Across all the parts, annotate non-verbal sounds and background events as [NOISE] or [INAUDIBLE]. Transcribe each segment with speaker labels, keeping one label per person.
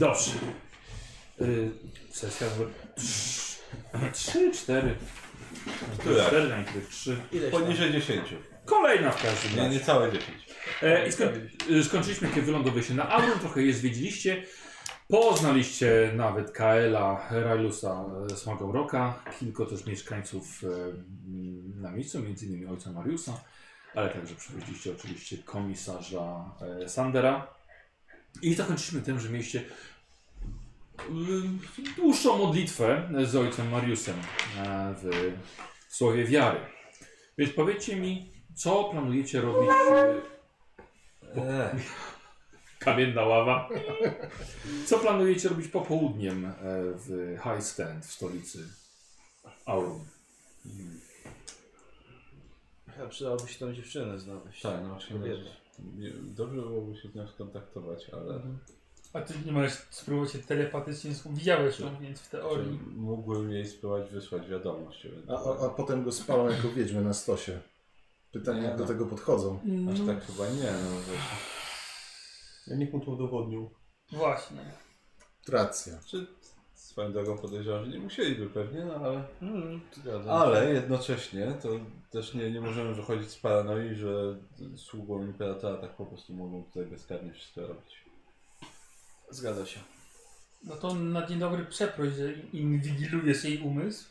Speaker 1: Dobrze. Y, sesja numer 3, 4.
Speaker 2: Która?
Speaker 1: 4, najpierw 3.
Speaker 3: Ileś tam?
Speaker 2: Poniżej 10.
Speaker 1: Kolejna w każdym
Speaker 2: Nie,
Speaker 1: razie.
Speaker 2: niecałe 10.
Speaker 1: E, i skoń, y, skończyliśmy, kiedy wylądowaliście na Aurum, trochę je zwiedziliście. Poznaliście nawet Kaela, Railusa, e, Smagoroka, kilku też mieszkańców e, m, na miejscu, między innymi ojca Mariusa, ale także przywieźliście oczywiście komisarza e, Sandera. I zakończyliśmy tym, że mieliście y, dłuższą modlitwę z ojcem Mariusem e, w Słowie Wiary. Więc powiedzcie mi, co planujecie robić e,
Speaker 2: Eee.
Speaker 1: Kamienna ława. Co planujecie robić popołudniem e, w High Stand w stolicy Aurum?
Speaker 3: Chyba przydałoby się tą dziewczynę znaleźć.
Speaker 2: Tak, no właśnie.
Speaker 3: Wierzyć.
Speaker 2: nie- Dobrze byłoby się z nią skontaktować, ale
Speaker 4: A ty nie możesz spróbować się telepatycznie, z- widziałeś
Speaker 2: Tak.
Speaker 4: ją, więc w
Speaker 2: czy
Speaker 4: teorii.
Speaker 2: mógłbym jej spróbować wysłać wiadomość.
Speaker 5: A, a, a potem go spalą jako wiedźmy na stosie. Pytanie,
Speaker 2: Nie
Speaker 5: jak do
Speaker 2: no.
Speaker 5: tego podchodzą.
Speaker 2: Aż tak chyba nie, no właśnie.
Speaker 6: Ja niech mu to udowodnił.
Speaker 4: Właśnie.
Speaker 5: Racja.
Speaker 2: Czy swoją drogą podejrzewam, że nie musieliby pewnie, no ale...
Speaker 3: Mm, zgadzam.
Speaker 2: Ale jednocześnie to też nie, nie możemy wychodzić z paranoi, że sługą imperatora tak po prostu mogą tutaj bezkarnie wszystko robić.
Speaker 3: Zgadza się.
Speaker 4: No to na dzień dobry przeproś, że inwigilujesz jej umysł,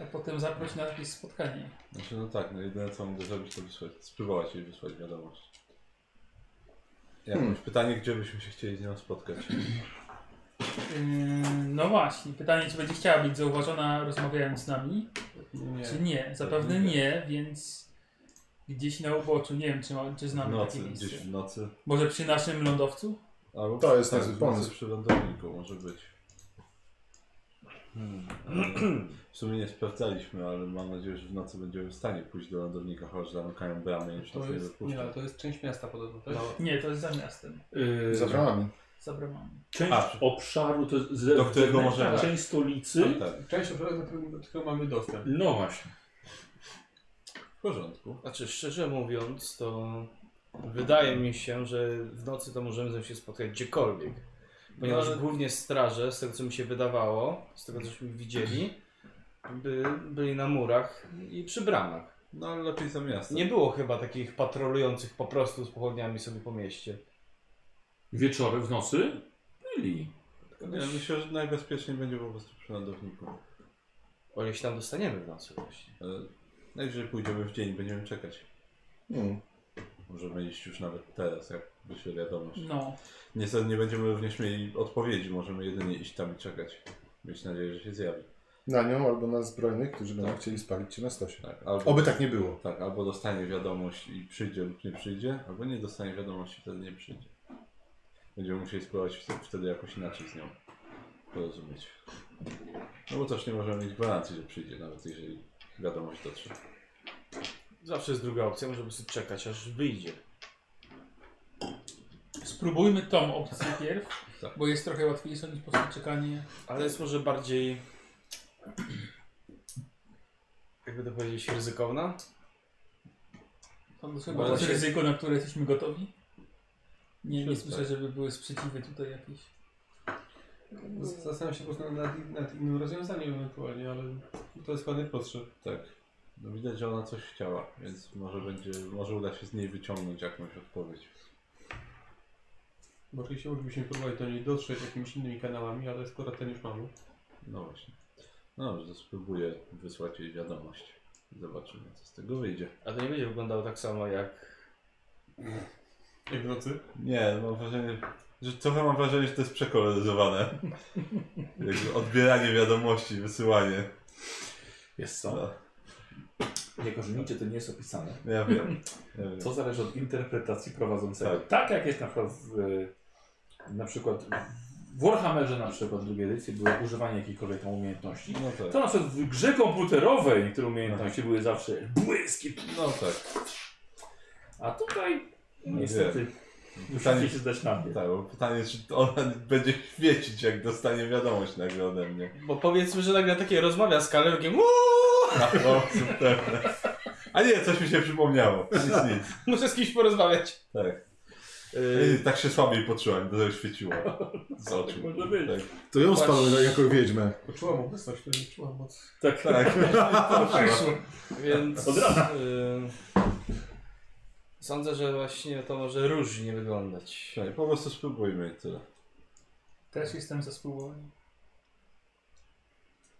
Speaker 4: a potem zaproś na jakieś spotkanie.
Speaker 2: Znaczy no tak, no jedyne co mogę zrobić to wysłać, spróbować jej wysłać wiadomość. Jakąś
Speaker 5: Hmm.
Speaker 2: pytanie, gdzie byśmy się chcieli z nią spotkać.
Speaker 4: Yy, no właśnie, pytanie, czy będzie chciała być zauważona rozmawiając z nami,
Speaker 6: Nie.
Speaker 4: czy nie? Zapewne
Speaker 2: Pewnie
Speaker 4: nie, więc gdzieś na uboczu, nie wiem, czy, ma, czy
Speaker 2: W
Speaker 4: znamy
Speaker 2: nocy,
Speaker 4: takie miejsce.
Speaker 2: gdzieś w nocy.
Speaker 4: Może przy naszym lądowcu?
Speaker 2: Albo
Speaker 5: To jest
Speaker 2: tak,
Speaker 5: niezły
Speaker 2: w nocy
Speaker 5: pomysł.
Speaker 2: przy lądowniku może być.
Speaker 5: Hmm.
Speaker 2: Ale [CLEARS THROAT] W sumie nie sprawdzaliśmy, ale mam nadzieję, że w nocy będziemy w stanie pójść do lądownika, choć zamykają bramy i już nas
Speaker 6: To
Speaker 2: nie
Speaker 6: jest, nie, ale
Speaker 2: wypuszczą.
Speaker 6: to jest część miasta podobno, tak?
Speaker 4: Nie, to jest za miastem,
Speaker 1: Yy,
Speaker 5: Za bramami.
Speaker 4: za bramami.
Speaker 1: część
Speaker 2: A,
Speaker 1: obszaru to z,
Speaker 2: do którego
Speaker 1: zewnętrzna
Speaker 2: możemy-
Speaker 1: część stolicy.
Speaker 2: Tak,
Speaker 6: Część obszaru, do którego- do którego mamy dostęp.
Speaker 1: No właśnie.
Speaker 2: w porządku.
Speaker 3: Znaczy, szczerze mówiąc, to wydaje mi się, że w nocy to możemy ze mną się spotkać gdziekolwiek. Ponieważ
Speaker 2: No, ale-
Speaker 3: głównie straże, z tego co mi się wydawało, z tego cośmy widzieli, by, byli na murach i przy bramach.
Speaker 2: No ale lepiej za miasto.
Speaker 3: Nie było chyba takich patrolujących po prostu z pochodniami sobie po mieście.
Speaker 1: Wieczory w nocy No byli.
Speaker 2: nie myślę, że najbezpieczniej będzie po prostu przy lądowniku.
Speaker 3: O ile się tam dostaniemy w nocy właśnie.
Speaker 2: E, Najwyżej pójdziemy w dzień, będziemy czekać.
Speaker 5: Hmm.
Speaker 2: Możemy iść już nawet teraz, jak wyśle wiadomość.
Speaker 4: No,
Speaker 2: Niestety nie będziemy również mieli odpowiedzi, możemy jedynie iść tam i czekać. Mieć nadzieję, że się zjawi.
Speaker 5: Na nią albo na zbrojnych, którzy będą chcieli spalić cię na stosie.
Speaker 2: Tak, albo,
Speaker 5: Oby tak nie było.
Speaker 2: tak, albo dostanie wiadomość i przyjdzie lub nie przyjdzie, albo nie dostanie wiadomości, wtedy nie przyjdzie. Będziemy musieli spróbować wt- wtedy jakoś inaczej z nią porozumieć. No bo też nie możemy mieć gwarancji, że przyjdzie, nawet jeżeli wiadomość dotrze.
Speaker 3: Zawsze jest druga opcja, możemy sobie czekać aż wyjdzie.
Speaker 4: spróbujmy tą opcję pierw,
Speaker 2: Tak.
Speaker 4: bo jest trochę łatwiejsza niż po prostu czekanie.
Speaker 3: Ale jest może bardziej. [CLEARS THROAT] Jakby to powiedzieć, ryzykowna?
Speaker 4: To jest
Speaker 2: No,
Speaker 4: chyba też
Speaker 2: się-
Speaker 4: ryzyko, na które jesteśmy gotowi. Nie, nie
Speaker 2: Wszystko.
Speaker 4: słyszę, żeby były sprzeciwy tutaj jakieś.
Speaker 6: Z- Zastanawiam się po prostu nad, nad innym rozwiązaniem ewentualnie, ale to jest chyba najprostsze.
Speaker 2: Tak. No widać, że ona coś chciała, więc może będzie, może uda się z niej wyciągnąć jakąś odpowiedź.
Speaker 6: Bo oczywiście moglibyśmy próbować do niej dotrzeć jakimiś innymi kanałami, ale skoro ten już mamy.
Speaker 2: No właśnie. No dobrze, to spróbuję wysłać jej wiadomość. Zobaczymy, co z tego wyjdzie.
Speaker 3: A to nie będzie wyglądało tak samo jak.
Speaker 6: Jak w nocy?
Speaker 2: Nie, mam wrażenie, że trochę mam wrażenie, że to jest przekoloryzowane. [LAUGHS] Jakby odbieranie wiadomości, wysyłanie.
Speaker 1: Jest co?
Speaker 2: No,
Speaker 1: Jako, że nigdzie to nie jest opisane.
Speaker 2: ja wiem. Ja wiem.
Speaker 1: To zależy od interpretacji prowadzącego. Tak,
Speaker 2: Tak.
Speaker 1: jak jest na przykład w, e, na przykład w Warhammerze na przykład w drugiej edycji było używanie jakiejkolwiek tam umiejętności.
Speaker 2: No tak,
Speaker 1: To na przykład w grze komputerowej niektóre umiejętności były zawsze błyski,
Speaker 2: no tak.
Speaker 1: A tutaj
Speaker 2: No
Speaker 1: niestety musicie
Speaker 2: Pytanie,
Speaker 1: się zdać na mnie.
Speaker 2: tak, bo pytanie, czy ona będzie świecić, jak dostanie wiadomość nagle ode mnie.
Speaker 3: Bo powiedzmy, że nagle takie rozmawia z Kalewkiem.
Speaker 2: Na chłopcu pewne. A nie, coś mi się przypomniało. Nic, nic.
Speaker 3: Muszę z kimś porozmawiać.
Speaker 2: Tak. Yy,
Speaker 3: Yy,
Speaker 2: tak się słabiej poczułem, to świeciło z oczu.
Speaker 1: Tak może być.
Speaker 2: Tak,
Speaker 5: To ją spalamy jako wiedźmę.
Speaker 6: Poczułam obecność, wtedy czułam moc.
Speaker 1: Tak,
Speaker 2: tak.
Speaker 3: więc
Speaker 1: Od rana.
Speaker 3: yy, sądzę, że właśnie to może różnie wyglądać.
Speaker 2: Słuchaj, po prostu spróbujmy i tyle.
Speaker 4: Też jestem za spróbowaniem.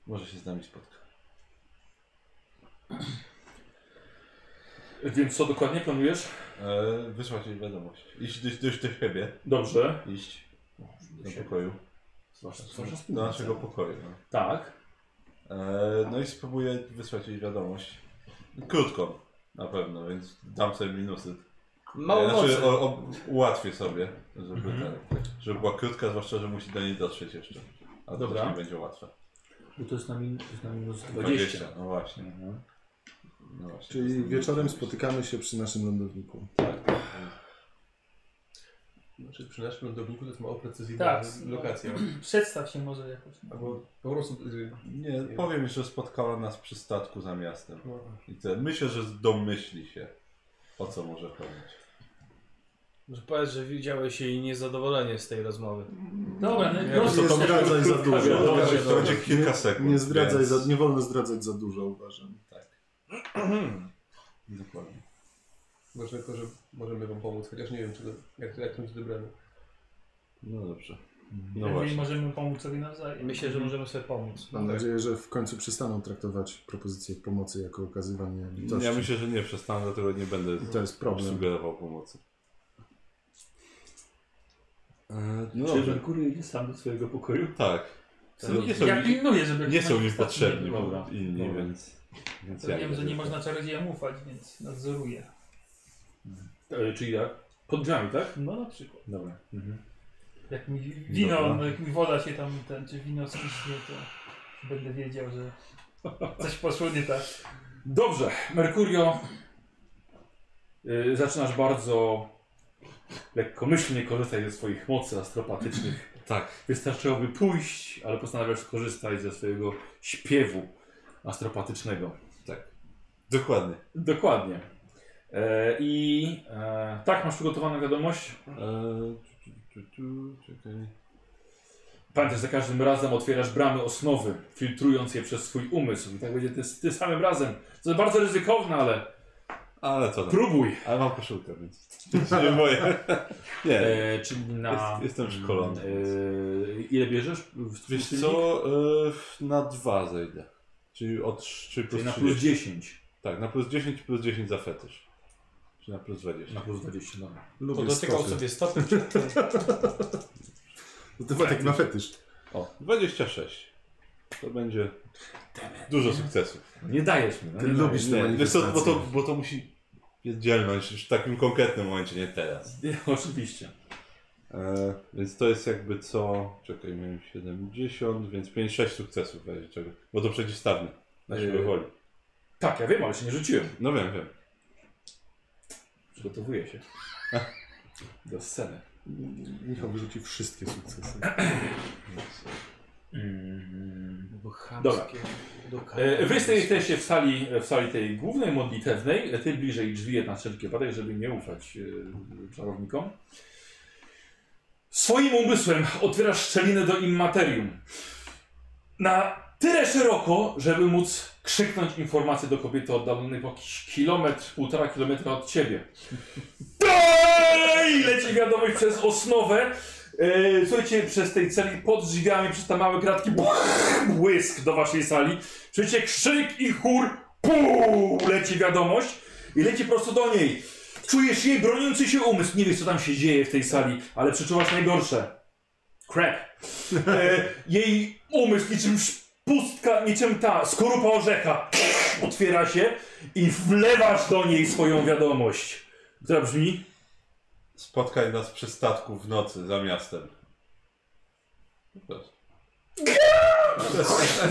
Speaker 2: Może się z nami spotka.
Speaker 1: Więc co dokładnie planujesz?
Speaker 2: E, wysłać jej wiadomość. Iść do, do, do siebie.
Speaker 1: Dobrze.
Speaker 2: Iść do pokoju. Do naszego pokoju. No.
Speaker 1: Tak.
Speaker 2: E, no i spróbuję wysłać jej wiadomość. Krótką na pewno, więc dam sobie minusy.
Speaker 3: Mało
Speaker 2: E,
Speaker 3: mocy.
Speaker 2: znaczy, o, o, ułatwię sobie, żeby, ten, żeby była krótka, zwłaszcza, że musi do niej dotrzeć jeszcze. A to
Speaker 1: Dobra.
Speaker 2: też nie będzie łatwe.
Speaker 1: Bo to jest na, min, to jest na minus 20.
Speaker 2: No właśnie.
Speaker 1: Mhm.
Speaker 2: No właśnie To
Speaker 5: Czyli
Speaker 2: jest-
Speaker 5: wieczorem spotykamy się przy naszym lądowniku.
Speaker 6: Znaczy przy naszym lądowniku to jest mało precyzyjna
Speaker 4: Tak.
Speaker 6: lokacja.
Speaker 4: Przedstaw się może jakoś.
Speaker 6: Albo po prostu... y,
Speaker 2: Nie, powiem, że spotkała nas przy statku za miastem.
Speaker 6: No,
Speaker 2: I te, myślę, że domyśli się, o co może chodzić.
Speaker 3: Może powiedz, że widziałeś jej niezadowolenie z tej rozmowy.
Speaker 4: Dobra, no
Speaker 6: Nie,
Speaker 4: rozumiem.
Speaker 5: Nie zdradzaj za
Speaker 1: Krótka
Speaker 5: dużo.
Speaker 1: wiadomość.
Speaker 2: To będzie- to będzie kilka sekund.
Speaker 5: Nie zdradzaj,
Speaker 2: więc-
Speaker 5: za, nie wolno zdradzać za dużo, uważam.
Speaker 2: Dokładnie.
Speaker 6: Może tylko, że możemy wam pomóc, chociaż nie wiem, czy to, jak, jak to będzie dobrane.
Speaker 2: No dobrze. No
Speaker 4: Jeżeli
Speaker 2: właśnie.
Speaker 4: możemy pomóc sobie nawzajem.
Speaker 3: Myślę, że możemy sobie pomóc.
Speaker 2: Tak.
Speaker 5: Mam nadzieję, że w końcu przestaną traktować propozycję pomocy jako okazywanie litości.
Speaker 2: Ja myślę, że nie przestanę, dlatego nie będę
Speaker 5: I to jest problem.
Speaker 2: sugerował pomocy. No
Speaker 1: No, Czy
Speaker 2: dobrze.
Speaker 1: Merkury idzie sam do swojego pokoju?
Speaker 2: Tak. Są, nie są,
Speaker 4: Ja pilnuję, żeby...
Speaker 2: nie są mi
Speaker 4: manifestacji
Speaker 2: potrzebni
Speaker 4: nie było.
Speaker 1: Dobra.
Speaker 2: inni,
Speaker 1: Dobra.
Speaker 2: więc... więc
Speaker 4: To
Speaker 2: ja
Speaker 4: Wiem, że nie można czarodziejom ufać, więc nadzoruję.
Speaker 1: E, czyli jak? Pod drzwiami, tak?
Speaker 4: No na przykład.
Speaker 1: Dobra. Mhm.
Speaker 4: Jak mi wino,
Speaker 2: Dobra.
Speaker 4: no, jak mi woda się tam, ten, czy wino skiśnie, to będę wiedział, że coś poszło nie tak.
Speaker 1: Dobrze, Merkurio. Y, zaczynasz bardzo lekkomyślnie korzystać ze swoich mocy astropatycznych.
Speaker 2: Tak.
Speaker 1: Wystarczyłoby pójść, ale postanawiasz skorzystać ze swojego śpiewu astropatycznego.
Speaker 2: Dokładnie.
Speaker 1: Dokładnie. E, I e, tak, masz przygotowaną wiadomość.
Speaker 2: Eee, tu, tu, tu, tu, czekaj.
Speaker 1: Pamiętaj, że za każdym razem otwierasz bramy osnowy, filtrując je przez swój umysł. I tak będzie ty, ty samym razem. To jest bardzo ryzykowne, ale
Speaker 2: Ale co tam?
Speaker 1: próbuj.
Speaker 2: Ale mam koszulkę, więc się nie boję. Nie,
Speaker 1: E, czyli na...
Speaker 2: Jest- jestem szkolony.
Speaker 1: E, ile bierzesz? W
Speaker 2: Wiesz
Speaker 1: silnik?
Speaker 2: co, y, na dwa zejdę. Czyli od trz- czyli plus
Speaker 1: Czyli na
Speaker 2: 30.
Speaker 1: plus 10.
Speaker 2: Tak, na plus 10 plus 10 za fetysz. Czyli na plus 20.
Speaker 1: Na plus 20, dobra.
Speaker 3: Bo
Speaker 5: Lubię
Speaker 3: dotykał
Speaker 5: stopy.
Speaker 3: sobie stopy przed tym.
Speaker 5: To Ty Wojtek na fetysz.
Speaker 2: O, 26. To będzie dużo sukcesów.
Speaker 1: Nie dajesz mi. No,
Speaker 5: Ty
Speaker 1: nie
Speaker 5: lubisz
Speaker 2: Nie,
Speaker 5: te
Speaker 2: wiesz co, bo to,
Speaker 5: manifestacje.
Speaker 2: bo to musi jest dzielność już w takim konkretnym momencie, nie teraz.
Speaker 1: dajesz. Nie, oczywiście.
Speaker 2: E, więc to jest jakby co... Czekaj, miałem 70, więc 5-6 sukcesów w razie czego. Bo to przeciwstawne. Na
Speaker 1: E,
Speaker 2: siłę woli.
Speaker 1: Tak, ja wiem, ale się nie rzuciłem.
Speaker 2: No wiem, wiem.
Speaker 1: Przygotowuję się. Do sceny.
Speaker 5: Michał wyrzuci wszystkie sukcesy.
Speaker 1: Mhm.
Speaker 3: Bo
Speaker 1: Dobra.
Speaker 3: chamskie.
Speaker 1: E, Wy jste- jesteście w sali, w sali tej głównej modlitewnej, e, ty bliżej drzwi na wszelki wypadek, żeby nie ufać e, czarownikom. Swoim umysłem otwierasz szczelinę do immaterium. Na tyle szeroko, żeby móc krzyknąć informację do kobiety oddalonej po jakiś kilometr, półtora kilometra od ciebie. Dalej! Leci wiadomość przez osnowę. E, Słuchajcie, przez tej celi pod drzwiami, przez te małe kratki, tak błysk do waszej sali. Słyszycie krzyk i chór, puu, leci wiadomość i leci prosto do niej. Czujesz jej broniący się umysł. Nie wiesz, co tam się dzieje w tej sali, ale przeczuwasz najgorsze. Crap. E, jej umysł niczym pustka, niczym ta skorupa orzecha otwiera się i wlewasz do niej swoją wiadomość. Która brzmi?
Speaker 2: Spotkaj nas przy statku w nocy za miastem. Po prostu.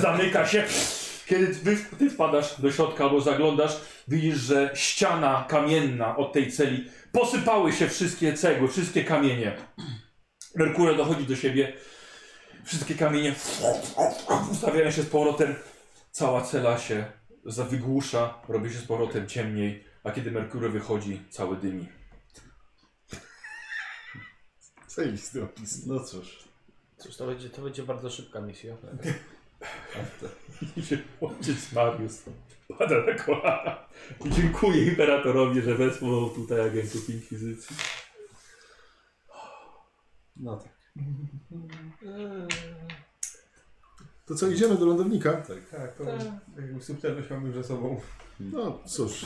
Speaker 1: zamyka się. Kiedy wy, ty wpadasz do środka albo zaglądasz, widzisz, że ściana kamienna od tej celi posypały się wszystkie cegły, wszystkie kamienie. Merkurio dochodzi do siebie. Wszystkie kamienie ustawiają się z powrotem. Cała cela się zawygłusza, robi się z powrotem ciemniej, a kiedy Merkurio wychodzi, cały dymi.
Speaker 5: Zajebisty opis.
Speaker 2: No cóż.
Speaker 3: Cóż, to będzie, to będzie bardzo szybka misja.
Speaker 2: A te,
Speaker 1: [LAUGHS] Ojciec Mariusz pada na kolana. Dziękuję imperatorowi, że wezmą tutaj agentów inkwizycji.
Speaker 2: no tak.
Speaker 5: To co, idziemy do lądownika?
Speaker 6: Tak, to jakby subtelność mam już za sobą.
Speaker 5: No cóż,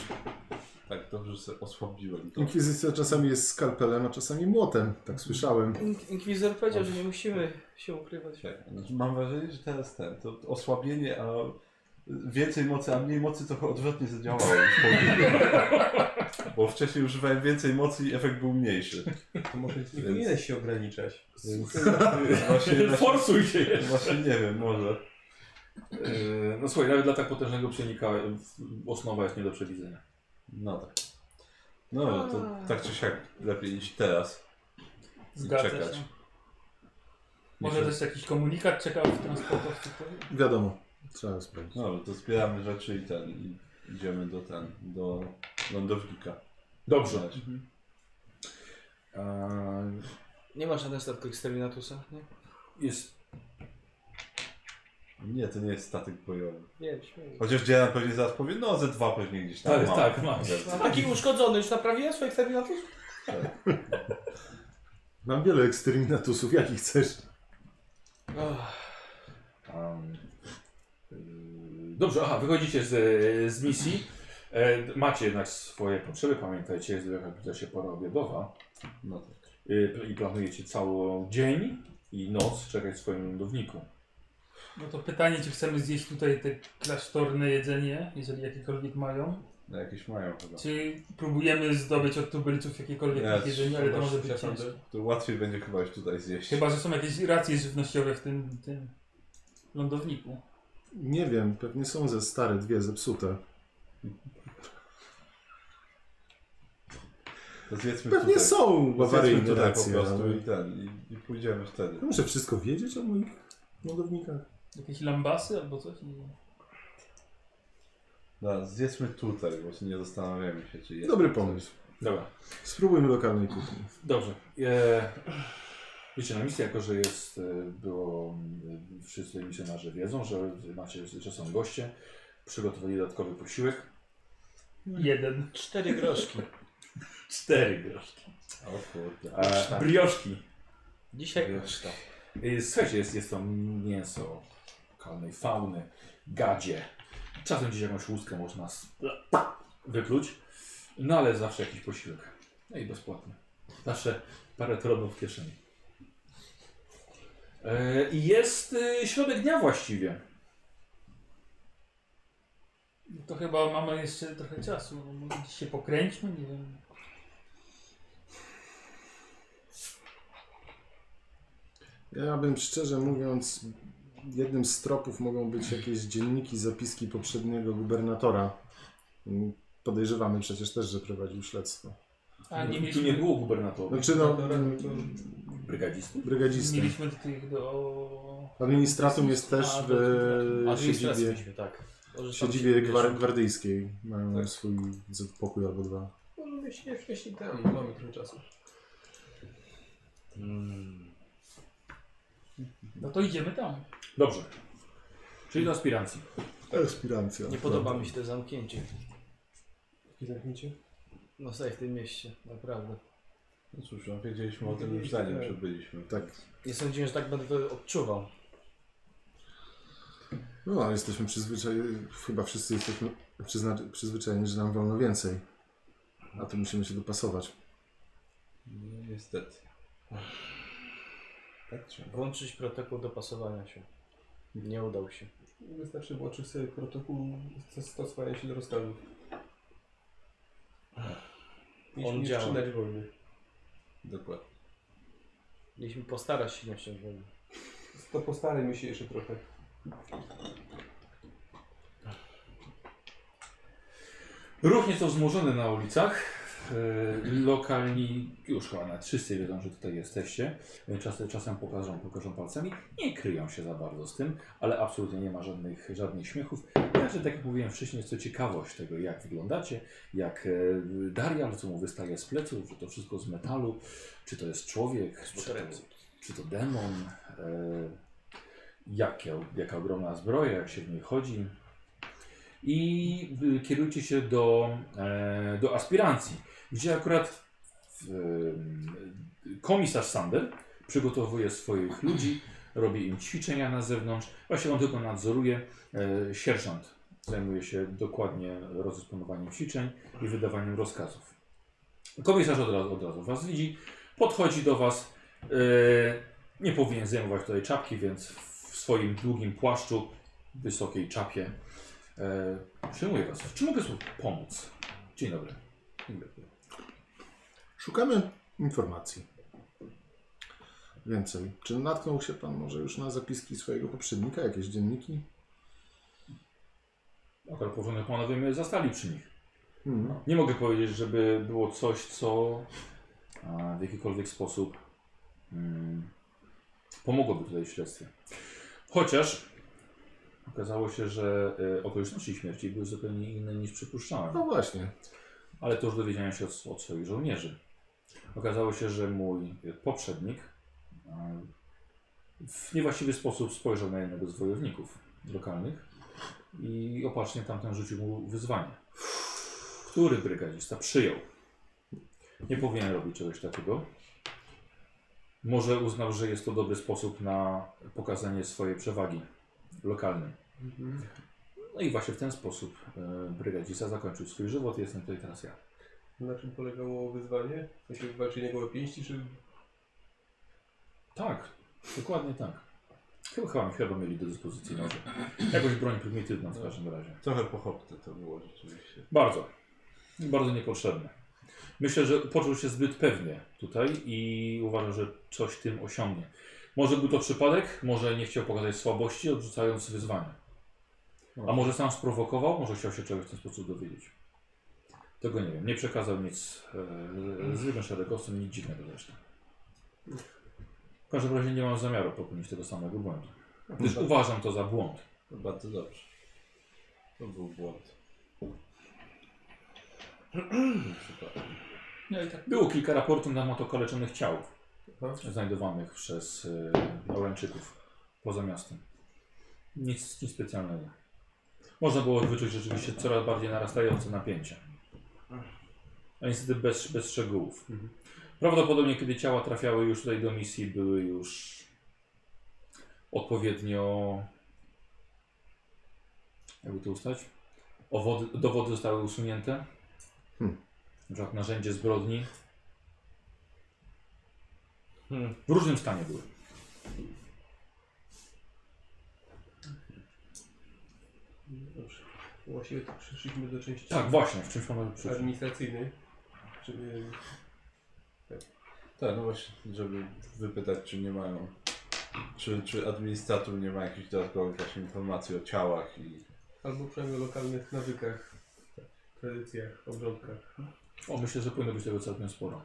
Speaker 2: Tak, dobrze, że sobie osłabiłem to.
Speaker 5: inkwizycja czasami jest skalpelem, a czasami młotem, tak słyszałem.
Speaker 3: Ink- Inkwizytor powiedział, że nie musimy się ukrywać.
Speaker 2: Tak, znaczy Mam wrażenie, że teraz ten, to to osłabienie, a więcej mocy, a mniej mocy trochę odwrotnie zadziałało. niż
Speaker 1: [LAUGHS]
Speaker 2: powinno. Bo wcześniej używałem więcej mocy i efekt był mniejszy.
Speaker 6: To może nie
Speaker 2: Więc-
Speaker 6: powinieneś się ograniczać. no
Speaker 2: Więc [LAUGHS] właśnie,
Speaker 1: [LAUGHS]
Speaker 2: właśnie,
Speaker 1: Forsuj się
Speaker 2: właśnie nie wiem, może.
Speaker 1: Yy, No słuchaj, nawet dla tak potężnego przenika yy, osnowa jest nie do przewidzenia.
Speaker 2: No tak. No, to tak czy siak lepiej iść teraz.
Speaker 4: Zgadza
Speaker 2: Czekać.
Speaker 4: się. Może
Speaker 2: Myślę-
Speaker 4: też jakiś komunikat czekał w transportowcu. to-
Speaker 5: Wiadomo, trzeba sprawdzić.
Speaker 2: No, to zbieramy rzeczy i ten, i idziemy do ten, do lądownika.
Speaker 1: Dobrze.
Speaker 3: Nie ma żadnego statku eksterminatusa, nie?
Speaker 1: Yy, Jest.
Speaker 2: Nie, to nie jest statek bojowy.
Speaker 3: Nie, śmieję.
Speaker 2: Chociaż Dzielan pewnie zaraz powie, no ze dwa pewnie gdzieś tam
Speaker 1: Tak,
Speaker 2: mam.
Speaker 1: tak, mam.
Speaker 3: A taki uszkodzony już naprawiłem swój eksterminatus?
Speaker 5: Mam wiele eksterminatusów, jakich chcesz.
Speaker 3: Och,
Speaker 1: Ehm, yy, Dobrze, aha, wychodzicie z, z misji. E, Macie jednak swoje potrzeby, pamiętajcie, jest jaka zbliża się pora obiadowa
Speaker 2: No tak.
Speaker 1: Yy, i planujecie cały dzień i noc czekać w swoim lądowniku.
Speaker 4: No to pytanie, czy chcemy zjeść tutaj te klasztorne jedzenie, jeżeli jakiekolwiek mają.
Speaker 2: No jakieś mają chyba.
Speaker 4: Czy próbujemy zdobyć od tubylców jakiekolwiek
Speaker 2: Nie,
Speaker 4: ich jedzenie, ale to może być
Speaker 6: czasem
Speaker 4: ciężko.
Speaker 2: To łatwiej będzie chyba już tutaj zjeść.
Speaker 4: Chyba, że są jakieś racje żywnościowe w tym, tym lądowniku.
Speaker 5: Nie wiem, pewnie są ze stare dwie zepsute.
Speaker 2: To zjedzmy
Speaker 5: Pewnie
Speaker 2: tutaj.
Speaker 5: są
Speaker 2: To zjedzmy
Speaker 5: bawaryjne
Speaker 2: tutaj po
Speaker 5: racje.
Speaker 2: prostu
Speaker 5: ale-
Speaker 2: i ten, i, i pójdziemy wtedy.
Speaker 5: Ja Muszę wszystko wiedzieć o moich lądownikach.
Speaker 4: Jakieś lambasy albo coś? Nie wiem.
Speaker 2: No, zjedzmy tutaj, bo nie zastanawiamy się, czy jest.
Speaker 5: Dobry pomysł.
Speaker 1: Dobra,
Speaker 5: Spróbujmy lokalnej kuchni.
Speaker 1: dobrze. E, wiecie, na misji, jako że jest, e, było, e, wszyscy misjonarze wiedzą, że macie, że są goście, przygotowali dodatkowy posiłek.
Speaker 4: Jeden.
Speaker 3: Cztery groszki.
Speaker 1: Cztery groszki.
Speaker 2: O kurde.
Speaker 1: E, brioszki.
Speaker 3: Dzisiaj
Speaker 1: Brioszki. E, Słuchajcie, jest, jest to mięso lokalnej fauny, gadzie. Czasem gdzieś jakąś łuskę można s- wypluć, no ale zawsze jakiś posiłek. No i bezpłatny. Zawsze parę tronów w kieszeni. E, I jest e, środek dnia właściwie.
Speaker 4: No To chyba mamy jeszcze trochę czasu. no Może gdzieś się pokręćmy, nie wiem.
Speaker 5: Ja bym szczerze mówiąc, jednym z tropów mogą być jakieś dzienniki, zapiski poprzedniego gubernatora. Mm, Podejrzewamy przecież też, że prowadził śledztwo.
Speaker 4: A nie
Speaker 1: Tu nie
Speaker 4: mieliśmy,
Speaker 1: było gubernatora.
Speaker 5: Znaczy no,
Speaker 6: Dobra, to-
Speaker 1: Brygadzisty?
Speaker 5: brygadzisty.
Speaker 4: mieliśmy do tych do...
Speaker 5: Administratum jest też
Speaker 4: A,
Speaker 5: w
Speaker 4: do
Speaker 5: e,
Speaker 3: administracji
Speaker 5: siedzibie,
Speaker 3: byśmy, tak. Może tam
Speaker 5: siedzibie
Speaker 3: się-
Speaker 5: gwar, gwardyjskiej. Mają
Speaker 3: Tak.
Speaker 5: swój z- pokój albo dwa.
Speaker 6: Możemy się No, wcześniej tam, mamy trochę czasu.
Speaker 3: Mm.
Speaker 4: No to idziemy tam.
Speaker 1: Dobrze. Czyli do aspirancji.
Speaker 5: Aspirancja.
Speaker 3: Nie podoba mi się to zamknięcie.
Speaker 6: I zamknięcie?
Speaker 3: No tutaj w tym mieście, naprawdę.
Speaker 2: No cóż, no, wiedzieliśmy o tym już zanim przybyliśmy.
Speaker 5: Tak.
Speaker 3: Nie sądziłem, że tak będę to odczuwał.
Speaker 5: No, ale jesteśmy przyzwyczajeni, chyba wszyscy jesteśmy przyzna, przyzwyczajeni, że nam wolno więcej. A to musimy się dopasować.
Speaker 2: No, niestety. Tak trzeba.
Speaker 3: Włączyć protokół dopasowania się. Nie udał się.
Speaker 6: Wystarczy włączyć sobie protokół zastosowania się do rozkazów. Mieliśmy nie
Speaker 3: działa.
Speaker 6: wstrzymać wojny.
Speaker 2: Dokładnie.
Speaker 3: Mieliśmy postarać się nie ściągnąć.
Speaker 6: To postarajmy się jeszcze trochę.
Speaker 1: Ruch nieco wzmożony na ulicach. E, Lokalni, już chyba nawet wszyscy wiedzą, że tutaj jesteście. E, Czasem, czasem pokażą, pokażą palcami. Nie kryją się za bardzo z tym, ale absolutnie nie ma żadnych, żadnych śmiechów. Także tak jak mówiłem wcześniej, jest to ciekawość tego, jak wyglądacie, jak e, Darial, co mu wystaje z pleców, czy to wszystko z metalu, czy to jest człowiek, czy to, czy to demon, e, jakie, jaka ogromna zbroja, jak się w niej chodzi. I y, kierujcie się do, e, do aspirancji, gdzie akurat y, komisarz Sander przygotowuje swoich ludzi, robi im ćwiczenia na zewnątrz. Właśnie on tylko nadzoruje. E, sierżant zajmuje się dokładnie rozdysponowaniem ćwiczeń i wydawaniem rozkazów. Komisarz od razu, od razu was widzi, podchodzi do was. E, nie powinien zajmować tutaj czapki, więc w swoim długim płaszczu, wysokiej czapie e, przyjmuje was. Czy mogę sobie pomóc? Dzień dobry.
Speaker 5: Szukamy informacji. Więcej. Czy natknął się pan może już na zapiski swojego poprzednika, jakieś dzienniki?
Speaker 1: Akurat powinno panowie mnie zastali przy nich. No,
Speaker 5: Hmm.
Speaker 1: Nie mogę powiedzieć, żeby było coś, co a, w jakikolwiek sposób mm, pomogłoby tutaj w śledztwie. Chociaż okazało się, że y, okoliczności śmierci były zupełnie inne niż przypuszczałem.
Speaker 5: No właśnie.
Speaker 1: Ale to już dowiedziałem się od, od swoich żołnierzy. Okazało się, że mój y, poprzednik y, w niewłaściwy sposób spojrzał na jednego z wojowników lokalnych i opacznie tamten rzucił mu wyzwanie, który brygadzista przyjął. Nie powinien robić czegoś takiego. Może uznał, że jest to dobry sposób na pokazanie swojej przewagi lokalnym. No i właśnie w ten sposób e, brygadzista zakończył swój żywot. Jestem tutaj teraz ja.
Speaker 6: Na czym polegało wyzwanie? W sensie wywalczenie gołe pięści, czy...
Speaker 1: Tak, dokładnie tak. Chyba, chyba, chyba mieli do dyspozycji noże. Jakąś broń prymitywną w każdym razie.
Speaker 2: Trochę pochopne to było rzeczywiście.
Speaker 1: Bardzo. Bardzo niepotrzebne. Myślę, że poczuł się zbyt pewnie tutaj i uważam, że coś tym osiągnie. Może był to przypadek, może nie chciał pokazać słabości, odrzucając wyzwanie. A może sam sprowokował, może chciał się czegoś w ten sposób dowiedzieć. Tego nie wiem. Nie przekazał nic e, zwykłym szeregowcom, nic dziwnego zresztą. W każdym razie nie mam zamiaru popełnić tego samego błędu. Gdyż uważam to za błąd.
Speaker 2: No bardzo dobrze. To był błąd. Nie przypadek.
Speaker 4: No i tak.
Speaker 1: Było kilka raportów na motokoleczonych ciał
Speaker 6: Aha.
Speaker 1: znajdowanych przez y, Oręczyków poza miastem. Nic, nic specjalnego. Można było wyczuć rzeczywiście coraz bardziej narastające napięcie. A niestety bez, bez szczegółów. Prawdopodobnie kiedy ciała trafiały już tutaj do misji, były już odpowiednio jakby to ustać? Owody, dowody zostały usunięte.
Speaker 5: Hmm.
Speaker 1: Na przykład narzędzie zbrodni.
Speaker 3: Hmm.
Speaker 1: W różnym stanie były.
Speaker 6: Dobrze. Właściwie to przyszliśmy do części
Speaker 1: Tak, właśnie, w czymś mamy przyszło.
Speaker 6: administracyjnej. Czyli
Speaker 2: Tak, no właśnie, żeby wypytać, czy nie mają, czy, czy administrator nie ma jakichś dodatkowych właśnie informacji o ciałach i
Speaker 6: albo przynajmniej o lokalnych nawykach, tradycjach, obrządkach.
Speaker 1: O, myślę, że powinno być tego całkiem sporo.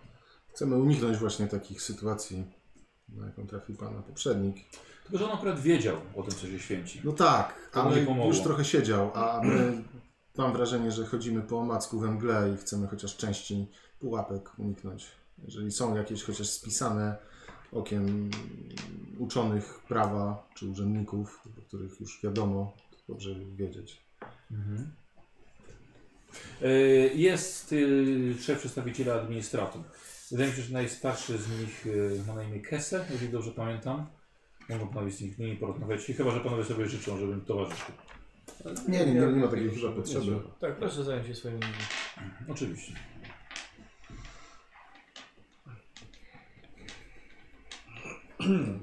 Speaker 5: Chcemy uniknąć właśnie takich sytuacji, na jaką trafił pana poprzednik.
Speaker 1: Tylko, że on akurat wiedział o tym, co się święci.
Speaker 5: No tak,
Speaker 1: To mu
Speaker 5: ale
Speaker 1: nie pomogło.
Speaker 5: już trochę siedział, a my [CLEARS THROAT] mam wrażenie, że chodzimy po omacku we mgle i chcemy chociaż części pułapek uniknąć. Jeżeli są jakieś chociaż spisane okiem uczonych prawa czy urzędników, o których już wiadomo, to dobrze wiedzieć.
Speaker 1: Mhm. E, Jest e, szef przedstawiciela administratum. Wydaje mi się, że najstarszy z nich e, ma na imię Kese, jeżeli dobrze pamiętam. Mogą panowie z nich nimi porozmawiać, chyba że panowie sobie życzą, żebym towarzyszył.
Speaker 5: Nie, nie, nie, nie ma takiej chyba potrzeby.
Speaker 3: Tak, proszę zająć się swoimi ludźmi.
Speaker 1: Oczywiście.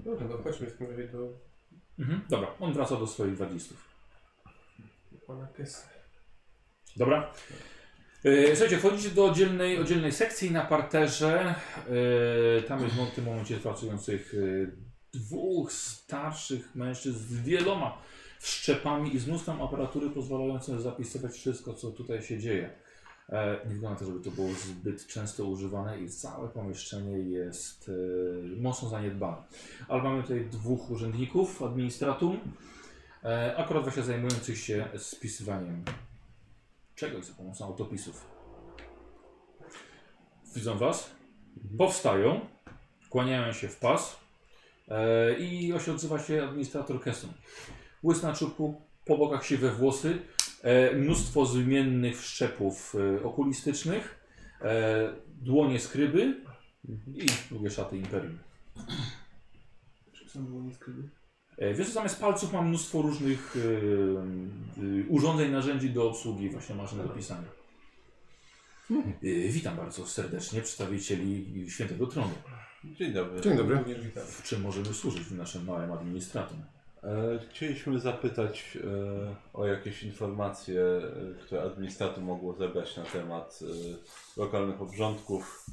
Speaker 6: Dobra, no chodźmy w tym razie do
Speaker 1: Mhm. Dobra, on wraca do swoich wadlistów.
Speaker 6: pana Kessa.
Speaker 1: Dobra. E, Słuchajcie, wchodzicie do oddzielnej, oddzielnej sekcji na parterze. E, Tam jest w tym momencie pracujących e, dwóch starszych mężczyzn z wieloma wszczepami i z mnóstwem aparatury pozwalającej zapisywać wszystko, co tutaj się dzieje. E, Nie wygląda to, żeby to było zbyt często używane i całe pomieszczenie jest e, mocno zaniedbane. Ale mamy tutaj dwóch urzędników, administratum, e, akurat właśnie zajmujących się spisywaniem czegoś za pomocą autopisów. Widzą Was, powstają, kłaniają się w pas e, i osi odzywa się administrator Kesson. Łys na czubku, po bokach siwe włosy, E, mnóstwo zmiennych wszczepów e, okulistycznych, e, dłonie skryby i długie szaty imperium.
Speaker 6: Przepraszam, było nie skryby.
Speaker 1: E, Wiesz, co, zamiast palców mam mnóstwo różnych e, e, urządzeń, narzędzi do obsługi właśnie maszyn do pisania. E, Witam bardzo serdecznie przedstawicieli Świętego Tronu.
Speaker 2: Dzień dobry.
Speaker 5: Dzień dobry.
Speaker 6: Nie witam.
Speaker 1: W czym możemy służyć w naszym małym administratum?
Speaker 2: E, Chcieliśmy zapytać e, o jakieś informacje, e, które administratum mogło zebrać na temat e, lokalnych obrządków,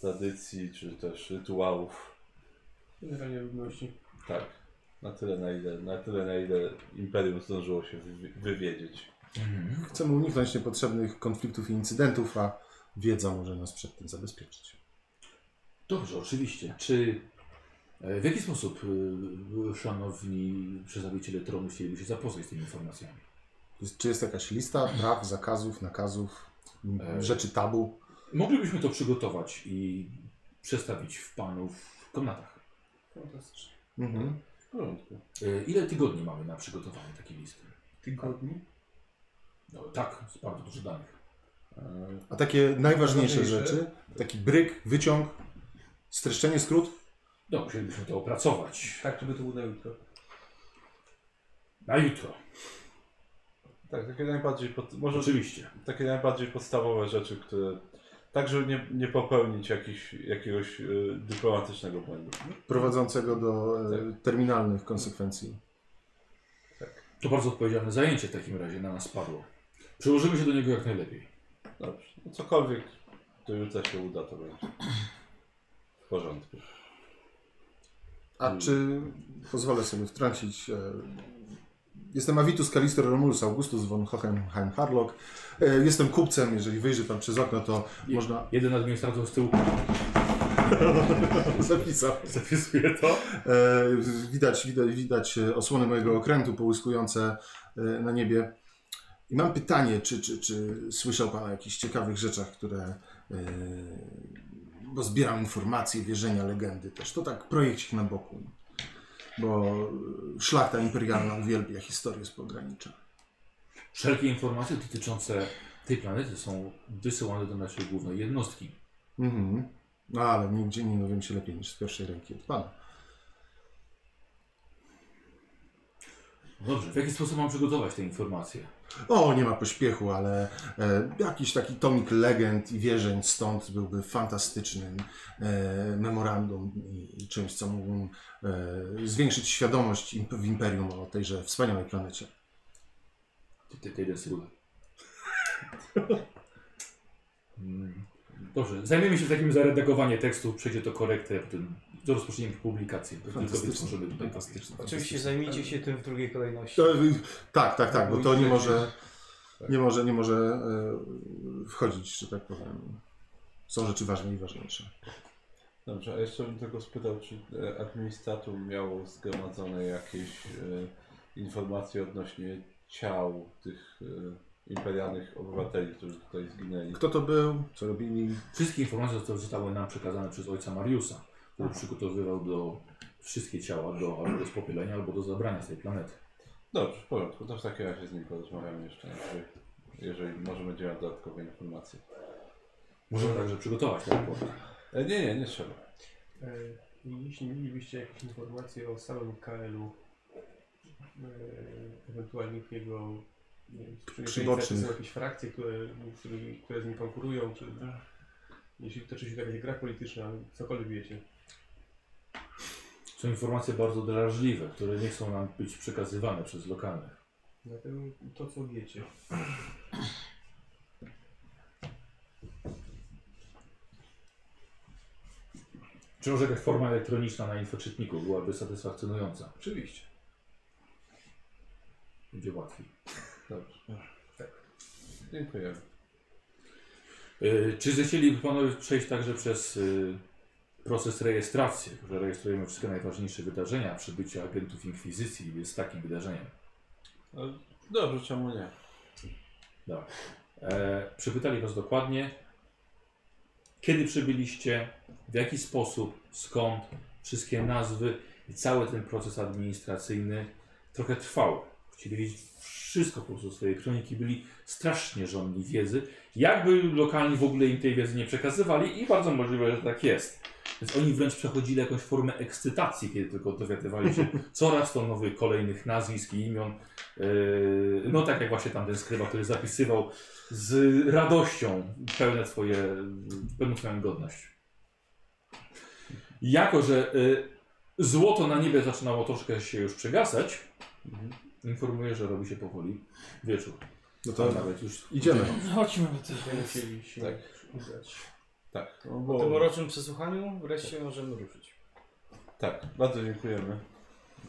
Speaker 2: tradycji czy też rytuałów.
Speaker 6: Generalnie ludności.
Speaker 2: Tak, na tyle na ile, na tyle, na ile imperium zdążyło się wywi- wywiedzieć.
Speaker 5: Chcemy uniknąć niepotrzebnych konfliktów i incydentów, a wiedza może nas przed tym zabezpieczyć.
Speaker 1: Dobrze, oczywiście. Czy e, w jaki sposób, e, szanowni przedstawiciele tronu, chcieliby się zapoznać z tymi informacjami?
Speaker 5: Jest, czy jest jakaś lista praw, zakazów, nakazów, m,
Speaker 1: E,
Speaker 5: rzeczy tabu?
Speaker 1: Moglibyśmy to przygotować i przestawić w panu w komnatach.
Speaker 6: Fantastycznie.
Speaker 5: Mhm.
Speaker 2: W porządku.
Speaker 1: E, Ile tygodni mamy na przygotowanie takiej listy?
Speaker 6: Tygodni?
Speaker 1: No, tak, z bardzo dużo danych.
Speaker 2: E,
Speaker 5: A takie najważniejsze
Speaker 6: Najważniejsze.
Speaker 5: rzeczy, taki bryk, wyciąg, streszczenie, skrót?
Speaker 1: No, musielibyśmy to opracować
Speaker 6: Tak, żeby to było na jutro.
Speaker 1: na jutro.
Speaker 2: Tak, takie najbardziej, pod, może
Speaker 1: Oczywiście.
Speaker 2: takie najbardziej podstawowe rzeczy, które tak, żeby nie, nie popełnić jakich, jakiegoś e, dyplomatycznego błędu.
Speaker 5: prowadzącego do e, terminalnych konsekwencji.
Speaker 1: To bardzo odpowiedzialne zajęcie w takim razie na nas padło. Przyłożymy się do niego jak najlepiej.
Speaker 2: Dobrze, no cokolwiek do jutra się uda, to będzie. W porządku.
Speaker 5: A czy pozwolę sobie wtrącić? e, Jestem Avitus Kalister Romulus Augustus von Hohenheim Harlock. E, Jestem kupcem, jeżeli wyjrzy pan przez okno, to
Speaker 1: Je-
Speaker 5: można. [LAUGHS]
Speaker 1: Jeden administrator z tyłu [LAUGHS]
Speaker 5: Zapisał.
Speaker 1: zapisuje to.
Speaker 5: E, Widać, widać, widać e, osłony mojego okrętu połyskujące e, na niebie. I mam pytanie, czy, czy, czy słyszał Pan o jakichś ciekawych rzeczach, które. e, Bo zbieram informacje, wierzenia, legendy też. To tak projekcik na boku. Bo e, szlachta imperialna uwielbia historię z pogranicza.
Speaker 1: Wszelkie informacje dotyczące tej planety są wysyłane do naszej głównej jednostki.
Speaker 5: Mhm. No ale nigdzie nie dowiem się lepiej niż z pierwszej ręki od Pana.
Speaker 1: No Dobrze, w jaki sposób mam przygotować te informacje?
Speaker 5: O, nie ma pośpiechu, ale e, jakiś taki tomik legend i wierzeń stąd byłby fantastycznym e, memorandum i, i czymś, co mógłbym e, zwiększyć świadomość imp- w Imperium o tejże wspaniałej planecie.
Speaker 1: Ty, ty, ty jeden sygnał. Mm. Dobrze, zajmiemy się takim zaredagowanie tekstu, przejdzie to korektę, potem to rozpoczniemy publikację. To tylko wytworzymy
Speaker 5: Fantastyczny,
Speaker 1: tutaj
Speaker 5: fantastyczny.
Speaker 3: Oczywiście
Speaker 5: fantastyczny.
Speaker 3: zajmijcie się tym w drugiej kolejności.
Speaker 5: To, y, Tak, tak, tak, bo to nie
Speaker 6: Mój
Speaker 5: może, nie może, nie może e, wchodzić, że tak powiem. Są rzeczy ważne i ważniejsze.
Speaker 2: Dobrze, a jeszcze bym tylko spytał, czy e, administratum miało zgromadzone jakieś e, informacje odnośnie ciał tych e, imperialnych obywateli, którzy tutaj zginęli.
Speaker 5: Kto to był, co robili,
Speaker 1: Wszystkie informacje zostały- zostały nam przekazane przez ojca Mariusa, który przygotowywał do wszystkie ciała do albo do spopielenia, albo do zabrania z tej planety.
Speaker 2: Dobrze, w porządku, to w takim razie z nim porozmawiamy jeszcze, jeżeli, jeżeli może będzie miał dodatkowe informacje.
Speaker 1: Możemy także przygotować ten raport.
Speaker 2: E, nie, nie, nie trzeba.
Speaker 6: E, jeśli mielibyście jakieś informacje o samym KL-u, e, ewentualnie jego nie wiem, sprzymierzeńcach, czy są
Speaker 5: Przybocznych.
Speaker 6: jakieś frakcje, które, z którymi- które z nim konkurują, czy jeśli toczy się jakaś gra polityczna, cokolwiek wiecie.
Speaker 1: Są informacje bardzo drażliwe, które nie chcą nam być przekazywane przez lokalnych.
Speaker 6: Dlatego to, co wiecie.
Speaker 1: Czy może jakaś forma elektroniczna na infoczytniku byłaby satysfakcjonująca?
Speaker 6: Oczywiście.
Speaker 1: Będzie łatwiej.
Speaker 2: Dobrze. Tak. Dziękuję.
Speaker 1: Y, Czy zechcieliby panowie przejść także przez y, proces rejestracji, że rejestrujemy wszystkie najważniejsze wydarzenia, przybycie agentów Inkwizycji jest takim wydarzeniem.
Speaker 2: No, Dobrze, czemu nie?
Speaker 1: E, przepytali was dokładnie, kiedy przybyliście, w jaki sposób, skąd, wszystkie nazwy i cały ten proces administracyjny trochę trwał. Chcieli wiedzieć wszystko po prostu swojej kroniki, byli strasznie żądni wiedzy, jakby lokalni w ogóle im tej wiedzy nie przekazywali i bardzo możliwe, że tak jest. Więc oni wręcz przechodzili jakąś formę ekscytacji, kiedy tylko dowiadywali się coraz to nowych, kolejnych nazwisk i imion. Yy, No tak jak właśnie tamten skrywa, który zapisywał z radością pełne swoje, pełną swoją godność. Jako, że y, złoto na niebie zaczynało troszkę się już przegasać, informuję, że robi się powoli wieczór.
Speaker 5: No
Speaker 1: To
Speaker 5: to
Speaker 1: nawet już
Speaker 5: idziemy.
Speaker 4: Chodźmy do tego.
Speaker 6: Będziemy chcieli się
Speaker 2: Tak.
Speaker 6: udać.
Speaker 2: Tak, no
Speaker 3: Po tym
Speaker 2: bo...
Speaker 3: uroczym przesłuchaniu wreszcie możemy ruszyć.
Speaker 2: Tak, bardzo dziękujemy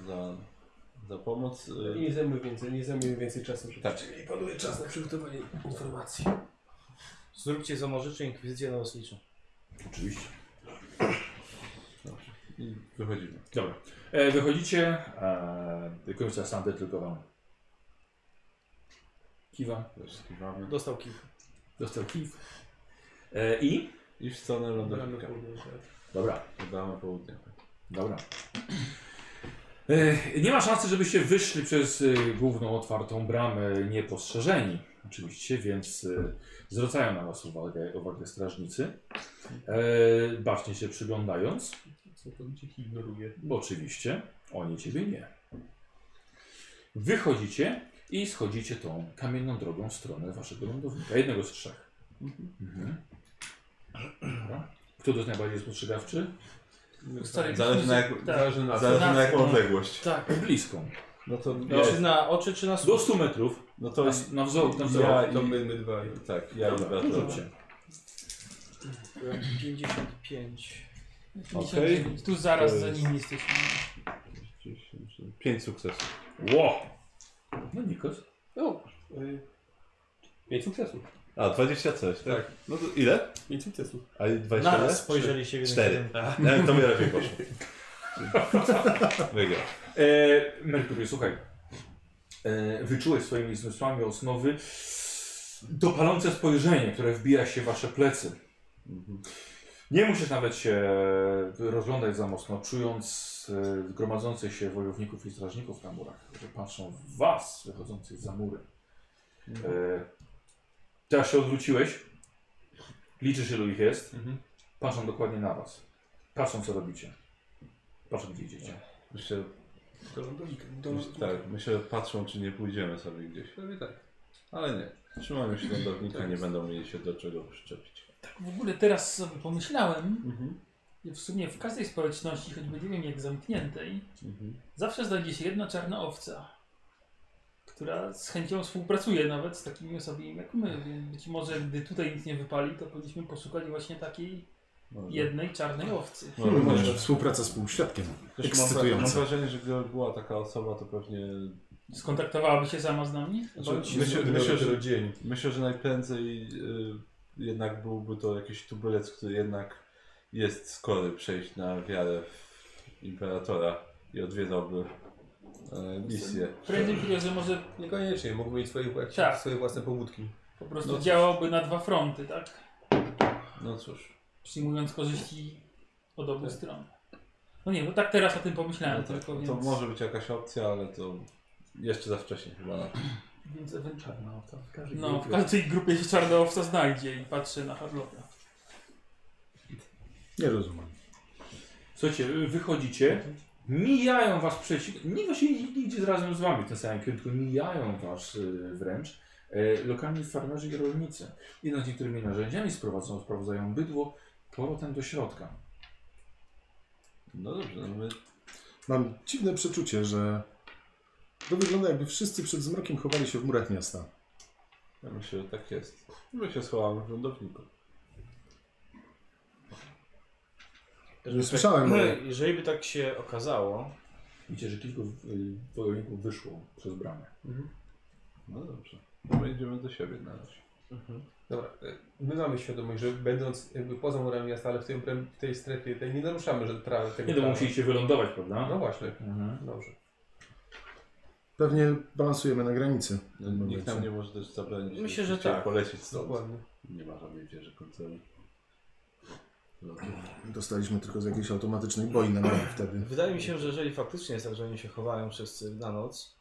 Speaker 2: za, za pomoc. Y,
Speaker 6: Nie zajmuj więcej, nie zajmuj więcej czasu. żeby-
Speaker 2: Tak.
Speaker 6: Mieli panowie czas na przygotowanie informacji.
Speaker 3: Zróbcie zamorzycze inkwizycję na was liczę.
Speaker 1: Oczywiście.
Speaker 2: I wychodzimy.
Speaker 1: Dobra. E, wychodzicie. E, końca Sandy tylko wam kiwa.
Speaker 2: Zaskiwamy.
Speaker 3: Dostał kilka.
Speaker 1: Dostał kif. E, I?
Speaker 2: I w stronę
Speaker 6: Bramy
Speaker 2: lądownika.
Speaker 6: południe, tak.
Speaker 1: Dobra.
Speaker 2: Podamy południe.
Speaker 1: Dobra. E, Nie ma szansy, żebyście wyszli przez e, główną otwartą bramę niepostrzeżeni. Oczywiście, więc e, zwracają na Was uwagę, uwagę strażnicy. E, Bacznie się przyglądając,
Speaker 6: Całkowicie ich ignoruję.
Speaker 1: bo oczywiście oni Ciebie nie. Wychodzicie i schodzicie tą kamienną drogą w stronę Waszego lądownika. Jednego z trzech. Mhm. Dobra. Kto to jest najbardziej spostrzegawczy?
Speaker 6: No
Speaker 4: Stary,
Speaker 2: Zależy na, jak,
Speaker 4: Tak.
Speaker 2: zależy na,
Speaker 4: Tak.
Speaker 2: zależy na
Speaker 6: znaczy-
Speaker 2: jaką
Speaker 4: Tak.
Speaker 2: odległość.
Speaker 4: Tak.
Speaker 1: Bliską.
Speaker 2: No to,
Speaker 1: No.
Speaker 3: Czy na oczy, czy na
Speaker 1: Do
Speaker 3: słuch?
Speaker 1: 100 metrów.
Speaker 2: no to
Speaker 1: Na, na wzór. Na wzór.
Speaker 2: ja
Speaker 6: To
Speaker 2: i...
Speaker 6: my, my dwaj.
Speaker 2: Tak, ja i
Speaker 1: Dobra,
Speaker 2: Beata.
Speaker 1: rzućcie.
Speaker 3: 55.
Speaker 2: Okej.
Speaker 4: Tu zaraz
Speaker 2: To
Speaker 4: za
Speaker 2: jest-
Speaker 4: nim jesteśmy.
Speaker 2: 10, 5 sukcesów.
Speaker 1: Ło! No Nikos.
Speaker 6: No. y, Pięć sukcesów.
Speaker 2: A, 20 coś, tak? No to ile?
Speaker 6: Pięć sukcesów.
Speaker 2: A 20 ile?
Speaker 3: Naraz spojrzeli się w jeden
Speaker 2: Cztery.
Speaker 3: kierunek.
Speaker 2: Ja, to mi lepiej poszło. Wygrał.
Speaker 1: E, Merkury, słuchaj. E, wyczułeś swoimi zmysłami osnowy to palące spojrzenie, które wbija się w wasze plecy. Mhm. Nie musisz nawet się rozglądać za mocno, czując e, gromadzących się wojowników i strażników na murach, którzy patrzą w was wychodzących za mury. E, teraz się odwróciłeś, liczysz ilu ich jest,
Speaker 2: Mhm.
Speaker 1: patrzą dokładnie na was, patrzą co robicie, patrzą gdzie idziecie.
Speaker 2: Myślę,
Speaker 6: Do lądownika. Do
Speaker 2: myślę,
Speaker 6: lądownika.
Speaker 2: tak, myślę, że patrzą czy nie pójdziemy sobie gdzieś.
Speaker 6: Prawie tak.
Speaker 2: Ale nie. Trzymają się lądownika, nie będą mieli się do czego przyczepić.
Speaker 4: W ogóle teraz sobie pomyślałem,
Speaker 2: Mhm.
Speaker 4: że w sumie w każdej społeczności, choćby nie wiem jak zamkniętej,
Speaker 2: Mhm.
Speaker 4: zawsze znajdzie się jedna czarna owca, która z chęcią współpracuje nawet z takimi osobami jak my, więc być może gdy tutaj nic nie wypali, to powinniśmy poszukać właśnie takiej
Speaker 2: Może.
Speaker 4: jednej czarnej owcy.
Speaker 2: Może.
Speaker 5: Hmm,
Speaker 2: Może.
Speaker 5: może współpraca z półświadkiem.
Speaker 2: Też mam, wra- mam
Speaker 5: Ekscytujące.
Speaker 2: wrażenie, że gdyby była taka osoba, to pewnie.
Speaker 4: Skontaktowałaby się sama z nami?
Speaker 2: Znaczy,
Speaker 6: Myślę,
Speaker 2: myślę, myślę, że,
Speaker 6: dzień.
Speaker 2: myślę, że najprędzej y, jednak byłby to jakiś tubylec, który jednak jest skory przejść na wiarę w imperatora i odwiedzałby e, misję.
Speaker 4: Prędzej chwilę, że może
Speaker 6: Niekoniecznie, mógł mieć swoje, jak się-
Speaker 4: Tak.
Speaker 6: swoje własne pobudki.
Speaker 4: po prostu
Speaker 2: No cóż.
Speaker 4: działałby na dwa fronty, tak?
Speaker 2: No cóż,
Speaker 4: Przyjmując korzyści od obu stron. No nie, bo tak teraz o tym pomyślałem
Speaker 2: Tak. no tak,
Speaker 4: tylko, więc...
Speaker 2: to może być jakaś opcja, ale to jeszcze za wcześnie chyba. na to.
Speaker 4: Więc ewentualnie. No, w każdej grupie się czarna owca znajdzie i patrzy na Harloka.
Speaker 5: Nie rozumiem.
Speaker 1: Słuchajcie, wychodzicie, mijają was przeciw... Nie właśnie nigdzie razem z wami w tym samym kierunku, mijają was y, wręcz e, lokalni farmerzy i rolnicy. Idą z niektórymi narzędziami, sprowadzą, sprowadzają bydło powrotem do środka.
Speaker 2: No dobrze, no my
Speaker 5: Mam dziwne przeczucie, że to wygląda jakby wszyscy przed zmrokiem chowali się w murach miasta.
Speaker 2: ja myślę, że tak jest. My się schowamy w lądowniku.
Speaker 5: Nie słyszałem, ale
Speaker 3: No, Jeżeli by tak się okazało,
Speaker 1: Widzicie, że kilku y, wojowników wyszło przez bramę.
Speaker 2: No dobrze. My idziemy do siebie na razie.
Speaker 6: Dobra, e, my mamy świadomość, że będąc jakby poza murami miasta, ale w, tym, prem- w tej strefie tej nie naruszamy że prawa tego
Speaker 1: Nie, to
Speaker 6: prawa.
Speaker 1: musieliście wylądować, prawda?
Speaker 6: No właśnie,
Speaker 1: Mhm.
Speaker 6: dobrze.
Speaker 5: Pewnie balansujemy na granicy.
Speaker 2: No, nikt nam nie może też zabronić.
Speaker 3: Myślę, że
Speaker 2: chciał
Speaker 3: tak.
Speaker 2: polecieć stąd.
Speaker 6: Dokładnie.
Speaker 2: Nie ma żadnej wieży No, tak, koncernu.
Speaker 5: Dostaliśmy tylko z jakiejś automatycznej boi na nogi wtedy.
Speaker 3: Wydaje mi się, że jeżeli faktycznie jest tak, że oni się chowają wszyscy na noc,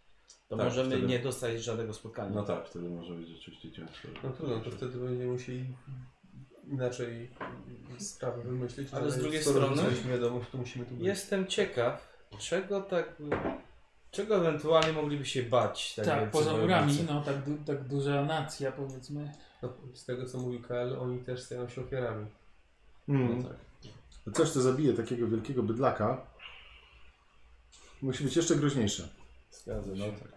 Speaker 3: to
Speaker 2: Tak,
Speaker 3: możemy
Speaker 2: wtedy-
Speaker 3: nie dostać żadnego spotkania.
Speaker 2: No tak, wtedy może być rzeczywiście ciężko.
Speaker 6: No trudno, to wtedy będziemy musieli inaczej sprawę wymyślić.
Speaker 3: Ale z drugiej
Speaker 6: skoro
Speaker 3: strony-
Speaker 6: dostaliśmy wiadomość, to musimy tu być.
Speaker 3: Jestem ciekaw, czego tak. Czego ewentualnie mogliby się bać?
Speaker 4: Tak,
Speaker 3: jakby
Speaker 4: poza
Speaker 3: przed
Speaker 4: murami,
Speaker 3: wojownicy?
Speaker 4: no tak, du, tak duża nacja powiedzmy.
Speaker 6: No, z tego co mówił KL, oni też stają się ofiarami.
Speaker 5: Hmm.
Speaker 2: No tak.
Speaker 5: Coś, co zabije takiego wielkiego bydlaka, musi być jeszcze groźniejsze.
Speaker 2: Zgadza się. No tak.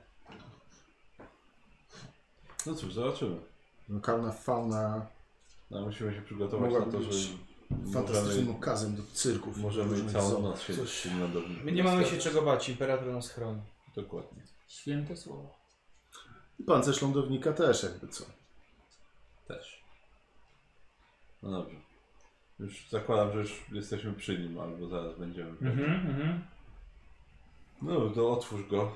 Speaker 2: No cóż, zobaczymy.
Speaker 5: Lokalna fauna
Speaker 2: No, musimy się przygotować
Speaker 5: Mogłaby
Speaker 2: na to, że
Speaker 5: być fantastycznym
Speaker 2: możemy,
Speaker 5: okazem do cyrków. i
Speaker 2: możemy
Speaker 5: różnych
Speaker 2: całą
Speaker 5: zoo.
Speaker 2: noc siedzieć w tym lądowniku.
Speaker 3: My nie mamy się czego bać, imperator nas chroni.
Speaker 2: Dokładnie.
Speaker 4: Święte słowo.
Speaker 5: I Pancerz lądownika też jakby co.
Speaker 2: Też. No dobrze. Już zakładam, że już jesteśmy przy nim, albo zaraz będziemy.
Speaker 1: Mhm, mhm.
Speaker 2: No, to otwórz go.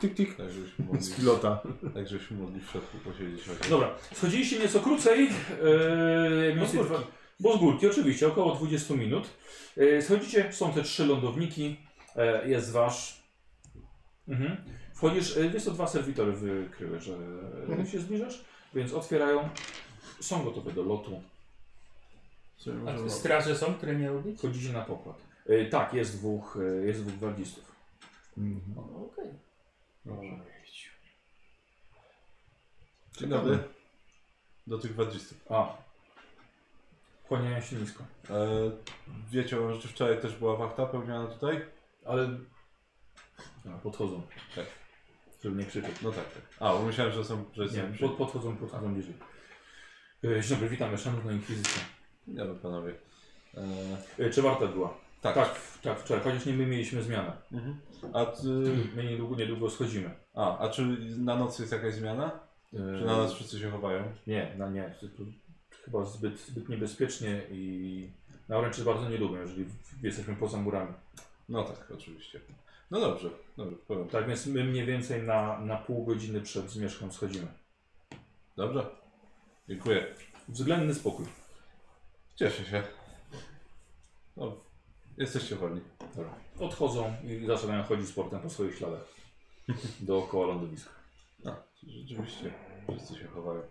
Speaker 5: Tik, tik.
Speaker 2: Tak, żebyśmy mogli,
Speaker 5: Z pilota.
Speaker 2: tak, żebyśmy mogli w środku posiedzieć.
Speaker 3: No,
Speaker 2: chociaż.
Speaker 1: Dobra, schodziliście nieco krócej. e, Yy,
Speaker 4: Bo z górki.
Speaker 1: Bo z górki, oczywiście, około 20 minut. Yy, schodzicie, są te trzy lądowniki, e, jest wasz. Mhm. Wchodzisz, yy, wiesz co, dwa serwitory wykryły, że
Speaker 5: Mhm.
Speaker 1: mhm. się zbliżasz, więc otwierają. Są gotowe do lotu.
Speaker 2: W sumie
Speaker 4: A
Speaker 2: możemy-
Speaker 4: tu straże są, które miały być?
Speaker 1: Wchodzicie na pokład. E, tak, jest dwóch, e, jest dwóch gwardzistów.
Speaker 5: Mhm.
Speaker 4: No, Okej.
Speaker 2: Dobrze.
Speaker 5: Dzień dobry.
Speaker 2: Do tych wadzistów.
Speaker 1: A. Kłaniają się nisko.
Speaker 2: E, wiecie, że wczoraj też była wachta pełniona tutaj?
Speaker 1: Ale. A, podchodzą.
Speaker 2: Tak.
Speaker 1: Żeby nie krzyczeć.
Speaker 2: No tak, tak. A, bo myślałem, że są... Że
Speaker 1: Nie,
Speaker 2: są przy...
Speaker 1: pod, podchodzą, podchodzą bliżej. E, Dzień dobry, witamy, szanowna inkwizycja.
Speaker 2: Dzień dobry panowie. E,
Speaker 1: E, Czy warta była?
Speaker 2: tak.
Speaker 1: tak, w- tak, wczoraj, chociaż nie my mieliśmy zmianę.
Speaker 2: Mhm. A, ty,
Speaker 1: My niedługo, niedługo schodzimy.
Speaker 2: a, a czy na noc jest jakaś zmiana?
Speaker 1: E,
Speaker 2: Czy na nas wszyscy się chowają?
Speaker 1: Nie, na nie. To Chyba zbyt, zbyt niebezpiecznie i na oręczy bardzo nie lubię, jeżeli w- jesteśmy poza murami.
Speaker 2: No tak, oczywiście. No dobrze, dobrze, w porządku.
Speaker 1: Tak więc my mniej więcej na, na pół godziny przed zmierzchą schodzimy.
Speaker 2: Dobrze. Dziękuję.
Speaker 1: Względny spokój.
Speaker 2: Cieszę się. No, jesteście wolni.
Speaker 1: Dobra. Odchodzą i zaczynają chodzić z portem po swoich
Speaker 2: [LAUGHS]
Speaker 1: śladach. Dookoła lądowiska.
Speaker 2: No, rzeczywiście, wszyscy się chowają.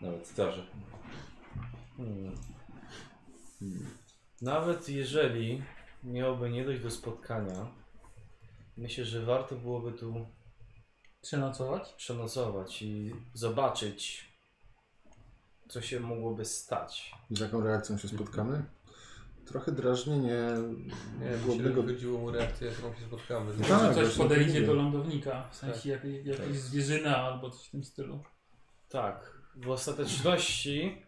Speaker 2: Nawet starze.
Speaker 3: Nawet jeżeli miałoby nie dojść do spotkania, myślę, że warto byłoby tu
Speaker 4: Przenocować?
Speaker 3: przenocować i zobaczyć, co się mogłoby stać.
Speaker 5: Z jaką reakcją się spotkamy? Trochę drażnienie
Speaker 6: Nie wiem, mi się
Speaker 5: głodnego...
Speaker 6: wychodziło mu reakcję, jaką się spotkamy.
Speaker 2: No
Speaker 5: Tak.
Speaker 4: Może coś
Speaker 5: właśnie,
Speaker 4: podejdzie
Speaker 5: nie.
Speaker 4: do lądownika, w sensie jakaś, jakaś zwierzyna albo coś w tym stylu.
Speaker 3: Tak, w ostateczności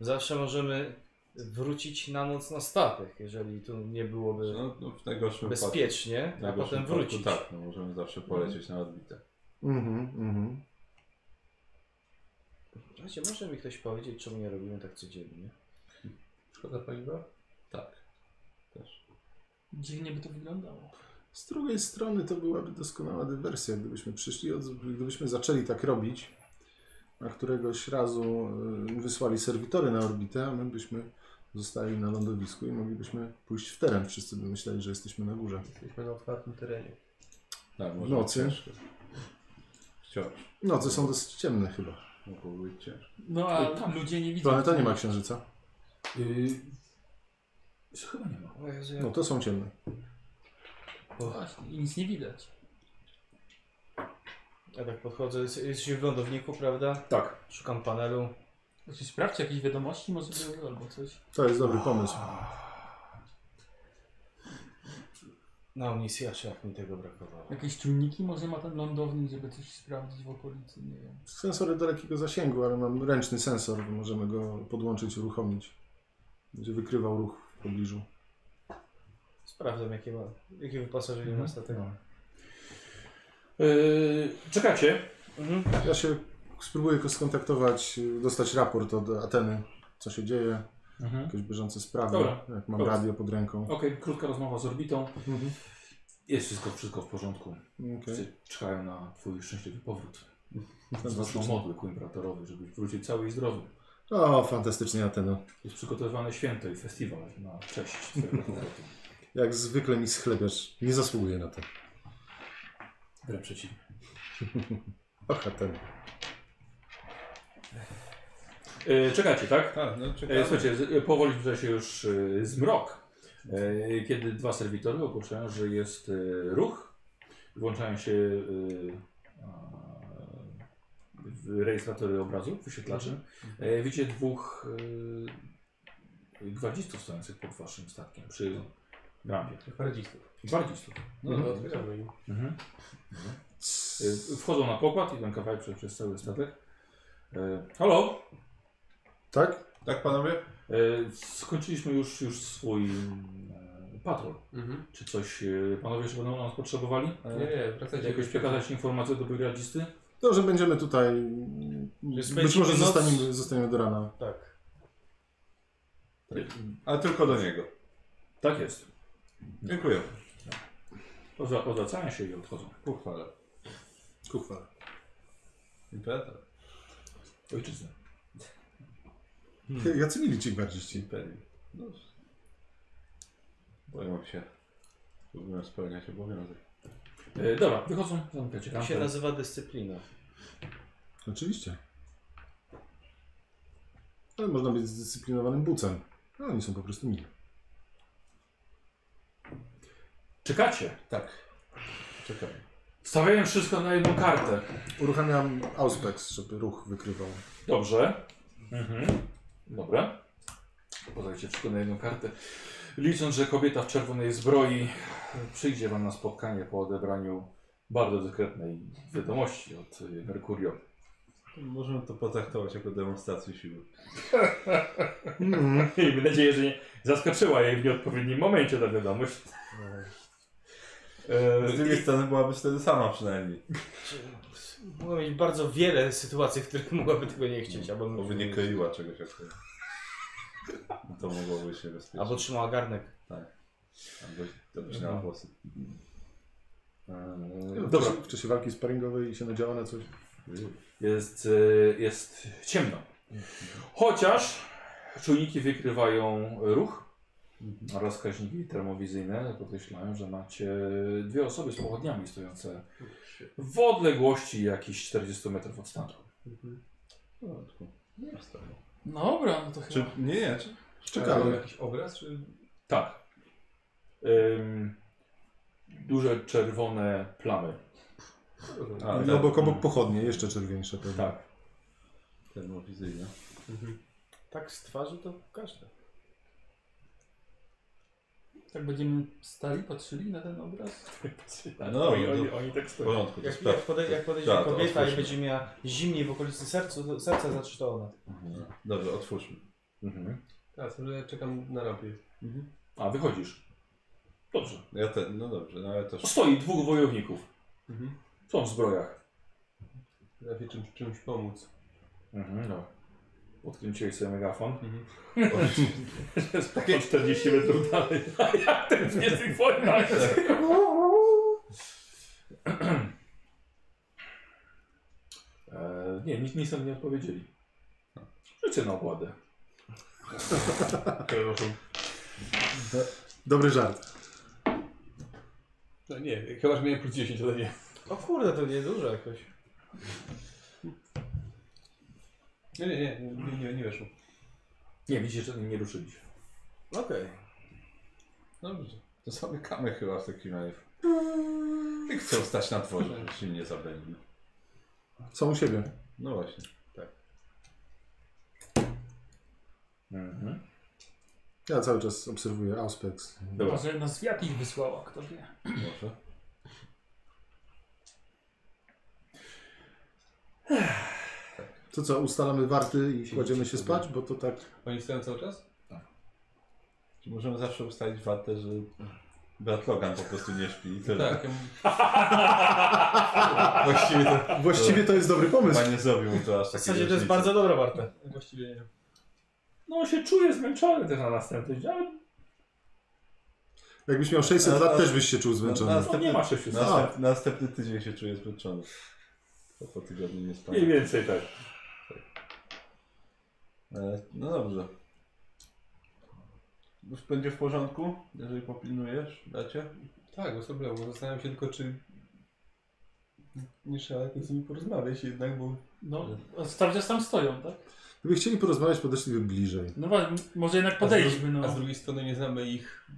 Speaker 3: zawsze możemy wrócić na noc na statek, jeżeli tu nie byłoby
Speaker 2: No, no w najgorszym
Speaker 3: bezpiecznie,
Speaker 2: wypadku. w
Speaker 3: a
Speaker 2: najgorszym
Speaker 3: potem
Speaker 2: wypadku
Speaker 3: wrócić.
Speaker 2: Tak, no możemy zawsze polecieć na odbite.
Speaker 5: Mhm, mhm.
Speaker 3: Słuchajcie, może mi ktoś powiedzieć, czemu nie robimy tak codziennie?
Speaker 6: Szkoda paliwa?
Speaker 2: Tak. Też.
Speaker 4: Dziwnie by to wyglądało.
Speaker 5: Z drugiej strony to byłaby doskonała dywersja, gdybyśmy przyszli, od, gdybyśmy zaczęli tak robić, a któregoś razu y, wysłali serwitory na orbitę, a my byśmy zostali na lądowisku i moglibyśmy pójść w teren. Wszyscy by myśleli, że jesteśmy na górze.
Speaker 6: Jesteśmy na otwartym terenie.
Speaker 2: Tak,
Speaker 5: W
Speaker 2: może
Speaker 5: nocy?
Speaker 2: być ciężko. Wciąż.
Speaker 5: Noce są dosyć ciemne chyba.
Speaker 2: Mogło być ciężko.
Speaker 4: No a ludzie nie widzą.
Speaker 5: Planeta nie ma księżyca.
Speaker 1: Yy, chyba nie ma.
Speaker 3: O Jezu, jak
Speaker 5: No to są ciemne.
Speaker 4: Właśnie, i nic nie widać.
Speaker 3: Ja tak podchodzę, jest- jesteśmy w lądowniku, prawda?
Speaker 1: Tak.
Speaker 3: Szukam panelu.
Speaker 4: Znaczy, sprawdźcie jakieś wiadomości, może były albo coś.
Speaker 5: To jest dobry pomysł.
Speaker 3: Na omnisjasze, jak mi tego brakowało.
Speaker 4: Jakieś czujniki może ma ten lądownik, żeby coś sprawdzić w okolicy, nie wiem.
Speaker 5: Sensory dalekiego zasięgu, ale mam ręczny sensor. Możemy go podłączyć, uruchomić. Będzie wykrywał ruch w pobliżu.
Speaker 3: Sprawdzam, jakie, ma, jakie wyposażenie
Speaker 2: Mhm. No.
Speaker 3: ma statek.
Speaker 1: Yy, czekacie.
Speaker 3: Mhm.
Speaker 5: Ja się Spróbuję go skontaktować, y, dostać raport od Ateny, co się dzieje,
Speaker 1: Mhm.
Speaker 5: jakieś bieżące sprawy,
Speaker 1: Dobra.
Speaker 5: jak mam
Speaker 1: Dobra.
Speaker 5: radio pod ręką.
Speaker 1: Okej, krótka rozmowa z orbitą.
Speaker 5: Mhm.
Speaker 1: Jest wszystko, wszystko w porządku.
Speaker 5: Okej.
Speaker 1: Wszyscy czekają na twój szczęśliwy
Speaker 5: [LAUGHS]
Speaker 1: powrót. Zacną
Speaker 5: Fantastycznie.
Speaker 1: modły ku imperatorowi, żebyś wrócił cały i zdrowy.
Speaker 5: O, fantastycznie Ateno.
Speaker 1: Jest przygotowywane święto i festiwal na cześć twojego powrotu.
Speaker 5: Jak zwykle mi schlebiasz, nie zasługuję na to.
Speaker 1: Wręcz przeciwnie.
Speaker 5: Och, Ateno.
Speaker 1: E, czekacie, tak?
Speaker 2: Tak, no
Speaker 1: E,
Speaker 2: czekamy.
Speaker 1: słuchajcie, z, e, powoli zbliża się już e, zmrok, e, kiedy dwa serwitory ogłaszają, że jest e, ruch. Włączają się e, a, w rejestratory obrazu, wyświetlacze. E, widzicie dwóch e, gwardzistów stojących pod waszym statkiem przy rampie.
Speaker 6: Paradzistów.
Speaker 1: Gwardzistów.
Speaker 2: No, no,
Speaker 6: Otwieramy im.
Speaker 1: Mhm. E, wchodzą na pokład i ten kawałek przez, przez cały statek. E, halo?
Speaker 5: Tak?
Speaker 2: tak panowie?
Speaker 1: E, Skończyliśmy już, już swój e, patrol.
Speaker 6: Mhm.
Speaker 1: Czy coś e, panowie jeszcze będą nas potrzebowali?
Speaker 4: Tak,
Speaker 6: Nie, nie, wracajcie.
Speaker 1: Jakoś przekazać informacje do brygadzisty?
Speaker 5: To, że będziemy tutaj. mm, Być
Speaker 3: spędzimy
Speaker 5: może
Speaker 3: noc-
Speaker 5: zostaniemy, zostaniemy do rana.
Speaker 3: Tak.
Speaker 2: Ale tylko do niego.
Speaker 1: Tak jest.
Speaker 2: Dziękuję.
Speaker 1: Odwra- Odwracają się i odchodzą.
Speaker 2: Uchwalę.
Speaker 5: Kuchwa.
Speaker 2: Imperator.
Speaker 1: Ojczyzna.
Speaker 3: Hmm.
Speaker 5: Jacy mili ci gwardziści.
Speaker 2: Imperium. No. Boją się. Próbują spełniać obowiązek.
Speaker 1: E, dobra, wychodzą, zamykacie
Speaker 3: To Tak się
Speaker 1: kampę.
Speaker 3: nazywa dyscyplina.
Speaker 5: Oczywiście. Ale można być zdyscyplinowanym bucem. No, oni są po prostu mili.
Speaker 1: Czekacie.
Speaker 2: Tak. Czekamy.
Speaker 1: Stawiają wszystko na jedną kartę.
Speaker 5: Uruchamiam Auspex, żeby ruch wykrywał.
Speaker 1: Dobrze. Mhm. Dobra. Podajcie wszystko na jedną kartę. Licząc, że kobieta w czerwonej zbroi e, przyjdzie Wam na spotkanie po odebraniu bardzo dyskretnej wiadomości od y, [LAUGHS] Mercurio.
Speaker 2: Możemy to potraktować jako demonstrację siły.
Speaker 5: Mm.
Speaker 1: Miejmy nadzieję, że nie zaskoczyła jej w nieodpowiednim momencie ta wiadomość.
Speaker 2: Z drugiej
Speaker 1: E,
Speaker 2: strony byłaby wtedy sama przynajmniej.
Speaker 3: Mogła mieć bardzo wiele sytuacji, w których mogłaby tego nie chcieć, albo,
Speaker 2: Bo by nie kroiła czegoś jak to. No [LAUGHS] To mogłoby się bezpiecznie.
Speaker 3: albo trzymała garnek.
Speaker 2: Albo dobrze
Speaker 6: No.
Speaker 2: na włosy.
Speaker 1: e,
Speaker 5: Dobra.
Speaker 1: Dobra,
Speaker 5: No, W czasie walki sparingowej się nadziała na coś.
Speaker 1: jest, e, jest ciemno. Chociaż czujniki wykrywają ruch oraz wskaźniki termowizyjne podkreślają, że macie dwie osoby z pochodniami stojące w odległości jakichś 40 metrów od statku.
Speaker 6: Mhm.
Speaker 2: No, tylko nie wstawiam.
Speaker 4: No dobra, no to
Speaker 2: Czy
Speaker 4: chyba.
Speaker 2: nie, nie, czy
Speaker 6: Ale mam
Speaker 5: Czekamy.
Speaker 6: jakiś obraz, czy...
Speaker 1: Tak. Ym, duże czerwone plamy.
Speaker 6: No
Speaker 2: A,
Speaker 5: I
Speaker 2: tak.
Speaker 5: obok, no, obok pochodnie, jeszcze czerwieńsze pewnie.
Speaker 1: Tak.
Speaker 2: termowizyjna?
Speaker 3: Tak z twarzy to każdy.
Speaker 4: Tak będziemy stali, patrzyli na ten obraz.
Speaker 1: Tak,
Speaker 2: No,
Speaker 1: oni,
Speaker 2: no.
Speaker 1: oni, oni tak
Speaker 2: W
Speaker 1: stoją.
Speaker 2: porządku, to
Speaker 3: Jak,
Speaker 2: sprawdź.
Speaker 3: jak, pode, jak podejdzie
Speaker 2: Tak, to
Speaker 3: kobieta i
Speaker 2: otwórzmy.
Speaker 3: będzie miała zimniej w okolicy sercu, to serca znaczy to ona.
Speaker 2: No, Dobrze, otwórzmy.
Speaker 1: Mhm.
Speaker 6: Teraz, że czekam na rampie.
Speaker 1: A, wychodzisz. Dobrze.
Speaker 2: Ja te, no dobrze, no ale
Speaker 6: [LAUGHS]
Speaker 2: też.
Speaker 1: Stoi dwóch wojowników.
Speaker 6: Mhm.
Speaker 1: Są w zbrojach.
Speaker 6: Lepiej czymś, czymś pomóc.
Speaker 1: Mhm, no. Odkręciłeś sobie megafon. [LAUGHS]
Speaker 6: Mhm.
Speaker 1: Takie 40 metrów dalej. [LAUGHS] Tak. A ja ten w niezwykłych wojnach. [CLEARS THROAT] E, nie, nic, nic nam nie odpowiedzieli. No. Życie na opładę.
Speaker 5: Dobry żart.
Speaker 6: No nie, chyba, że miałem plus 10, ale nie.
Speaker 3: O kurde, to niedużo jakoś.
Speaker 6: Nie, nie, nie, nie, nie, nie weszło.
Speaker 1: Nie, widzicie, że nie ruszyli się.
Speaker 3: Okej.
Speaker 2: Dobrze. To zamykamy chyba w takim razie. I chcą stać na dworze, żeby się nie zabędli.
Speaker 5: Są u siebie.
Speaker 2: No właśnie.
Speaker 1: Mhm.
Speaker 5: Ja cały czas obserwuję Auspex.
Speaker 1: Dobra.
Speaker 4: Może nas wiatr ich wysłała, kto wie.
Speaker 2: Może.
Speaker 5: To co, ustalamy warty i kładziemy się spać, bo to tak...
Speaker 2: Tak.
Speaker 6: Oni stoją cały czas?
Speaker 2: Czy możemy zawsze ustalić wartę, że Brat Logan po prostu nie śpi i tyle.
Speaker 7: Tak,
Speaker 6: Tak.
Speaker 2: Właściwie to
Speaker 5: Właściwie to jest dobry pomysł.
Speaker 2: chyba nie zrobił mu to aż takiej
Speaker 3: W zasadzie to jest
Speaker 2: różnicy.
Speaker 3: bardzo dobra warta.
Speaker 7: właściwie nie.
Speaker 1: No on się czuje zmęczony też na następny dzień, ale
Speaker 5: Jakbyś miał 600
Speaker 2: A-
Speaker 5: lat,
Speaker 2: a-
Speaker 5: też byś się czuł zmęczony.
Speaker 1: on nie ma 600 lat.
Speaker 6: Tak.
Speaker 2: Następ, następny tydzień się czuję zmęczony. Po, po tygodniu nie spałem.
Speaker 1: Mniej więcej tak.
Speaker 2: E, No dobrze. Już będzie w porządku, jeżeli popilnujesz, dacie?
Speaker 6: Tak, bez problemu. Zastanawiam się tylko, czy nie trzeba jakoś z nimi porozmawiać jednak, bo
Speaker 4: No, a sprawdziasz tam stoją, tak?
Speaker 5: Gdyby chcieli porozmawiać, podeszliby bliżej.
Speaker 4: No właśnie, może jednak podejdźmy,
Speaker 6: a
Speaker 4: no.
Speaker 6: z drugiej strony nie znamy ich.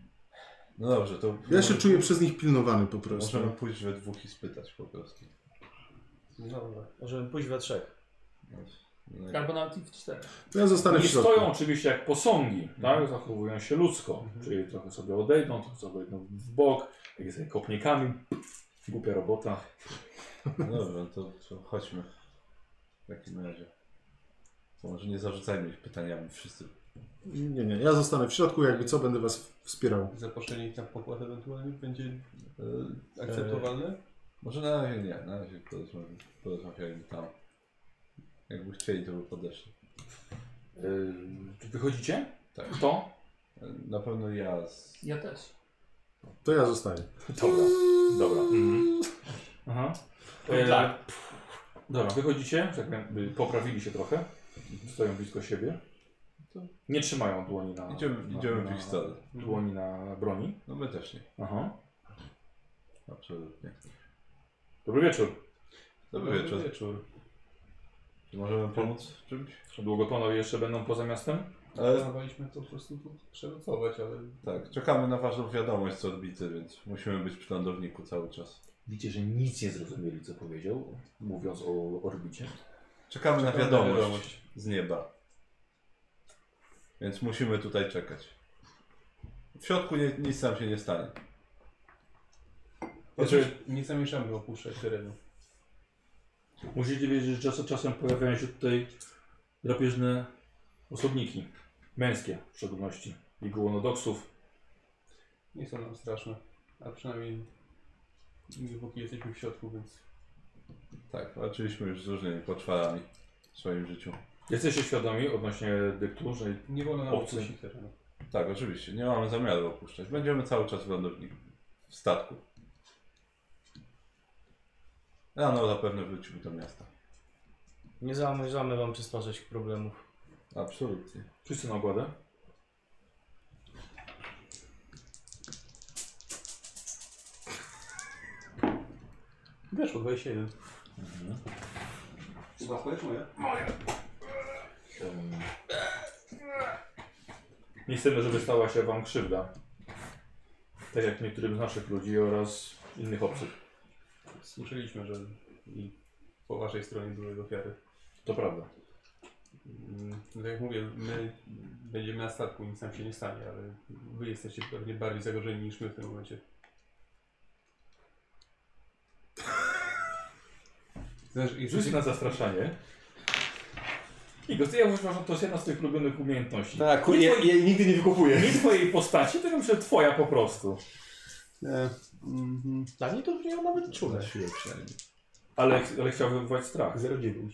Speaker 2: No dobrze, to...
Speaker 5: Ja się czuję przez nich pilnowany po prostu.
Speaker 2: Możemy pójść we dwóch i spytać po prostu.
Speaker 6: Dobra.
Speaker 3: Możemy pójść we trzech.
Speaker 2: No,
Speaker 6: Tak.
Speaker 2: no,
Speaker 4: Albo nawet i w czterech.
Speaker 5: To ja zostanę w
Speaker 1: Nie
Speaker 5: środku.
Speaker 1: stoją oczywiście jak posągi, tak? Zachowują się ludzko, czyli trochę sobie odejdą, trochę sobie odejdą w bok, jak sobie kopnikami. Głupia robota.
Speaker 2: No dobra, to, to chodźmy. W takim razie. To może nie zarzucajmy ich pytaniami wszyscy.
Speaker 5: Nie, nie, ja zostanę w środku, jakby co, będę was wspierał.
Speaker 6: Zaproszenie ich na pokład ewentualnie będzie
Speaker 2: E,
Speaker 6: akceptowalne?
Speaker 2: może na razie nie, na razie porozmawiajmy, porozmawiajmy tam. Jakby chcieli, to by podeszli.
Speaker 1: Yy, wychodzicie?
Speaker 2: Tak.
Speaker 1: Kto?
Speaker 2: E, Na pewno ja z...
Speaker 4: Ja też.
Speaker 5: To ja zostaję.
Speaker 1: Dobra, dobra. Mhm. Aha. E,
Speaker 4: Tak.
Speaker 1: Dobra, wychodzicie, że tak jakby poprawili się trochę, stoją blisko siebie. Nie trzymają dłoni na...
Speaker 2: Idziemy,
Speaker 1: na,
Speaker 2: idziemy
Speaker 1: na,
Speaker 2: w ich stronę.
Speaker 1: Dłoni na broni.
Speaker 2: No my też nie,
Speaker 1: Aha.
Speaker 2: absolutnie.
Speaker 1: Dobry wieczór.
Speaker 2: Dobry wieczór. Czy możemy pomóc w czymś?
Speaker 1: Długo panowie jeszcze będą poza miastem?
Speaker 2: Ale,
Speaker 6: Planowaliśmy to po prostu tu przerocować, ale
Speaker 2: tak, czekamy na waszą wiadomość co odbity, więc musimy być przy lądowniku cały czas.
Speaker 1: Widzicie, że nic nie zrozumieli, co powiedział, mówiąc o orbicie.
Speaker 2: Czekamy na
Speaker 6: Czekamy na
Speaker 2: wiadomość,
Speaker 6: wiadomość.
Speaker 2: z nieba. Więc musimy tutaj czekać. W środku nie, nic nam się nie stanie.
Speaker 6: Chociaż nie zamierzamy opuszczać terenu.
Speaker 1: Musicie wiedzieć, że czas od czasem pojawiają się tutaj drapieżne osobniki. Męskie w szczególności. I głonodoksów.
Speaker 6: Nie są nam straszne. A przynajmniej nie póki jesteśmy w środku, więc
Speaker 2: Tak, walczyliśmy już z różnymi poczwarami w swoim życiu.
Speaker 1: Jesteście świadomi odnośnie dyktu, że
Speaker 6: nie wolno nam
Speaker 1: Obcy.
Speaker 6: opuścić terenu.
Speaker 2: Tak, oczywiście, nie mamy zamiaru opuszczać. Będziemy cały czas w lądowniku, w statku. Rano zapewne wrócimy do miasta.
Speaker 3: Nie zamierzamy wam przysparzać problemów.
Speaker 2: Absolutnie.
Speaker 1: wszyscy na ogładę?
Speaker 6: Weszło 21.
Speaker 1: Nie chcemy, żeby stała się wam krzywda. Tak jak niektórym z naszych ludzi oraz innych obcych.
Speaker 6: Słyszeliśmy, że i po waszej stronie były ofiary.
Speaker 1: To prawda.
Speaker 6: Mm, Tak jak mówię, my będziemy na statku, nic nam się nie stanie, ale wy jesteście pewnie bardziej zagrożeni niż my w tym momencie. Znasz,
Speaker 1: Rzuć na zastraszanie. I go, ja uważam, że to jest jedna z tych ulubionych umiejętności.
Speaker 7: Tak,
Speaker 1: Nie
Speaker 7: ja,
Speaker 1: twoi-
Speaker 7: ja nigdy nie wykupuję.
Speaker 1: Nie twojej postaci, tylko myślę, że twoja po prostu.
Speaker 3: Dla niej to już nie ma nawet
Speaker 2: Na
Speaker 3: czule.
Speaker 2: siłę przynajmniej.
Speaker 1: Ale, ale chciał wywołać strach.
Speaker 6: 0,9.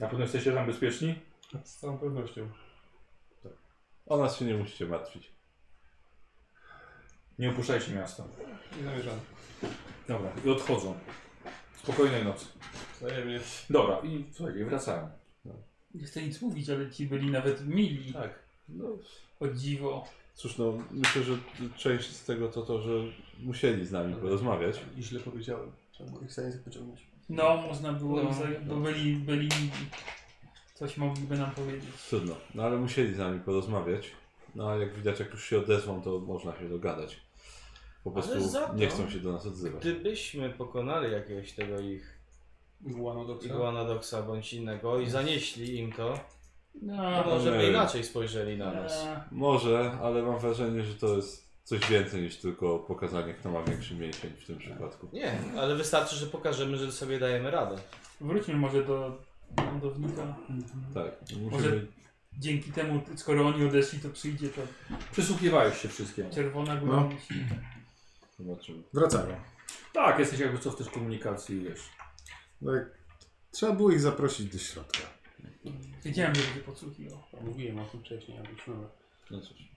Speaker 1: Na pewno jesteście tam bezpieczni?
Speaker 6: Z całą pewnością.
Speaker 2: O nas się nie musicie martwić.
Speaker 1: Nie opuszczajcie miasta.
Speaker 6: Nie zamierzam.
Speaker 1: Dobra, i odchodzą. Spokojnej nocy.
Speaker 6: Wzajemnie.
Speaker 1: Dobra, i słuchajcie, wracają.
Speaker 4: Nie chcę nic mówić, ale ci byli nawet mili.
Speaker 6: Tak.
Speaker 2: No,
Speaker 4: O dziwo.
Speaker 2: cóż no, myślę, że część z tego to to, że musieli z nami porozmawiać.
Speaker 6: I źle powiedziałem. Trzeba było ich sanie pociągnąć.
Speaker 4: No, można było,
Speaker 6: No.
Speaker 4: no, bo byli, byli, coś mogliby nam powiedzieć.
Speaker 2: Trudno, no ale musieli z nami porozmawiać. No a jak widać, jak już się odezwą, to można się dogadać. Po
Speaker 3: Ale
Speaker 2: prostu
Speaker 3: za to-
Speaker 2: nie chcą się do nas odzywać.
Speaker 3: Gdybyśmy pokonali jakiegoś tego ich
Speaker 6: Głano do
Speaker 3: iguanodoksa bądź innego i zanieśli im to,
Speaker 4: No,
Speaker 3: to może by
Speaker 2: nie.
Speaker 3: inaczej spojrzeli na nas.
Speaker 4: e,
Speaker 2: Może, ale mam wrażenie, że to jest coś więcej niż tylko pokazanie, kto ma większy mięsień w tym
Speaker 5: Tak.
Speaker 2: przypadku.
Speaker 3: Nie, ale wystarczy, że pokażemy, że sobie dajemy radę.
Speaker 4: wróćmy może do lądownika.
Speaker 2: Tak,
Speaker 4: Może-
Speaker 2: musimy
Speaker 4: Dzięki temu, skoro oni odeszli, to przyjdzie to
Speaker 1: Przysłuchiwałeś się wszystkiemu.
Speaker 4: czerwona góra.
Speaker 5: No.
Speaker 4: myśli.
Speaker 2: Zobaczymy.
Speaker 5: Wracają.
Speaker 1: Tak, jesteś jakby co w też komunikacji, wiesz.
Speaker 5: Tak. Trzeba było ich zaprosić do środka.
Speaker 4: Wiedziałem, że będzie podsłuchiwał.
Speaker 6: Mówiłem o tym wcześniej, ale już no.
Speaker 2: No cóż.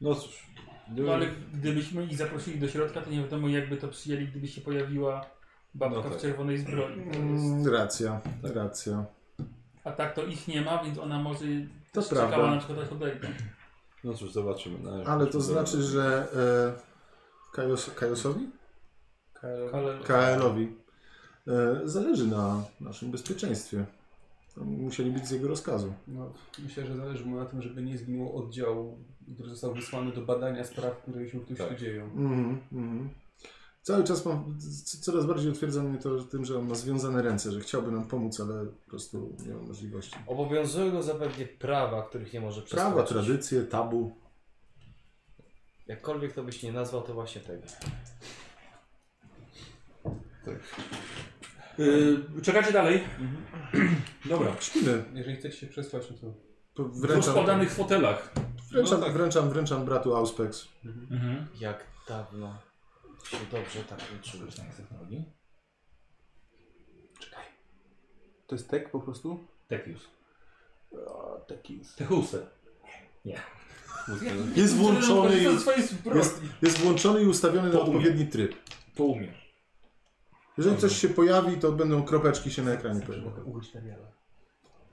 Speaker 2: No cóż.
Speaker 4: No ale gdybyśmy ich zaprosili do środka, to nie wiadomo jakby to przyjęli, gdyby się pojawiła babka
Speaker 2: No tak.
Speaker 4: w czerwonej zbroi. To jest...
Speaker 5: Mm, racja, racja.
Speaker 4: A tak to ich nie ma, więc ona może
Speaker 5: To
Speaker 4: czekała
Speaker 5: prawda.
Speaker 4: na przykład aż odejdą. tak?
Speaker 2: No cóż, zobaczymy. Na razie
Speaker 5: Ale to
Speaker 2: musimy
Speaker 5: znaczy,
Speaker 2: zobaczyć.
Speaker 5: że e, Kajos, Kajosowi?
Speaker 4: Ale
Speaker 5: KL-owi e, zależy na naszym bezpieczeństwie. Musieli być z jego rozkazu.
Speaker 6: no. Myślę, że zależy mu na tym, żeby nie zginął oddział, który został wysłany do badania spraw, które się tu
Speaker 2: Tak.
Speaker 6: dzieją.
Speaker 5: Mhm, mhm. Cały czas mam, c- coraz bardziej utwierdza mnie to tym, że on ma związane ręce, że chciałby nam pomóc, ale po prostu nie ma możliwości.
Speaker 3: Obowiązują go zapewne prawa, których nie może przeskoczyć.
Speaker 5: Prawa, tradycje, tabu.
Speaker 3: Jakkolwiek to byś nie nazwał, to właśnie tego.
Speaker 1: Yy, czekacie dalej? Dobra.
Speaker 5: Śpimy.
Speaker 6: Jeżeli chcesz się przesłać, no to
Speaker 5: Po-
Speaker 1: W
Speaker 5: Wręczam,
Speaker 1: rozkładanych fotelach.
Speaker 5: wręczam,
Speaker 2: No tak.
Speaker 5: wręczam, wręczam bratu Auspex.
Speaker 3: Jak dawno się dobrze tak nie czułeś na technologii?
Speaker 6: To jest tek po prostu?
Speaker 1: Tekius.
Speaker 6: Tek Tak jest.
Speaker 1: Techuse.
Speaker 2: Muzyka-
Speaker 5: Jest włączony, i-
Speaker 4: Korzysta ze swojej zbroi.
Speaker 5: jest, jest włączony i ustawiony na
Speaker 1: Podumie.
Speaker 5: odpowiedni tryb.
Speaker 1: To umie.
Speaker 5: Jeżeli coś się pojawi, to będą kropeczki się na ekranie pojawią.
Speaker 6: Mogę ugryźć Daniela.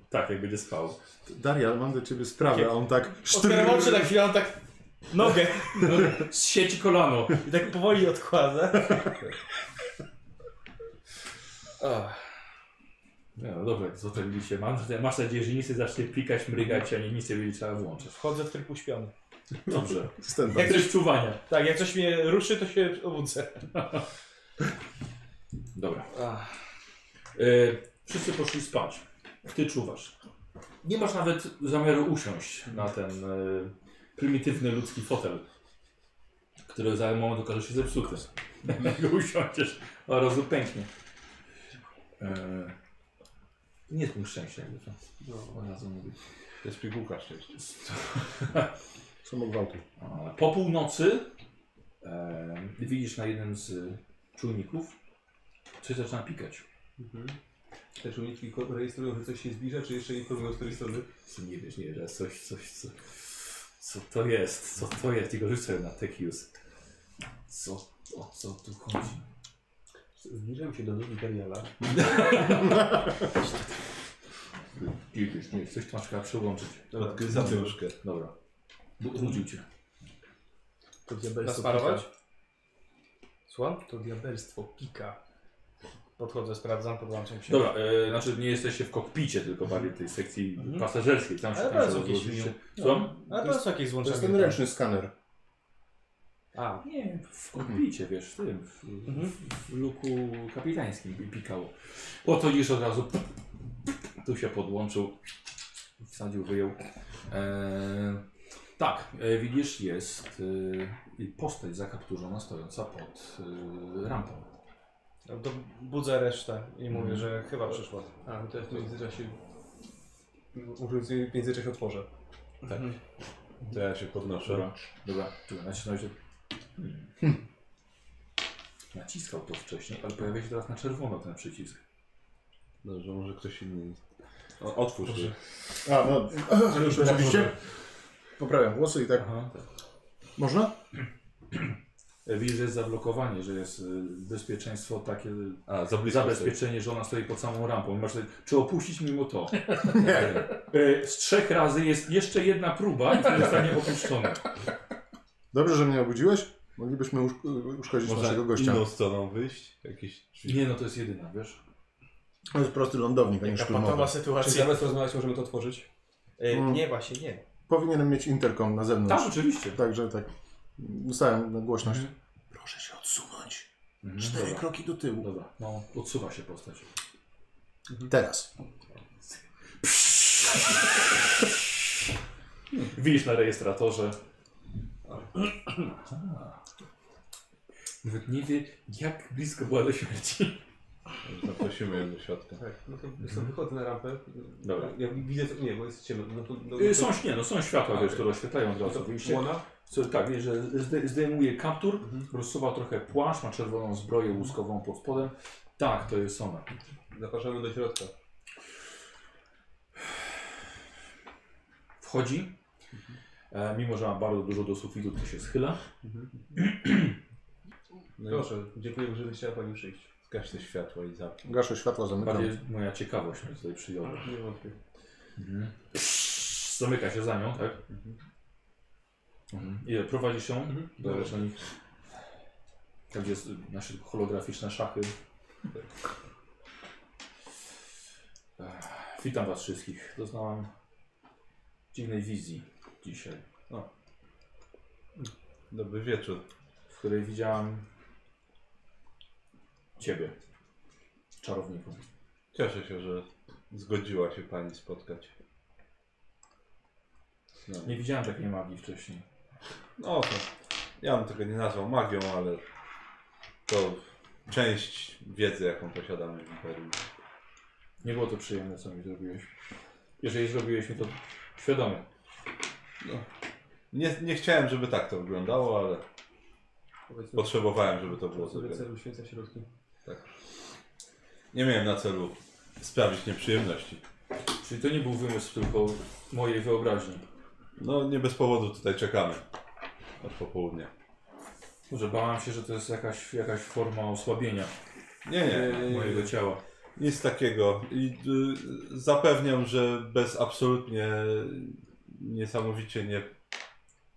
Speaker 1: Tak, jak będzie spał.
Speaker 5: Daria, mam do ciebie sprawę, a on tak
Speaker 3: Otwieram oczy na chwilę, on tak nogę
Speaker 1: Z sieci kolano.
Speaker 3: i tak powoli odkłada. O,
Speaker 1: No dobra, złotelili się. Mam, masz nadzieję, że nic nie zacznie pikać, mrygać, ani nic nie będzie trzeba włączyć.
Speaker 3: wchodzę w tryb uśpiony.
Speaker 1: Dobrze.
Speaker 5: Stand-up.
Speaker 1: Jak też czuwania.
Speaker 3: Tak, jak coś mnie ruszy, to się obudzę.
Speaker 1: Dobra.
Speaker 3: Ach,
Speaker 1: Yy, wszyscy poszli spać. Ty czuwasz. Nie masz nawet zamiaru usiąść na ten yy, prymitywny ludzki fotel, który za moment okaże się zepsuty. [LAUGHS] Jak go usiądziesz, a rozum pęknie. Yy, nie jest mu szczęście, jakby to. Od razu mówię.
Speaker 2: To No. jest pigułka szczęścia.
Speaker 5: Samogwałtu.
Speaker 1: E, Po północy e, widzisz na jednym z czujników, coś zaczyna pikać.
Speaker 6: Te czujniki ko- rejestrują, że coś się zbliża, czy jeszcze informują z której strony?
Speaker 1: Co nie wiesz, nie wiesz, coś, coś, co, co to jest, co to jest, i go rzucę na Tekius. Co, o co tu chodzi?
Speaker 6: Zbliżam się do nogi Daniela.
Speaker 1: Nie wiesz, nie, coś tam trzeba przełączyć.
Speaker 2: Odgryza troszkę.
Speaker 1: Dobra. Bu- Budził cię.
Speaker 6: To
Speaker 3: Nasmarować? Słucham?
Speaker 6: To diabelstwo pika.
Speaker 3: Podchodzę, sprawdzam, podłączam się.
Speaker 1: Dobra, e, znaczy nie jesteście w kokpicie, tylko bardziej w tej sekcji
Speaker 3: Mhm.
Speaker 1: pasażerskiej. Tam się,
Speaker 3: Ale
Speaker 1: tam się
Speaker 3: bardzo jakieś
Speaker 1: rozłożyliście.
Speaker 3: no.
Speaker 1: Co?
Speaker 3: Ale to jest jakieś
Speaker 5: To jest
Speaker 3: złączenie.
Speaker 5: ten ręczny skaner.
Speaker 3: A,
Speaker 1: Nie, w kokpicie, wiesz, w tym, w,
Speaker 3: Mhm.
Speaker 1: w, w luku kapitańskim i pikało. Oto już od razu tu się podłączył, wsadził, wyjął. Eee, tak, e, widzisz, jest e, postać zakapturzona, stojąca pod e, rampą.
Speaker 3: no to budzę resztę i mówię, że chyba przyszła.
Speaker 6: A, no to ja w międzyczasie... No, W międzyczasie otworzę.
Speaker 1: Tak,
Speaker 2: To ja się podnoszę.
Speaker 1: dobra, dobra, czekaj, nacisnąłeś to. Hmm. Naciskał to wcześniej, ale pojawia się teraz na czerwono ten przycisk.
Speaker 2: Dobrze, No, może ktoś inny. O, otwórz.
Speaker 3: Dobrze.
Speaker 2: Dobrze.
Speaker 5: A, no, już oczywiście. Poprawiam włosy i tak.
Speaker 1: Aha. E,
Speaker 5: Można?
Speaker 1: Widzisz, że jest zablokowanie, że jest e, bezpieczeństwo takie
Speaker 2: A, za blisko
Speaker 1: zabezpieczenie, że ona stoi pod samą rampą. Masz, tutaj, czy opuścić mimo
Speaker 6: [LAUGHS]
Speaker 1: to? E, Z trzech razy jest jeszcze jedna próba i ty zostanie opuszczony.
Speaker 5: Dobrze, że mnie obudziłeś. Moglibyśmy uszk uszkodzić
Speaker 2: stoi. Można
Speaker 5: naszego gościa.
Speaker 2: inną stroną wyjść? Jakieś drzwi?
Speaker 1: Nie no, to jest jedyna, wiesz?
Speaker 5: To jest prosty lądownik, a nie
Speaker 3: Jaka
Speaker 5: szturmowy.
Speaker 3: patowa
Speaker 6: Czy
Speaker 3: sytuacja.
Speaker 6: zamiast rozmawiać możemy to otworzyć?
Speaker 3: Y,
Speaker 5: Mm.
Speaker 3: Nie, właśnie nie.
Speaker 5: Powinienem mieć interkom na zewnątrz.
Speaker 1: Tak, oczywiście.
Speaker 5: Także tak. Ustałem na głośność. Proszę się odsunąć.
Speaker 1: Mhm,
Speaker 5: Cztery
Speaker 1: dobra.
Speaker 5: kroki do tyłu.
Speaker 1: Dobra, no, odsuwa się postać.
Speaker 5: Teraz.
Speaker 1: Widzisz na rejestratorze. Aha. Nawet nie wie, jak blisko była do śmierci.
Speaker 2: Zaprosimy ją do środka.
Speaker 6: Tak, no to mm wychodzę na rampę.
Speaker 1: Dobra.
Speaker 6: Ja widzę, co- nie, bo jest ciemno. No to, no,
Speaker 1: Y, Są, nie, no, są światła,
Speaker 6: A,
Speaker 1: wiesz,
Speaker 6: okej.
Speaker 1: które oświetlają od
Speaker 6: no
Speaker 1: razu
Speaker 6: to
Speaker 1: wyjście.
Speaker 6: Łona?
Speaker 1: Co, tak, wiesz, że zde- zdejmuje kaptur,
Speaker 6: Mhm.
Speaker 1: rozsuwa trochę płaszcz, ma czerwoną zbroję łuskową pod spodem. Tak, to jest ona.
Speaker 6: Zapraszamy do środka.
Speaker 1: Wchodzi. E, mimo, że ma bardzo dużo do sufitu, to się schyla.
Speaker 2: No i
Speaker 6: Proszę, dziękuję, że chciała Pani przyjść.
Speaker 2: zgaś te światło i zamknij.
Speaker 5: Gaszę światła, zamykam.
Speaker 1: Bardziej moja ciekawość mnie tutaj przyjąła.
Speaker 6: Nie wątpię.
Speaker 1: Mhm. Zamyka się za nią, tak? Mhm. I prowadzisz ją do leczenia. Tam gdzie jest y, nasze holograficzne szachy. Ech, Witam was wszystkich. Doznałam dziwnej wizji dzisiaj,
Speaker 2: Dobry wieczór.
Speaker 1: w której widziałam ciebie, czarowniku.
Speaker 2: Cieszę się, że zgodziła się Pani spotkać. No,
Speaker 1: Nie widziałem takiej magii wcześniej.
Speaker 2: no to ja bym tego nie nazwał magią, ale to część wiedzy, jaką posiadamy w Imperium.
Speaker 1: Nie było to przyjemne, co mi zrobiłeś. Jeżeli zrobiłeś mi to świadomie.
Speaker 2: Nie, nie chciałem, żeby tak to wyglądało, ale
Speaker 6: Powiedzmy,
Speaker 2: potrzebowałem, żeby to było
Speaker 6: sobie
Speaker 2: zrobione.
Speaker 6: celu święca środki.
Speaker 2: Nie miałem na celu sprawić nieprzyjemności.
Speaker 1: Czyli to nie był wymysł tylko mojej wyobraźni.
Speaker 2: No nie bez powodu tutaj czekamy. Od popołudnia.
Speaker 1: Może bałam się, że to jest jakaś, jakaś forma osłabienia
Speaker 2: Nie, nie,
Speaker 1: mojego ciała.
Speaker 2: nic takiego. I y, zapewniam, że bez absolutnie niesamowicie nie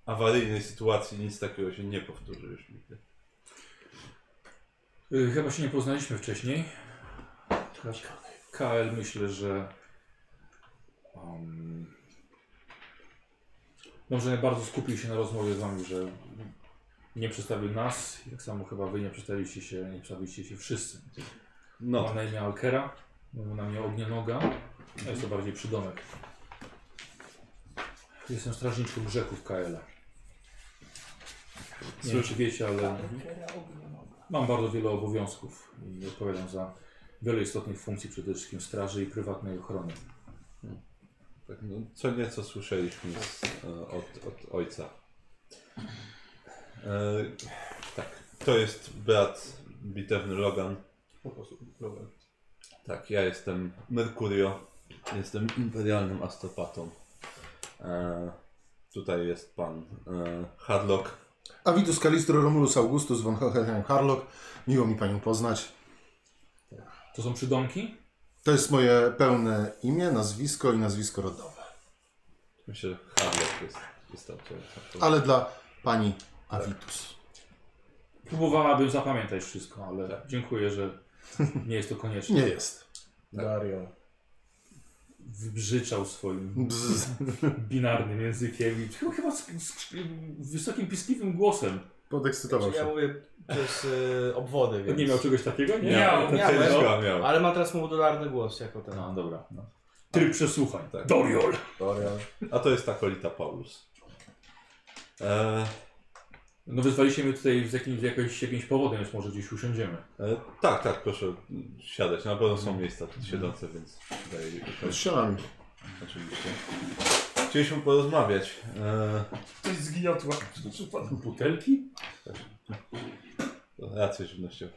Speaker 2: awaryjnej sytuacji nic takiego się nie powtórzy już nigdy.
Speaker 1: Y, chyba się nie poznaliśmy wcześniej. KL myślę, że. Um, może bardzo skupił się na rozmowie z wami, że nie przedstawił nas. Jak samo chyba wy nie przedstawiliście się, nie przedstawiliście się wszyscy. No.
Speaker 2: No,
Speaker 1: Mam na imię Alkera, mam na imię Ognienoga, a jest to bardziej przydomek. Jestem strażniczką grzechów Kaela. Nie wiem, czy wiecie, ale mam bardzo wiele obowiązków i odpowiadam za wiele istotnych funkcji, przede wszystkim straży i prywatnej ochrony.
Speaker 2: tak, no co nieco słyszeliśmy z, e, od, od ojca. E, tak, to jest brat bitewny Logan.
Speaker 6: Po prostu. Dobra.
Speaker 2: Tak, ja jestem Mercurio. Jestem imperialnym astropatą. E, tutaj jest pan e, Harlock.
Speaker 5: Avidus Calistro Romulus Augustus von Hohenheim Harlock. Miło mi Panią poznać.
Speaker 1: To są przydomki?
Speaker 5: To jest moje pełne imię, nazwisko i nazwisko rodowe.
Speaker 2: Myślę, że Harlock jest wystarczająco.
Speaker 5: Ale dla Pani Avidus.
Speaker 1: Próbowałabym zapamiętać wszystko, ale dziękuję, że nie jest to konieczne.
Speaker 5: Nie jest.
Speaker 3: Dario.
Speaker 1: Wybrzyczał swoim
Speaker 5: Bzz.
Speaker 1: binarnym językiem i chyba, chyba z, z, wysokim, piskliwym głosem.
Speaker 5: Podekscytował
Speaker 3: Znaczy, Ja
Speaker 5: się.
Speaker 3: mówię przez y, obwody, więc...
Speaker 1: Nie miał czegoś takiego? Nie.
Speaker 4: Miał,
Speaker 3: miał.
Speaker 1: Takiego?
Speaker 3: Miał.
Speaker 2: Miałem, miałem.
Speaker 3: Ale ma teraz modularny głos jako ten.
Speaker 1: No dobra. No. Tryb przesłuchań.
Speaker 2: Tak.
Speaker 1: Doriol.
Speaker 2: A to jest akolita Paulus. E,
Speaker 1: No wezwaliście mnie tutaj z jakimś, jakimś, jakimś powodem, więc może gdzieś usiądziemy.
Speaker 2: e, tak, tak, proszę siadać. Na pewno są miejsca tu siedzące, więc tutaj
Speaker 5: Strzelamy.
Speaker 2: oczywiście. Chcieliśmy porozmawiać. E,
Speaker 4: Ktoś zgniotła.
Speaker 1: Butelki?
Speaker 2: Rację żywnościową.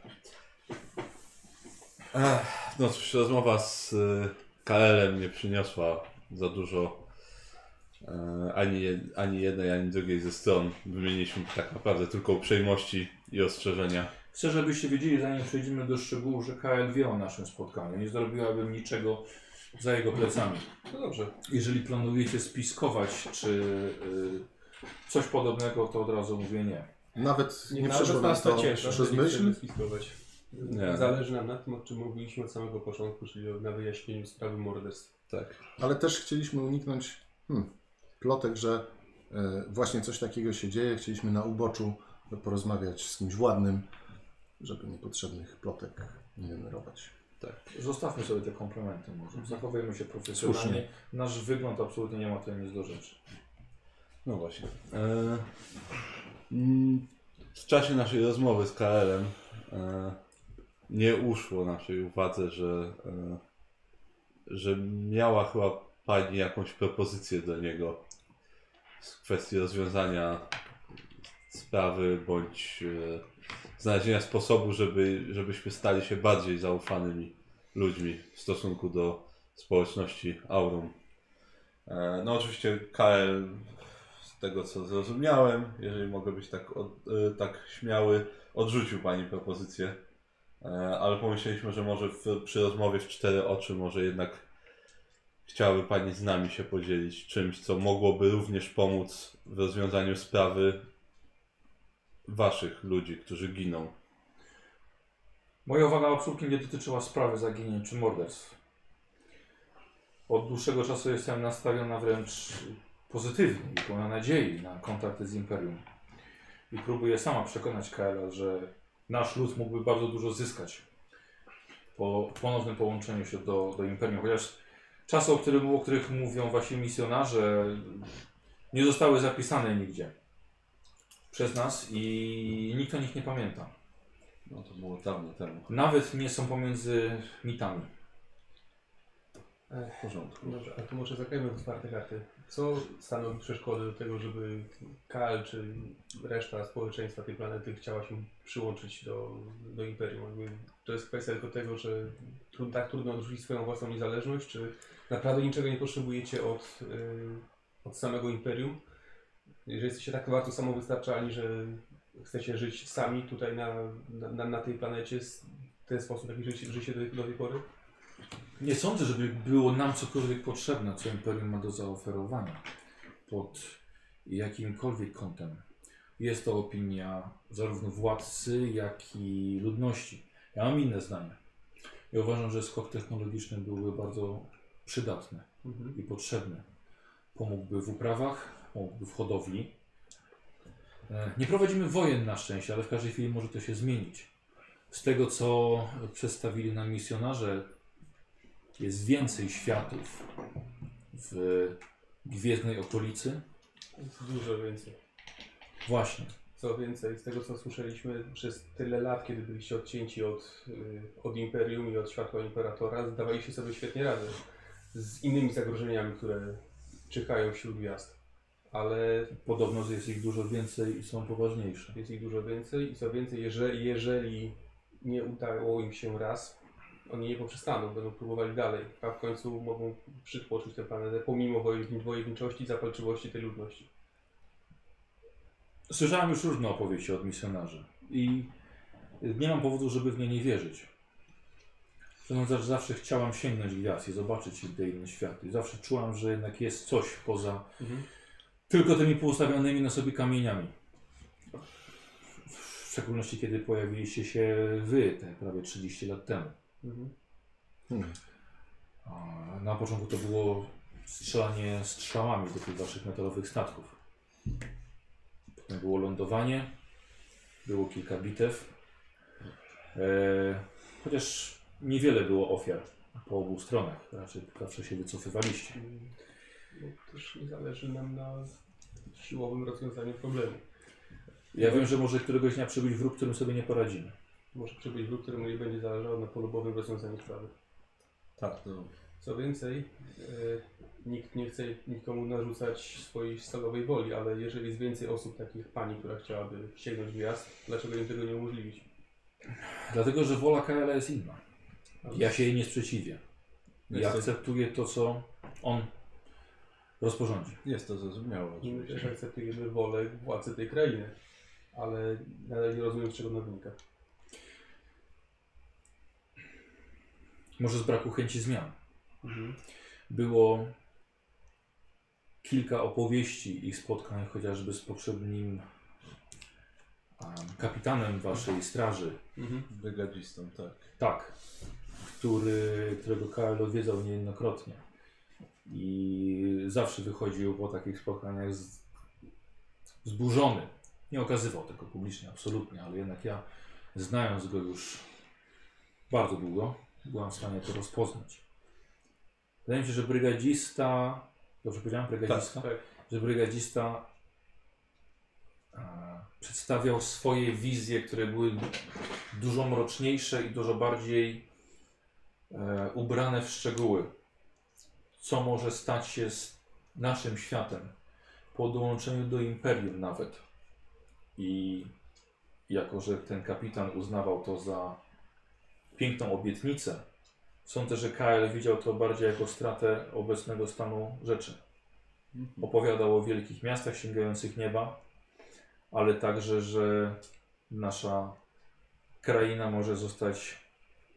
Speaker 2: Ech, No cóż, rozmowa z y, KL-em nie przyniosła za dużo e, ani, jed- ani jednej, ani drugiej ze stron. Wymieniliśmy tak naprawdę tylko uprzejmości i ostrzeżenia.
Speaker 1: Chcę, żebyście wiedzieli, zanim przejdziemy do szczegółów, że KL wie o naszym spotkaniu. Nie zrobiłabym niczego za jego plecami.
Speaker 6: No dobrze.
Speaker 1: Jeżeli planujecie spiskować czy y, coś podobnego, to od razu mówię nie.
Speaker 5: Nawet nie,
Speaker 3: Nie, nawet
Speaker 5: przeszło nam
Speaker 3: nas No, to
Speaker 5: to
Speaker 3: cieszy.
Speaker 5: przez myśl.
Speaker 2: Nie.
Speaker 6: Zależy nam na tym, o czym mówiliśmy od samego początku, czyli o- na wyjaśnieniu sprawy morderstw.
Speaker 2: Tak.
Speaker 5: Ale też chcieliśmy uniknąć hmm, plotek, że e, właśnie coś takiego się dzieje. Chcieliśmy na uboczu porozmawiać z kimś władnym, żeby niepotrzebnych plotek nie generować.
Speaker 1: Zostawmy sobie te komplementy może. Zachowujemy się profesjonalnie.
Speaker 5: Słusznie.
Speaker 1: Nasz wygląd absolutnie nie ma tutaj nic do rzeczy.
Speaker 2: No właśnie. E, mm, w czasie naszej rozmowy z KL-em e, nie uszło naszej uwadze, że, e, że miała chyba pani jakąś propozycję dla niego z kwestii rozwiązania sprawy bądź e, znalezienia sposobu, żeby, żebyśmy stali się bardziej zaufanymi ludźmi w stosunku do społeczności Aurum. E, No oczywiście KL, z tego co zrozumiałem, jeżeli mogę być tak, od, e, tak śmiały, odrzucił Pani propozycję, E, ale pomyśleliśmy, że może w, przy rozmowie w cztery oczy może jednak chciałaby Pani z nami się podzielić czymś, co mogłoby również pomóc w rozwiązaniu sprawy Waszych ludzi, którzy giną.
Speaker 1: Moja uwaga absolutnie nie dotyczyła sprawy zaginień czy morderstw. Od dłuższego czasu jestem nastawiona wręcz pozytywnie i pełna nadziei na kontakty z Imperium. I próbuję sama przekonać Kaela, że nasz lud mógłby bardzo dużo zyskać po ponownym połączeniu się do, do Imperium. Chociaż czasy, o których, o których mówią właśnie misjonarze, nie zostały zapisane nigdzie przez nas i nikt o nich nie pamięta.
Speaker 2: No to było dawno temu.
Speaker 1: Nawet nie są pomiędzy mitami.
Speaker 2: W porządku.
Speaker 6: Dobrze, a to może zagrajmy w otwarte karty. Co stanowi przeszkodę do tego, żeby Kal czy reszta społeczeństwa tej planety chciała się przyłączyć do, do Imperium? Jakby to jest kwestia tylko tego, że trud, tak trudno odrzucić swoją własną niezależność, czy naprawdę niczego nie potrzebujecie od, y, od samego Imperium? Jeżeli jesteście tak bardzo samowystarczalni, że chcecie żyć sami tutaj na, na- na, na tej planecie z- w ten sposób, jaki życie, życie do, do tej pory?
Speaker 1: Nie sądzę, żeby było nam cokolwiek potrzebne, co Imperium ma do zaoferowania pod jakimkolwiek kątem. Jest to opinia zarówno władcy, jak i ludności. Ja mam inne zdanie. Ja uważam, że skok technologiczny byłby bardzo przydatny i potrzebny. Pomógłby w uprawach, pomógłby w hodowli. E, Nie prowadzimy wojen na szczęście, ale w każdej chwili może to się zmienić. Z tego, co przedstawili nam misjonarze, jest więcej światów w gwiezdnej okolicy.
Speaker 6: Jest dużo więcej.
Speaker 1: Właśnie.
Speaker 6: Co więcej, z tego co słyszeliśmy przez tyle lat, kiedy byliście odcięci od, y, od Imperium i od światła Imperatora, zdawaliście sobie świetnie radę z innymi zagrożeniami, które czyhają wśród gwiazd. Ale
Speaker 1: Podobno jest ich dużo więcej i są poważniejsze.
Speaker 6: jest ich dużo więcej i co więcej, jeżeli, jeżeli nie udało im się raz, oni nie poprzestaną, będą próbowali dalej, a w końcu mogą przytłoczyć tę planetę pomimo wojowni- wojowniczości i zapalczywości tej ludności.
Speaker 1: Słyszałem już różne opowieści od misjonarzy i nie mam powodu, żeby w nie nie wierzyć. Przynajmniej zawsze chciałam sięgnąć gwiazd i zobaczyć te inne światy. Zawsze czułam, że jednak jest coś poza tylko tymi poustawionymi na sobie kamieniami. W szczególności kiedy pojawiliście się wy te prawie 30 lat temu.
Speaker 6: Mhm.
Speaker 5: Hmm.
Speaker 1: A Na początku to było strzelanie strzałami do tych waszych metalowych statków. Potem było lądowanie, było kilka bitew. E, chociaż niewiele było ofiar po obu stronach, raczej zawsze się wycofywaliście.
Speaker 6: Bo No, też nie zależy nam na siłowym rozwiązaniu problemu.
Speaker 1: Ja wiem, że może któregoś dnia przybyć wróg, którym sobie nie poradzimy.
Speaker 6: Może przybyć wróg, któremu nie będzie zależało na polubowym rozwiązaniu sprawy.
Speaker 2: Tak, to
Speaker 6: Co więcej, e, nikt nie chce nikomu narzucać swojej stalowej woli, ale jeżeli jest więcej osób takich pani, która chciałaby sięgnąć gwiazd, dlaczego im tego nie umożliwić?
Speaker 1: Dlatego, że wola Kaela jest inna.
Speaker 6: Ale
Speaker 1: Ja się jej nie sprzeciwię. Ja
Speaker 2: jest, to,
Speaker 1: akceptuję to, co on rozporządzi.
Speaker 2: jest to zrozumiałe.
Speaker 6: I my
Speaker 2: oczywiście.
Speaker 6: też akceptujemy wolę władcy tej krainy, ale nadal nie rozumiem, z czego ona wynika.
Speaker 1: Może z braku chęci zmian. Było kilka opowieści i spotkań chociażby z poprzednim em, kapitanem waszej straży.
Speaker 6: Mhm.
Speaker 2: Brygadzistą, tak.
Speaker 1: Tak. Który, którego Karl odwiedzał niejednokrotnie. I zawsze wychodził po takich spotkaniach z, zburzony. Nie okazywał tego publicznie, absolutnie, ale jednak ja, znając go już bardzo długo, byłam w stanie to rozpoznać. Wydaje mi się, że brygadzista, dobrze powiedziałem, brygadzista,
Speaker 6: Tak.
Speaker 1: że brygadzista e, przedstawiał swoje wizje, które były dużo mroczniejsze i dużo bardziej e, ubrane w szczegóły. Co może stać się z naszym światem po dołączeniu do imperium nawet. I jako, że ten kapitan uznawał to za piękną obietnicę, sądzę, że KL widział to bardziej jako stratę obecnego stanu rzeczy. Opowiadał o wielkich miastach sięgających nieba, ale także, że nasza kraina może zostać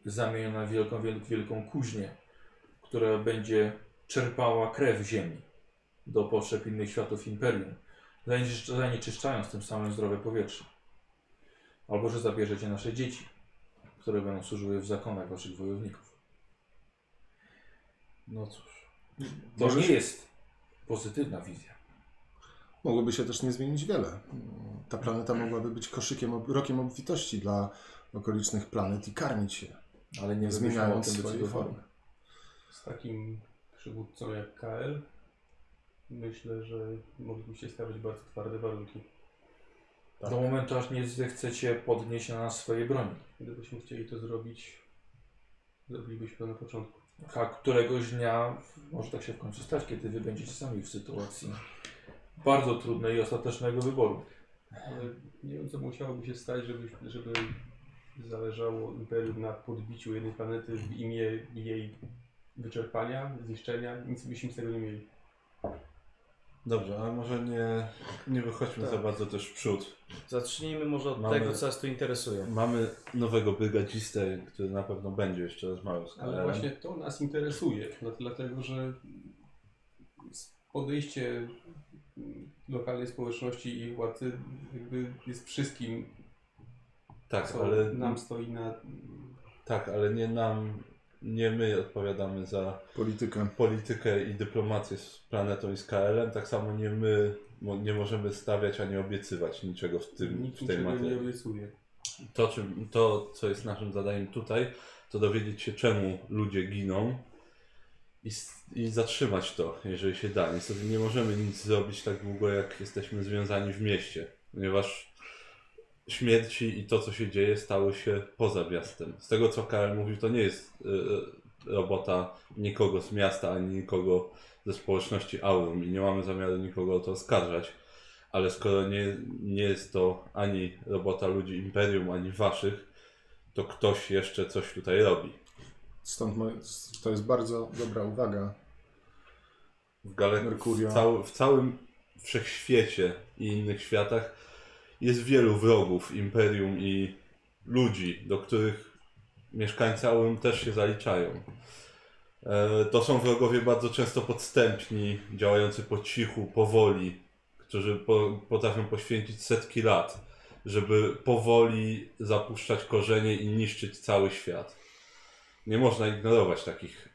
Speaker 1: zamieniona w wielką, wiel- wielką kuźnię, która będzie czerpała krew ziemi do potrzeb innych światów imperium, zanieczysz- zanieczyszczając tym samym zdrowe powietrze. Albo że zabierzecie nasze dzieci, które będą służyły w zakonach waszych wojowników.
Speaker 2: No cóż.
Speaker 1: To
Speaker 5: Możesz-
Speaker 1: nie jest pozytywna wizja.
Speaker 5: Mogłoby się też nie zmienić wiele. Ta planeta mogłaby być koszykiem, ob- rokiem obfitości dla okolicznych planet i karmić się,
Speaker 1: Ale nie zmieniając o
Speaker 5: zmieniając
Speaker 1: tym
Speaker 5: swoje
Speaker 1: decydowali.
Speaker 5: formy.
Speaker 6: Z takim przywódcą jak KL myślę, że moglibyście stawiać bardzo twarde warunki.
Speaker 5: Tak.
Speaker 1: Do momentu, aż nie zechcecie podnieść na nas swojej broni.
Speaker 6: Gdybyśmy chcieli to zrobić, zrobilibyśmy to na początku.
Speaker 1: A któregoś dnia może tak się w końcu stać, kiedy wy będziecie sami w sytuacji bardzo trudnej i ostatecznego wyboru.
Speaker 6: Ale nie wiem, co musiałoby się stać, żeby, żeby zależało imperium na podbiciu jednej planety w imię jej wyczerpania, zniszczenia. Nic byśmy z tego nie mieli.
Speaker 2: Dobrze, ale może nie, nie wychodźmy
Speaker 3: Tak.
Speaker 2: za bardzo też w przód.
Speaker 3: Zacznijmy może od
Speaker 2: Mamy- Mm.
Speaker 3: tego, co nas tu interesuje.
Speaker 2: Mamy nowego brygadzistę, który na pewno będzie jeszcze rozmawiał z
Speaker 6: Ale
Speaker 2: KL-em.
Speaker 6: właśnie to nas interesuje, dla- dlatego że s- podejście mm, lokalnej społeczności i władzy jakby jest wszystkim,
Speaker 2: Tak,
Speaker 6: co
Speaker 2: ale,
Speaker 6: nam stoi na...
Speaker 2: tak, ale nie nam, nie my odpowiadamy za
Speaker 5: Politykę.
Speaker 2: politykę i dyplomację z planetą i z KL-em. Tak samo nie my mo- nie możemy stawiać ani obiecywać niczego w, tym,
Speaker 6: Nikt
Speaker 2: w tej
Speaker 6: niczego nie
Speaker 2: materii.
Speaker 6: obiecuje.
Speaker 2: To, czym, to, co jest naszym zadaniem tutaj, to dowiedzieć się, czemu ludzie giną i, s- i zatrzymać to, jeżeli się da. Niestety nie możemy nic zrobić tak długo, jak jesteśmy związani w mieście, ponieważ śmierci i to, co się dzieje, stało się poza miastem. Z tego, co Karel mówił, to nie jest y, y, robota nikogo z miasta, ani nikogo ze społeczności Aurum i nie mamy zamiaru nikogo o to oskarżać. Ale skoro nie, nie jest to ani robota ludzi Imperium, ani waszych, to ktoś jeszcze coś tutaj robi.
Speaker 5: Stąd moje, to jest bardzo dobra uwaga.
Speaker 2: W, gale...
Speaker 5: Merkurio.
Speaker 2: w, cał... w całym wszechświecie i innych światach jest wielu wrogów Imperium i ludzi, do których mieszkańcy Aurum też się zaliczają. E, To są wrogowie bardzo często podstępni, działający po cichu, powoli, którzy po, potrafią poświęcić setki lat, żeby powoli zapuszczać korzenie i niszczyć cały świat. Nie można ignorować takich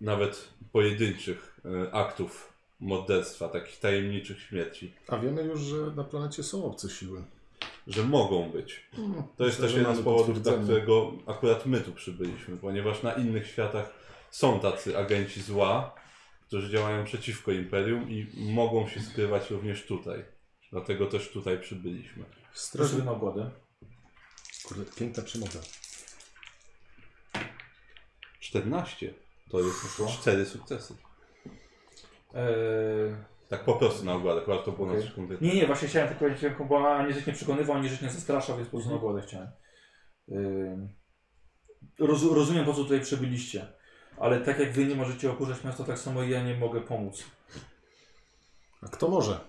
Speaker 2: nawet pojedynczych e, aktów morderstwa, takich tajemniczych śmierci,
Speaker 5: A wiemy już, że na planecie są obce siły.
Speaker 2: że mogą być.
Speaker 5: Hmm,
Speaker 2: To jest
Speaker 5: myślę,
Speaker 2: też
Speaker 5: że
Speaker 2: jeden
Speaker 5: mamy
Speaker 2: z powodów, dla
Speaker 5: potwierdzenie.
Speaker 2: którego akurat my tu przybyliśmy, ponieważ na innych światach są tacy agenci zła, którzy działają przeciwko Imperium i mogą się skrywać również tutaj. Dlatego też tutaj przybyliśmy.
Speaker 5: Strażnik...
Speaker 1: Proszę na obładę.
Speaker 5: Kurde, piękna przemowa.
Speaker 2: 14 to jest 4 sukcesy.
Speaker 1: Eee,
Speaker 2: Tak po prostu na ogładę, chyba że to było na
Speaker 1: Okej.
Speaker 2: coś konkretnego.
Speaker 1: nie, nie, właśnie chciałem tak powiedzieć, tylko, bo ani rzecz nie przekonywał, ani rzecz nie zastraszał, więc po prostu na obładę chciałem. Eee, roz, rozumiem, po co tutaj przybyliście, ale tak jak wy nie możecie okurzać miasta, tak samo i ja nie mogę pomóc.
Speaker 5: A kto może?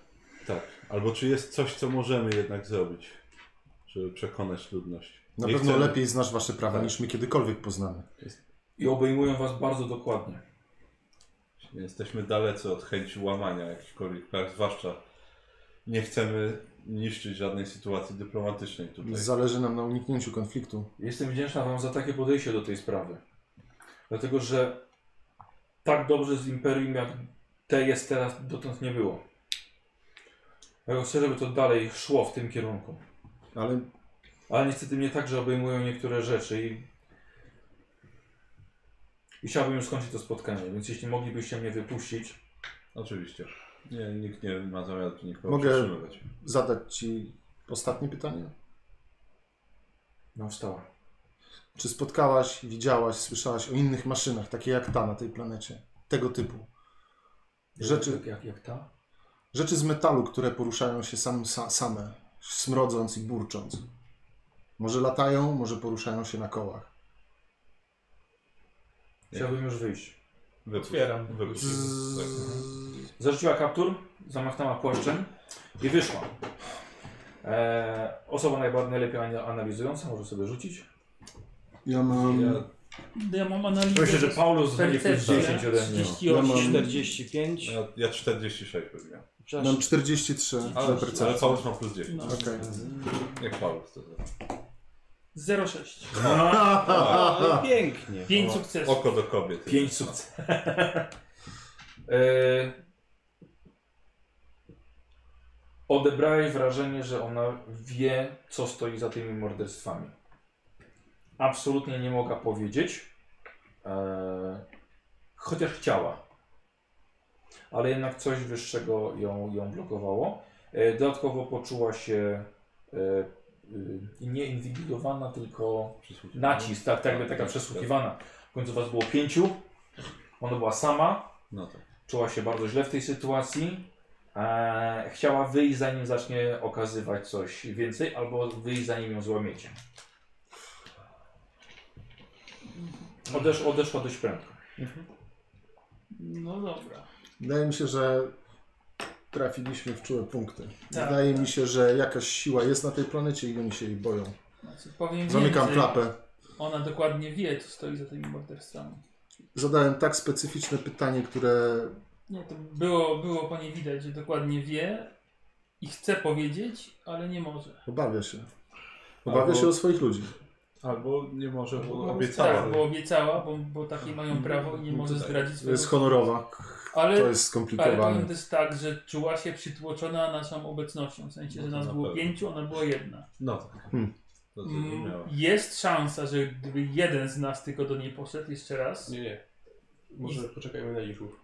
Speaker 2: Tak. Albo czy jest coś, co możemy jednak zrobić, żeby przekonać ludność?
Speaker 5: Na
Speaker 2: Nie
Speaker 5: pewno
Speaker 2: chcemy-
Speaker 5: lepiej znasz wasze prawa
Speaker 2: Tak.
Speaker 5: niż my kiedykolwiek poznamy.
Speaker 1: I obejmują was bardzo dokładnie.
Speaker 2: Jesteśmy dalece od chęci łamania jakichkolwiek praw, zwłaszcza nie chcemy niszczyć żadnej sytuacji dyplomatycznej tutaj.
Speaker 5: Zależy nam na uniknięciu konfliktu.
Speaker 1: Jestem wdzięczna Wam za takie podejście do tej sprawy. Dlatego, że tak dobrze z Imperium, jak te jest teraz, dotąd nie było. Ja chcę, żeby to dalej szło w tym kierunku.
Speaker 5: Ale
Speaker 1: Ale niestety mnie także obejmują niektóre rzeczy i... I chciałbym już skończyć to spotkanie, więc jeśli moglibyście mnie wypuścić...
Speaker 2: Oczywiście. Nie, nikt nie ma zamiaru tu nikogo
Speaker 5: Mogę-
Speaker 2: Mogę... przetrzymywać.
Speaker 5: zadać ci ostatnie pytanie?
Speaker 1: No wstała.
Speaker 5: Czy spotkałaś, widziałaś, słyszałaś o innych maszynach, takie jak ta na tej planecie? Tego typu. Rzeczy,
Speaker 1: Jak, jak, jak ta?
Speaker 5: rzeczy z metalu, które poruszają się sam, sa, same, smrodząc i burcząc. Może latają, może poruszają się na kołach.
Speaker 1: Chciałbym już wyjść.
Speaker 2: Wypuść.
Speaker 3: Otwieram.
Speaker 2: Wypuść.
Speaker 5: Z...
Speaker 2: Tak.
Speaker 1: Zarzuciła kaptur, zamachnęła płaszczem i wyszła. Eee, osoba najbardziej najlepiej ana- analizująca może sobie rzucić.
Speaker 5: Ja mam...
Speaker 2: Ja,
Speaker 4: Ja mam analizę.
Speaker 1: Myślę, że Paulus będzie plus
Speaker 4: Percepcja.
Speaker 1: 10 ode mnie.
Speaker 4: 38.
Speaker 3: 45.
Speaker 2: ja, ja 46 pewnie.
Speaker 5: Mam 43 na
Speaker 2: Ale,
Speaker 5: percepcję.
Speaker 2: ale Paulus ma plus 10.
Speaker 4: No.
Speaker 5: Okej.
Speaker 2: Jak Paulus to zrobi.
Speaker 4: 06.
Speaker 3: O, pięknie.
Speaker 4: 5
Speaker 2: O,
Speaker 4: sukcesów.
Speaker 2: Oko do kobiet.
Speaker 1: 5 sukcesów. [LAUGHS] Eee, Odebrałeś wrażenie, że ona wie, co stoi za tymi morderstwami. Absolutnie nie mogła powiedzieć, eee, chociaż chciała. Ale jednak coś wyższego ją, ją blokowało. Eee, dodatkowo poczuła się eee, y, nie inwigilowana, tylko
Speaker 2: Przysłuchiwanie.
Speaker 1: nacisk, tak, tak, jakby taka przesłuchiwana. W końcu was było pięciu, ona była sama,
Speaker 2: No tak.
Speaker 1: czuła się bardzo źle w tej sytuacji. Eee, chciała wyjść zanim zacznie okazywać coś więcej, albo wyjść zanim ją złamiecie. Odesz, odeszła dość prędko.
Speaker 4: No dobra.
Speaker 5: Wydaje mi się, że trafiliśmy w czułe punkty.
Speaker 4: Tak,
Speaker 5: Wydaje
Speaker 4: tak.
Speaker 5: mi się, że jakaś siła jest na tej planecie i oni się jej boją.
Speaker 4: Znaczy, powiem
Speaker 5: Zamykam
Speaker 4: więcej.
Speaker 5: klapę.
Speaker 4: Ona dokładnie wie, co stoi za tymi morderstwami.
Speaker 5: Zadałem tak specyficzne pytanie, które
Speaker 4: Nie, to było, było pani widać, że dokładnie wie i chce powiedzieć, ale nie może.
Speaker 5: obawia się. Obawia
Speaker 2: Albo-
Speaker 5: się o swoich ludzi.
Speaker 2: Albo nie może, bo
Speaker 4: Tak,
Speaker 2: obiecała.
Speaker 4: bo obiecała, bo, bo takie mają prawo i nie może zdradzić
Speaker 5: To
Speaker 4: swojego...
Speaker 5: jest honorowa,
Speaker 4: ale,
Speaker 5: to jest
Speaker 4: ale
Speaker 5: skomplikowane.
Speaker 4: powiem też tak, że czuła się przytłoczona naszą obecnością, w sensie, że
Speaker 2: No to
Speaker 4: nas
Speaker 2: na
Speaker 4: było
Speaker 2: pewno.
Speaker 4: pięciu, ona była jedna.
Speaker 2: No tak.
Speaker 5: Hmm.
Speaker 2: To
Speaker 4: Mm,
Speaker 2: zrozumiałem.
Speaker 4: Jest szansa, że gdyby jeden z nas tylko do niej poszedł jeszcze raz,
Speaker 6: Nie, nie. Może poczekajmy na liczów.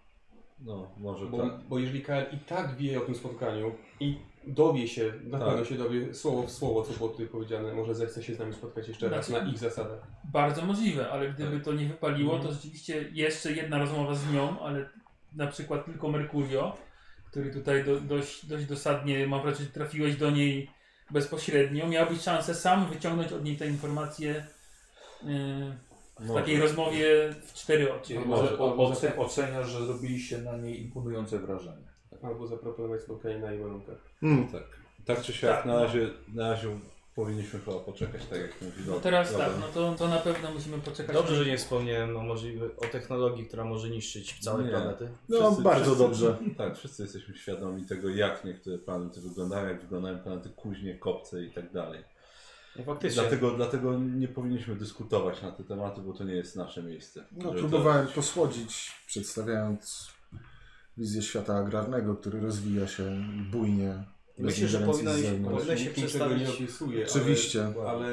Speaker 2: No, może
Speaker 6: Bo,
Speaker 2: tak.
Speaker 6: bo jeżeli Karl i tak wie o tym spotkaniu i dowie się, na
Speaker 2: Tak.
Speaker 6: pewno się dowie słowo w słowo, co było tutaj powiedziane, może zechce się z nami spotkać jeszcze raz
Speaker 4: Znaczy-
Speaker 6: na ich zasadach.
Speaker 4: bardzo możliwe, ale gdyby to nie wypaliło, to rzeczywiście jeszcze jedna rozmowa z nią, ale na przykład tylko Mercurio, który tutaj do, dość, dość dosadnie, mam wrażenie, trafiłeś do niej bezpośrednio, miałbyś szansę sam wyciągnąć od niej te informacje yy, w
Speaker 2: Może.
Speaker 4: takiej rozmowie w cztery oczy.
Speaker 6: Nie,
Speaker 1: Może
Speaker 6: może-
Speaker 1: o,
Speaker 6: może-
Speaker 1: oce, oceniasz, że zrobiliście na niej imponujące wrażenie.
Speaker 6: Albo zaproponować spotkanie na jej warunkach.
Speaker 5: Mm.
Speaker 2: Tak. Tak czy siak,
Speaker 4: Tak,
Speaker 2: na,
Speaker 4: no.
Speaker 2: razie, na razie powinniśmy chyba poczekać, tak jak mówi
Speaker 4: No
Speaker 2: Don.
Speaker 4: teraz
Speaker 2: Dobra.
Speaker 4: tak, no to, to na pewno musimy poczekać.
Speaker 3: Dobrze, że nie wspomniałem o, możliwe, o technologii, która może niszczyć całej
Speaker 2: Nie.
Speaker 3: planety.
Speaker 5: No, bardzo dobrze.
Speaker 2: [LAUGHS] Tak, wszyscy jesteśmy świadomi tego, jak niektóre planety wyglądają, jak wyglądają planety kuźnie, kopce i tak dalej.
Speaker 3: No, faktycznie.
Speaker 2: Dlatego, dlatego nie powinniśmy dyskutować na te tematy, bo to nie jest nasze miejsce.
Speaker 5: No,
Speaker 2: Że
Speaker 5: próbowałem posłodzić, przedstawiając wizję świata agrarnego, który rozwija się bujnie. bez
Speaker 3: Myślę, że
Speaker 5: ingerencji z
Speaker 3: powinnaś-
Speaker 5: zewnątrz.
Speaker 3: powinnaś- Powinno się
Speaker 6: Nikt niczego nie
Speaker 3: przedstawić-
Speaker 6: opisuje, ale-
Speaker 5: No Oczywiście.
Speaker 6: Ale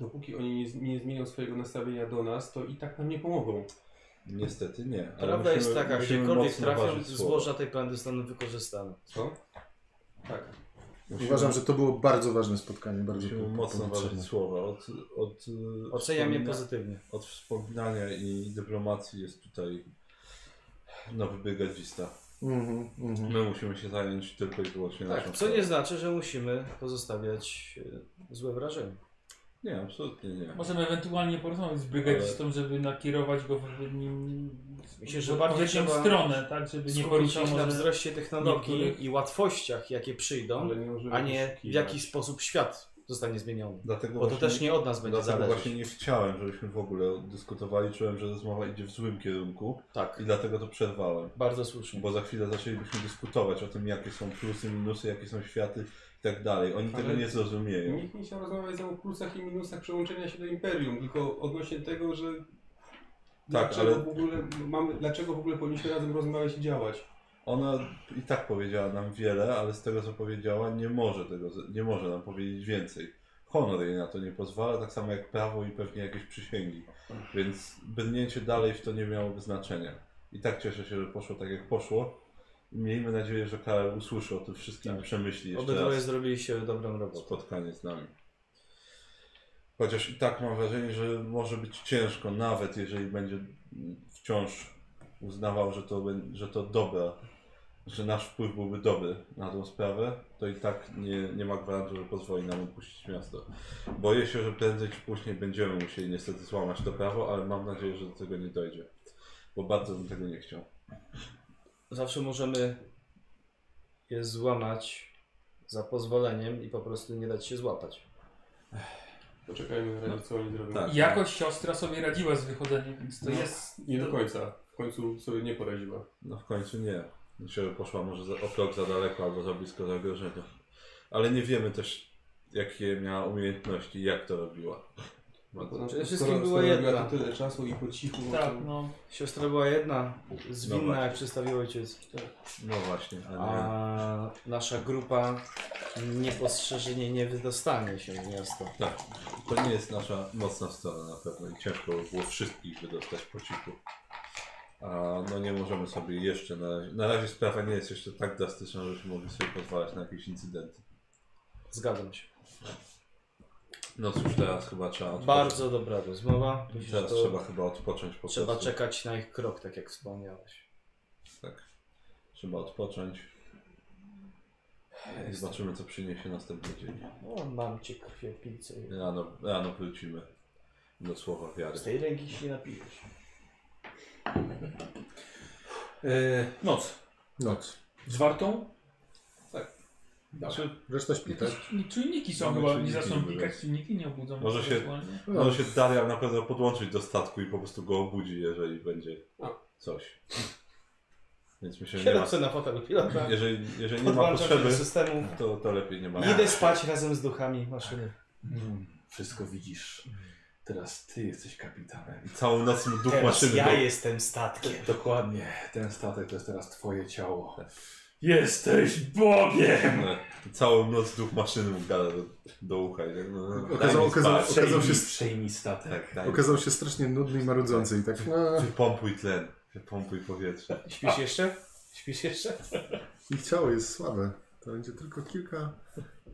Speaker 6: dopóki oni nie, z- nie zmienią swojego nastawienia do nas, to i tak nam nie pomogą.
Speaker 2: Niestety nie. ale
Speaker 3: Prawda jest
Speaker 2: musimy-
Speaker 3: taka,
Speaker 2: musimy
Speaker 3: gdziekolwiek
Speaker 2: mocno
Speaker 3: trafią,
Speaker 2: ważyć słowa.
Speaker 3: zboża tej planety zostaną wykorzystane.
Speaker 6: Co? Tak.
Speaker 2: Musimy-
Speaker 5: Uważam, że to było bardzo ważne spotkanie, bardzo
Speaker 2: Musimy
Speaker 5: po-
Speaker 2: mocno
Speaker 5: potrzebne.
Speaker 2: ważyć słowa. Od, od, y,
Speaker 3: Oceniam je
Speaker 2: wspomina-
Speaker 3: pozytywnie.
Speaker 2: Od wspominania i dyplomacji jest tutaj na wybiegać wista.
Speaker 5: Mhm, mhm.
Speaker 2: My musimy się zająć tylko i wyłącznie naszą
Speaker 3: Tak, co
Speaker 2: sprawą.
Speaker 3: nie znaczy, że musimy pozostawiać e, złe wrażenie.
Speaker 2: Nie, absolutnie nie.
Speaker 4: Możemy ewentualnie porozmawiać z brygadzistą, żeby nakierować go w odpowiednim
Speaker 3: Myślę, że
Speaker 4: w
Speaker 3: bardziej
Speaker 4: odpowiednią
Speaker 3: trzeba
Speaker 4: stronę, tak, żeby nie
Speaker 3: Skupić
Speaker 4: poruszał
Speaker 3: się na
Speaker 4: może...
Speaker 3: wzroście technologii
Speaker 4: niektórych-
Speaker 3: i łatwościach, jakie przyjdą,
Speaker 6: Ale nie możemy
Speaker 3: a nie w
Speaker 6: oszukiwać.
Speaker 3: jaki sposób świat zostanie zmieniony.
Speaker 2: Dlatego
Speaker 3: Bo to
Speaker 2: właśnie-
Speaker 3: też nie od nas będzie
Speaker 2: Dlatego
Speaker 3: zależeć.
Speaker 2: właśnie nie chciałem, żebyśmy w ogóle dyskutowali. Czułem, że rozmowa idzie w złym kierunku
Speaker 3: Tak,
Speaker 2: i dlatego to przerwałem.
Speaker 3: bardzo słusznie.
Speaker 2: Bo za chwilę zaczęlibyśmy dyskutować o tym, jakie są plusy, minusy, jakie są światy i tak dalej. Oni
Speaker 6: Ale-
Speaker 2: tego nie zrozumieją.
Speaker 6: Nikt nie chciał rozmawiać o plusach i minusach przełączenia się do Imperium, tylko odnośnie tego, że dlaczego,
Speaker 2: ale-
Speaker 6: w ogóle mamy, dlaczego w ogóle powinniśmy razem rozmawiać i działać.
Speaker 2: Ona i tak powiedziała nam wiele, ale z tego co powiedziała, nie może, tego, nie może nam powiedzieć więcej. Honor jej na to nie pozwala, tak samo jak prawo i pewnie jakieś przysięgi. Więc brnięcie dalej w to nie miałoby znaczenia. I tak cieszę się, że poszło tak jak poszło. Miejmy nadzieję, że Karel usłyszy o tym wszystkim i przemyśli jeszcze
Speaker 3: Obydwoje
Speaker 2: raz
Speaker 3: zrobiliście dobrą robotę.
Speaker 2: spotkanie z nami. Chociaż i tak mam wrażenie, że może być ciężko, nawet jeżeli będzie wciąż uznawał, że to, bę- że to dobra, że nasz wpływ byłby dobry na tą sprawę, to i tak nie, nie ma gwarancji, że pozwoli nam opuścić miasto. Boję się, że prędzej czy później będziemy musieli niestety złamać to prawo, ale mam nadzieję, że do tego nie dojdzie, bo bardzo bym tego nie chciał.
Speaker 3: Zawsze możemy je złamać za pozwoleniem i po prostu nie dać się złapać.
Speaker 6: Poczekajmy na razie, co oni zrobią.
Speaker 2: Tak.
Speaker 4: Jakoś siostra sobie radziła z wychodzeniem, więc to
Speaker 6: No.
Speaker 4: jest...
Speaker 6: Nie do
Speaker 4: to-
Speaker 6: końca. W końcu sobie nie poradziła.
Speaker 2: No w końcu nie. Myślę, że poszła może za, o krok za daleko albo za blisko zagrożenia. Ale nie wiemy też, jakie miała umiejętności, jak to robiła. Bardzo.
Speaker 3: Przede wszystkim była jedna.
Speaker 6: robiła to tyle czasu i po cichu.
Speaker 4: Tak,
Speaker 6: to-
Speaker 4: no.
Speaker 3: Siostra była jedna,
Speaker 2: No
Speaker 3: zwinna
Speaker 2: właśnie.
Speaker 3: jak przestawił ojciec.
Speaker 2: No właśnie, a nie.
Speaker 3: A nasza grupa niepostrzeżenie nie wydostanie się w miasto.
Speaker 2: Tak, to nie jest nasza mocna strona na pewno i ciężko by było wszystkich wydostać po cichu. A no nie możemy sobie jeszcze na razie, na razie sprawa nie jest jeszcze tak drastyczna, żebyśmy mogli sobie pozwalać na jakieś incydenty.
Speaker 3: Zgadzam się.
Speaker 2: No cóż, teraz chyba trzeba odpocząć.
Speaker 3: Bardzo dobra rozmowa. Myślę,
Speaker 2: Teraz
Speaker 3: że to
Speaker 2: trzeba chyba odpocząć po
Speaker 3: trzeba
Speaker 2: prostu.
Speaker 3: czekać na ich krok, tak jak wspomniałeś.
Speaker 2: Tak. Trzeba odpocząć. I zobaczymy, co przyniesie następny dzień.
Speaker 3: No, mam cię krwiopijcę.
Speaker 2: Rano, rano wrócimy do słowa wiary.
Speaker 3: Z tej ręki się nie napijesz.
Speaker 1: E, noc.
Speaker 5: Noc.
Speaker 1: Zwartą?
Speaker 6: Znaczy,
Speaker 5: Reszta śpi, tak?
Speaker 4: Jakieś czujniki są
Speaker 2: Mamy
Speaker 4: chyba, nie
Speaker 2: czujniki,
Speaker 4: zaczną
Speaker 2: żeby-
Speaker 4: pikać, czujniki nie obudzą.
Speaker 2: Może się-
Speaker 4: ewentualnie.
Speaker 5: No,
Speaker 2: Może No, się Daria na pewno podłączyć do statku i po prostu go obudzi, jeżeli będzie
Speaker 3: No.
Speaker 2: coś. Więc myślę, że nie
Speaker 3: Siedem
Speaker 2: ma,
Speaker 3: sobie na fotelu pilota.
Speaker 2: jeżeli, jeżeli nie ma
Speaker 3: Podłączam się do
Speaker 2: potrzeby,
Speaker 3: systemu.
Speaker 2: to, to lepiej nie ma.
Speaker 3: Idę spać razem z duchami maszyny.
Speaker 1: Mm, wszystko widzisz. Teraz ty jesteś kapitanem.
Speaker 2: I Całą noc mu duch
Speaker 3: Teraz
Speaker 2: maszyny.
Speaker 3: ja
Speaker 2: do-
Speaker 3: jestem statkiem.
Speaker 1: Dokładnie. Ten statek to jest teraz twoje ciało. Jesteś Bogiem!
Speaker 2: I Całą noc duch maszyny mu gada do, do ucha. I tak, no, no,
Speaker 5: Okazał-
Speaker 2: daj mi
Speaker 5: okazał-
Speaker 2: spać.
Speaker 5: okazał się-
Speaker 1: Przejmij, przejmij statek.
Speaker 2: Tak, daj mi
Speaker 5: Okazał się strasznie nudny i marudzący i tak. No,
Speaker 2: Wypompuj tlen, wypompuj powietrze.
Speaker 3: Śpisz jeszcze? Śpisz jeszcze?
Speaker 5: ich ciało jest słabe. To będzie tylko kilka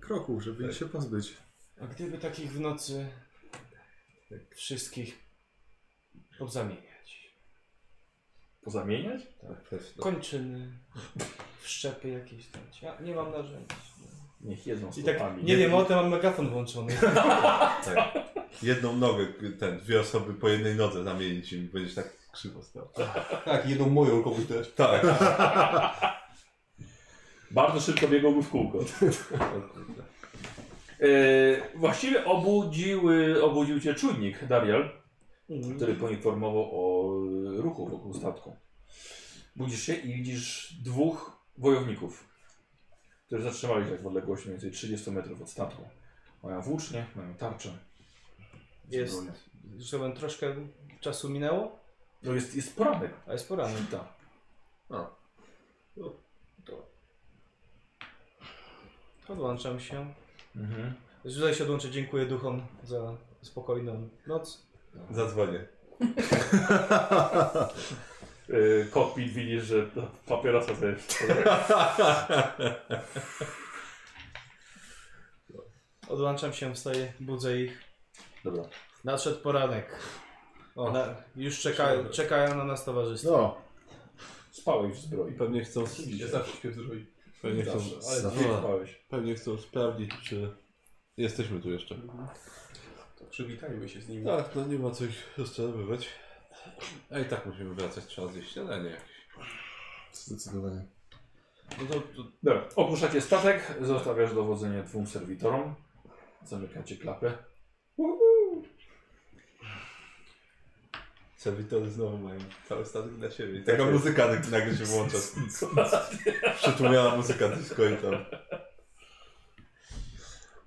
Speaker 5: kroków, żeby ich się pozbyć.
Speaker 3: A gdyby takich w nocy wszystkich podzamieniać?
Speaker 1: Pozamieniać?
Speaker 2: Tak, też, tak.
Speaker 3: Kończyny, wszczepy jakieś dać. Ja nie mam narzędzi.
Speaker 1: Niech jedzą
Speaker 3: I tak,
Speaker 1: stopami.
Speaker 3: nie wiem o tym, mam megafon włączony.
Speaker 2: tak. Jedną nogę, ten, dwie osoby po jednej nodze zamienić im, będziesz tak krzywo stał.
Speaker 6: tak, jedną moją komuś też.
Speaker 2: Tak. [LAUGHS]
Speaker 1: Bardzo szybko biegłby w kółko.
Speaker 2: O kurde.
Speaker 1: E, właściwie obudziły, obudził cię czujnik, Darial, który poinformował o e, ruchu wokół statku. Budzisz się i widzisz dwóch wojowników, którzy zatrzymali się tak w odległości mniej więcej 30 metrów od statku. Mają włócznie, mają tarczę.
Speaker 3: Jest. Zresztą troszkę czasu minęło,
Speaker 1: No jest, jest poranek.
Speaker 3: a jest poranek.
Speaker 1: Tak.
Speaker 3: Podłączam się.
Speaker 1: Mhm.
Speaker 3: Tutaj się odłączę, dziękuję duchom za spokojną noc.
Speaker 2: Zadzwonię.
Speaker 1: Yy, kokpit widzisz, że papierosa sobie
Speaker 3: Odłączam się, wstaję, budzę ich.
Speaker 1: Dobra.
Speaker 3: Nadszedł poranek.
Speaker 2: O.
Speaker 3: Na, już czekają, czekają na nas towarzystwo.
Speaker 5: No,
Speaker 1: Spałeś w zbroi.
Speaker 2: Pewnie chcą,
Speaker 6: Ja zawsze śpię w zbroi.
Speaker 2: pewnie chcą,
Speaker 1: Zawsze, ale
Speaker 5: Zawsze.
Speaker 1: dwie spałeś.
Speaker 2: pewnie chcą sprawdzić, czy jesteśmy tu jeszcze.
Speaker 6: To przywitajmy się z nimi.
Speaker 2: Tak, no nie ma co ich rozczarowywać. A i tak musimy wracać, trzeba zjeść śniadanie jakieś.
Speaker 5: zdecydowanie.
Speaker 2: No to, to
Speaker 1: Dobra, opuszczacie statek, zostawiasz dowodzenie dwóm serwitorom, zamykacie klapę.
Speaker 2: servitory znowu mają cały statek dla siebie. Tak I taka muzyka nag- nagle się [LAUGHS] włącza. Przytłumiona muzyka disco i tam.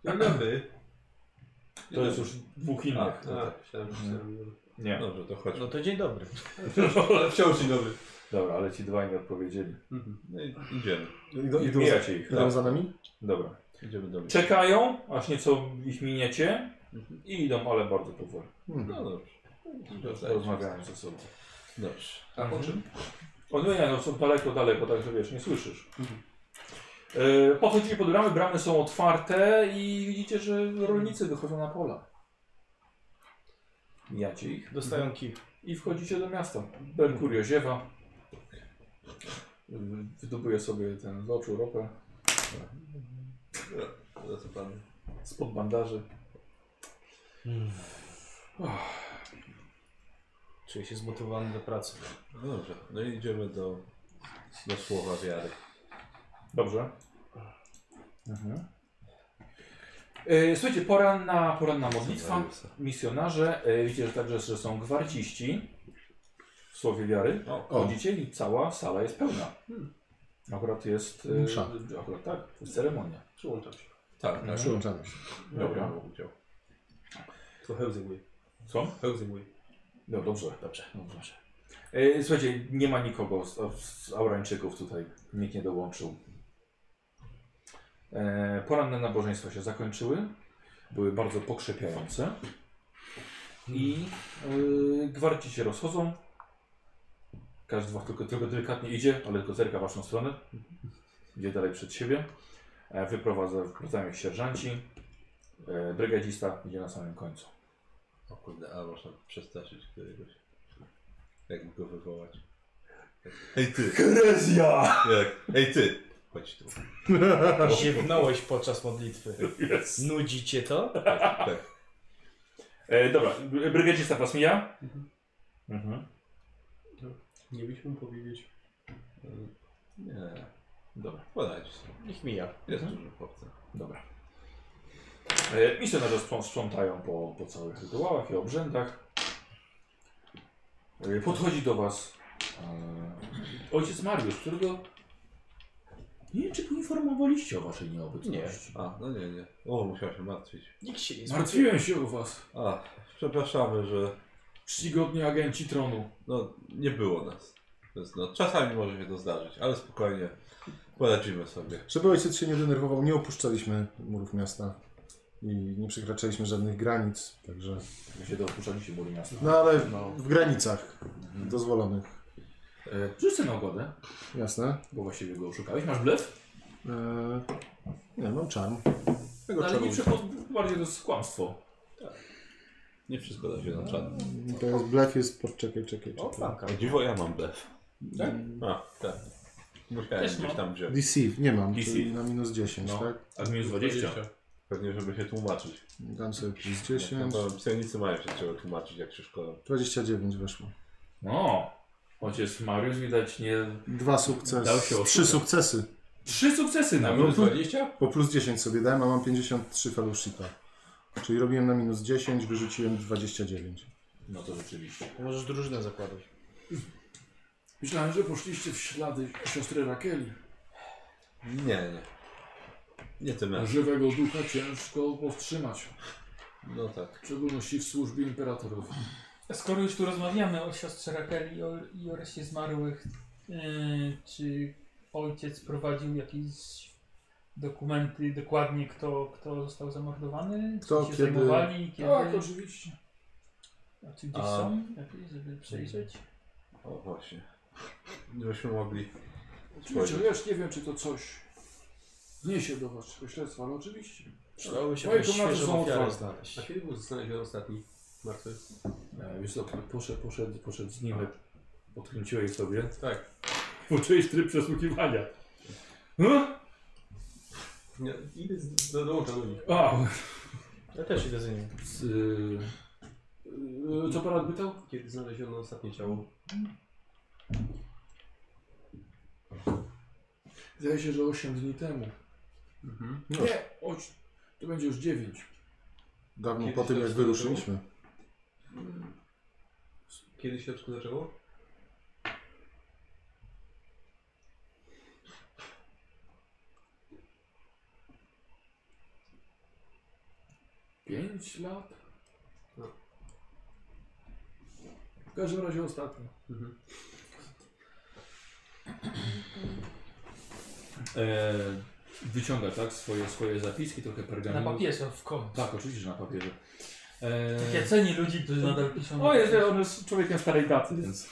Speaker 6: Dzień dobry.
Speaker 1: To jest już dwóch innych.
Speaker 2: A,
Speaker 6: A, myślałem, że chciałem-
Speaker 1: Nie.
Speaker 2: Dobrze, to chodźmy.
Speaker 3: No to dzień dobry.
Speaker 6: Ale wciąż dzień dobry.
Speaker 1: Dobra, ale ci dwaj nie odpowiedzieli.
Speaker 2: No i idziemy.
Speaker 5: Idą, idą, za,
Speaker 1: Mijacie ich.
Speaker 5: idą za nami?
Speaker 1: Dobra.
Speaker 2: Idziemy do mnie.
Speaker 1: Czekają, aż nieco ich miniecie i idą, ale bardzo powoli.
Speaker 5: Hmm.
Speaker 2: No dobrze. Dobrze.
Speaker 1: Rozmawiają ze sobą.
Speaker 2: Dobrze. Mhm.
Speaker 6: A po czym?
Speaker 1: Oni nie, no są daleko, daleko, także wiesz, nie słyszysz.
Speaker 6: Mhm.
Speaker 1: E, Podchodzicie pod bramy, bramy są otwarte i widzicie, że rolnicy wychodzą na pola. Mijacie ich
Speaker 3: Dostają kij.
Speaker 1: i wchodzicie do miasta. Merkurio ziewa. Wy- Wydobuje sobie ten z oczu ropę
Speaker 2: Zasypany.
Speaker 1: spod bandaży.
Speaker 3: Czuję się zmotywowany do pracy.
Speaker 2: No dobrze, no i idziemy do, do słowa wiary.
Speaker 1: Dobrze. Mhm. E, Słuchajcie, poranna, poranna modlitwa. misjonarze, e, widzicie że także, że są gwarciści w Słowie Wiary.
Speaker 2: O. Hmm.
Speaker 1: Chodzicie i cała sala jest pełna. Akurat jest... e,
Speaker 5: Msza.
Speaker 1: Akurat tak, to jest ceremonia.
Speaker 6: Przyłączam się.
Speaker 2: Tak, tak.
Speaker 5: Przyłączamy się.
Speaker 2: Dobra. Udział.
Speaker 6: To Hełzygły.
Speaker 1: Co?
Speaker 6: Hełzygły.
Speaker 1: No dobrze, dobrze. No, dobrze. E, Słuchajcie, nie ma nikogo z, z Aurańczyków tutaj. Nikt nie dołączył. E, Poranne nabożeństwa się zakończyły. Były bardzo pokrzepiające. I e, gwarci się rozchodzą. Każdy z was tylko, tylko delikatnie idzie, ale tylko zerka w waszą stronę. Idzie dalej przed siebie. E, wyprowadza, wyprowadzają ich sierżanci. E, brygadzista idzie na samym końcu.
Speaker 2: O kurde, a można przestraszyć któregoś. Jak go wywołać. Ej ty!
Speaker 1: Herezja!
Speaker 2: Jak? Ej ty! Chodź tu.
Speaker 3: Ziewnąłeś podczas modlitwy.
Speaker 1: Yes.
Speaker 3: Nudzi cię to?
Speaker 2: Tak.
Speaker 1: E, dobra, bry- brygadzista was mija. Mhm.
Speaker 6: Nie byliśmy powiedzieć.
Speaker 2: Nie,
Speaker 1: Dobra,
Speaker 2: podajcie sobie.
Speaker 3: Niech mija. Mhm.
Speaker 2: Jest dużo chłopca.
Speaker 1: dobra. E, misjonarze sprą- sprzątają po, po całych rytuałach i obrzędach. E, podchodzi do was e, ojciec Mariusz, którego nie wiem, czy poinformowaliście o waszej nieobecności.
Speaker 2: A, no nie, nie. O, musiałem się martwić.
Speaker 3: Nikt się nie
Speaker 1: Martwiłem się o was.
Speaker 2: A, przepraszamy, że
Speaker 1: Czcigodni agenci tronu.
Speaker 2: no, nie było nas. Więc, no, czasami może się to zdarzyć, ale spokojnie. Poradzimy sobie.
Speaker 5: Żeby ojciec się nie denerwował, nie opuszczaliśmy murów miasta i nie przekraczaliśmy żadnych granic, także...
Speaker 1: Wy się dopuszczaliście muru miasta.
Speaker 5: No ale
Speaker 1: No.
Speaker 5: w granicach dozwolonych.
Speaker 1: E, rzuć sobie na ogładę,
Speaker 5: Jasne.
Speaker 1: bo właściwie go oszukałeś. Masz blef?
Speaker 5: Eee, nie, mam czarm. Tego
Speaker 1: No, Ale
Speaker 5: czarmu.
Speaker 1: nie przypomnę, bardziej to jest kłamstwo.
Speaker 2: Nie wszystko da się na czarno.
Speaker 5: To jest blef jest... po- Czekaj, czekaj,
Speaker 3: O,
Speaker 5: czekaj.
Speaker 3: flanka.
Speaker 2: A dziwo ja mam blef.
Speaker 1: Tak?
Speaker 2: A, tak. Musiałem
Speaker 4: Też
Speaker 2: gdzieś
Speaker 4: mam.
Speaker 2: tam wziąć.
Speaker 5: Deceive, nie mam,
Speaker 1: Deceive.
Speaker 5: czyli na minus 10,
Speaker 1: No.
Speaker 5: tak?
Speaker 1: A minus 20.
Speaker 2: Pewnie, żeby się tłumaczyć.
Speaker 5: Dam sobie plus
Speaker 2: No,
Speaker 5: 10.
Speaker 2: to Psionicy mają się czego tłumaczyć, jak się szkolą.
Speaker 5: 29 weszło.
Speaker 1: No, ojciec Mariusz widać nie...
Speaker 5: Dwa
Speaker 1: Dał się
Speaker 5: sukcesy.
Speaker 1: oszukać.
Speaker 5: Trzy sukcesy.
Speaker 1: Trzy sukcesy na Tak, minus 20?
Speaker 5: Po plus 10 sobie dałem, a mam 53 fellowshipa. Czyli robiłem na minus 10, wyrzuciłem 29.
Speaker 1: No to rzeczywiście.
Speaker 3: Możesz drużynę zakładać.
Speaker 1: Myślałem, że poszliście w ślady siostry Rakeli.
Speaker 2: Nie, nie. Nie tym razem.
Speaker 1: Żywego ducha ciężko powstrzymać,
Speaker 2: No tak.
Speaker 1: w szczególności w służbie imperatorowi.
Speaker 4: Skoro już tu rozmawiamy o siostrze Rakeli i o, i o reszcie zmarłych, yy, czy ojciec prowadził jakieś dokumenty dokładnie, kto, kto został zamordowany?
Speaker 5: Kto,
Speaker 4: czy się
Speaker 5: kiedy?
Speaker 4: zajmowali?
Speaker 1: Tak,
Speaker 4: Kiedy?
Speaker 7: Tak,
Speaker 1: oczywiście.
Speaker 4: A czy gdzieś
Speaker 2: A.
Speaker 4: są jakieś, żeby przejrzeć?
Speaker 2: O, właśnie. Gdybyśmy mogli.
Speaker 7: Oczywiście, ja już nie wiem, czy to coś wniesie do waszego śledztwa, ale oczywiście.
Speaker 3: Przydałoby się
Speaker 7: Moje
Speaker 3: jakąś
Speaker 7: komnaty
Speaker 3: świeżą
Speaker 7: są
Speaker 3: ofiarę
Speaker 7: otwarte.
Speaker 3: znaleźć.
Speaker 6: A kiedy był znaleziony ostatni martwy?
Speaker 1: E, Wiesz co, poszedł, poszedł, poszedł z nim, odkręciłeś sobie.
Speaker 6: Tak.
Speaker 1: Włączyłeś tryb przesłuchiwania. No?
Speaker 6: Ja idę z- do, dołączam do nich.
Speaker 1: A,
Speaker 3: Ja też idę za nim.
Speaker 1: z, y, y, co parat pytał?
Speaker 6: Kiedy znaleziono ostatnie ciało?
Speaker 7: Zdaje się, że 8 dni temu.
Speaker 6: Mhm.
Speaker 5: No.
Speaker 7: Nie, oś... to będzie już 9.
Speaker 5: Dawno
Speaker 6: Kiedyś
Speaker 5: po tym,
Speaker 6: to
Speaker 5: jak
Speaker 6: się
Speaker 5: wyruszyliśmy.
Speaker 6: Kiedy się wszystko zaczęło?
Speaker 7: Pięć lat?
Speaker 6: No.
Speaker 7: W każdym razie ostatnio.
Speaker 6: Mhm.
Speaker 1: E, wyciąga tak swoje, swoje zapiski, trochę pergaminu.
Speaker 4: Na papierze, w końcu.
Speaker 1: Tak, oczywiście, że na papierze. E,
Speaker 4: Ja cenię ludzi, którzy nadal piszą.
Speaker 1: o, jest, on jest człowiekiem starej daty, więc.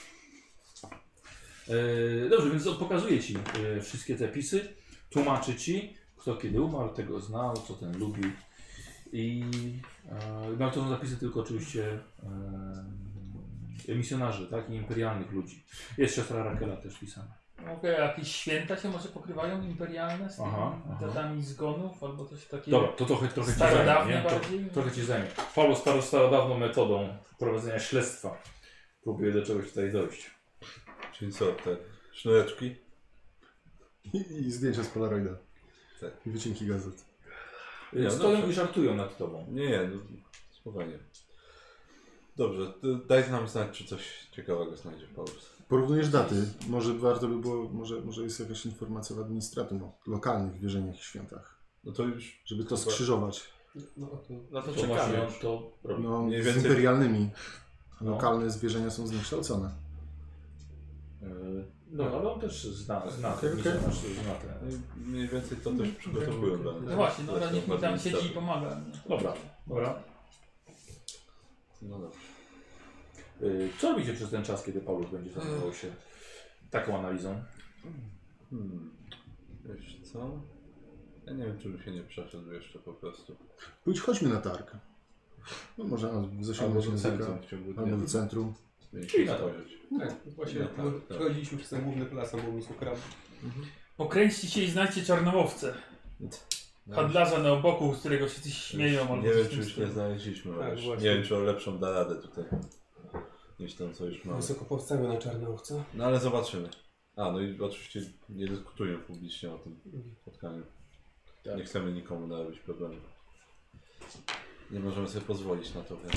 Speaker 1: E, dobrze, więc on pokazuje ci e, wszystkie te pisy, tłumaczy ci, kto kiedy umarł, tego znał, co ten lubił. I e, no, to są zapisy tylko oczywiście e, misjonarzy, tak? I imperialnych ludzi. Jest siostra Rakela też pisana.
Speaker 4: Okej, a No jakieś święta się może pokrywają imperialne z tymi
Speaker 1: Aha, aha.
Speaker 4: datami zgonów albo coś takiego?
Speaker 1: Dobra, to trochę, trochę ci zajmie,
Speaker 4: Starodawne
Speaker 1: nie? To,
Speaker 4: bardziej?
Speaker 1: trochę ci zajmie. Paulo staro, starodawną metodą prowadzenia śledztwa próbuje do czegoś tutaj dojść.
Speaker 2: Czyli co, te sznureczki?
Speaker 5: I, i zdjęcia z Polaroida.
Speaker 2: Tak.
Speaker 5: I wycinki gazet.
Speaker 2: Nie, no
Speaker 1: Stoją
Speaker 2: dobrze.
Speaker 1: i żartują nad tobą.
Speaker 2: Nie, nie, no, spokojnie. Dobrze, to daj nam znać, czy coś ciekawego znajdzie w Polsce.
Speaker 5: Porównujesz daty. Może warto by było, może, może jest jakaś informacja w administratum o lokalnych wierzeniach i świętach.
Speaker 2: No to już
Speaker 5: Żeby to skrzyżować.
Speaker 6: No, to-
Speaker 3: No to
Speaker 1: To właśnie
Speaker 3: czekamy.
Speaker 1: on to robi.
Speaker 5: No,
Speaker 2: Mniej
Speaker 5: z
Speaker 2: więcej-
Speaker 5: imperialnymi.
Speaker 1: No.
Speaker 5: Lokalne zwierzenia są zniekształcone.
Speaker 1: Yy, No, ale on też zna, zna,
Speaker 5: Okej,
Speaker 1: ten
Speaker 5: okej.
Speaker 1: misjonarz, zna te.
Speaker 2: mniej więcej to też przygotowują dla
Speaker 4: No właśnie, no
Speaker 2: dla
Speaker 4: Ranik mi tam
Speaker 2: administracji.
Speaker 4: siedzi i pomaga. nie?
Speaker 1: Dobra, dobra.
Speaker 2: No dobrze.
Speaker 1: Yy, Co robicie przez ten czas, kiedy Paulus będzie zajmował się taką analizą?
Speaker 2: Hmm. Wiesz co? Ja nie wiem, czy bym się nie przeszedł jeszcze po prostu.
Speaker 5: Pójdź, chodźmy na targ. No, może nas
Speaker 2: Albo
Speaker 5: zasiągnąć
Speaker 2: do
Speaker 5: języka.
Speaker 2: centrum w ciągu
Speaker 5: Albo do
Speaker 2: dnia.
Speaker 5: centrum.
Speaker 1: Czyli
Speaker 2: Mieliśmy
Speaker 1: na
Speaker 2: spojrzeć.
Speaker 6: Tak, właśnie
Speaker 2: No tak,
Speaker 6: no,
Speaker 2: tak.
Speaker 6: przechodziliśmy przez ten główny las obok Misokramu.
Speaker 4: Pokręćcie się i znajdźcie czarnołowce. Handlarza na oboku, z którego wszyscy się śmieją. albo
Speaker 2: No. Nie
Speaker 4: coś
Speaker 2: wiem,
Speaker 4: w
Speaker 2: czy
Speaker 4: tym
Speaker 2: już
Speaker 4: stylu.
Speaker 2: nie znaleźliśmy, ale
Speaker 6: Tak,
Speaker 2: już nie
Speaker 6: właśnie.
Speaker 2: wiem, czy on lepszą da radę tutaj niż tam, co już mamy.
Speaker 6: No. Wysoko powstały na czarnołowca.
Speaker 2: No ale zobaczymy. A, no i oczywiście nie dyskutuję publicznie o tym spotkaniu. Nie chcemy nikomu narobić problemu. Nie możemy sobie pozwolić na to wręcz.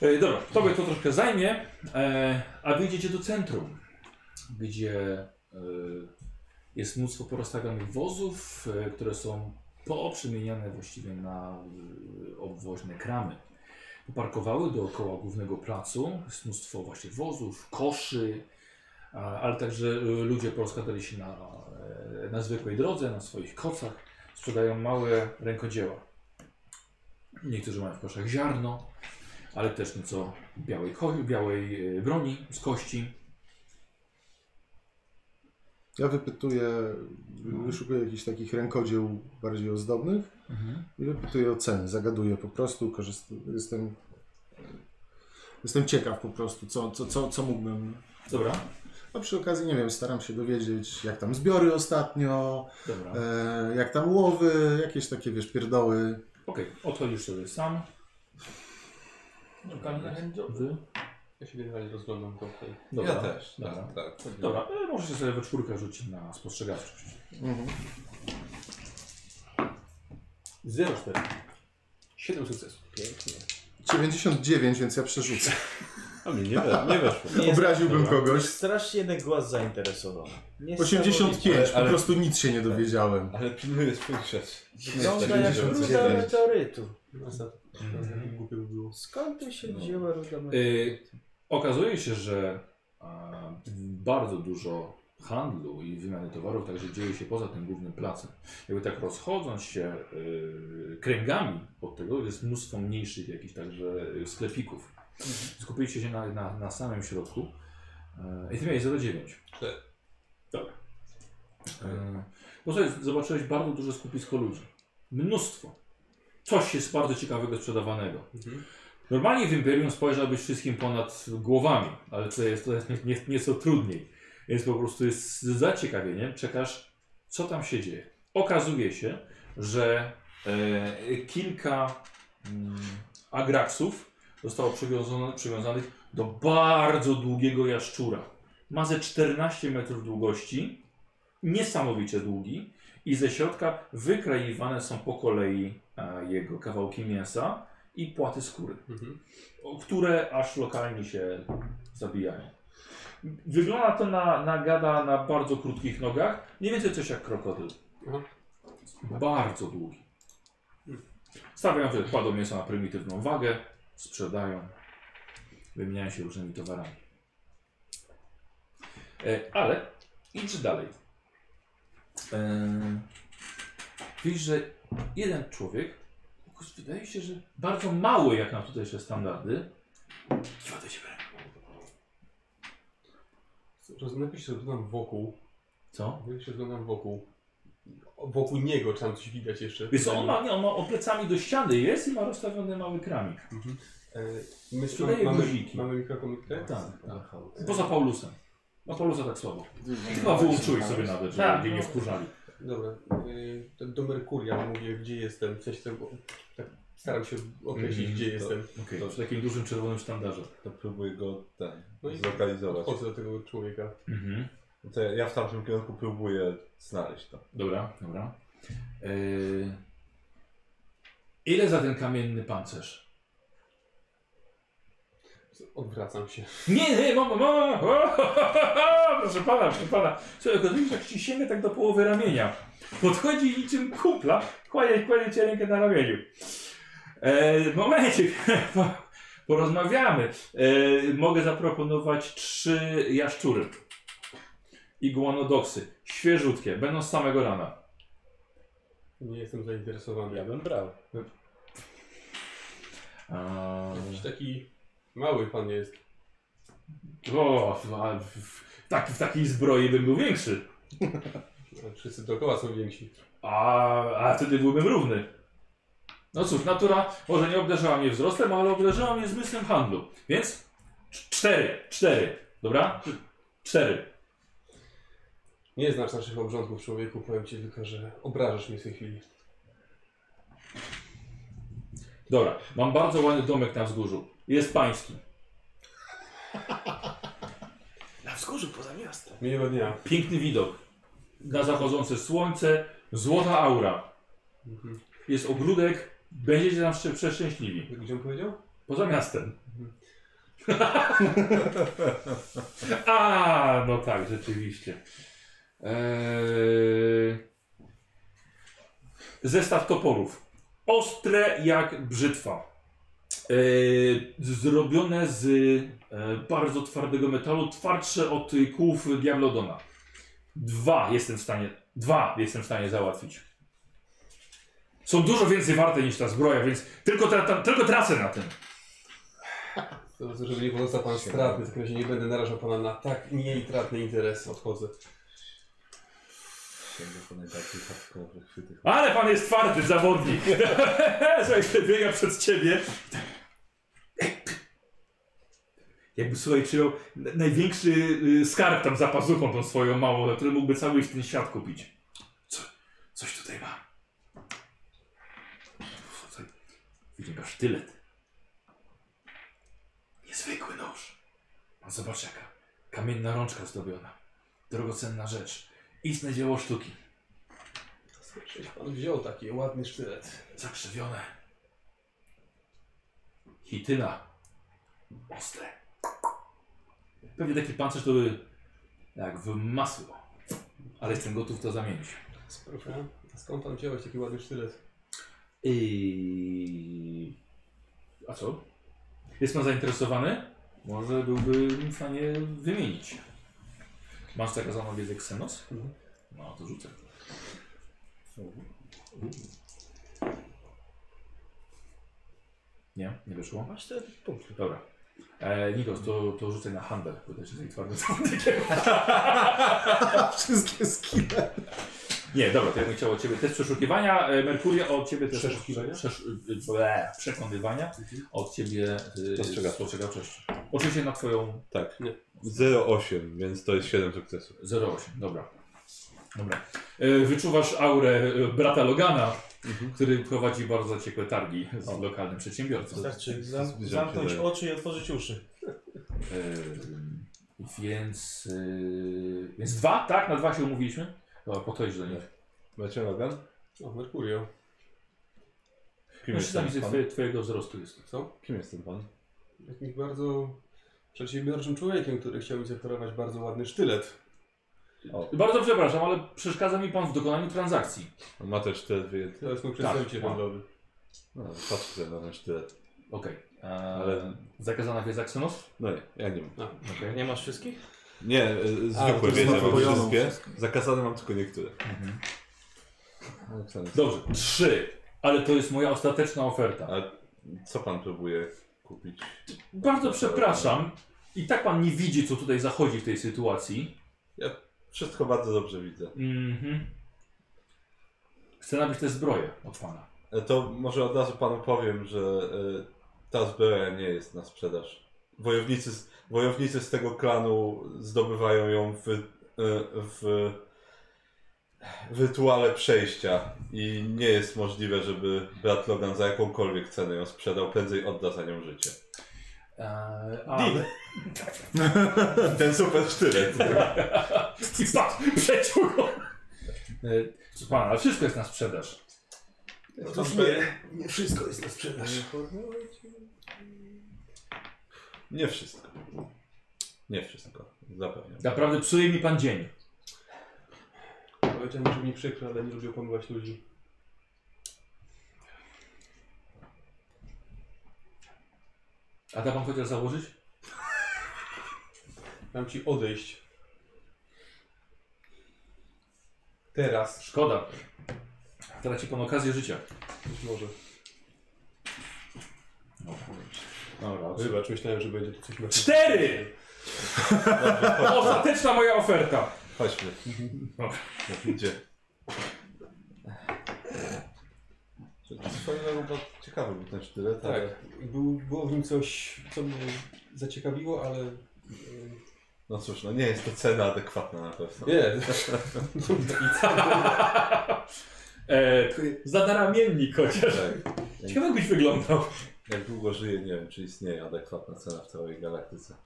Speaker 1: E, Dobra, tobie to troszkę zajmie, e, a wy idziecie do centrum, gdzie e, jest mnóstwo porozstawianych wozów, e, które są pooprzemieniane właściwie na e, obwoźne kramy. Poparkowały dookoła głównego placu, jest mnóstwo właśnie wozów, koszy, a- ale także e, ludzie porozkładali się na, e, na zwykłej drodze, na swoich kocach, sprzedają małe rękodzieła. Niektórzy mają w koszach ziarno, ale też nieco białej, ko- białej e, broni z kości.
Speaker 5: Ja wypytuję,
Speaker 2: No.
Speaker 5: wyszukuję jakichś takich rękodzieł bardziej ozdobnych i wypytuję o ceny. Zagaduję po prostu, korzyst... jestem, jestem ciekaw po prostu, co, co, co, co mógłbym.
Speaker 1: Dobra,
Speaker 5: A przy okazji, nie wiem, staram się dowiedzieć, jak tam zbiory ostatnio,
Speaker 1: dobra.
Speaker 2: Tak.
Speaker 1: Okej,
Speaker 5: e, jak tam łowy, jakieś takie, wiesz, pierdoły.
Speaker 1: odchodzisz sobie sam.
Speaker 4: Lokalne handjoby.
Speaker 1: Wy.
Speaker 6: Ja się generalnie rozglądam po tej.
Speaker 1: Dobra.
Speaker 2: Ja też, tak,
Speaker 1: Dobra.
Speaker 2: tak. tak.
Speaker 1: Dobra, e, możecie sobie we czwórkę rzucić na spostrzegawczość.
Speaker 5: Mhm.
Speaker 6: 0,4. 7 sukcesów. Pięknie.
Speaker 5: 99, więc ja przerzucę.
Speaker 2: A mi nie, we, nie weszło.
Speaker 5: Obraziłbym
Speaker 2: Dobra.
Speaker 5: kogoś.
Speaker 3: Strasznie jeden głos zainteresowany.
Speaker 5: 85, po
Speaker 2: Ale- Tak.
Speaker 5: prostu nic się nie dowiedziałem.
Speaker 2: Ale pilnuję swoich rzeczy.
Speaker 3: Wygląda jak
Speaker 2: 49.
Speaker 3: ruda meteorytu.
Speaker 6: Mhm. Głupio by było.
Speaker 3: Skąd tu się
Speaker 2: No.
Speaker 3: wzięła ruda meteorytu?
Speaker 1: Y, okazuje się, że a, bardzo dużo handlu i wymiany towarów także dzieje się poza tym głównym placem. Jakby tak rozchodząc się y, kręgami od tego jest mnóstwo mniejszych jakichś także y, sklepików. Skupiliście się na, na, na samym środku. Y, I ty miałeś 0,9.
Speaker 6: Tak.
Speaker 1: Dobra. Y, bo sobie zobaczyłeś bardzo duże skupisko ludzi. Mnóstwo. Coś jest bardzo ciekawego sprzedawanego.
Speaker 6: Mhm.
Speaker 1: Normalnie w Imperium spojrzałbyś wszystkim ponad głowami, ale to jest, to jest nie, nie, nieco trudniej. Więc po prostu jest z zaciekawieniem, czekasz, co tam się dzieje. Okazuje się, że e, kilka mm, agraksów zostało przywiązane, przywiązanych do bardzo długiego jaszczura. Ma ze 14 metrów długości, niesamowicie długi i ze środka wykraiwane są po kolei e, jego kawałki mięsa i płaty skóry
Speaker 6: Mhm.
Speaker 1: o- które aż lokalnie się zabijają. Wygląda to na, na gada na bardzo krótkich nogach, mniej więcej coś jak krokodyl.
Speaker 6: Mhm.
Speaker 1: Bardzo długi. Stawiają, że kładą mięso na prymitywną wagę, sprzedają, wymieniają się różnymi towarami. E, ale idź dalej. E, widzisz, że jeden człowiek Kurz, Wydaje się, że bardzo mały jak na tutejsze standardy. Kiwa do siebie.
Speaker 6: Rozglądam się rozglądam wokół.
Speaker 1: Co?
Speaker 6: Ja się rozglądam wokół. wokół niego czy tam coś widać jeszcze.
Speaker 1: Wiesz co, on ma, nie, on ma on plecami do ściany jest i ma rozstawiony mały kramik.
Speaker 6: E, My
Speaker 1: Sprzedaje
Speaker 6: mamy,
Speaker 1: guziki.
Speaker 6: mamy mikrokomórkę?
Speaker 1: Tak, tak. Poza Paulusem. No Paulusa tak słabo. Chyba wyłączyli sobie nawet, żeby
Speaker 4: Tak,
Speaker 1: tak, nie
Speaker 4: no.
Speaker 1: wkurzali.
Speaker 6: Dobra, y, to do Merkuria mówię, gdzie jestem, coś tam, tak staram się określić,
Speaker 2: Mhm,
Speaker 6: gdzie
Speaker 2: to-
Speaker 6: jestem.
Speaker 1: Okej, przy takim dużym czerwonym sztandarze.
Speaker 2: To próbuję go ten,
Speaker 6: No i-
Speaker 2: zlokalizować.
Speaker 6: Chodzę do tego człowieka.
Speaker 1: Mhm.
Speaker 2: To ja- ja w tamtym kierunku próbuję znaleźć to.
Speaker 1: Dobra, dobra. Yy... Ile za ten kamienny pancerz?
Speaker 6: Odwracam się.
Speaker 1: Nie, nie, mama, mama! [LAUGHS] Proszę pana, proszę pana. Słuchaj, okazuje się, jak ci sięga tak do połowy ramienia. Podchodzi niczym kupla, kładzie, kładzie cię rękę na ramieniu. E, momencik, [LAUGHS] po- porozmawiamy. E, mogę zaproponować trzy jaszczury. Iguanodoksy, świeżutkie, będą z samego rana.
Speaker 6: Nie jestem zainteresowany.
Speaker 3: Ja bym brał.
Speaker 6: Jakiś taki mały pan jest.
Speaker 1: O, a w, w, tak, w takiej zbroi bym był większy.
Speaker 6: A Wszyscy dookoła są więksi.
Speaker 1: A, a wtedy byłbym równy. No cóż, natura może nie obdarzyła mnie wzrostem, ale obdarzyła mnie zmysłem handlu. Więc cz- cztery, cztery, dobra? Cztery.
Speaker 6: Nie znasz naszych obrządków, człowieku, powiem ci tylko, że obrażasz mnie w tej chwili.
Speaker 1: Dobra, mam bardzo ładny domek na wzgórzu. Jest pański.
Speaker 7: Na wzgórzu poza miastem.
Speaker 6: Miłego dnia.
Speaker 1: Piękny widok. Na zachodzące słońce, złota aura.
Speaker 6: Mhm.
Speaker 1: Jest ogródek, będziecie tam szczę- przeszczęśliwi.
Speaker 6: Gdzie on powiedział?
Speaker 1: Poza miastem. A, no tak, rzeczywiście. E, Eee... Zestaw toporów. Ostre jak brzytwa. Eee, zrobione z e, bardzo twardego metalu, twardsze od y, kłów Diablodona. Dwa jestem w stanie, dwa jestem w stanie załatwić. Są dużo więcej warte niż ta zbroja, więc tylko, tra ta, tylko tracę na tym.
Speaker 6: To, to, żeby nie pozostał pan stratny, w takim razie nie będę narażał pana na tak nieintratny interes. Odchodzę.
Speaker 2: Sięgam po najbardziej hardcore chwyty.
Speaker 1: Ale pan jest twardy zawodnik. [LAUGHS] Słuchaj, biega przed ciebie. Jakby słuchaj, przyjął n- największy y, skarb tam za pazuchą tą swoją małą, na który mógłby cały ten świat kupić. Co, coś tutaj ma. Słuchaj, Wyciąga sztylet. Niezwykły nóż. Pan zobacz jaka. Kamienna rączka zdobiona. Drogocenna rzecz. Istne dzieło sztuki.
Speaker 6: Przecież pan wziął taki ładny sztylet.
Speaker 1: Zakrzywione. Hityna. Ostre. Pewnie taki pancerz to by jak w masło. Ale jestem gotów to zamienić.
Speaker 6: Proszę. A skąd pan wziąłeś taki ładny sztylet?
Speaker 1: I... A co? Jest pan zainteresowany? Może byłbym w stanie wymienić. Masz zakazaną wiedzę Xenos?
Speaker 6: Mhm.
Speaker 1: No to rzucę. Nie, nie wyszło.
Speaker 3: Masz te punkty.
Speaker 1: Dobra. E, Nikos, to, to rzucaj na handel, bo też jesteś twardym zawodnikiem.
Speaker 5: Wszystkie skille.
Speaker 1: Nie, dobra, to ja bym chciał od Ciebie też przeszukiwania. E, Merkuria od Ciebie też...
Speaker 6: Przeszukiwania?
Speaker 1: Przesz, y, ble, przekonywania. Od Ciebie... y,
Speaker 2: Dostrzegawczość.
Speaker 1: Dostrzegawczość. Oczywiście na Twoją
Speaker 2: Tak.
Speaker 6: Nie.
Speaker 2: 0,8, więc to jest 7 sukcesów.
Speaker 1: 08, dobra. Dobra. E, Wyczuwasz aurę e, brata Logana, który prowadzi bardzo ciekłe targi z lokalnym przedsiębiorcą.
Speaker 3: Wystarczy
Speaker 2: zbliżam
Speaker 3: zam
Speaker 2: się
Speaker 3: zamknąć
Speaker 2: do-
Speaker 3: oczy i otworzyć uszy.
Speaker 1: Ym, E, więc, yy, więc dwa, tak? Na dwa się umówiliśmy? Dobra, podchodzisz do nich.
Speaker 2: Macie Logan?
Speaker 6: O, Merkurio.
Speaker 2: Kim jest
Speaker 1: Mężczyzna
Speaker 2: ten
Speaker 1: widzę
Speaker 2: pan?
Speaker 1: twoje, twojego wzrostu jest.
Speaker 6: Co?
Speaker 2: Kim jest ten pan?
Speaker 6: Jakimś bardzo przedsiębiorczym człowiekiem, który chciał mi zaoferować bardzo ładny sztylet.
Speaker 2: O,
Speaker 1: Bardzo przepraszam, ale przeszkadza mi pan w dokonaniu transakcji.
Speaker 2: on ma też sztylet wyjęty.
Speaker 6: To jest mój przedstawiciel
Speaker 1: Tak.
Speaker 6: handlowy.
Speaker 2: No, patrzę sobie na ten sztylet.
Speaker 1: Okej. Ale...
Speaker 2: Ale-
Speaker 1: Zakazana wiedza Xenos?
Speaker 2: No nie, ja nie mam.
Speaker 1: Okej.
Speaker 3: Nie masz wszystkich?
Speaker 2: Nie, e,
Speaker 6: A, to
Speaker 2: zwykłe
Speaker 6: jest
Speaker 2: wiedzę mam
Speaker 5: zapojone
Speaker 2: wszystkie.
Speaker 5: wszystko.
Speaker 2: Zakazane mam tylko niektóre.
Speaker 1: Mhm.
Speaker 2: Napisane jest.
Speaker 1: Dobrze, trzy. Ale to jest moja ostateczna oferta.
Speaker 2: A co pan próbuje kupić?
Speaker 1: Bardzo przepraszam. I tak pan nie widzi, co tutaj zachodzi w tej sytuacji.
Speaker 2: Wszystko bardzo dobrze widzę.
Speaker 1: Mhm. Chcę nabyć te zbroje od pana.
Speaker 2: E, To może od razu panu powiem, że e, ta zbroja nie jest na sprzedaż. Wojownicy z, wojownicy z tego klanu zdobywają ją w, e, w, w rytuale przejścia i nie jest możliwe, żeby brat Logan za jakąkolwiek cenę ją sprzedał, prędzej odda za nią życie.
Speaker 1: Eee,
Speaker 2: Deal. Ten super sztylet.
Speaker 1: [LAUGHS] I patrz, przeciął go. Eee, Proszę pana, ale wszystko jest na sprzedaż.
Speaker 2: Otóż
Speaker 6: nie, nie wszystko jest na sprzedaż.
Speaker 2: Nie wszystko. Nie wszystko, zapewniam.
Speaker 1: Naprawdę psuje mi pan dzień.
Speaker 6: Powiedziałem, że mi przykro, ale nie lubię pomyłać ludzi.
Speaker 1: A da pan chociaż założyć?
Speaker 6: Mam ci odejść. Teraz,
Speaker 1: Szkoda. Traci pan okazję życia.
Speaker 6: być może.
Speaker 1: Dobra,
Speaker 6: Wybacz, myślałem, że będzie tu coś na
Speaker 1: Cztery! Ostateczna moja oferta.
Speaker 2: Chodźmy.
Speaker 1: Dobra.
Speaker 2: No, idzie. Fajna chyba ciekawy był ten sztylet, tak. ale
Speaker 6: Tak, był, było w nim coś, co mnie zaciekawiło, ale... e,
Speaker 2: no cóż, no nie jest to cena adekwatna na pewno.
Speaker 6: Nie,
Speaker 1: E, zadaramiennik chociaż.
Speaker 2: Tak.
Speaker 1: Ciekawe jakbyś wyglądał.
Speaker 2: Jak długo żyje, nie wiem, czy istnieje adekwatna cena w całej galaktyce.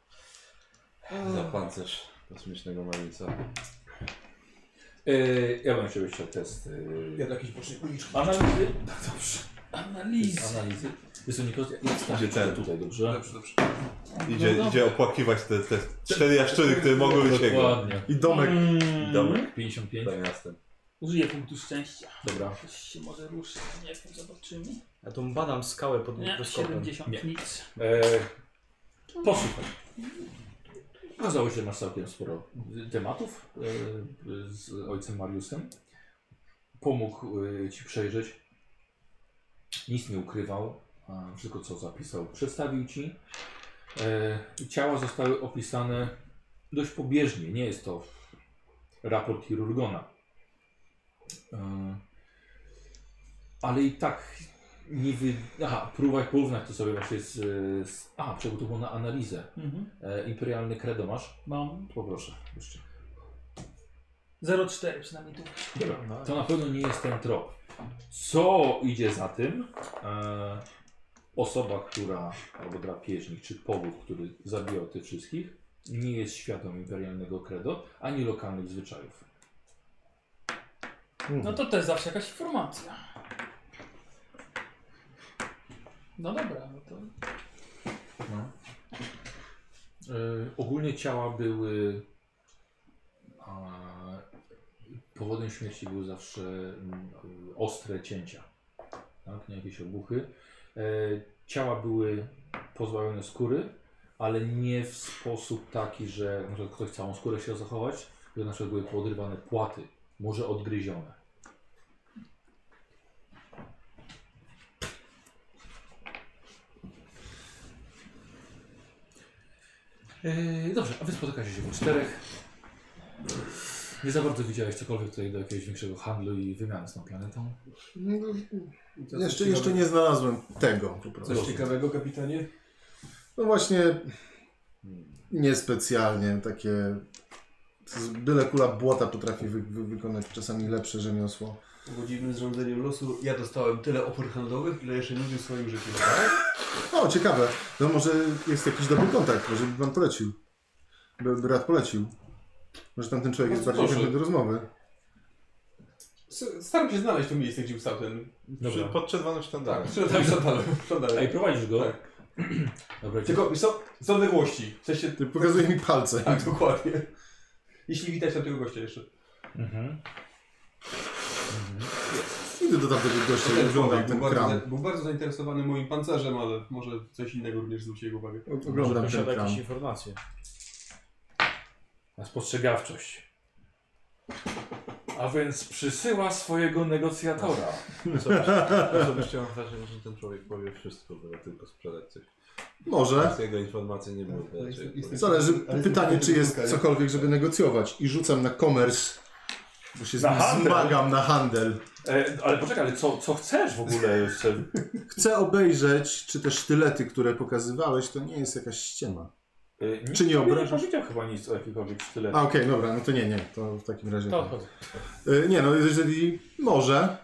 Speaker 2: Za pancerz kosmicznego marnica.
Speaker 1: E, ja bym chciał jeszcze test.
Speaker 6: ja
Speaker 1: E,
Speaker 6: do jakiejś bocznej uliczki.
Speaker 1: analizy? No dobrze.
Speaker 4: Analiz.
Speaker 1: Analizy. Jest to Nikos, jak
Speaker 2: Gdzie ten?
Speaker 1: tutaj, dobrze?
Speaker 6: dobrze.
Speaker 2: Idzie,
Speaker 4: dobra.
Speaker 2: idzie opłakiwać te, te cztery jaszczury, które mogły być jego.
Speaker 1: Dokładnie.
Speaker 5: I domek.
Speaker 4: Mm.
Speaker 2: Domek. Tak,
Speaker 1: 55.
Speaker 2: Za miastem.
Speaker 4: Użyję punktu szczęścia.
Speaker 1: Dobra.
Speaker 4: Coś się może ruszyć, nie wiem, zobaczymy.
Speaker 3: Ja tą badam skałę pod
Speaker 4: Nie,
Speaker 3: mikroskopem.
Speaker 4: 70
Speaker 1: Nie.
Speaker 4: nic.
Speaker 1: E, posłuchaj. Okazało się, że masz całkiem sporo y, tematów e, z ojcem Mariuszem. Pomógł e, ci przejrzeć. Nic nie ukrywał. a Wszystko, co zapisał, przedstawił ci. E, i ciała zostały opisane dość pobieżnie. Nie jest to raport chirurgona. E, ale i tak nie wy... Aha, próbaj porównać to sobie właśnie z... z... A, przygotował na analizę.
Speaker 4: Mhm.
Speaker 1: E, imperialny kredo masz?
Speaker 4: Mam
Speaker 1: Poproszę. Jeszcze.
Speaker 4: 0,4 przynajmniej tu.
Speaker 1: Dobra. To na pewno nie jest ten trop. Co idzie za tym? E, osoba, która, albo drapieżnik, czy powód, który zabijał tych wszystkich, nie jest świadom imperialnego credo, ani lokalnych zwyczajów.
Speaker 4: No to to jest zawsze jakaś informacja. No dobra, no to [LAUGHS]
Speaker 1: E, ogólnie ciała były. A, powodem śmierci były zawsze mm, ostre cięcia, tak? nie jakieś obuchy. E, ciała były pozbawione skóry, ale nie w sposób taki, że na przykład ktoś całą skórę chciał zachować, tylko na przykład były podrywane płaty, może odgryzione. E, dobrze, a wy spotykacie się po czterech. Nie za bardzo widziałeś cokolwiek tutaj do jakiegoś większego handlu i wymiany z tą planetą.
Speaker 5: No,
Speaker 6: Co
Speaker 5: Jeszcze,
Speaker 6: ciekawego-
Speaker 5: jeszcze nie znalazłem tego po prostu.
Speaker 6: Coś ciekawego, kapitanie?
Speaker 5: No właśnie niespecjalnie takie z- byle kula błota potrafi wy, wy, wykonać czasami lepsze rzemiosło.
Speaker 6: Pogodzimy z rządzeniem losu. Ja dostałem tyle opór handlowych, ile jeszcze nigdy w swoim życiu.
Speaker 5: O, ciekawe. No może jest jakiś dobry kontakt, może by pan polecił. By, by rad polecił. Może tamten człowiek jest
Speaker 6: Bardzo
Speaker 5: bardziej
Speaker 6: proszę.
Speaker 5: chętny do rozmowy.
Speaker 6: S- Staram się znaleźć to miejsce, gdzie wstał ten...
Speaker 2: Przy, pod czerwonym sztandarem.
Speaker 6: Przy- Tak, szandalem.
Speaker 1: Ej,
Speaker 6: szandalem.
Speaker 1: prowadzisz go?
Speaker 6: Tak.
Speaker 1: [CLEARS THROAT] Dobra, Tylko...
Speaker 6: Tylko są, są odległości. W sensie...
Speaker 5: Ty pokazuje mi palce.
Speaker 6: Tak, dokładnie. Jeśli widać tamtego gościa jeszcze.
Speaker 1: Mhm.
Speaker 5: Idę do tamtego gościa i oglądam ten
Speaker 6: tak, był, bardzo,
Speaker 5: kram.
Speaker 6: był bardzo zainteresowany moim pancerzem, ale może coś innego również zwróci jego uwagę.
Speaker 5: O- Oglądam
Speaker 3: Może
Speaker 5: ten
Speaker 3: posiada
Speaker 5: kram.
Speaker 3: jakieś informacje.
Speaker 1: Na spostrzegawczość.
Speaker 7: A więc przysyła swojego negocjatora.
Speaker 2: Tak. Osobiście mam wrażenie, że ten człowiek powie wszystko, byle tylko sprzedać coś.
Speaker 5: Może.
Speaker 2: Z jego informacji nie było.
Speaker 6: Tak, jest-
Speaker 2: raczej
Speaker 6: jest-
Speaker 2: powie-
Speaker 5: Zależy.
Speaker 6: Ale
Speaker 5: Pytanie,
Speaker 6: jest-
Speaker 5: czy jest
Speaker 6: jest-
Speaker 5: cokolwiek, żeby negocjować. I rzucam na commerce Bo się z
Speaker 1: Na
Speaker 5: nim
Speaker 1: handel?
Speaker 5: zmagam na handel.
Speaker 1: E, ale poczekaj, ale co, co chcesz w ogóle jeszcze?
Speaker 5: Chcę obejrzeć, czy te sztylety, które pokazywałeś, to nie jest jakaś ściema.
Speaker 1: E, nikt
Speaker 5: Czy nie
Speaker 1: tobie
Speaker 5: obrażasz?
Speaker 1: Nie powiedział chyba nic o jakichkolwiek sztyletach.
Speaker 5: A okej, dobra, no to nie, nie, to w takim razie.
Speaker 3: To
Speaker 5: nie.
Speaker 3: chodź.
Speaker 5: Y, Nie no, jeżeli może.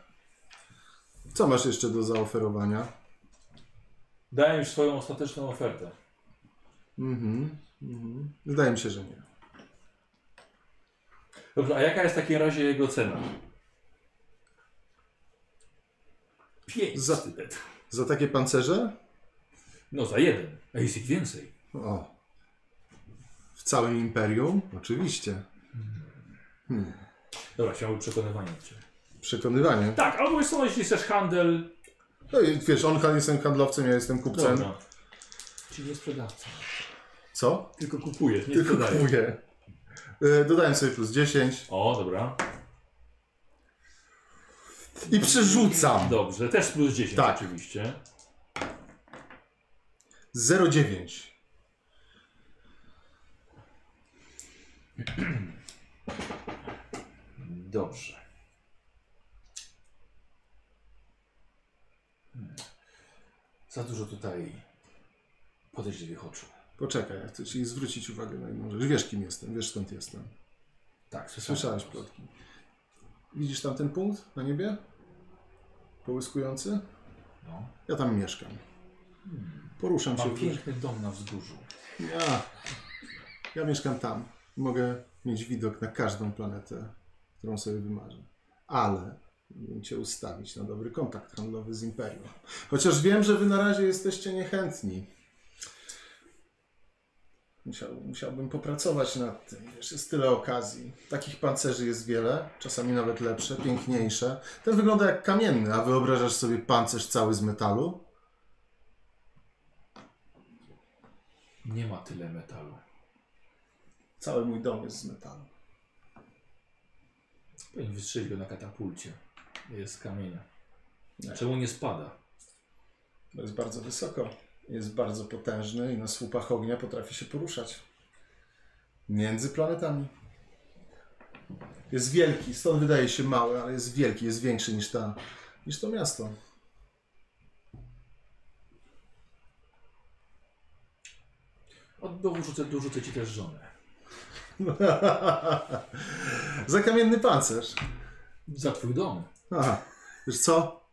Speaker 5: Co masz jeszcze do zaoferowania?
Speaker 1: Dałem już swoją ostateczną ofertę.
Speaker 5: Mhm. mhm. Wydaje mi się, że nie.
Speaker 1: Dobrze, a jaka jest w takim razie jego cena? Pięć
Speaker 5: Za-
Speaker 1: stylet.
Speaker 5: Za takie pancerze?
Speaker 1: No za jeden. A jest ich więcej.
Speaker 5: O. W całym imperium? Oczywiście. Hmm.
Speaker 1: Dobra, chciałbym przekonywanie cię.
Speaker 5: Przekonywanie.
Speaker 1: Tak, albo jest to, jeśli chcesz handel.
Speaker 5: No i wiesz, on han- jestem handlowcem, ja jestem kupcem.
Speaker 1: Dobra. Czyli nie sprzedawca.
Speaker 5: Co?
Speaker 1: Tylko kupujesz, nie
Speaker 5: Tylko
Speaker 1: sprzedajesz.
Speaker 5: kupuję. Y, Dodałem sobie plus 10
Speaker 1: O, dobra.
Speaker 5: i przerzucam.
Speaker 1: Dobrze, też plus 10
Speaker 5: Tak.
Speaker 1: oczywiście.
Speaker 5: 0,9.
Speaker 1: Dobrze. Hmm. Za dużo tutaj podejrzliwych oczu.
Speaker 5: Poczekaj, ja chcę ci zwrócić uwagę na jedną rzecz. Wiesz, kim jestem, wiesz, skąd jestem.
Speaker 1: Tak, słyszałem.
Speaker 5: Słyszałeś plotki. Widzisz tam ten punkt na niebie? Połyskujący?
Speaker 1: No. Hmm.
Speaker 5: Ja tam mieszkam. Poruszam się
Speaker 1: Mam
Speaker 5: w
Speaker 1: piękny dom na wzgórzu.
Speaker 5: ja, ja mieszkam tam. Mogę mieć widok na każdą planetę, którą sobie wymarzę. Ale mogę cię ustawić na dobry kontakt handlowy z Imperium. Chociaż wiem, że wy na razie jesteście niechętni. Musiał, musiałbym popracować nad tym. Wiesz, jest tyle okazji. Takich pancerzy jest wiele, czasami nawet lepsze, piękniejsze. Ten wygląda jak kamienny, a wyobrażasz sobie pancerz cały z metalu?
Speaker 1: Nie ma tyle metalu.
Speaker 5: Cały mój dom jest z metalu.
Speaker 1: Powinien wystrzelić go na katapulcie. Jest z kamienia.
Speaker 5: Tak.
Speaker 1: Czemu nie spada?
Speaker 5: To jest bardzo wysoko. Jest bardzo potężny i na słupach ognia potrafi się poruszać. Między planetami. Jest wielki, stąd wydaje się mały, ale jest wielki, jest większy niż, ta, niż to miasto. [LAUGHS]
Speaker 1: O, dorzucę, dorzucę ci też żonę.
Speaker 5: Za kamienny pancerz.
Speaker 1: Za twój dom.
Speaker 5: Aha, wiesz co?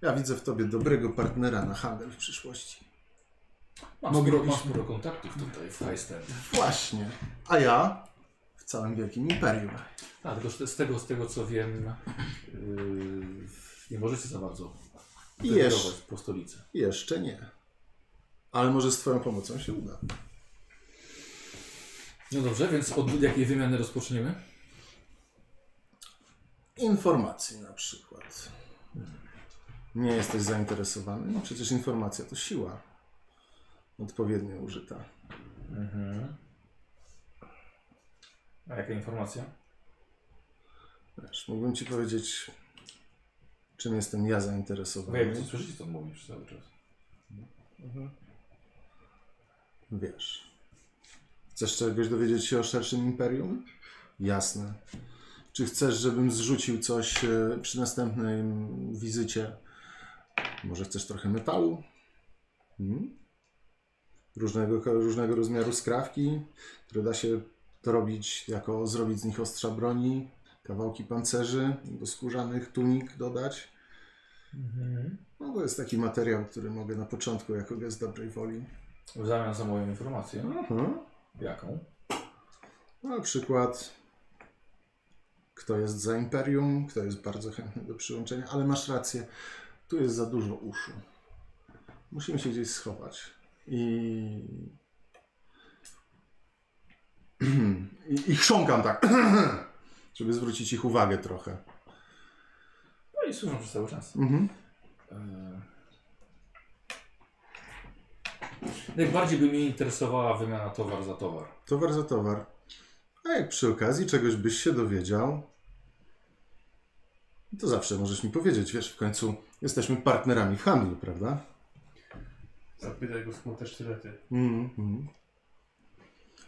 Speaker 5: Ja widzę w tobie dobrego partnera na handel w przyszłości.
Speaker 1: Mam
Speaker 5: Mogę
Speaker 1: sporo,
Speaker 5: robić-
Speaker 1: masz sporo kontaktów tutaj w Highstand.
Speaker 5: Właśnie. A ja w całym wielkim imperium.
Speaker 1: A, Tak, tylko że z tego, z tego co wiem, yy, nie możecie za bardzo
Speaker 5: I
Speaker 1: wędrować
Speaker 5: jeszcze-
Speaker 1: po stolicy.
Speaker 5: Jeszcze nie. Ale może z twoją pomocą się uda.
Speaker 1: No dobrze, więc od jakiej wymiany rozpoczniemy?
Speaker 5: informacji na przykład. Nie jesteś zainteresowany? No przecież informacja to siła. Odpowiednio użyta.
Speaker 1: A jaka informacja?
Speaker 5: Wiesz, mógłbym ci powiedzieć, czym jestem ja
Speaker 1: No Jak to
Speaker 5: zainteresowany.
Speaker 1: słyszycie, co mówisz cały czas.
Speaker 5: Wiesz. Chcesz czegoś dowiedzieć się o szerszym imperium? Jasne. Czy chcesz, żebym zrzucił coś e, przy następnej mm, wizycie? Może chcesz trochę metalu? Hmm? Różnego, różnego rozmiaru skrawki, które da się to robić jako zrobić z nich ostrza broni, kawałki pancerzy, do skórzanych tunik dodać. No to jest taki materiał, który mogę na początku jako gest dobrej woli.
Speaker 1: W zamian za moją informację.
Speaker 5: Mhm.
Speaker 1: Jaką?
Speaker 5: Na przykład, kto jest za imperium, kto jest bardzo chętny do przyłączenia, ale masz rację, tu jest za dużo uszu. Musimy się gdzieś schować. I. [CLEARS THROAT] I, i chrząkam tak, [CLEARS THROAT] żeby zwrócić ich uwagę trochę.
Speaker 1: No i słyszą przez cały czas. Yy.
Speaker 5: Mhm.
Speaker 1: Najbardziej by mnie interesowała wymiana towar za towar.
Speaker 5: Towar za towar. A jak przy okazji czegoś byś się dowiedział, to zawsze możesz mi powiedzieć, wiesz, w końcu jesteśmy partnerami w handlu, prawda?
Speaker 6: Zapytaj go skąd te sztylety.
Speaker 5: Mhm.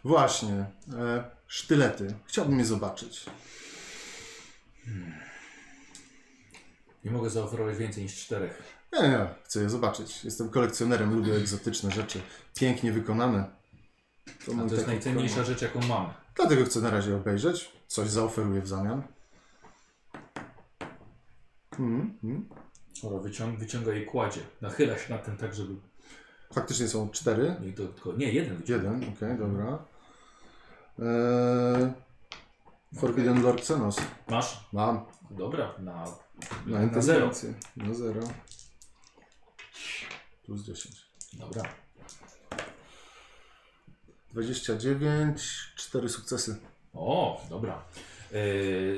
Speaker 5: Właśnie. E, sztylety. Chciałbym je zobaczyć.
Speaker 1: Nie mogę zaoferować więcej niż czterech.
Speaker 5: Nie, nie, chcę je zobaczyć. Jestem kolekcjonerem, lubię egzotyczne rzeczy. Pięknie wykonane. To,
Speaker 1: A
Speaker 5: mój
Speaker 1: to jest
Speaker 5: No taki
Speaker 1: najcenniejsza
Speaker 5: konik.
Speaker 1: rzecz, jaką mamy.
Speaker 5: Dlatego chcę na razie obejrzeć. Coś zaoferuję w zamian. Mhm. mhm.
Speaker 1: Ora, wycią wyciąga jej kładzie. Nachyla się nad tym tak, żeby...
Speaker 5: Faktycznie są cztery.
Speaker 1: Nie, to, tylko... nie jeden wyciąga.
Speaker 5: Jeden, okej, dobra. Eee, Forbidden Lord Xenos.
Speaker 1: Masz?
Speaker 5: Mam.
Speaker 1: Dobra, na,
Speaker 5: Na,
Speaker 1: na zero.
Speaker 5: inteligencję. Na zero. Plus 10.
Speaker 1: Dobra.
Speaker 5: 29, 4 sukcesy.
Speaker 1: O, dobra.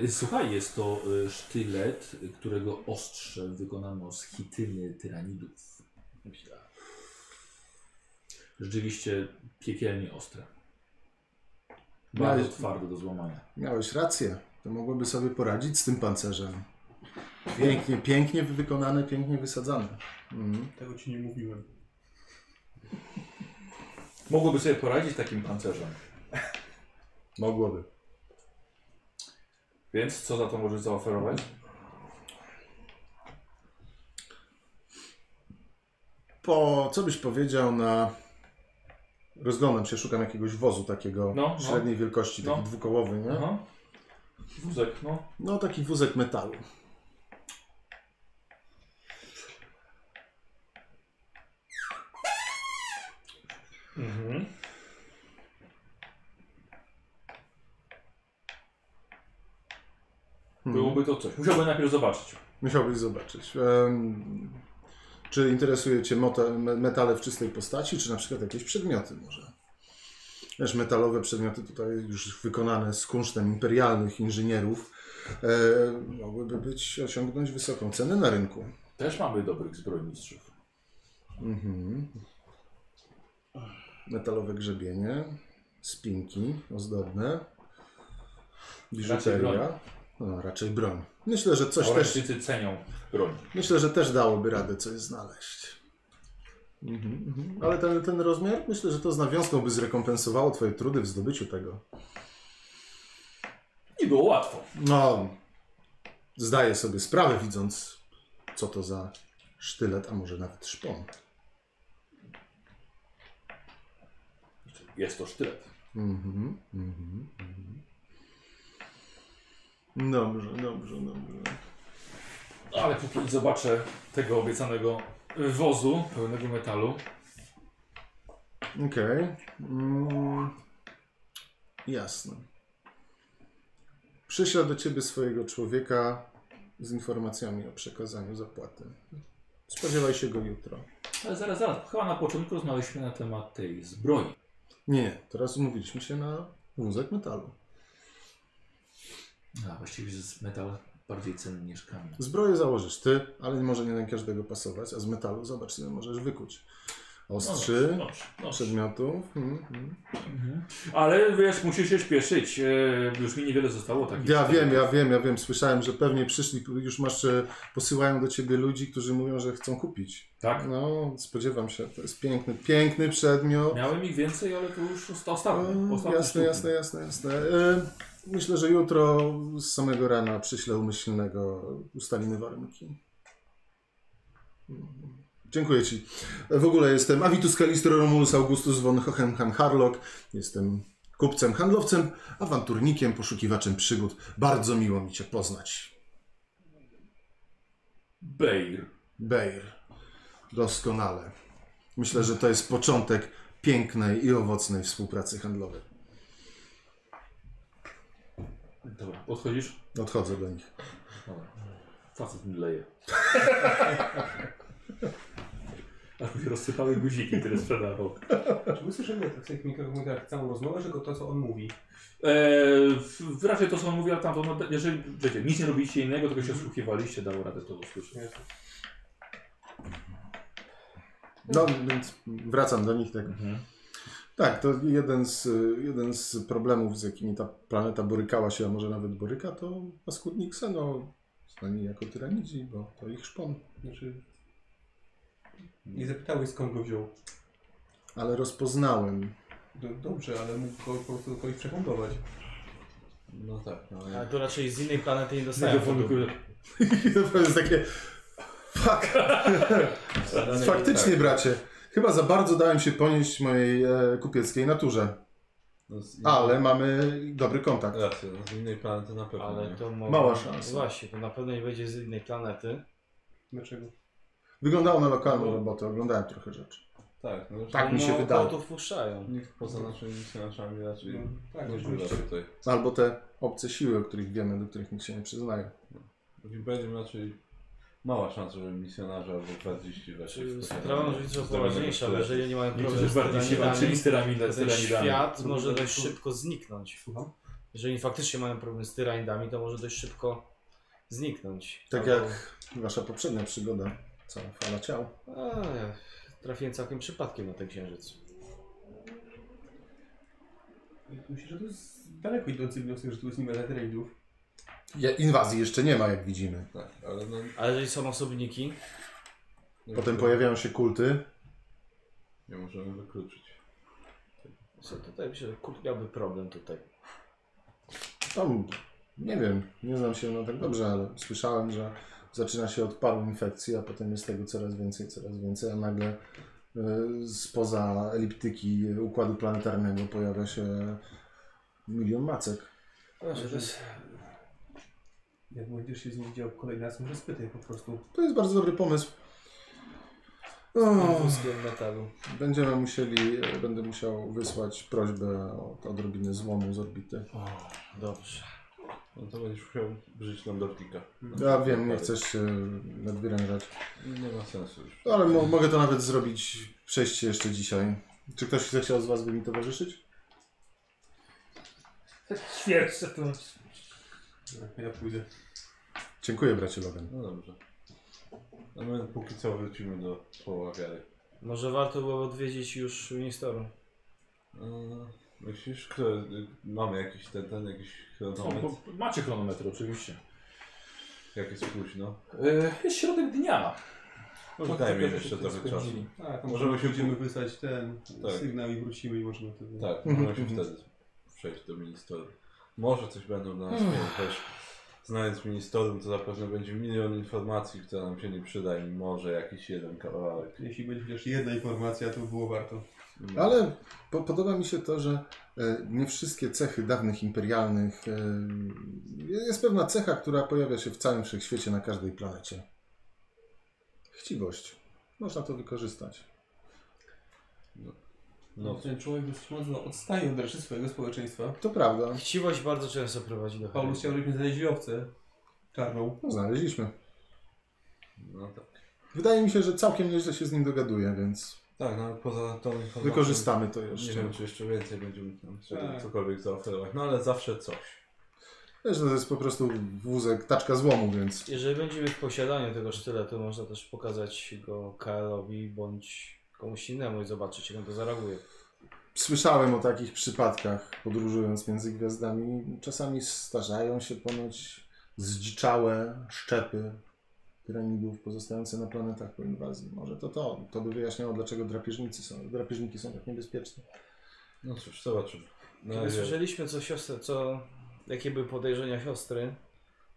Speaker 1: E, słuchaj, jest to e, sztylet, którego ostrze wykonano z chityny tyranidów. Rzeczywiście piekielnie ostre. Bardzo
Speaker 5: Miałeś-
Speaker 1: twarde do złamania.
Speaker 5: Miałeś rację. To mogłoby sobie poradzić z tym pancerzem. Pięknie, pięknie wykonane, pięknie wysadzane. Mhm.
Speaker 6: Tego ci nie mówiłem.
Speaker 1: Mogłoby sobie poradzić takim pancerzem.
Speaker 5: Mogłoby.
Speaker 1: Więc co za to możesz zaoferować?
Speaker 5: Po, co byś powiedział na... Rozglądam się, szukam jakiegoś wozu takiego
Speaker 1: No, no.
Speaker 5: średniej wielkości, taki
Speaker 1: No.
Speaker 5: dwukołowy, nie?
Speaker 1: Aha. Wózek, no.
Speaker 5: No, taki wózek metalu.
Speaker 1: Mhm.
Speaker 5: Mhm.
Speaker 1: Byłoby to coś. Musiałbym najpierw zobaczyć.
Speaker 5: Musiałbyś zobaczyć. Em, Czy interesuje Cię mota- me- metale w czystej postaci, czy na przykład jakieś przedmioty może? Wiesz, metalowe przedmioty tutaj już wykonane z kunsztem imperialnych inżynierów e, mogłyby być, osiągnąć wysoką cenę na rynku.
Speaker 1: Też mamy dobrych zbrojmistrzów.
Speaker 5: Mhm. Metalowe grzebienie, spinki ozdobne, biżuteria, no, raczej broń. Myślę, że coś też
Speaker 1: Teoretycy cenią broń.
Speaker 5: Myślę, że też dałoby radę coś znaleźć. Mhm, Ale ten, ten rozmiar? Myślę, że to z nawiązką by zrekompensowało Twoje trudy w zdobyciu tego.
Speaker 1: Nie było łatwo.
Speaker 5: No, zdaję sobie sprawę, widząc, co to za sztylet, a może nawet szpon.
Speaker 1: Jest to sztylet.
Speaker 5: Mhm, mhm, mhm. Dobrze, dobrze, dobrze.
Speaker 1: Ale póki nie zobaczę tego obiecanego y, wozu pełnego metalu,
Speaker 5: Okej. Mm, jasne. Przyślę do ciebie swojego człowieka z informacjami o przekazaniu zapłaty. Spodziewaj się go jutro.
Speaker 1: ale zaraz, zaraz, chyba na początku rozmawialiśmy na temat tej zbroi.
Speaker 5: Nie, teraz umówiliśmy się na wózek metalu.
Speaker 1: A właściwie jest metal bardziej cenny niż kamień.
Speaker 5: Zbroję założysz ty, ale może nie na każdego pasować, a z metalu zobacz, ile możesz wykuć. Ostrzy,
Speaker 1: No dobrze, dobrze, dobrze.
Speaker 5: przedmiotów. Mm, mm.
Speaker 1: Mhm. Ale wiesz, musisz się śpieszyć. E, już mi niewiele zostało takich.
Speaker 5: Ja
Speaker 1: sztyletów.
Speaker 5: wiem, ja wiem, ja wiem. Słyszałem, że pewnie przyszli, już masz, e, posyłają do ciebie ludzi, którzy mówią, że chcą kupić.
Speaker 1: Tak?
Speaker 5: No, spodziewam się. To jest piękny, piękny przedmiot.
Speaker 1: Miałem ich więcej, ale to już osta- ostatnie.
Speaker 5: Mm,
Speaker 1: ostatnie
Speaker 5: jasne,
Speaker 1: sztuki.
Speaker 5: jasne, jasne, jasne. E, Myślę, że jutro z samego rana przyślę umyślnego, ustalimy warunki. Mm. Dziękuję Ci. E, W ogóle jestem Avitus Calistro Romulus Augustus von Hohenheim Harlock. Jestem kupcem, handlowcem, awanturnikiem, poszukiwaczem przygód. Bardzo miło mi Cię poznać.
Speaker 1: Bejr.
Speaker 5: Bejr. Doskonale. Myślę, że to jest początek pięknej i owocnej współpracy handlowej.
Speaker 1: Dobra, odchodzisz?
Speaker 5: Odchodzę do nich.
Speaker 1: Dobra. Facet mi leje. [LAUGHS] Aż mi się rozsypały guziki, które sprzedawał.
Speaker 6: Czy my słyszymy w tych mikrofonach całą rozmowę, tylko to, co on mówi?
Speaker 1: Eee, w- raczej to, co on mówił, ale tam, to, no, jeżeli wiecie, nic nie robiliście innego, tylko się wsłuchiwaliście, dało radę to usłyszeć.
Speaker 5: No, więc wracam do nich. Tak,
Speaker 1: Mhm.
Speaker 5: tak to jeden z, jeden z problemów, z jakimi ta planeta borykała się, a może nawet boryka, to paskudnik Seno, znani jako tyranidzi, bo to ich szpon.
Speaker 6: Znaczy... Nie zapytałeś skąd go wziął.
Speaker 5: Ale rozpoznałem [LAUGHS]
Speaker 6: Do, dobrze, ale mógł go po prostu kogoś przekombinować.
Speaker 2: No tak, no
Speaker 3: Ale
Speaker 2: ale...
Speaker 3: to raczej z innej planety nie dostałem.
Speaker 1: Mikrofon
Speaker 3: tego.
Speaker 1: kurde.
Speaker 5: I to jest takie... Fuck!
Speaker 2: Zadanie-
Speaker 5: Faktycznie,
Speaker 2: tak.
Speaker 5: bracie. Chyba za bardzo dałem się ponieść mojej e, kupieckiej naturze.
Speaker 2: No, z innej-
Speaker 5: Ale mamy dobry kontakt.
Speaker 2: Racja, no, z innej planety na pewno.
Speaker 3: Ale
Speaker 2: nie.
Speaker 3: to mo-
Speaker 5: Mała szansa.
Speaker 3: Właśnie, to na pewno nie będzie z innej planety.
Speaker 6: Dlaczego?
Speaker 5: Wyglądało na lokalną robotę, oglądałem trochę rzeczy.
Speaker 2: Tak, no
Speaker 5: Tak mi się
Speaker 3: no,
Speaker 5: wydaje.
Speaker 3: to wpuszczają.
Speaker 2: Nikt poza naszymi scenariuszami raczej
Speaker 6: No, tak,
Speaker 2: nie
Speaker 6: rzeczywiście.
Speaker 2: bywa tutaj.
Speaker 5: Albo te obce siły, o których wiemy, do których nikt się nie przyznaje.
Speaker 2: Takim powiedziem raczej mała szansa, żeby misjonarze albo 20 weszli.
Speaker 3: Czy
Speaker 2: w
Speaker 3: sprawa może być trochę
Speaker 2: Zdrowego
Speaker 3: poważniejsza, ale
Speaker 2: tyle.
Speaker 3: jeżeli nie mają
Speaker 1: Niektórzy
Speaker 3: problemu z
Speaker 1: bardziej się
Speaker 3: tyranidami,
Speaker 1: walczyli z
Speaker 3: to ten
Speaker 1: tyranidami.
Speaker 3: świat może dość
Speaker 6: Słucham?
Speaker 3: szybko zniknąć.
Speaker 5: Mhm.
Speaker 6: Słucham?
Speaker 3: Jeżeli faktycznie mają problem z tyranidami, to może dość szybko zniknąć.
Speaker 5: Tak
Speaker 3: Albo-
Speaker 5: jak wasza poprzednia przygoda, cała fala ciał.
Speaker 3: Eee, trafiłem całkiem przypadkiem na ten księżyc.
Speaker 6: Myślę, że to jest daleko idący wniosek, że tu jest nie ma terenów.
Speaker 5: Je- Inwazji jeszcze nie ma, jak widzimy.
Speaker 2: Tak, ale no...
Speaker 3: A jeżeli są osobniki,
Speaker 2: nie
Speaker 5: Potem
Speaker 2: możemy-
Speaker 5: pojawiają się kulty.
Speaker 2: Nie możemy wykluczyć.
Speaker 3: to tutaj myślę, że Kurt miałby problem tutaj.
Speaker 5: Tam, No, nie wiem, nie znam się na tak dobrze, ale słyszałem, że zaczyna się od paru infekcji, a potem jest tego coraz więcej, coraz więcej, a nagle y, spoza eliptyki układu planetarnego pojawia się milion macek.
Speaker 6: Że to jest... Jak będziesz się z nim widział kolejny raz, może spytaj po prostu.
Speaker 5: To jest bardzo dobry pomysł. O,
Speaker 3: Wózkiem metalu.
Speaker 5: będziemy musieli, będę musiał wysłać prośbę o odrobinę złomu z orbity.
Speaker 3: Dobrze.
Speaker 2: No to będziesz musiał użyć lądownika.
Speaker 5: Ja wiem, nie chcesz się nadwyrężać.
Speaker 2: No. Nie ma sensu już.
Speaker 5: No, Ale mo mogę to nawet zrobić przejście jeszcze dzisiaj. Czy ktoś zechciał z Was by mi towarzyszyć?
Speaker 4: Świerczę tu.
Speaker 6: Ja pójdę.
Speaker 5: Dziękuję, bracie Logan.
Speaker 2: No dobrze. A my póki co wrócimy do słowa wiary.
Speaker 3: Może warto byłoby odwiedzić już Winstoru.
Speaker 2: Eee, Myślisz, które... Mamy jakiś ten, ten jakiś
Speaker 1: No,
Speaker 2: chronometr?
Speaker 1: bo macie chronometr oczywiście.
Speaker 2: Jak jest późno?
Speaker 1: E, jest środek dnia.
Speaker 2: Może dajmy im jeszcze trochę czasu.
Speaker 1: Spędzili.
Speaker 6: Tak, to
Speaker 2: Możemy
Speaker 6: możemy
Speaker 2: się
Speaker 6: będziemy
Speaker 2: pół-
Speaker 6: wysłać ten
Speaker 2: Tak.
Speaker 6: sygnał i wrócimy i możemy wtedy...
Speaker 2: Tak,
Speaker 5: Mhm.
Speaker 2: możemy się wtedy przejść do ministerium. Może coś będą dla nas mieli też. Znając ministerium, to zapewne będzie milion informacji, która nam się nie przyda i może jakiś jeden kawałek.
Speaker 6: Jeśli będzie chociaż jedna informacja, to by było warto.
Speaker 5: Ale po podoba mi się to, że e, nie wszystkie cechy dawnych imperialnych. E, jest pewna cecha, która pojawia się w całym wszechświecie na każdej planecie. Chciwość. Można to wykorzystać.
Speaker 2: No,
Speaker 6: Ten człowiek dosyć mocno odstaje od reszty swojego społeczeństwa.
Speaker 5: To prawda.
Speaker 3: Chciwość bardzo często prowadzi do
Speaker 6: Paulus
Speaker 3: chaosu.
Speaker 6: chciał, żebyśmy znaleźli owcę czarną.
Speaker 5: No, znaleźliśmy.
Speaker 2: no tak.
Speaker 5: Wydaje mi się, że całkiem nieźle się z nim dogaduję, więc
Speaker 2: Tak, no ale poza tą informacją...
Speaker 5: wykorzystamy to
Speaker 2: Nie
Speaker 5: jeszcze.
Speaker 2: wiem, czy jeszcze więcej będziemy tam
Speaker 6: Tak.
Speaker 2: cokolwiek zaoferować, no ale zawsze coś.
Speaker 5: Wiesz, to jest po prostu wózek, taczka złomu, więc
Speaker 3: Jeżeli będziemy w posiadaniu tego sztyletu, można też pokazać go Kaelowi bądź komuś innemu i zobaczyć, jak on to zareaguje.
Speaker 5: Słyszałem o takich przypadkach, podróżując między gwiazdami. Czasami starzają się ponoć zdziczałe szczepy piramidów pozostające na planetach po inwazji. Może to to, to by wyjaśniało, dlaczego drapieżnicy są, drapieżniki są tak niebezpieczne.
Speaker 2: No cóż, zobaczymy. Na
Speaker 3: Kiedy
Speaker 2: razie-
Speaker 3: słyszeliśmy, co siostra, co, jakie były podejrzenia siostry,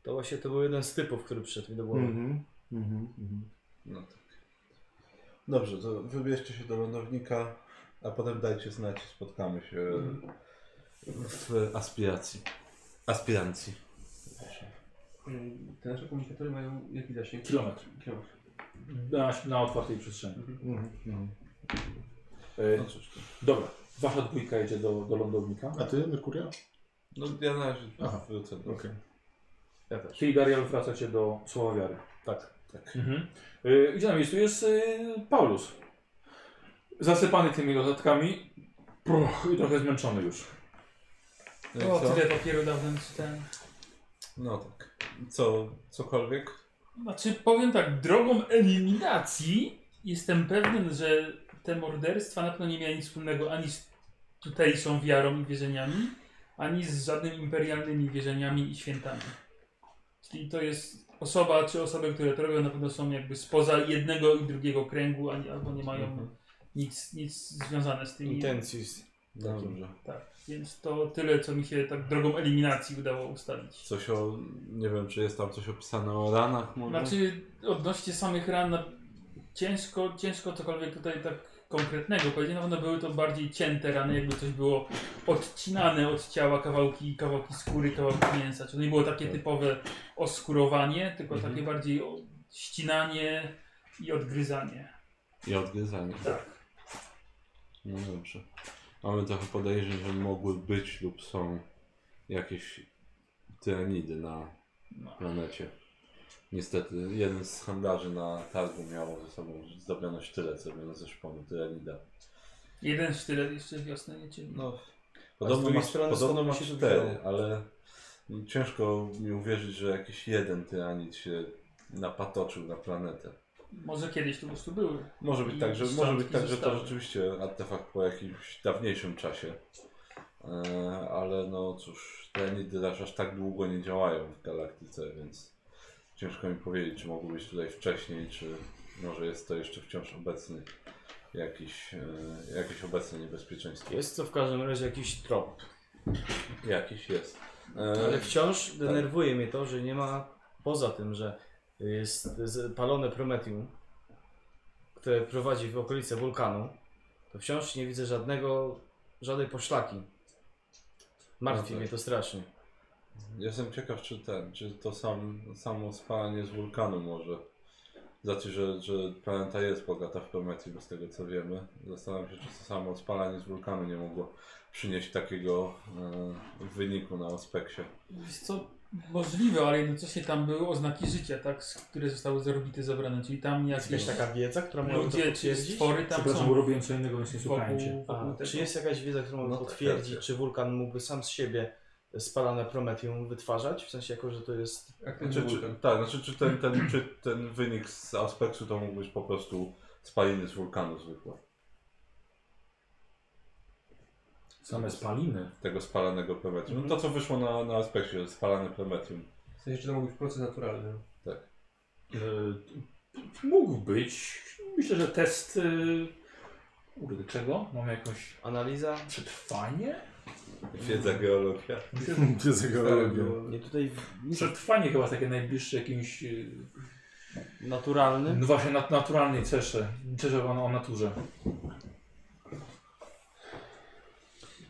Speaker 3: to właśnie to był jeden z typów, który przyszedł mi do głowy.
Speaker 5: Mhm, mhm, mhm.
Speaker 2: No tak. Dobrze, to wybierzcie się do lądownika, a potem dajcie znać, spotkamy się w aspiracji. Aspirancji.
Speaker 6: Mm, Te nasze komunikatory mają jaki zasięg?
Speaker 1: Kilometr.
Speaker 6: Kilometr.
Speaker 1: Na, na otwartej przestrzeni.
Speaker 5: mhm, no.
Speaker 1: E,
Speaker 2: No cóż, to-
Speaker 1: dobra, wasza dwójka jedzie do, do lądownika.
Speaker 5: A ty, Merkuria?
Speaker 2: no ja na razie
Speaker 5: Aha. No,
Speaker 2: wrócę do...
Speaker 5: Okej.
Speaker 3: Ja też.
Speaker 1: Czyli Darial wracacie do słowa wiary.
Speaker 3: Tak.
Speaker 1: Mhm. E, gdzie na miejscu jest e, Paulus. Zasypany tymi dodatkami. Puch, I trochę zmęczony już.
Speaker 2: No, i
Speaker 4: O,
Speaker 2: co?
Speaker 4: tyle papieru dawno nie czytałem.
Speaker 2: no tak. Co, cokolwiek?
Speaker 4: Znaczy, powiem tak, drogą eliminacji jestem pewien, że te morderstwa na pewno nie miały nic wspólnego ani z tutejszą wiarą i wierzeniami, ani z żadnymi imperialnymi wierzeniami i świętami. Czyli to jest osoba czy osoby, które to robią, na pewno są jakby spoza jednego i drugiego kręgu, ani, albo nie mają nic, nic związane z tymi
Speaker 3: Intencji.
Speaker 2: No dobrze.
Speaker 4: Więc to tyle, co mi się tak drogą eliminacji udało ustalić.
Speaker 2: Coś o... Nie wiem, czy jest tam coś opisane o ranach może?
Speaker 4: Znaczy, odnośnie samych ran, no, ciężko, ciężko cokolwiek tutaj tak konkretnego powiedzieć. Na pewno były to bardziej cięte rany, jakby coś było odcinane od ciała, kawałki, kawałki skóry, kawałki mięsa. Czyli nie było takie typowe oskurowanie, tylko
Speaker 2: Tak. Mhm.
Speaker 4: takie bardziej o- ścinanie i odgryzanie.
Speaker 2: I odgryzanie.
Speaker 4: Tak.
Speaker 2: No dobrze. Mamy trochę podejrzeń, że mogły być lub są jakieś tyranidy na
Speaker 4: No.
Speaker 2: planecie. Niestety, jeden z handlarzy na targu miał ze sobą zdobione sztylet zrobione ze szponu tyranida.
Speaker 4: Jeden sztylet jeszcze wiosny nie czynny.
Speaker 2: No,
Speaker 3: z
Speaker 2: podobno
Speaker 3: drugiej
Speaker 2: ma,
Speaker 3: strony
Speaker 2: podobno
Speaker 3: skąd
Speaker 2: ma
Speaker 3: się to
Speaker 2: cztery,
Speaker 3: wzięło?
Speaker 2: ale ciężko mi uwierzyć, że jakiś jeden tyranid się napatoczył na planetę.
Speaker 4: Może kiedyś to po prostu były.
Speaker 2: Może być
Speaker 4: I
Speaker 2: tak, że, może
Speaker 4: szczątki
Speaker 2: być tak, że to
Speaker 4: zostały.
Speaker 2: rzeczywiście artefakt po jakimś dawniejszym czasie. E, ale no cóż, te nidy aż aż tak długo nie działają w galaktyce, więc ciężko mi powiedzieć, czy mogły być tutaj wcześniej, czy może jest to jeszcze wciąż obecny jakiś, e, jakieś obecne niebezpieczeństwo.
Speaker 3: Jest to w każdym razie jakiś trop.
Speaker 2: Jakiś jest. E,
Speaker 3: Ale wciąż denerwuje mnie to, że nie ma, poza tym, że jest palone prometium, które prowadzi w okolice wulkanu, to wciąż nie widzę żadnego, żadnej poszlaki.
Speaker 2: No
Speaker 3: Martwi
Speaker 2: tak.
Speaker 3: mnie to strasznie.
Speaker 2: Jestem ciekaw, czy ten, czy to sam, samo spalanie z wulkanu może. Znaczy, że, że planeta jest bogata w prometium, z tego co wiemy. Zastanawiam się, czy to samo spalanie z wulkanu nie mogło przynieść takiego e, wyniku na ospekcie.
Speaker 4: Jest to możliwe, ale jednocześnie tam były oznaki życia, tak, z- które zostały z orbity zabrane, czyli tam jakieś
Speaker 3: Jest taka wiedza, która może to
Speaker 4: ludzie No czy
Speaker 3: potwierdzić?
Speaker 4: stwory tam
Speaker 1: Przepraszam,
Speaker 4: są
Speaker 1: bo robiłem co innego, więc nie słuchajcie.
Speaker 4: wokół, wokół
Speaker 3: A,
Speaker 4: tego.
Speaker 3: czy jest jakaś wiedza, którą
Speaker 2: No
Speaker 3: no
Speaker 2: tak,
Speaker 3: potwierdzi,
Speaker 2: racja.
Speaker 3: czy wulkan mógłby sam z siebie spalane prometium wytwarzać? W sensie jako, że to jest...
Speaker 6: Aktywny
Speaker 2: Znaczy,
Speaker 6: wulkan.
Speaker 2: czy, tak, znaczy, czy ten, ten, czy ten wynik z aspektu to mógł być po prostu spaliny z wulkanu zwykłe.
Speaker 1: Same spaliny.
Speaker 2: Tego spalanego prometium. No to co wyszło na, na aspekcie, że spalane prometium.
Speaker 6: W sensie, czy to mógł być proces naturalny.
Speaker 1: E, mógł być. Myślę, że test... E, kurde, czego? Mam jakąś...
Speaker 3: Analiza?
Speaker 1: Przetrwanie?
Speaker 2: Wiedza geologia.
Speaker 5: [LAUGHS] Wiedzę geologię.
Speaker 3: Nie tutaj w- nic
Speaker 1: Przetrwanie chyba takie najbliższe jakimś... e,
Speaker 3: naturalny?
Speaker 1: No właśnie, nat naturalnej cesze. Cesze o, o naturze.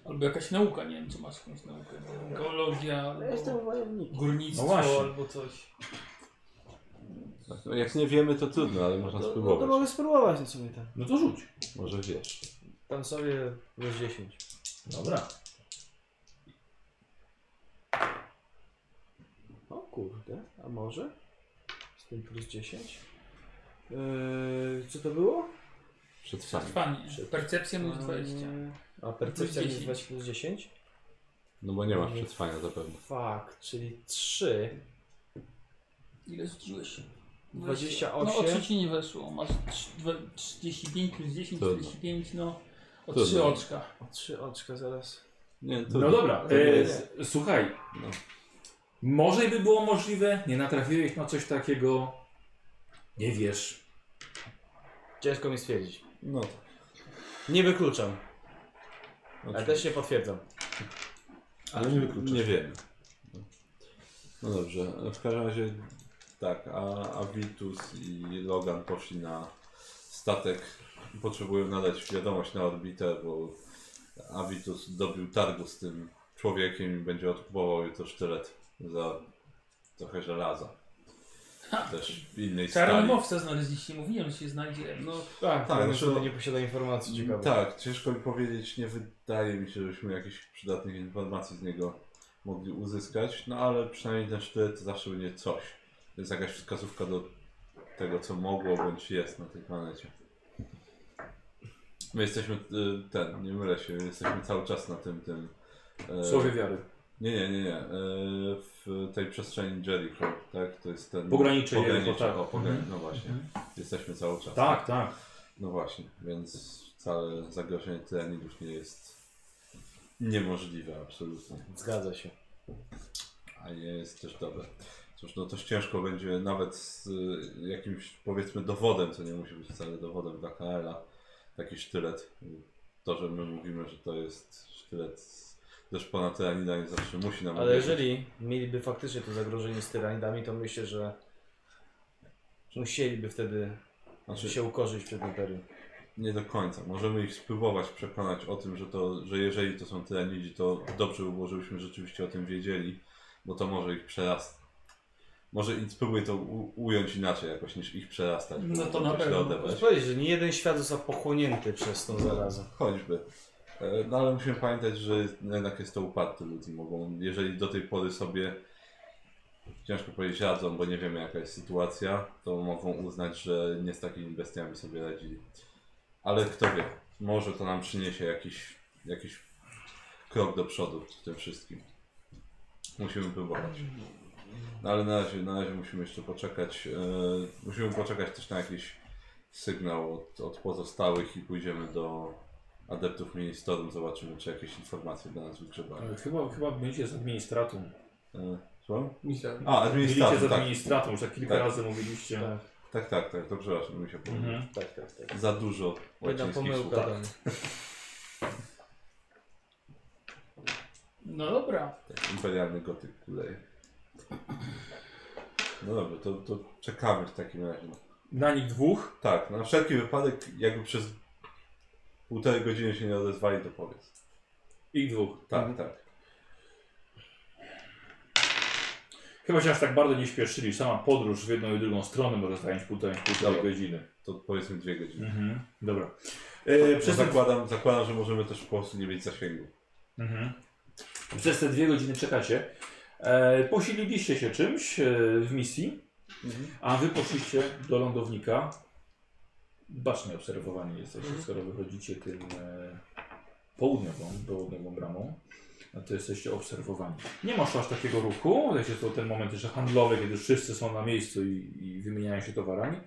Speaker 4: Albo jakaś nauka, nie wiem, czy masz jakąś naukę. Geologia, albo
Speaker 3: wojownik.
Speaker 1: No
Speaker 4: górnictwo,
Speaker 1: właśnie.
Speaker 4: albo coś.
Speaker 2: No, Jak nie wiemy, to trudno, ale można
Speaker 3: No to
Speaker 2: spróbować.
Speaker 3: mogę spróbować na sobie tam.
Speaker 1: No to rzuć.
Speaker 2: Może wiesz.
Speaker 3: Tam sobie plus 10.
Speaker 1: Dobra.
Speaker 3: O kurde, a może? Z tym plus 10? Yy, co to było?
Speaker 2: Przetrwanie.
Speaker 4: Przetrwanie. Percepcja minus 20.
Speaker 3: Eee, A percepcja
Speaker 4: Plus
Speaker 3: minus
Speaker 4: 10.
Speaker 3: 20 plus 10?
Speaker 2: No bo nie masz przetrwania zapewne.
Speaker 3: Fak, czyli 3.
Speaker 4: Ile rzuciłeś?
Speaker 3: 28.
Speaker 4: No o 3 nie weszło. Masz trz- dwa- 35 plus 10,
Speaker 2: Trudno.
Speaker 4: 45, no o
Speaker 2: Trudno.
Speaker 4: 3 oczka.
Speaker 3: O 3 oczka zaraz.
Speaker 2: Nie, to
Speaker 1: No dobra,
Speaker 3: To nie
Speaker 1: e,
Speaker 3: jest.
Speaker 1: s- słuchaj.
Speaker 2: No.
Speaker 1: Może by było możliwe, nie natrafiłeś na coś takiego. Nie wiesz.
Speaker 3: Ciężko mi stwierdzić.
Speaker 2: No,
Speaker 3: Nie wykluczam, ale
Speaker 2: znaczy,
Speaker 3: też nie potwierdzam.
Speaker 5: Ale nie wykluczę.
Speaker 2: nie wiemy. No. No dobrze, w każdym razie tak, a Avitus i Logan poszli na statek. Potrzebują nadać wiadomość na orbitę, bo Avitus dobił targu z tym człowiekiem i będzie odkupował jutro sztylet za trochę żelaza. Też w innej skali.
Speaker 4: Czarnomowca znaleźliście, mówiłem, że się znajdzie.
Speaker 2: No
Speaker 3: Tak,
Speaker 2: tak,
Speaker 3: tak
Speaker 2: znaczy-
Speaker 3: no, nie posiada informacji ciekawych.
Speaker 2: Tak, ciężko mi powiedzieć, nie wydaje mi się, żebyśmy jakichś przydatnych informacji z niego mogli uzyskać, no ale przynajmniej ten sztylet to zawsze będzie coś. To jest jakaś wskazówka do tego, co mogło bądź jest na tej planecie. My jesteśmy, y, ten, nie mylę się, jesteśmy cały czas na tym, tym... e,
Speaker 1: Słowie wiary.
Speaker 2: Nie, nie, nie, nie, e, w tej przestrzeni Jericho, tak? To jest ten...
Speaker 1: Pogranicze Jericho, tak.
Speaker 2: o, pogranicze, no właśnie. Jesteśmy cały czas.
Speaker 1: Tak, tak.
Speaker 2: No właśnie, więc całe zagrożenie tyranidów nie jest niemożliwe absolutnie,
Speaker 3: Zgadza się.
Speaker 2: a nie jest też dobre. Cóż, no też ciężko będzie nawet z y, jakimś powiedzmy dowodem, co nie musi być wcale dowodem dla KL-a, taki sztylet y, to, że my mówimy, że to jest sztylet z- ze szpona tyranida nie zawsze musi nam
Speaker 3: Ale
Speaker 2: uwierzyć.
Speaker 3: jeżeli mieliby faktycznie to zagrożenie z tyranidami, to myślę, że musieliby wtedy
Speaker 2: Znaczy-
Speaker 3: się ukorzyć przed imperium.
Speaker 2: Nie do końca. Możemy ich spróbować przekonać o tym, że, to, że jeżeli to są tyranidzi, to dobrze by było, żebyśmy rzeczywiście o tym wiedzieli, bo to może ich przerasta. Może i spróbuj to u, ująć inaczej jakoś niż ich przerastać. bo
Speaker 4: No to na
Speaker 2: źle
Speaker 4: pewno.
Speaker 2: odebrać.
Speaker 3: Możesz powiedzieć, że nie jeden świat został pochłonięty przez tą zarazę.
Speaker 2: Choćby. E, No ale musimy pamiętać, że jednak jest to upadły lud i mogą, jeżeli do tej pory sobie ciężko powiedzieć radzą, bo nie wiemy jaka jest sytuacja, to mogą uznać, że nie z takimi bestiami sobie radzili. Ale kto wie, może to nam przyniesie jakiś, jakiś krok do przodu w tym wszystkim. Musimy próbować. No ale na razie, na razie musimy jeszcze poczekać. e, musimy poczekać też na jakiś sygnał od, od pozostałych i pójdziemy do adeptów ministerium, zobaczymy czy jakieś informacje dla nas wygrzebają.
Speaker 1: E, Chyba, chyba mylicie z administratą.
Speaker 2: E, Słucham?
Speaker 6: Misja.
Speaker 1: Mylicie z
Speaker 2: A, administrator, tak.
Speaker 1: administratą, już tak kilka
Speaker 2: Tak.
Speaker 1: razy mówiliście.
Speaker 3: Tak.
Speaker 2: Tak, tak, tak, to przepraszam, mi się pomyliło.
Speaker 1: Mhm.
Speaker 3: Tak, tak, tak.
Speaker 2: Za dużo
Speaker 3: Jedna
Speaker 2: łacińskich słów.
Speaker 3: pomyłka.
Speaker 2: Tak.
Speaker 3: do mnie.
Speaker 4: No dobra.
Speaker 2: Tak, Imperialny gotyk kuleje. No dobra, to, to czekamy w takim razie.
Speaker 1: Na nich dwóch.
Speaker 2: Tak, na wszelki wypadek, jakby przez półtorej godziny się nie odezwali, to powiedz.
Speaker 1: Ich dwóch.
Speaker 2: Tak, tak.
Speaker 1: Chyba się aż tak bardzo nie śpieszyli. Sama podróż w jedną i drugą stronę może zająć półtorej, półtorej
Speaker 2: Dobra.
Speaker 1: godziny.
Speaker 2: To powiedzmy dwie godziny.
Speaker 1: Mhm. Dobra. E,
Speaker 2: Bo
Speaker 1: przez, te,
Speaker 2: zakładam, zakładam, że możemy też po prostu nie mieć zasięgu.
Speaker 1: mhm. przez te dwie godziny czekacie. E, posililiście się czymś e, w misji, a wy poszliście do lądownika. Bacznie obserwowani jesteście, skoro wychodzicie tym e, południową, południową bramą. No to jesteście obserwowani. Nie masz aż takiego ruchu. Wiecie, to ten moment jeszcze handlowy, kiedy wszyscy są na miejscu i, i wymieniają się towarami.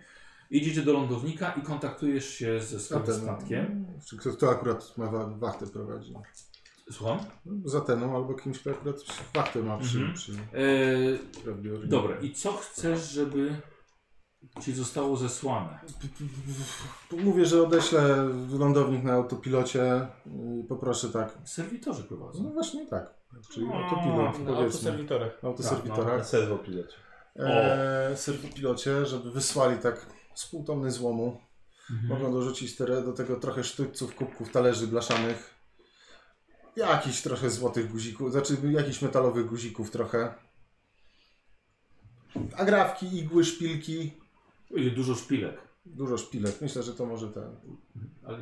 Speaker 1: Idziecie do lądownika i kontaktujesz się ze
Speaker 5: A
Speaker 1: swoim statkiem.
Speaker 5: ten, czy kto, kto akurat ma wa- wachtę prowadzi?
Speaker 1: Słucham?
Speaker 5: No, Z Ateną albo kimś, kto akurat wachtę ma przy...
Speaker 1: Mhm.
Speaker 5: przy,
Speaker 1: E,
Speaker 5: robi orgi-
Speaker 1: Dobra, i co chcesz, żeby ci zostało zesłane?
Speaker 5: Mówię, że odeślę lądownik na autopilocie i poproszę tak.
Speaker 1: Serwitorzy prowadzą.
Speaker 5: No właśnie tak. Czyli
Speaker 1: No,
Speaker 5: autopilot,
Speaker 3: Na
Speaker 5: powiedzmy.
Speaker 3: autoserwitorach.
Speaker 5: Autoserwitora.
Speaker 2: Serwo pilocie.
Speaker 5: e, serwopilocie, żeby wysłali tak z pół tony złomu. Mogą dorzucić te, do tego trochę sztućców, kubków, talerzy blaszanych. Jakiś trochę złotych guzików, znaczy jakichś metalowych guzików trochę. Agrafki, igły, szpilki.
Speaker 1: Ile dużo szpilek.
Speaker 5: Dużo szpilek. Myślę, że to może ten.
Speaker 1: Ale...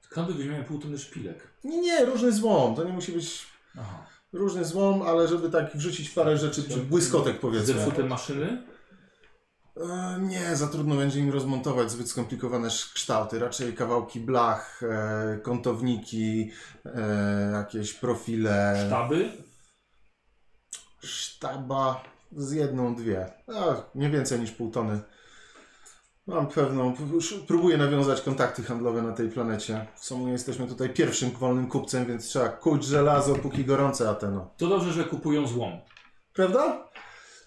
Speaker 1: Skąd by weźmiemy pół tony szpilek?
Speaker 5: Nie, nie, różny złom. To nie musi być
Speaker 1: Aha.
Speaker 5: różny złom, ale żeby tak wrzucić parę rzeczy, czy błyskotek powiedzmy.
Speaker 1: Zepsute maszyny?
Speaker 5: E, Nie, za trudno będzie im rozmontować zbyt skomplikowane sz- kształty. Raczej kawałki blach, e, kątowniki, e, jakieś profile.
Speaker 1: Sztaby?
Speaker 5: Sztaba z jedną, dwie. A, nie więcej niż pół tony. Mam pewną. p- sz- Próbuję nawiązać kontakty handlowe na tej planecie. W sumie jesteśmy tutaj pierwszym wolnym kupcem, więc trzeba kuć żelazo, póki gorące no. Ateno.
Speaker 1: To dobrze, że kupują złom.
Speaker 5: Prawda?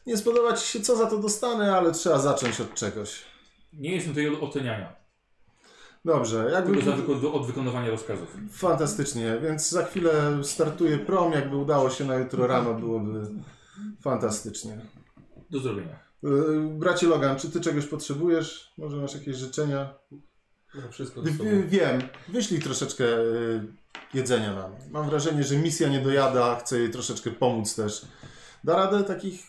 Speaker 5: Nie spodoba ci się, co za to dostanę, ale trzeba zacząć od czegoś.
Speaker 1: Nie jestem tutaj od oceniania,
Speaker 5: Dobrze, jakby.
Speaker 1: tylko za, tylko do, od wykonywania rozkazów.
Speaker 5: Fantastycznie, więc za chwilę startuje prom. Jakby udało się na jutro rano, byłoby fantastycznie.
Speaker 1: Do zrobienia.
Speaker 5: Yy, Bracie Logan, czy ty czegoś potrzebujesz? Może masz jakieś życzenia?
Speaker 6: No, wszystko ze
Speaker 5: W-
Speaker 6: sobą.
Speaker 5: w- Wiem, wyślij troszeczkę yy, jedzenia nam. Mam wrażenie, że misja nie dojada, chcę jej troszeczkę pomóc też. Da radę takich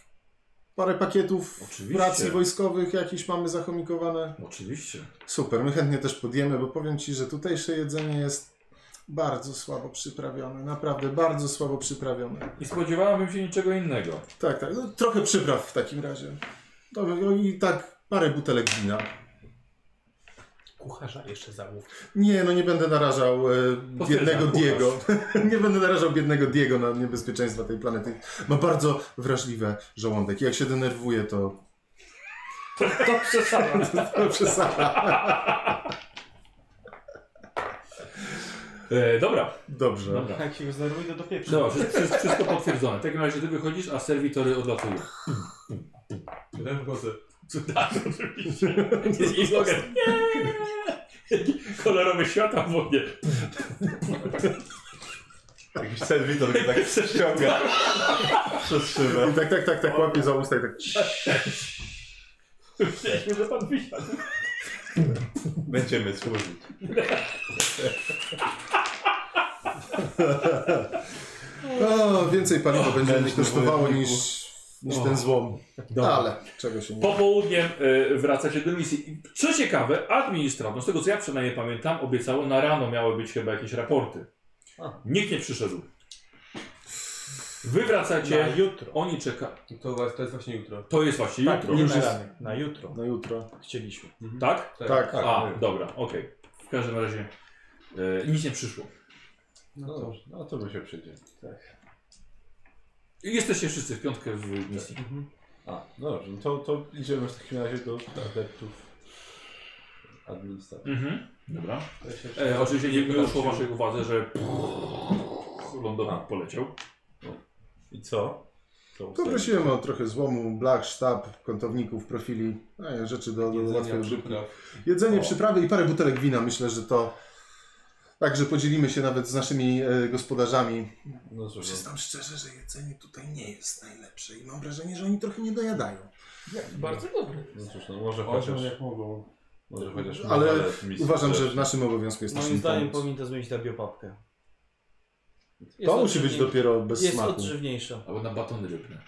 Speaker 5: parę pakietów
Speaker 1: Oczywiście.
Speaker 5: racji wojskowych jakieś mamy zachomikowane?
Speaker 1: Oczywiście.
Speaker 5: Super, my chętnie też podjemy, bo powiem Ci, że tutejsze jedzenie jest bardzo słabo przyprawione. Naprawdę bardzo słabo przyprawione.
Speaker 1: I spodziewałabym się niczego innego.
Speaker 5: Tak, tak. No, trochę przypraw w takim razie. Dobra, no i tak parę butelek wina.
Speaker 6: Kucharza jeszcze zamów.
Speaker 5: Nie, no nie będę narażał e,
Speaker 1: Potwierdzam,
Speaker 5: biednego
Speaker 1: kucharz.
Speaker 5: Diego. [LAUGHS] nie będę narażał biednego Diego na niebezpieczeństwa tej planety. Ma bardzo wrażliwe żołądek. Jak się denerwuje, to [LAUGHS]
Speaker 4: To, to
Speaker 1: [LAUGHS]
Speaker 4: przesada.
Speaker 5: przesada.
Speaker 1: E, dobra,
Speaker 5: Dobrze.
Speaker 1: dobra.
Speaker 3: Jak się znerwuje, to do pieprzu.
Speaker 1: Dobra, wszystko, wszystko potwierdzone. W takim razie ty wychodzisz, a serwitory odlatują.
Speaker 6: Dałem w głosy.
Speaker 1: [LAUGHS] Cuda, oczywiście. I slogan. Nie! Kolorowe światła w ognie.
Speaker 2: Jakiś serwitor go [LAUGHS] tak ściąga przez szybę.
Speaker 5: I tak, tak, tak, tak łapie za usta i tak...
Speaker 1: Myśleliśmy, że pan wysiadł.
Speaker 2: Będziemy służyć.
Speaker 5: O, więcej paliwa będzie mnie
Speaker 2: mężny
Speaker 5: kosztowało
Speaker 2: wojowniku.
Speaker 5: niż, niż ten złom.
Speaker 1: Dobra.
Speaker 5: No, Ale czego się nie...
Speaker 1: Popołudniem e, wraca się do misji. I Co ciekawe, administrator, no z tego co ja przynajmniej pamiętam, obiecało na rano miały być chyba jakieś raporty. Nikt nie przyszedł. Wy wracacie,
Speaker 3: Na jutro.
Speaker 1: oni czeka.
Speaker 6: To, wa- to jest właśnie jutro.
Speaker 1: To jest właśnie
Speaker 3: Tak,
Speaker 1: jutro,
Speaker 3: nie
Speaker 5: już
Speaker 3: na
Speaker 5: jest-
Speaker 3: ranek, na jutro.
Speaker 5: Na jutro.
Speaker 3: Chcieliśmy.
Speaker 1: tak?
Speaker 5: Tak.
Speaker 1: A,
Speaker 2: no.
Speaker 1: dobra, okej. W każdym razie e, nic nie przyszło.
Speaker 2: No, dobrze, no to by się przyjdzie.
Speaker 1: I Jesteście wszyscy w piątkę w misji.
Speaker 2: A, no dobrze, no to, to idziemy w takim razie do adeptów administracji.
Speaker 1: Mhm. Dobra.
Speaker 6: To ja się jeszcze-
Speaker 1: E, oczywiście nie nie uszło
Speaker 6: się-
Speaker 1: waszej uwadze, że lądowa poleciał.
Speaker 2: I co? co
Speaker 5: Poprosiłem o trochę złomu, blach, sztab, kątowników, profili, e, rzeczy do, do łatwej
Speaker 6: Jedzenia,
Speaker 5: użytku.
Speaker 6: przypraw.
Speaker 5: Jedzenie,
Speaker 2: O.
Speaker 5: przyprawy i parę butelek wina. Myślę, że to... Także podzielimy się nawet z naszymi e, gospodarzami.
Speaker 2: No cóż, no,
Speaker 5: Przyznam szczerze, że jedzenie tutaj nie jest najlepsze i mam wrażenie, że oni trochę nie dojadają.
Speaker 4: Bardzo dobre.
Speaker 2: no cóż, no może
Speaker 6: Orzą
Speaker 2: chociaż...
Speaker 6: jak mogą.
Speaker 2: Może chociaż
Speaker 5: Ale
Speaker 2: morale w misji
Speaker 5: Uważam,
Speaker 2: też.
Speaker 5: że w naszym obowiązku jest
Speaker 3: Moim
Speaker 5: naszym
Speaker 3: zdaniem
Speaker 5: pomóc.
Speaker 3: powinien to zmienić na biopapkę. Jest
Speaker 5: To musi być
Speaker 3: odżywniej-
Speaker 5: dopiero bez
Speaker 3: Jest
Speaker 5: smaku.
Speaker 3: odżywniejsza.
Speaker 1: Albo na batony rybne.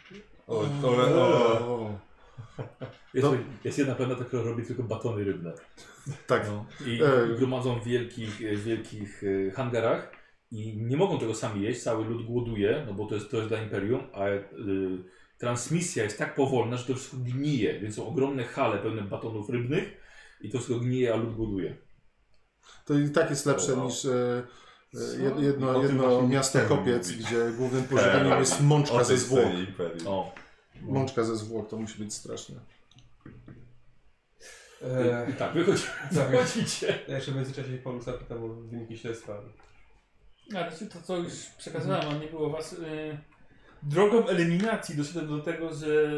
Speaker 2: O, o, o, o.
Speaker 1: Jest,
Speaker 5: Do-
Speaker 1: jest jedna pewna, która robi tylko batony rybne.
Speaker 5: Tak.
Speaker 1: No. I
Speaker 5: E.
Speaker 1: gromadzą w wielkich, w wielkich e, hangarach i nie mogą tego sami jeść, cały lud głoduje, no bo to jest, to jest dla Imperium, a y, transmisja jest tak powolna, że to wszystko gnije, więc są ogromne hale pełne batonów rybnych i to wszystko gnije, a lud głoduje.
Speaker 5: To i tak jest lepsze
Speaker 2: Wow.
Speaker 5: niż e, e, jed-
Speaker 2: O
Speaker 5: jedno,
Speaker 2: tym
Speaker 5: jedno
Speaker 2: właśnie
Speaker 5: miasto
Speaker 2: nie chcemy
Speaker 5: kopiec,
Speaker 2: mówić.
Speaker 5: gdzie głównym pożywieniem jest mączka
Speaker 2: O
Speaker 5: ze
Speaker 2: tej No
Speaker 5: zwłok.
Speaker 2: scenie imperium.
Speaker 1: O.
Speaker 5: Mączka ze zwłok, to musi być straszne.
Speaker 1: I,
Speaker 6: E,
Speaker 1: i tak, wychodzi,
Speaker 6: tak.
Speaker 1: wychodzicie.
Speaker 6: Ja jeszcze w międzyczasie Paulu zapytam o wyniki śledztwa.
Speaker 4: Ale czy to, co już
Speaker 2: Mhm.
Speaker 4: przekazałem, a nie było was. Y, drogą eliminacji doszedłem do tego, że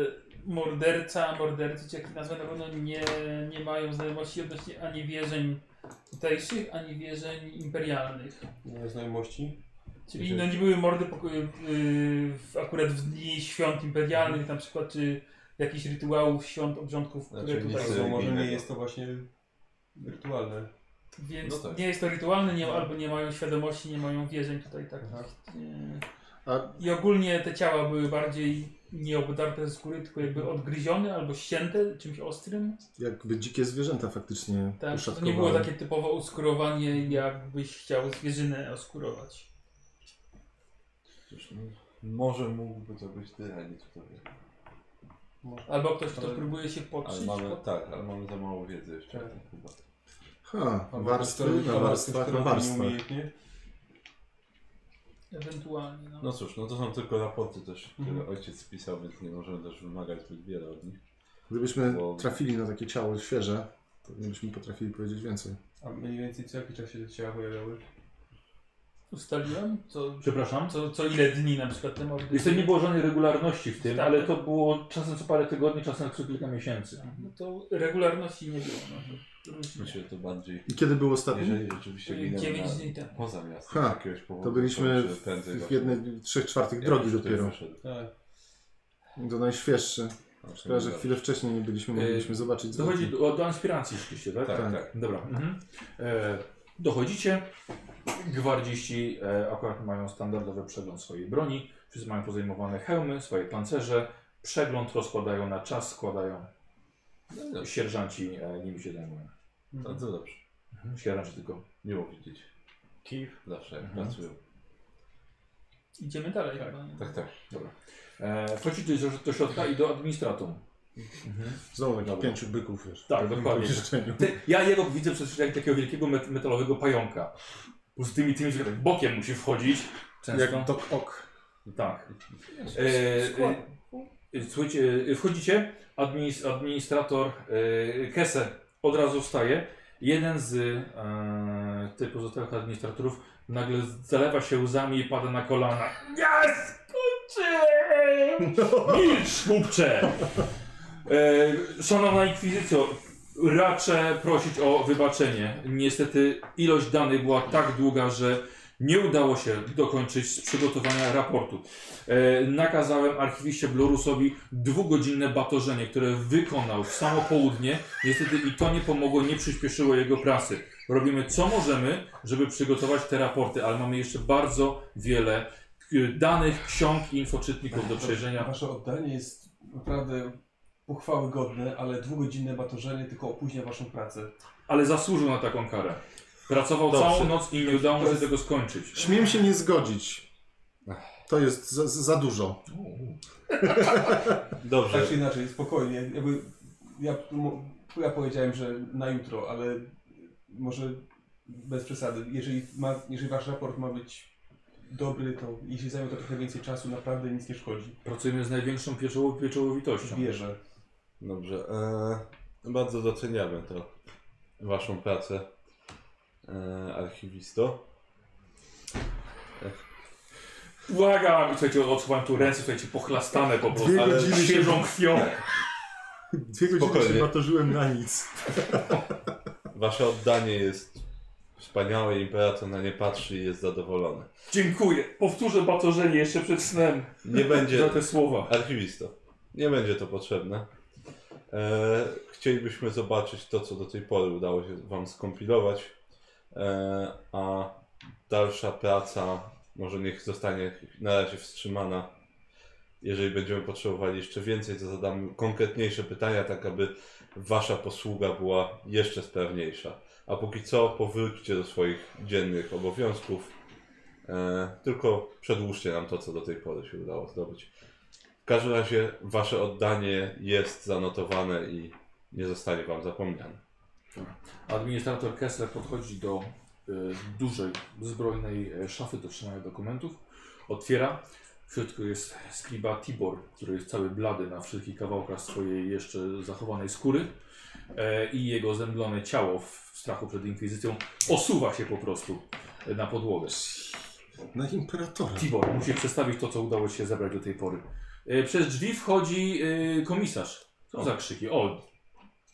Speaker 4: morderca, mordercy, czy jak ich nazwę, na pewno nie, nie mają znajomości odnośnie ani wierzeń tutejszych, ani wierzeń imperialnych.
Speaker 6: Nie ma znajomości.
Speaker 4: Czyli
Speaker 2: Mhm.
Speaker 4: no, nie były mordy poko- y, w, akurat w dni świąt imperialnych na przykład, czy jakichś rytuałów, świąt, obrządków, które
Speaker 5: Tak.
Speaker 2: Znaczy,
Speaker 4: tutaj
Speaker 2: nic
Speaker 4: są.
Speaker 6: Bardzo może nie
Speaker 2: innego.
Speaker 6: jest to właśnie rytualne.
Speaker 4: Więc
Speaker 2: No tak.
Speaker 4: nie jest to rytualne, nie, albo nie mają świadomości, nie mają wierzeń tutaj tak.
Speaker 6: Aha.
Speaker 4: y,
Speaker 5: A
Speaker 4: I ogólnie te ciała były bardziej nie obdarte ze skóry, tylko jakby
Speaker 2: Mhm.
Speaker 4: odgryzione albo ścięte czymś ostrym.
Speaker 5: jakby dzikie zwierzęta faktycznie
Speaker 4: Tak, to
Speaker 5: uszatkowały.
Speaker 4: nie było takie typowe uskurowanie, jakbyś chciał zwierzynę oskurować.
Speaker 2: Cóż, no, może mógłby to być tyle, nie kto wie.
Speaker 4: Albo ktoś, kto
Speaker 6: Ale-
Speaker 4: próbuje się
Speaker 2: Ale
Speaker 4: podszyć.
Speaker 2: mamy,
Speaker 4: pod-
Speaker 2: tak, ale mamy za mało wiedzy jeszcze.
Speaker 6: Tak.
Speaker 2: Chyba.
Speaker 5: Ha,
Speaker 6: Albo ktoś,
Speaker 5: warstwy
Speaker 6: kto
Speaker 5: na
Speaker 6: robi-
Speaker 5: warstwach
Speaker 6: ktoś,
Speaker 5: na
Speaker 6: kto robi
Speaker 5: warstwach.
Speaker 6: nieumiejętnie.
Speaker 4: Ewentualnie. No.
Speaker 2: No cóż, no to są tylko raporty też, które
Speaker 6: Mhm.
Speaker 2: ojciec spisał, więc nie możemy też wymagać zbyt wiele od nich.
Speaker 5: Gdybyśmy
Speaker 2: Bo-
Speaker 5: trafili na takie ciało świeże, pewnie byśmy potrafili powiedzieć więcej.
Speaker 6: A mniej więcej co jaki czas się te ciała pojawiały?
Speaker 4: Ustaliłem? Co,
Speaker 1: Przepraszam.
Speaker 4: co, co ile dni na przykład te mordy?
Speaker 1: Jeszcze nie było żadnej regularności w tym,
Speaker 4: Tak.
Speaker 1: ale to było czasem co parę tygodni, czasem co kilka miesięcy.
Speaker 4: No to regularności nie było. No to różnie.
Speaker 2: Myślę, że to bardziej,
Speaker 5: I kiedy był ostatni?
Speaker 2: jeżeli rzeczywiście ginęło
Speaker 4: Yy, Dziewięć
Speaker 2: na-
Speaker 4: dni temu.
Speaker 2: poza miastem
Speaker 5: Ha,
Speaker 2: z jakiegoś powodu,
Speaker 5: To byliśmy
Speaker 2: myślę, że
Speaker 5: w,
Speaker 2: prędzej
Speaker 5: w
Speaker 2: właśnie-
Speaker 5: jednej, trzech czwartych
Speaker 2: Ja
Speaker 5: drogi
Speaker 2: już tutaj
Speaker 5: dopiero.
Speaker 2: wyszedł.
Speaker 6: Tak.
Speaker 5: Do najświeższy.
Speaker 2: Znaczy,
Speaker 5: Chyba, że
Speaker 2: no,
Speaker 5: chwilę wcześniej nie byliśmy,
Speaker 4: E,
Speaker 1: Yy,
Speaker 5: mogliśmy zobaczyć.
Speaker 1: Dochodzi
Speaker 5: zwłoki.
Speaker 1: do, do inspiracji oczywiście, tak?
Speaker 2: Tak,
Speaker 5: Tak.
Speaker 2: tak.
Speaker 1: Dobra. Mhm. E, dochodzicie. Gwardziści e, akurat mają standardowy przegląd swojej broni. Wszyscy mają pozajmowane hełmy, swoje pancerze. Przegląd rozkładają na czas, składają
Speaker 2: No, dobrze.
Speaker 1: sierżanci, e, nim się zajmują.
Speaker 2: No to dobrze.
Speaker 1: Mhm. Sierżanci tylko.
Speaker 2: Miło widzieć.
Speaker 3: Kif.
Speaker 2: Zawsze jak
Speaker 1: Mhm.
Speaker 2: pracują.
Speaker 4: Idziemy dalej chyba. nie?
Speaker 2: Tak, tak.
Speaker 1: E, wchodzicie do, do środka i do administratum. Mhm.
Speaker 5: Znowu takich
Speaker 1: Dobra.
Speaker 5: pięciu byków, wiesz.
Speaker 1: Tak,
Speaker 5: W pewnym
Speaker 1: dokładnie.
Speaker 5: pomieszczeniu.
Speaker 1: Ty, ja jego widzę przez jak takiego wielkiego met, metalowego pająka. Po prostu tymi tymi, że tak bokiem musi wchodzić. Często.
Speaker 5: Jak tok ok.
Speaker 1: Tak. E, e, e, słuchajcie, e, wchodzicie, administ, administrator e, Kese od razu wstaje. Jeden z e, tych pozostałych administratorów nagle zalewa się łzami i pada na kolana. Ja skończyłem! Milcz, głupcze! E, szanowna Inkwizycjo, Raczę prosić o wybaczenie. Niestety ilość danych była tak długa, że nie udało się dokończyć z przygotowania raportu. E, nakazałem archiwiście Blorusowi dwugodzinne batorzenie, które wykonał w samo południe. Niestety i to nie pomogło, nie przyspieszyło jego pracy. Robimy co możemy, żeby przygotować te raporty, ale mamy jeszcze bardzo wiele e, danych, ksiąg i infoczytników do przejrzenia.
Speaker 6: Wasze oddanie jest naprawdę pochwały godne, ale dwugodzinne batorzenie tylko opóźnia waszą pracę.
Speaker 1: Ale zasłużył na taką karę. Pracował
Speaker 3: Dobrze.
Speaker 1: całą noc i nie udało mu
Speaker 6: To
Speaker 1: się
Speaker 6: jest-
Speaker 1: tego skończyć.
Speaker 5: Śmiem się nie zgodzić. To jest za, za dużo.
Speaker 2: Dobrze.
Speaker 6: Tak czy inaczej, spokojnie. Jakby ja, mo- ja powiedziałem, że na jutro, ale może bez przesady. Jeżeli, ma, jeżeli wasz raport ma być dobry, to jeśli zajmie to trochę więcej czasu, naprawdę nic nie szkodzi.
Speaker 1: Pracujemy z największą pieczoło- pieczołowitością.
Speaker 6: Wierzę.
Speaker 2: Dobrze. E, bardzo doceniamy to Waszą pracę, e, archiwisto.
Speaker 1: Błagam! Słuchajcie, odsuwam tu ręce, słuchajcie, pochlastane po prostu,
Speaker 5: Dwie
Speaker 1: ale
Speaker 5: godziny się-
Speaker 1: świeżą krwią.
Speaker 5: Dwie godziny
Speaker 2: Spokojnie.
Speaker 5: się batorzyłem na nic.
Speaker 2: Wasze oddanie jest wspaniałe, imperator na nie patrzy i jest zadowolony.
Speaker 1: Dziękuję. Powtórzę batorzenie jeszcze przed snem
Speaker 5: [LAUGHS]
Speaker 2: Nie
Speaker 1: za
Speaker 2: będzie,
Speaker 1: te słowa.
Speaker 2: archiwisto, nie będzie to potrzebne. E, chcielibyśmy zobaczyć to, co do tej pory udało się Wam skompilować, e, a dalsza praca może niech zostanie na razie wstrzymana. Jeżeli będziemy potrzebowali jeszcze więcej, to zadam konkretniejsze pytania, tak aby Wasza posługa była jeszcze sprawniejsza. A póki co powróćcie do swoich dziennych obowiązków. E, tylko przedłużcie nam to, co do tej pory się udało zdobyć. W każdym razie Wasze oddanie jest zanotowane i nie zostanie Wam zapomniane.
Speaker 1: Administrator Kessler podchodzi do y, dużej, zbrojnej e, szafy do trzymania dokumentów. Otwiera. W środku jest skriba Tibor, który jest cały blady na wszystkich kawałkach swojej jeszcze zachowanej skóry. E, I jego zemdlone ciało w strachu przed inkwizycją osuwa się po prostu e, na podłogę.
Speaker 5: Na imperatora.
Speaker 1: Tibor, musi przedstawić to, co udało ci się zebrać do tej pory. E, Przez drzwi wchodzi e, komisarz. Co za krzyki? O,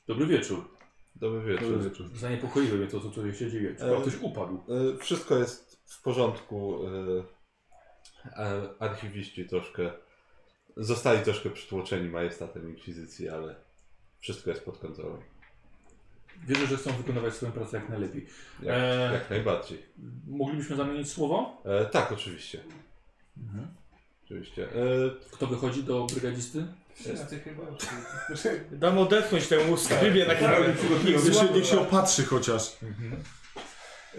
Speaker 1: dobry wieczór.
Speaker 2: Dobry wieczór.
Speaker 5: Dobry wieczór.
Speaker 1: Zaniepokoiło mnie to, co tutaj się dzieje. Chyba
Speaker 2: E,
Speaker 1: ktoś upadł.
Speaker 2: E, Wszystko jest w porządku. e, a- Archiwiści troszkę zostali troszkę przytłoczeni majestatem inkwizycji, ale wszystko jest pod kontrolą.
Speaker 1: Wierzę, że chcą wykonywać swoją pracę jak najlepiej.
Speaker 2: Jak,
Speaker 1: E.
Speaker 2: jak najbardziej.
Speaker 1: Moglibyśmy zamienić słowo?
Speaker 2: E, tak, oczywiście. Mhm. Oczywiście. E,
Speaker 1: Kto wychodzi do brygadzisty?
Speaker 6: Wszyscy chyba.
Speaker 3: Dam odetchnąć tę łuskę. Rybie na kawę.
Speaker 5: Niech się, niech się opatrzy chociaż.
Speaker 1: E,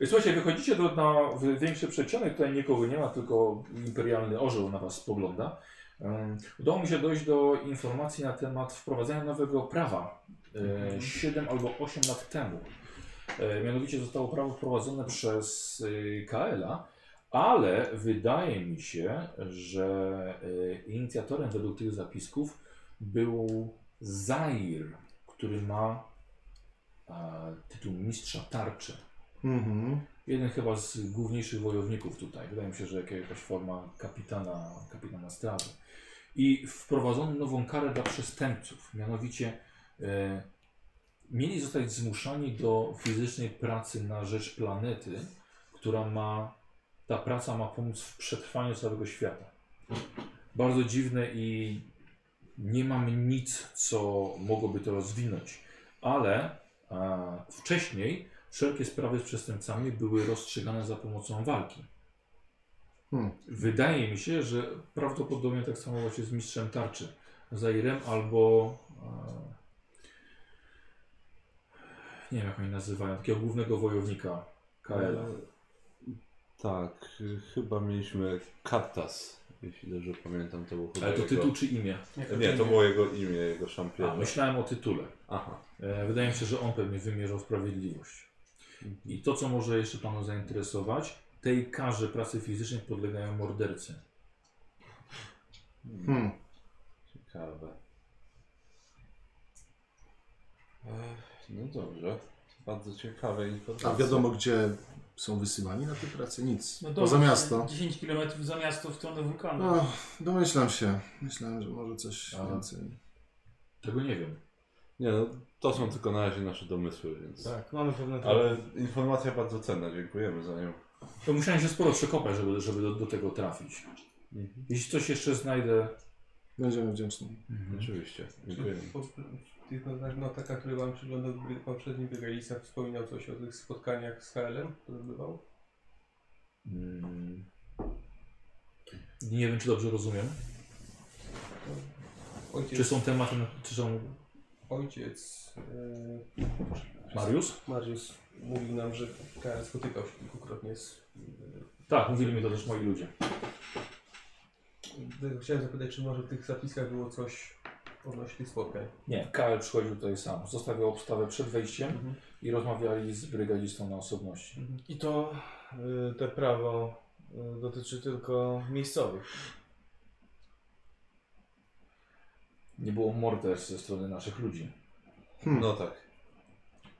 Speaker 1: Mhm. Słuchajcie, wychodzicie do, na w- większy przedsionek, tutaj nikogo nie ma, tylko imperialny orzeł na was spogląda. E, Udało mi się dojść do informacji na temat wprowadzenia nowego prawa e, 7 albo 8 lat temu. E, Mianowicie zostało prawo wprowadzone przez e, KL-a, ale wydaje mi się, że e, inicjatorem według tych zapisków był Zair, który ma e, tytuł mistrza tarczy.
Speaker 5: Mhm.
Speaker 1: Jeden chyba z główniejszych wojowników tutaj. Wydaje mi się, że jaka- jakaś forma kapitana, kapitana straży. I wprowadzono nową karę dla przestępców. Mianowicie e, mieli zostać zmuszani do fizycznej pracy na rzecz planety, która ma, ta praca ma pomóc w przetrwaniu całego świata. Bardzo dziwne i nie mam nic, co mogłoby to rozwinąć. Ale e, wcześniej Wszelkie sprawy z przestępcami były rozstrzygane za pomocą walki.
Speaker 5: Hmm.
Speaker 1: Wydaje mi się, że prawdopodobnie tak samo właśnie z mistrzem tarczy. Zairem albo. E, nie wiem jak oni nazywają, takiego głównego wojownika KL.
Speaker 2: E, Tak, y, chyba mieliśmy Kartas, jeśli dobrze pamiętam, to było chyba
Speaker 1: Ale to
Speaker 2: jego...
Speaker 1: tytuł czy imię?
Speaker 2: Nie, to było jego imię, jego
Speaker 1: A,
Speaker 2: szampiona.
Speaker 1: myślałem o tytule.
Speaker 2: Aha.
Speaker 1: E, Wydaje mi się, że on pewnie wymierzał sprawiedliwość. I to, co może jeszcze Panu zainteresować, tej karze pracy fizycznej podlegają mordercy.
Speaker 5: Hmm.
Speaker 2: Ciekawe. Ech, no dobrze. Bardzo ciekawe informacje.
Speaker 5: A wiadomo, gdzie są wysyłani na te prace? Nic.
Speaker 4: No
Speaker 5: Poza
Speaker 4: dobrze,
Speaker 5: miasto.
Speaker 4: 10 km za miasto w stronę wulkanu.
Speaker 5: No, domyślam się. Myślałem, że może coś
Speaker 1: A.
Speaker 5: więcej.
Speaker 1: Tego nie wiem.
Speaker 2: Nie no, to są tylko na razie nasze domysły, więc...
Speaker 3: Tak, mamy pewne
Speaker 2: Ale informacja bardzo cenna, dziękujemy za nią.
Speaker 1: To musiałem się sporo przekopać, żeby, żeby do, do tego trafić. Jeśli coś jeszcze znajdę...
Speaker 5: Będziemy wdzięczni.
Speaker 1: Mhm.
Speaker 2: Oczywiście, dziękujemy.
Speaker 6: Po- Tylko no, taka, który wam przyglądał gry- poprzedni wygralica, wspominał coś o tych spotkaniach z KL-em, które bywał.
Speaker 1: Mm. Nie wiem, czy dobrze rozumiem.
Speaker 6: Ojciec,
Speaker 1: Czy są tematem, czy są
Speaker 6: ojciec e,
Speaker 1: Mariusz?
Speaker 6: Mariusz mówił nam, że KL spotykał się kilkukrotnie z...
Speaker 1: Tak, mówili mi to też moi ludzie.
Speaker 6: e, Chciałem zapytać, czy może w tych zapiskach było coś odnośnie tych spotkań.
Speaker 1: Nie, KL przychodził tutaj sam. Zostawiał obstawę przed wejściem
Speaker 4: Mhm.
Speaker 1: i rozmawiali z brygadzistą na osobności.
Speaker 3: I to y, te prawo y, dotyczy tylko miejscowych.
Speaker 1: Nie było morderstw ze strony naszych ludzi.
Speaker 2: No tak.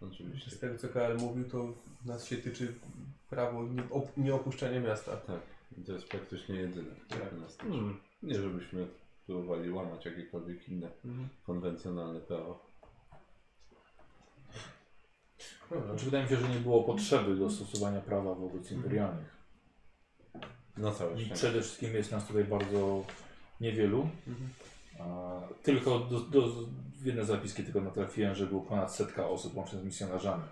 Speaker 6: Z
Speaker 2: Oczywiście.
Speaker 6: tego, co KL mówił, to nas się tyczy prawo nie- op- nieopuszczania miasta.
Speaker 2: I to jest praktycznie jedyne.
Speaker 6: Tak.
Speaker 2: Nas tyczy. Nie żebyśmy próbowali łamać jakiekolwiek inne
Speaker 4: Mhm.
Speaker 2: konwencjonalne prawo.
Speaker 1: Znaczy, wydaje mi się, że nie było potrzeby do stosowania prawa wobec imperialnych.
Speaker 2: Na całe
Speaker 1: I
Speaker 2: szczęście.
Speaker 1: przede wszystkim jest nas tutaj bardzo niewielu. A, tylko do, do, w jedne zapiski tylko natrafiłem, że było ponad setka osób łącznie z misjonarzami.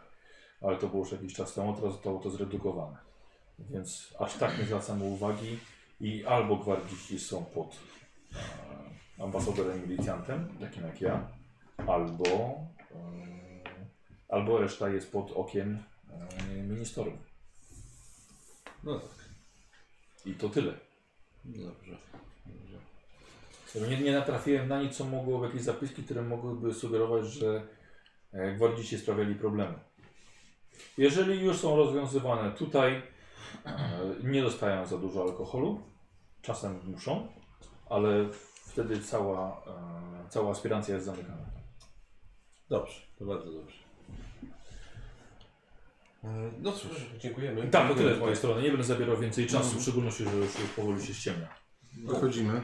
Speaker 1: Ale to było już jakiś czas temu, teraz zostało to zredukowane. Więc aż tak nie zwracamy uwagi i albo gwardziści są pod e, ambasadorem milicjantem, takim jak ja, albo, e, albo reszta jest pod okiem e, ministrów.
Speaker 2: No tak.
Speaker 1: I to tyle.
Speaker 2: Dobrze. Dobrze.
Speaker 1: Nie, nie natrafiłem na nic, co mogło w jakieś zapiski, które mogłyby sugerować, że e, gwardziści sprawiali problemy. Jeżeli już są rozwiązywane tutaj, e, nie dostają za dużo alkoholu, czasem muszą, ale wtedy cała, e, cała aspirancja jest zamykana.
Speaker 2: Dobrze, to bardzo dobrze. E, No cóż,
Speaker 6: Dziękujemy.
Speaker 1: Tak, to tyle z mojej strony. Nie będę zabierał więcej czasu, w szczególności, że już powoli się ściemnia.
Speaker 5: Wychodzimy.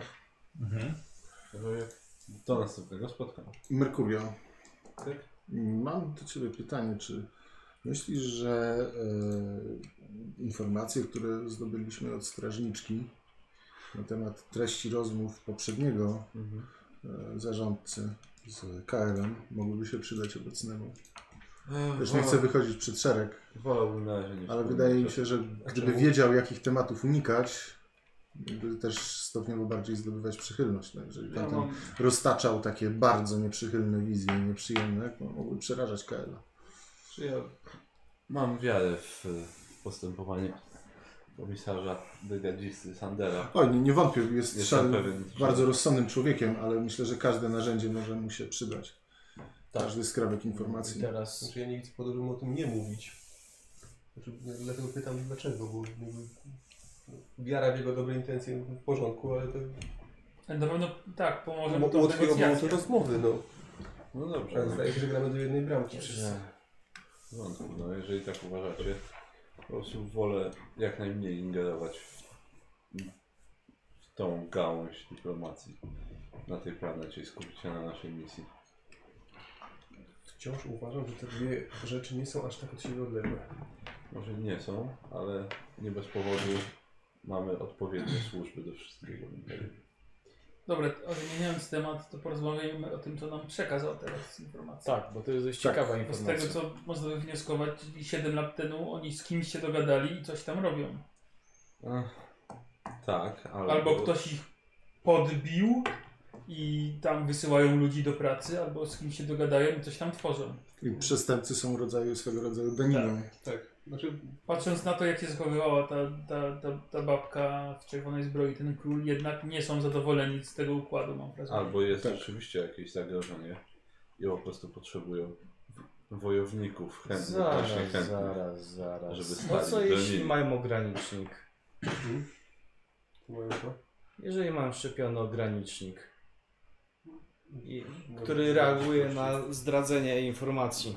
Speaker 1: Mhm.
Speaker 2: do następnego spotkania.
Speaker 5: Merkurio,
Speaker 2: Tak?
Speaker 5: mam do Ciebie pytanie, czy myślisz, że e, informacje, które zdobyliśmy od strażniczki na temat treści rozmów poprzedniego e, zarządcy z KL-em mogłyby się przydać obecnemu? Też nie chcę wychodzić przed szereg,
Speaker 2: Wolałbym na razie nie
Speaker 5: ale
Speaker 2: wspominać
Speaker 5: wydaje mi
Speaker 2: o-
Speaker 5: się, że gdyby wiedział, jakich tematów unikać, by też stopniowo bardziej zdobywać przychylność. No, jeżeli
Speaker 7: Ja
Speaker 5: tamten
Speaker 7: mam,
Speaker 5: roztaczał takie bardzo nieprzychylne wizje, nieprzyjemne, no, mogły przerażać KL.
Speaker 2: Czy ja mam wiarę w e, postępowanie komisarza brygadzisty Sandera.
Speaker 5: Oj, nie, nie wątpię, jest
Speaker 2: Jestem
Speaker 5: szal,
Speaker 2: pewien, że-
Speaker 5: bardzo rozsądnym człowiekiem, ale myślę, że każde narzędzie może mu się przydać. Każdy skrawek informacji.
Speaker 3: I teraz
Speaker 6: Znaczy ja nie widzę podobnym o tym nie mówić. Znaczy, ja dlatego pytam dlaczego, bo jakby wiara w jego dobre intencje w porządku, ale to
Speaker 4: Na pewno tak, pomoże mu
Speaker 6: Mo-
Speaker 4: to w
Speaker 6: otwierają to
Speaker 4: negocjacjach. Mhm.
Speaker 6: rozmowy, no.
Speaker 2: No dobrze.
Speaker 6: Ale zdaje się, że gramy do jednej bramki.
Speaker 3: że
Speaker 2: No, no jeżeli tak uważacie, po prostu wolę jak najmniej ingerować w, w tą gałąź dyplomacji na tej planecie i skupić się na naszej misji.
Speaker 6: Wciąż uważam, że te dwie rzeczy nie są aż tak od siebie odległe.
Speaker 2: Może nie są, ale nie bez powodu mamy odpowiednie służby do wszystkiego.
Speaker 4: Dobra, to zmieniając temat, to porozmawiajmy o tym, co nam przekazał teraz informacja.
Speaker 3: tak, bo to jest dość ciekawa
Speaker 4: Bo Z
Speaker 3: informacja.
Speaker 4: tego, co można wywnioskować, czyli 7 lat temu oni z kimś się dogadali i coś tam robią.
Speaker 2: Ach, tak, ale...
Speaker 4: Albo ktoś ich podbił i tam wysyłają ludzi do pracy, albo z kimś się dogadają i coś tam tworzą.
Speaker 5: I przestępcy są rodzaju, swego rodzaju daniną.
Speaker 6: Tak, znaczy
Speaker 4: Patrząc na to, jak się zachowywała ta, ta, ta, ta babka w czerwonej zbroi, ten król, jednak nie są zadowoleni z tego układu, mam wrażenie.
Speaker 2: Albo jest
Speaker 5: Tak.
Speaker 2: rzeczywiście jakieś zagrożenie i po prostu potrzebują wojowników chętnych,
Speaker 3: Zaraz,
Speaker 2: właśnie chętnych.
Speaker 3: zaraz, zaraz.
Speaker 2: Żeby
Speaker 3: No
Speaker 2: stali
Speaker 3: co jeśli
Speaker 2: broni.
Speaker 3: mają ogranicznik?
Speaker 6: mają to.
Speaker 3: Jeżeli mam szczepiony ogranicznik, i,
Speaker 6: Może-
Speaker 3: który reaguje na zdradzenie informacji,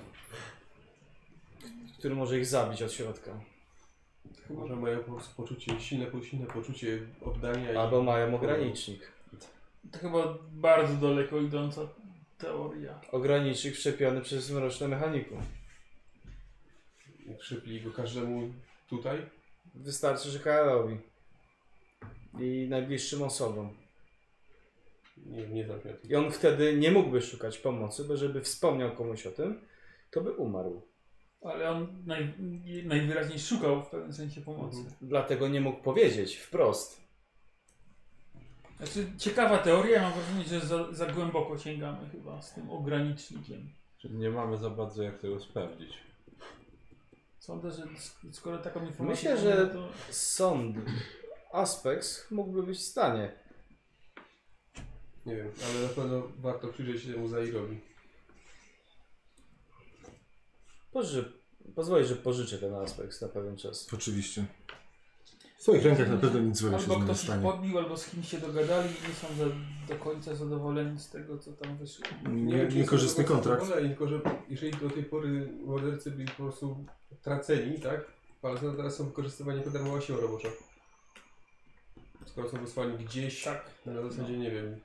Speaker 3: który może ich zabić od środka,
Speaker 6: Może mają po prostu poczucie, silne, po- silne poczucie oddania i...
Speaker 3: albo mają ogranicznik.
Speaker 4: To chyba bardzo daleko idąca Teoria.
Speaker 3: Ograniczyk wszczepiony przez mroczne mechanikum.
Speaker 6: Przypli go każdemu tutaj.
Speaker 3: Wystarczy, że KL-owi. I najbliższym osobom.
Speaker 6: Nie, nie zamknę tego.
Speaker 3: I on wtedy nie mógłby szukać pomocy, bo żeby wspomniał komuś o tym, to by umarł.
Speaker 4: Ale on naj, najwyraźniej szukał w pewnym sensie pomocy.
Speaker 3: Mhm. Dlatego nie mógł powiedzieć wprost.
Speaker 4: Znaczy, ciekawa teoria, mam wrażenie, że za, za głęboko sięgamy chyba z tym ogranicznikiem.
Speaker 2: Czyli nie mamy za bardzo jak tego sprawdzić.
Speaker 4: Sądzę, że sk- skoro taką informację
Speaker 3: Myślę, że-
Speaker 4: mamy, to
Speaker 3: Sąd Aspects mógłby być w stanie.
Speaker 6: Nie wiem, ale na pewno warto przyjrzeć się temu Zairowi.
Speaker 3: Poży... Pozwolę, że pożyczę ten Aspects na pewien czas.
Speaker 5: Oczywiście. W twoich rękach na pewno nic złego się z
Speaker 4: albo
Speaker 5: nim nie
Speaker 4: ktoś ich
Speaker 5: stanie.
Speaker 4: podbił, albo z kimś się dogadali i nie są za, do końca zadowoleni z tego, co tam wyszło.
Speaker 5: Nie,
Speaker 6: wiem, czy
Speaker 5: niekorzystny
Speaker 6: są do końca
Speaker 5: kontrakt.
Speaker 6: zadowoleni, Tylko, że jeżeli do tej pory mordercy byli po prostu traceni, tak? Ale teraz są wykorzystywani jako darmowa siła robocza. Skoro są wysłani gdzieś,
Speaker 4: Tak.
Speaker 6: na zasadzie, nie wiem,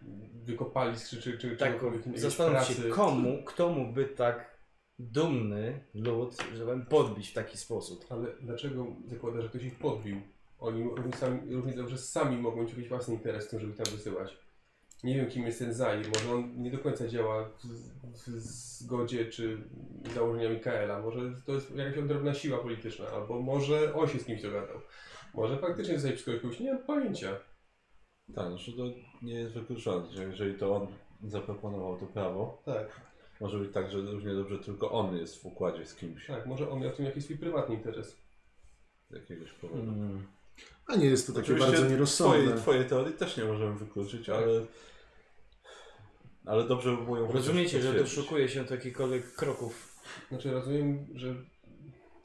Speaker 6: wykopali z czy, czy, czy
Speaker 3: Tak,
Speaker 6: czegokolwiek, jakiejś
Speaker 3: zastanów się,
Speaker 6: pracy.
Speaker 3: komu, kto mógłby tak dumny lud, żeby podbić w taki sposób.
Speaker 6: Ale dlaczego zakłada, że ktoś ich podbił? Oni równie, sami, równie dobrze sami mogą mieć jakiś własny interes w tym, żeby ich tam wysyłać. Nie wiem, kim jest ten Zair. Może on nie do końca działa w, w zgodzie czy z założeniami KL-a. Może to jest jakaś odrębna siła polityczna, albo może on się z kimś dogadał. Może faktycznie zostaje przez kogoś kogoś, nie mam pojęcia.
Speaker 2: Tak, znaczy to nie jest wykluczone, że jeżeli to on zaproponował to prawo,
Speaker 6: Tak.
Speaker 2: może być tak, że równie dobrze tylko on jest w układzie z kimś
Speaker 6: Tak, może on miał w tym jakiś swój prywatny interes.
Speaker 2: z jakiegoś powodu.
Speaker 3: Hmm.
Speaker 5: A nie jest to Mm, takie
Speaker 2: Oczywiście
Speaker 5: bardzo
Speaker 2: Twoje,
Speaker 5: nierozsądne.
Speaker 2: twoje teorie też nie możemy wykluczyć, ale... Ale dobrze by było ją chociaż
Speaker 3: Rozumiecie, że
Speaker 2: potwierdzić.
Speaker 3: doszukuje się jakichkolwiek kroków.
Speaker 6: Znaczy rozumiem, że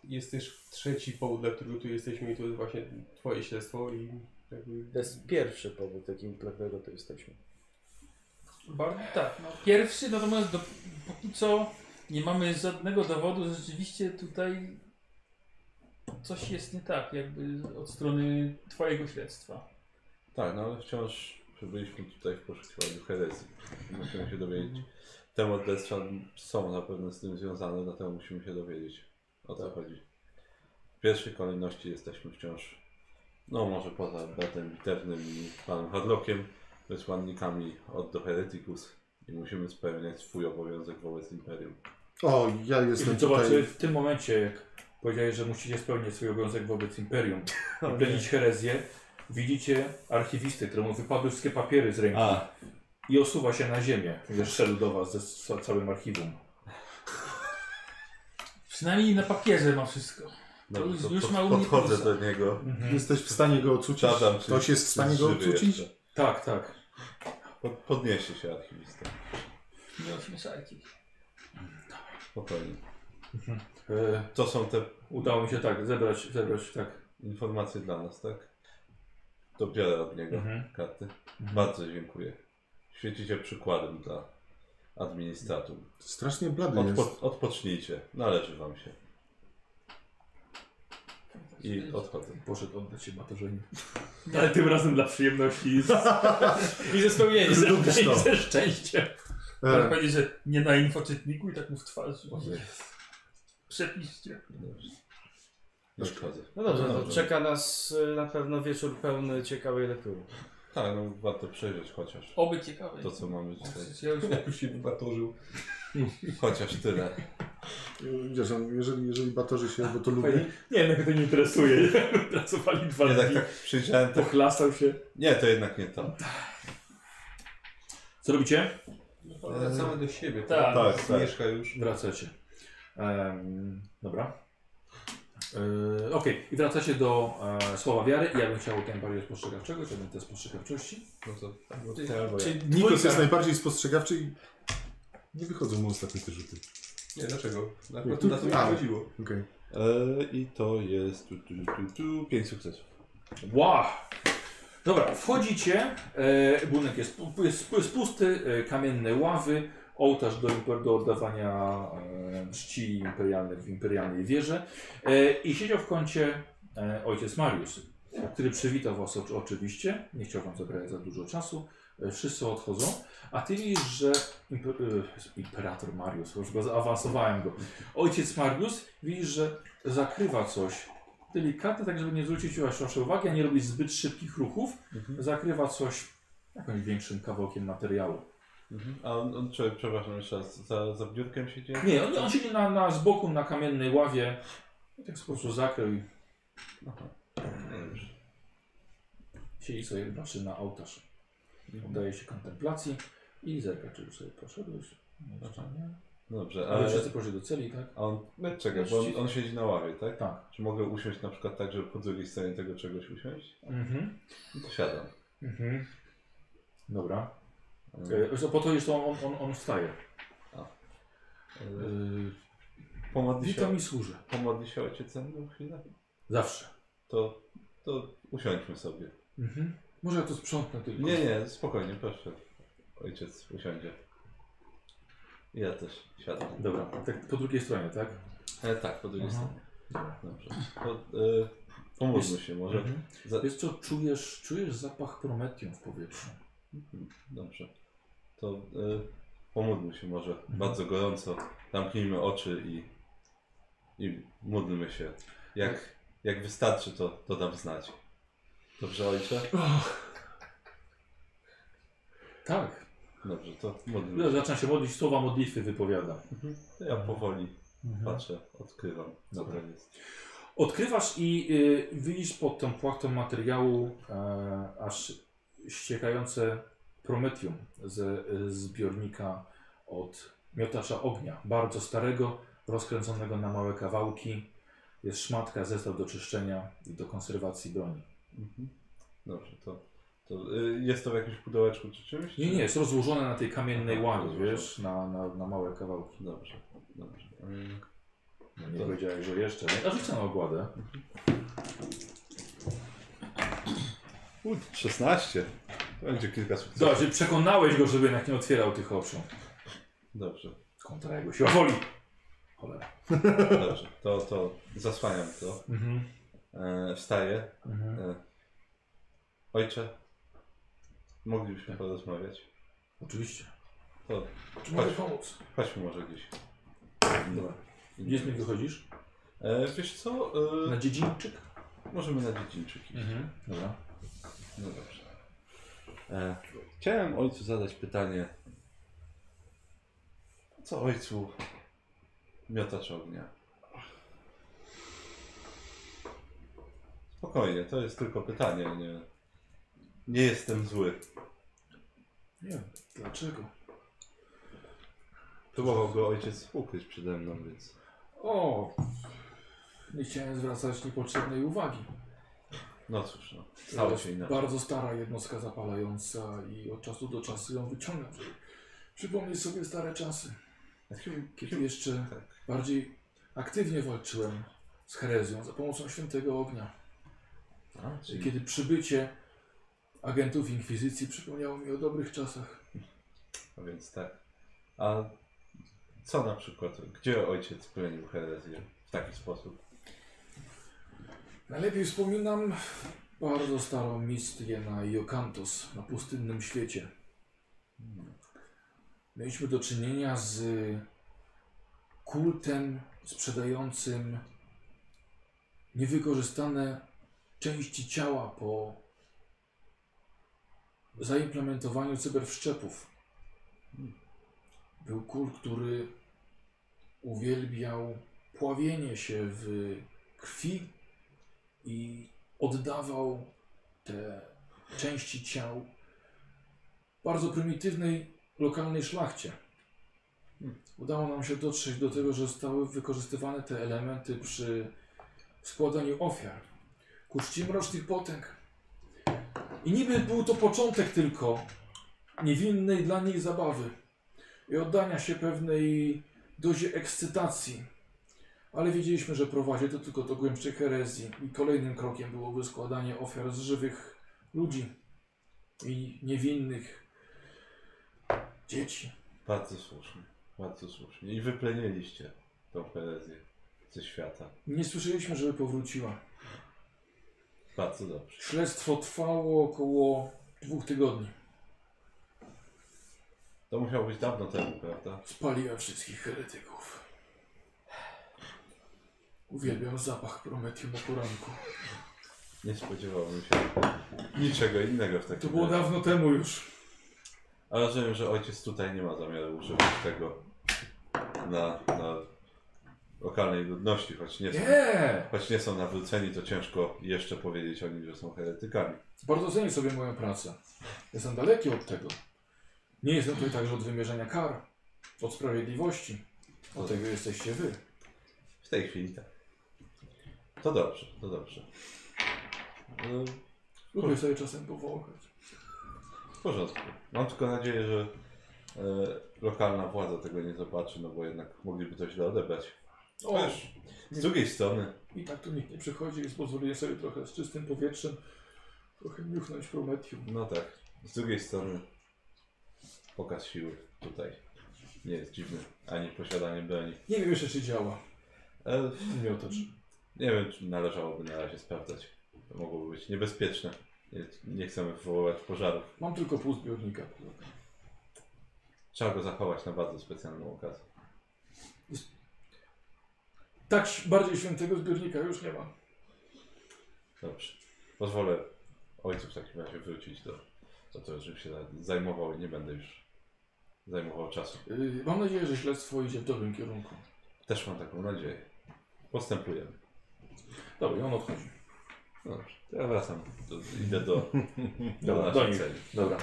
Speaker 6: jest też trzeci powód, dla którego tu jesteśmy i to jest właśnie twoje śledztwo i jakby...
Speaker 3: To jest pierwszy powód, jakim dla którego to jesteśmy.
Speaker 4: Bardzo, tak. No, pierwszy, natomiast do, póki co nie mamy żadnego dowodu, że rzeczywiście tutaj coś jest nie tak, jakby od strony twojego śledztwa.
Speaker 2: Tak, no ale wciąż byliśmy tutaj w poszukiwaniu herezji. Musimy się dowiedzieć. Te morderstwa są na pewno z tym związane, dlatego musimy się dowiedzieć o
Speaker 5: Tak.
Speaker 2: co chodzi. W pierwszej kolejności jesteśmy wciąż, no może poza bratem bitewnym i panem Hadlockiem, wysłannikami od do Hereticus i musimy spełniać swój obowiązek wobec Imperium.
Speaker 5: O, ja jestem
Speaker 1: Jestem Zobaczy,
Speaker 5: tutaj.
Speaker 1: w tym momencie, jak powiedziałeś, że musicie spełnić swój obowiązek wobec Imperium i plenić herezję, widzicie archiwistę, któremu wypadły wszystkie papiery z ręki
Speaker 2: A,
Speaker 1: i osuwa się na ziemię, gdyż szedł do was ze z całym archiwum.
Speaker 4: Przynajmniej na papierze ma wszystko.
Speaker 2: no,
Speaker 4: już-
Speaker 2: to
Speaker 4: już
Speaker 2: pod,
Speaker 4: ma u mnie
Speaker 2: podchodzę
Speaker 4: plusa.
Speaker 2: do niego.
Speaker 5: Jesteś w stanie go ocucić?
Speaker 2: Zadam, czy-
Speaker 5: Ktoś jest w stanie
Speaker 2: czy
Speaker 5: go
Speaker 2: żywy
Speaker 5: ocucić?
Speaker 2: jeszcze.
Speaker 1: Tak, tak.
Speaker 2: Pod, podniesie się archiwista.
Speaker 4: Nie ośmieszajcie. ich.
Speaker 2: Spokojnie.
Speaker 1: E,
Speaker 2: To są te
Speaker 1: udało mi się tak zebrać, zebrać tak.
Speaker 2: informacje dla nas, tak? To biorę od niego
Speaker 1: Mhm.
Speaker 2: karty. Bardzo dziękuję. Świecicie przykładem dla administratum.
Speaker 5: Strasznie blady jest.
Speaker 2: Odpo odpocznijcie, należy wam się. I odchodzę.
Speaker 1: Poszedł oddać się Matarzynie. Ale tym razem dla przyjemności i z-
Speaker 4: I ze spełnieniem.
Speaker 5: Lubisz to.
Speaker 1: i ze szczęściem.
Speaker 4: Teraz
Speaker 5: E,
Speaker 4: powiedzieć, że nie na infoczytniku i tak mu w twarz. Przepiszcie.
Speaker 2: No Odchodzę.
Speaker 3: No dobrze, no to czeka nas y, na pewno wieczór pełny ciekawej [LAUGHS] lektury.
Speaker 2: Tak, no warto przejrzeć chociaż
Speaker 4: Oby ciekawe.
Speaker 2: to, co mamy
Speaker 4: O,
Speaker 2: tutaj.
Speaker 4: przecież ja już
Speaker 6: Już się wybatorzył.
Speaker 2: Chociaż tyle.
Speaker 5: Wiesz, on- jeżeli, jeżeli batorzy się, bo to lubię.
Speaker 1: Nie, mnie to nie interesuje. [LAUGHS] Pracowali dwa
Speaker 2: Nie, tak,
Speaker 1: dni.
Speaker 2: tak przyjrzałem, tak...
Speaker 1: Pochlastał się.
Speaker 2: Nie, to jednak nie to.
Speaker 1: Co robicie?
Speaker 5: E,
Speaker 6: Wracamy do siebie.
Speaker 4: Tak.
Speaker 2: Tak, tak.
Speaker 6: Mieszka już.
Speaker 1: Wracacie. Em, dobra.
Speaker 5: E,
Speaker 1: Yy, Okej, i wracacie do e, słowa wiary. Ja bym chciał ten bardziej spostrzegawczego, czy test spostrzegawczości.
Speaker 6: No to,
Speaker 1: Czy
Speaker 5: Nikos jest
Speaker 1: dwójka?
Speaker 5: najbardziej spostrzegawczy i nie wychodzą mu ostatnie te rzuty.
Speaker 6: nie, dlaczego? Na
Speaker 5: Nie,
Speaker 6: pewno
Speaker 5: tu-
Speaker 6: na to mi
Speaker 5: a.
Speaker 6: chodziło.
Speaker 5: Okej.
Speaker 2: E, I to jest tu, tu, tu, tu, pięć sukcesów.
Speaker 1: Wow! Dobra, wchodzicie. E, budynek jest, pu- jest, jest pusty, e, kamienne ławy, ołtarz do, imper- do oddawania e, czci imperialnych w imperialnej wieży. E, I siedział w kącie e, ojciec Mariusz, który przywitał was oczy, oczywiście. Nie chciał wam zabrać za dużo czasu. E, Wszyscy odchodzą, a ty widzisz, że imper, e, imperator Mariusz, już go zaawansowałem go. Ojciec Mariusz widzisz, że zakrywa coś delikatnie, tak żeby nie zwrócić wasz- waszej uwagi, a nie robić zbyt szybkich ruchów. Zakrywa coś jakimś większym kawałkiem materiału.
Speaker 2: A on, on czy, przepraszam jeszcze raz, za, za biurkiem siedzi?
Speaker 1: Nie, on, on siedzi na, na z boku na kamiennej ławie. I tak po prostu zakrył i
Speaker 2: No dobrze.
Speaker 1: siedzi sobie patrzy na ołtarz. Oddaje się kontemplacji i zerka, czy już sobie poszedłeś. Nie, jeszcze nie.
Speaker 2: No dobrze,
Speaker 1: Ale
Speaker 2: ale
Speaker 1: wszyscy poszli do celi, tak?
Speaker 2: a on, czekaj, bo on, on siedzi na ławie, tak?
Speaker 1: Tak.
Speaker 2: Czy mogę usiąść na przykład tak, żeby po drugiej stronie tego czegoś usiąść?
Speaker 1: Mhm.
Speaker 2: No to siadam.
Speaker 1: Mhm. Dobra.
Speaker 2: E,
Speaker 1: E, zresztą po to jeszcze on, on, on wstaje. E,
Speaker 2: Pomodli
Speaker 1: Witam
Speaker 2: się,
Speaker 1: i służę.
Speaker 2: pomodli się ojciec ze mną chwilę?
Speaker 1: Zawsze.
Speaker 2: To, to usiądźmy sobie.
Speaker 1: Mhm. Może ja to sprzątnę tylko.
Speaker 2: Nie, nie, spokojnie, proszę. Ojciec usiądzie. Ja też siadam.
Speaker 1: Dobra, tak po drugiej stronie, tak?
Speaker 2: E, tak, po drugiej
Speaker 1: Aha.
Speaker 2: stronie. Dobrze. To, e, pomóżmy się może.
Speaker 1: Mhm.
Speaker 2: Za,
Speaker 1: Wiesz co, czujesz, czujesz zapach prometium w powietrzu.
Speaker 2: Dobrze. To y, pomódlmy się może bardzo gorąco. Zamknijmy oczy i, i módlmy się. Jak, jak wystarczy, to, to dam znać. Dobrze, ojcze?
Speaker 1: Tak.
Speaker 2: Dobrze, to módlmy
Speaker 1: Ja
Speaker 2: się.
Speaker 1: zaczyna się modlić, słowa modlitwy wypowiada.
Speaker 2: To ja powoli
Speaker 1: Mhm.
Speaker 2: patrzę, odkrywam, co to
Speaker 1: Dobra.
Speaker 2: jest.
Speaker 1: Odkrywasz i y, widzisz pod tą płachtą materiału e, aż ściekające prometium ze y, zbiornika od miotacza ognia, bardzo starego, rozkręconego na małe kawałki. Jest szmatka, zestaw do czyszczenia i do konserwacji broni.
Speaker 2: Mhm. Dobrze, to, to y, jest to w jakimś pudełeczku czy czymś?
Speaker 1: Nie,
Speaker 2: czy-
Speaker 1: nie, jest rozłożone na tej kamiennej
Speaker 2: Aha,
Speaker 1: ławie,
Speaker 2: rozłożone.
Speaker 1: wiesz, na, na, na małe kawałki.
Speaker 2: Dobrze, dobrze. Mm, Ym,
Speaker 1: No nie powiedziałeś, że jeszcze. nie? Mhm. A rzuć na ogładę.
Speaker 2: 16. To będzie kilka sukcesów.
Speaker 1: Dobrze, przekonałeś go, żeby jednak nie otwierał tych oczu.
Speaker 2: Dobrze.
Speaker 1: Kontra jego siła woli. Cholera.
Speaker 2: Dobrze, to, to zasłaniam to.
Speaker 1: Mhm.
Speaker 2: E, wstaję.
Speaker 1: Mhm.
Speaker 2: E, ojcze, moglibyśmy porozmawiać.
Speaker 1: Oczywiście.
Speaker 2: To
Speaker 7: Czy mogę
Speaker 2: Chodź.
Speaker 7: pomóc?
Speaker 2: chodźmy może gdzieś.
Speaker 1: Dobra. Gdzie z nim wychodzisz?
Speaker 2: No. E, wiesz co,
Speaker 1: Na
Speaker 2: e,
Speaker 1: dziedzińczyk?
Speaker 2: możemy na dziedzińczyki.
Speaker 1: Mhm. Dobra.
Speaker 2: No dobrze. E, chciałem ojcu zadać pytanie. Co ojcu miotacz ognia? Spokojnie, to jest tylko pytanie, nie... Nie jestem zły.
Speaker 7: Nie. Dlaczego?
Speaker 2: Próbował go ojciec ukryć przede mną, więc...
Speaker 7: O! Nie chciałem zwracać niepotrzebnej uwagi.
Speaker 2: No cóż, no. Stało się inaczej.
Speaker 7: Bardzo stara jednostka zapalająca i od czasu do czasu ją wyciągam, żeby przypomnieć sobie stare czasy,
Speaker 2: Kim- [LAUGHS]
Speaker 7: kiedy jeszcze
Speaker 2: Tak.
Speaker 7: bardziej aktywnie walczyłem z herezją za pomocą świętego ognia.
Speaker 2: A,
Speaker 7: I
Speaker 2: czyli
Speaker 7: kiedy przybycie agentów inkwizycji przypomniało mi o dobrych czasach.
Speaker 2: A więc tak. A co na przykład, gdzie ojciec bronił herezję w taki sposób?
Speaker 7: Najlepiej wspominam bardzo starą mistię na Iokantos, na pustynnym świecie. Mieliśmy do czynienia z kultem sprzedającym niewykorzystane części ciała po zaimplementowaniu cyberwszczepów. Był kult, który uwielbiał pławienie się w krwi i oddawał te części ciał bardzo prymitywnej lokalnej szlachcie. Hmm. Udało nam się dotrzeć do tego, że zostały wykorzystywane te elementy przy składaniu ofiar ku czci mrocznych potęg. I niby był to początek tylko niewinnej dla nich zabawy i oddania się pewnej dozie ekscytacji. Ale wiedzieliśmy, że prowadzi to tylko do głębszej herezji i kolejnym krokiem byłoby składanie ofiar z żywych ludzi i niewinnych dzieci.
Speaker 2: Bardzo słusznie, bardzo słusznie. I wypleniliście tą herezję ze świata.
Speaker 7: Nie słyszeliśmy, żeby powróciła.
Speaker 2: Bardzo dobrze.
Speaker 7: Śledztwo trwało około dwóch tygodni.
Speaker 2: To musiało być dawno temu, prawda?
Speaker 1: Spaliłem wszystkich heretyków. Uwielbiam zapach prometium o poranku.
Speaker 2: Nie spodziewałem się niczego innego w takim
Speaker 1: To było
Speaker 2: razie.
Speaker 1: dawno temu już.
Speaker 2: A rozumiem, że ojciec tutaj nie ma zamiaru używać tego na, na lokalnej ludności, choć nie, są,
Speaker 1: Nie!
Speaker 2: choć nie są nawróceni, to ciężko jeszcze powiedzieć o nich, że są heretykami.
Speaker 1: Bardzo cenię sobie moją pracę. Jestem daleki od tego. Nie jestem tutaj także od wymierzenia kar, od sprawiedliwości. Od tego jesteście wy.
Speaker 2: W tej chwili tak. To dobrze, to dobrze.
Speaker 5: E,
Speaker 2: No,
Speaker 1: Lubię sobie czasem powąchać.
Speaker 2: W porządku. Mam tylko nadzieję, że e, lokalna władza tego nie zobaczy, no bo jednak mogliby to źle odebrać.
Speaker 1: O,
Speaker 2: Wiesz, z drugiej strony,
Speaker 1: i tak tu nikt nie przychodzi, więc pozwoliłem sobie trochę z czystym powietrzem trochę niuchnąć prometium.
Speaker 2: no tak, z drugiej strony pokaz siły tutaj nie jest dziwny, ani posiadanie broni.
Speaker 1: Nie wiem jeszcze, czy działa.
Speaker 2: E,
Speaker 1: Miotacz.
Speaker 2: nie wiem, czy należałoby na razie sprawdzać. To mogłoby być niebezpieczne. Nie, nie chcemy wywoływać pożarów.
Speaker 1: Mam tylko pół zbiornika.
Speaker 2: Trzeba go zachować na bardzo specjalną okazję.
Speaker 1: Tak ś- bardziej świętego zbiornika już nie ma.
Speaker 2: Dobrze. Pozwolę ojcu w takim razie wrócić do, do tego, żebym się zajmował i nie będę już zajmował czasu.
Speaker 1: Yy, mam nadzieję, że śledztwo idzie w dobrym kierunku.
Speaker 2: Też mam taką nadzieję. Postępujemy.
Speaker 1: Dobra, i on odchodzi.
Speaker 2: No Dobrze. To ja wracam. Do, idę do, Tak, do
Speaker 1: Dobra, do
Speaker 2: naszej
Speaker 1: nich.
Speaker 2: celi.
Speaker 1: Dobra.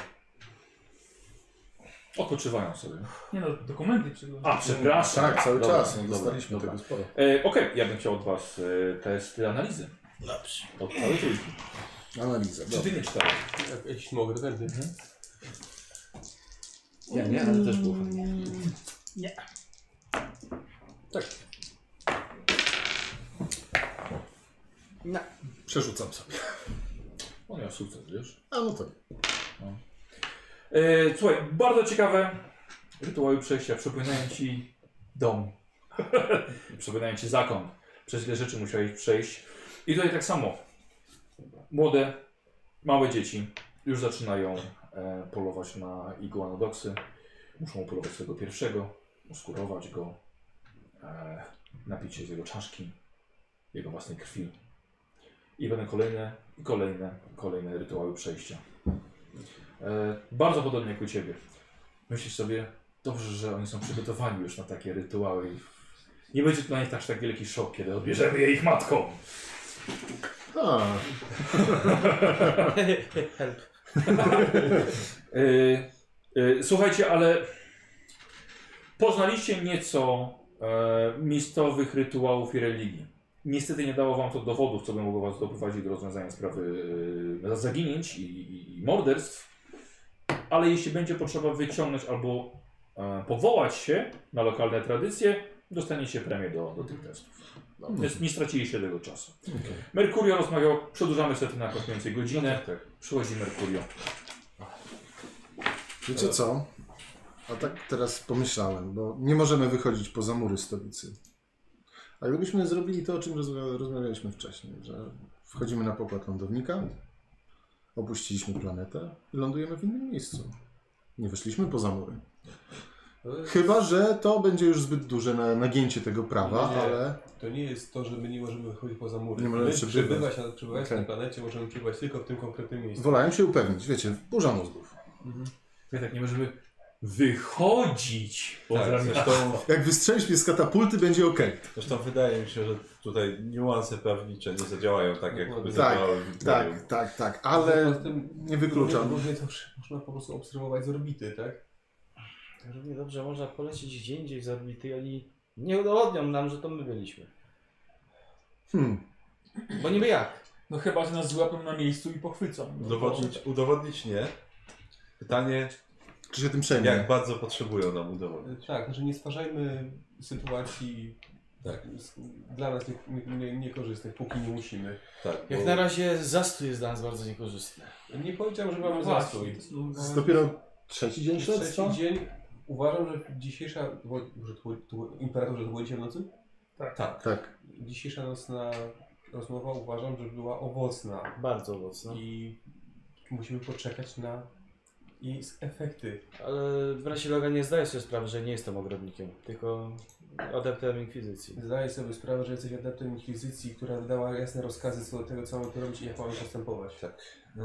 Speaker 1: Odpoczywają sobie.
Speaker 4: Nie no, dokumenty przyglądam.
Speaker 1: A, przepraszam.
Speaker 5: Tak, cały
Speaker 1: Dobra,
Speaker 5: czas. No,
Speaker 1: dobra,
Speaker 5: dostaliśmy
Speaker 1: dobra.
Speaker 5: tego sporo.
Speaker 1: E, Okej, ja bym chciał od was e, testy analizy. Dobrze. Od całej trójki.
Speaker 5: Analiza.
Speaker 1: Czy
Speaker 5: Dobra.
Speaker 1: ty nie czytałeś?
Speaker 6: Jak, jeśli mogę, to chętnie.
Speaker 8: Ja nie, ale też było fajnie.
Speaker 5: Przerzucam sobie.
Speaker 1: On miał sukces, wiesz?
Speaker 5: A no to.
Speaker 1: E, słuchaj, bardzo ciekawe rytuały przejścia. Przypominają ci dom. [LAUGHS] Przypominają ci zakon. Przez ile rzeczy musiałeś przejść. I tutaj tak samo. Młode, małe dzieci już zaczynają e, polować na iguanodoksy. Muszą upolować swojego pierwszego, uskurować go, e, napić się z jego czaszki, jego własnej krwi. I będą kolejne, i kolejne, kolejne rytuały przejścia. E, bardzo podobnie jak u Ciebie. Myślisz sobie, dobrze, że oni są przygotowani już na takie rytuały. i Nie będzie to dla nich aż tak wielki szok, kiedy odbierzemy je ich matką.
Speaker 5: A,
Speaker 3: Help.
Speaker 1: E, e, słuchajcie, ale poznaliście nieco e, miejscowych rytuałów i religii. Niestety nie dało wam to dowodów, co by mogło was doprowadzić do rozwiązania sprawy e, zaginięć i, i, i morderstw. Ale jeśli będzie potrzeba wyciągnąć albo e, powołać się na lokalne tradycje, dostaniecie premię do, do tych testów.
Speaker 5: no, Mhm.
Speaker 1: Więc nie straciliście tego czasu. Merkurio rozmawiał, przedłużamy sobie na jakąś mniej więcej godzinę. Przychodzi Merkurio.
Speaker 5: wiecie co? A tak teraz pomyślałem, bo nie możemy wychodzić poza mury stolicy. A gdybyśmy zrobili to, o czym rozmawia- rozmawialiśmy wcześniej, że wchodzimy na pokład lądownika, opuściliśmy planetę i lądujemy w innym miejscu. Nie wyszliśmy poza mury. Chyba, że to będzie już zbyt duże na, nagięcie tego prawa,
Speaker 6: Nie.
Speaker 5: ale...
Speaker 6: To nie jest to, że my nie możemy wychodzić poza mury.
Speaker 5: Nie możemy
Speaker 6: my
Speaker 5: przebywać.
Speaker 6: przebywać, na, przebywać
Speaker 5: Okej.
Speaker 6: na planecie możemy przebywać tylko w tym konkretnym miejscu. Mhm.
Speaker 5: Wolałem się upewnić, wiecie, burza mózgów.
Speaker 9: My tak nie możemy wychodzić poza
Speaker 2: Tak,
Speaker 9: tak,
Speaker 2: zresztą,
Speaker 5: Jak wystrzelisz mnie z katapulty, będzie ok.
Speaker 2: zresztą wydaje mi się, że tutaj niuanse prawnicze nie zadziałają tak, jak by
Speaker 6: Dokładnie.
Speaker 2: zadziałały w imperium.
Speaker 5: Tak, tak, tak, ale
Speaker 6: Poza tym
Speaker 5: nie wykluczam.
Speaker 6: Różnie to można po prostu obserwować z orbity, tak?
Speaker 3: Równie dobrze można polecieć gdzie indziej z orbity i oni nie udowodnią nam, że to my byliśmy.
Speaker 5: Hmm,
Speaker 3: Bo niby jak?
Speaker 4: No chyba, że nas złapią na miejscu i pochwycą. no
Speaker 2: Udowodnić, udowodnić nie. Pytanie,
Speaker 5: czy się tym
Speaker 2: jak
Speaker 5: przejmie?
Speaker 2: bardzo potrzebują nam udowodnić.
Speaker 6: Tak, znaczy nie stwarzajmy sytuacji tak, z- dla nas nie- nie- nie- niekorzystnych, póki nie musimy.
Speaker 2: Tak,
Speaker 3: Jak
Speaker 2: bo-
Speaker 3: na razie zastój jest dla nas bardzo niekorzystny.
Speaker 6: Nie powiedziałem, że
Speaker 4: No
Speaker 6: mamy
Speaker 4: właśnie.
Speaker 6: zastój.
Speaker 5: To jest dopiero trzeci dzień śledztwa?
Speaker 6: Trzeci dzień uważam, że dzisiejsza. bo- Że to, było- to, było- imperatorze, to było dzisiaj w nocy?
Speaker 5: Tak.
Speaker 6: Dzisiejsza nocna rozmowa uważam, że była owocna
Speaker 2: No.
Speaker 3: Bardzo mocno.
Speaker 6: i musimy poczekać na i z efekty.
Speaker 3: Ale Brasilaga nie zdaje sobie sprawy, że nie jestem ogrodnikiem, tylko adeptem inkwizycji.
Speaker 6: Zdaję sobie sprawę, że jesteś adeptem inkwizycji, która wydała jasne rozkazy co do tego, co mamy tu robić i jak mamy postępować.
Speaker 2: Tak. E,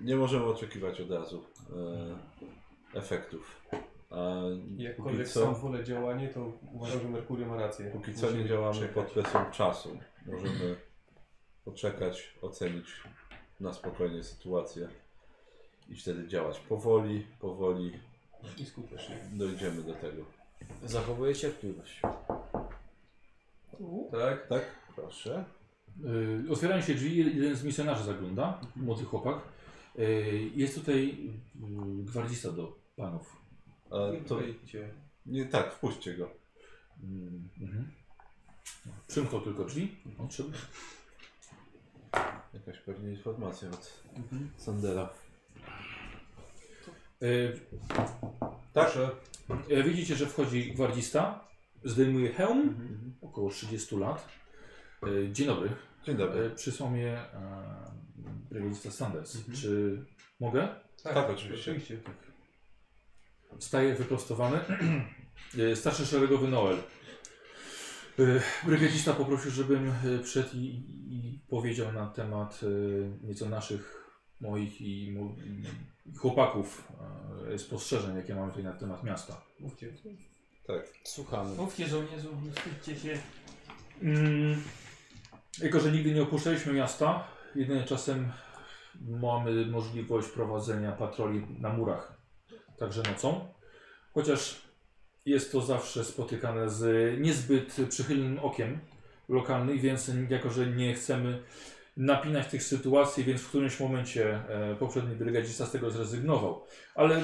Speaker 2: Nie możemy oczekiwać od razu e, efektów. A póki
Speaker 6: Jakkolwiek sam
Speaker 2: co,
Speaker 6: wolę działanie, to uważam, że Merkurio ma rację.
Speaker 2: póki co nie
Speaker 6: Musimy
Speaker 2: działamy
Speaker 6: czekać.
Speaker 2: pod presją czasu. Możemy poczekać, ocenić na spokojnie sytuację i wtedy działać powoli, powoli
Speaker 6: I skutecznie.
Speaker 2: dojdziemy do tego.
Speaker 3: Zachowuję cierpliwość.
Speaker 6: Tak?
Speaker 2: Tak?
Speaker 3: Proszę.
Speaker 1: Yy, Otwierają się drzwi, jeden z misjonarzy zagląda,
Speaker 2: Mhm.
Speaker 1: młody chłopak. Yy, Jest tutaj yy, gwardzista do panów.
Speaker 2: E, to
Speaker 6: Wejdźcie.
Speaker 2: nie tak, wpuśćcie go.
Speaker 1: Mhm. Przymknął tylko drzwi.
Speaker 2: Mhm.
Speaker 1: Odszedł.
Speaker 2: Jakaś pewnie informacja od
Speaker 5: Mhm.
Speaker 2: Sandera.
Speaker 1: Yy,
Speaker 2: Tak?
Speaker 1: E, Widzicie, że wchodzi gwardzista, zdejmuje hełm,
Speaker 2: Mhm,
Speaker 1: około 30 lat. E, Dzień dobry,
Speaker 2: Dzień dobry.
Speaker 1: E, przysłał mnie e, brygadzista Sanders.
Speaker 2: Mhm.
Speaker 1: Czy mogę?
Speaker 2: Tak, oczywiście.
Speaker 6: Oczywiście.
Speaker 1: Staje wyprostowany. [CLEARS THROAT] E, Starszy szeregowy Noel. E, Brygadzista poprosił, żebym e, przyszedł i, i powiedział na temat e, nieco naszych, moich i, mo- i chłopaków e, spostrzeżeń, jakie mamy tutaj na temat miasta.
Speaker 6: Mówcie.
Speaker 2: Tak.
Speaker 3: Słuchamy.
Speaker 4: Mówcie żołnierzu, nie wstydźcie się.
Speaker 1: Mm, jako, że nigdy nie opuszczaliśmy miasta, jedynie czasem mamy możliwość prowadzenia patroli na murach, także nocą. Chociaż jest to zawsze spotykane z niezbyt przychylnym okiem lokalnych, więc jako, że nie chcemy napinać tych sytuacji, więc w którymś momencie e, poprzedni brygadzista z tego zrezygnował. Ale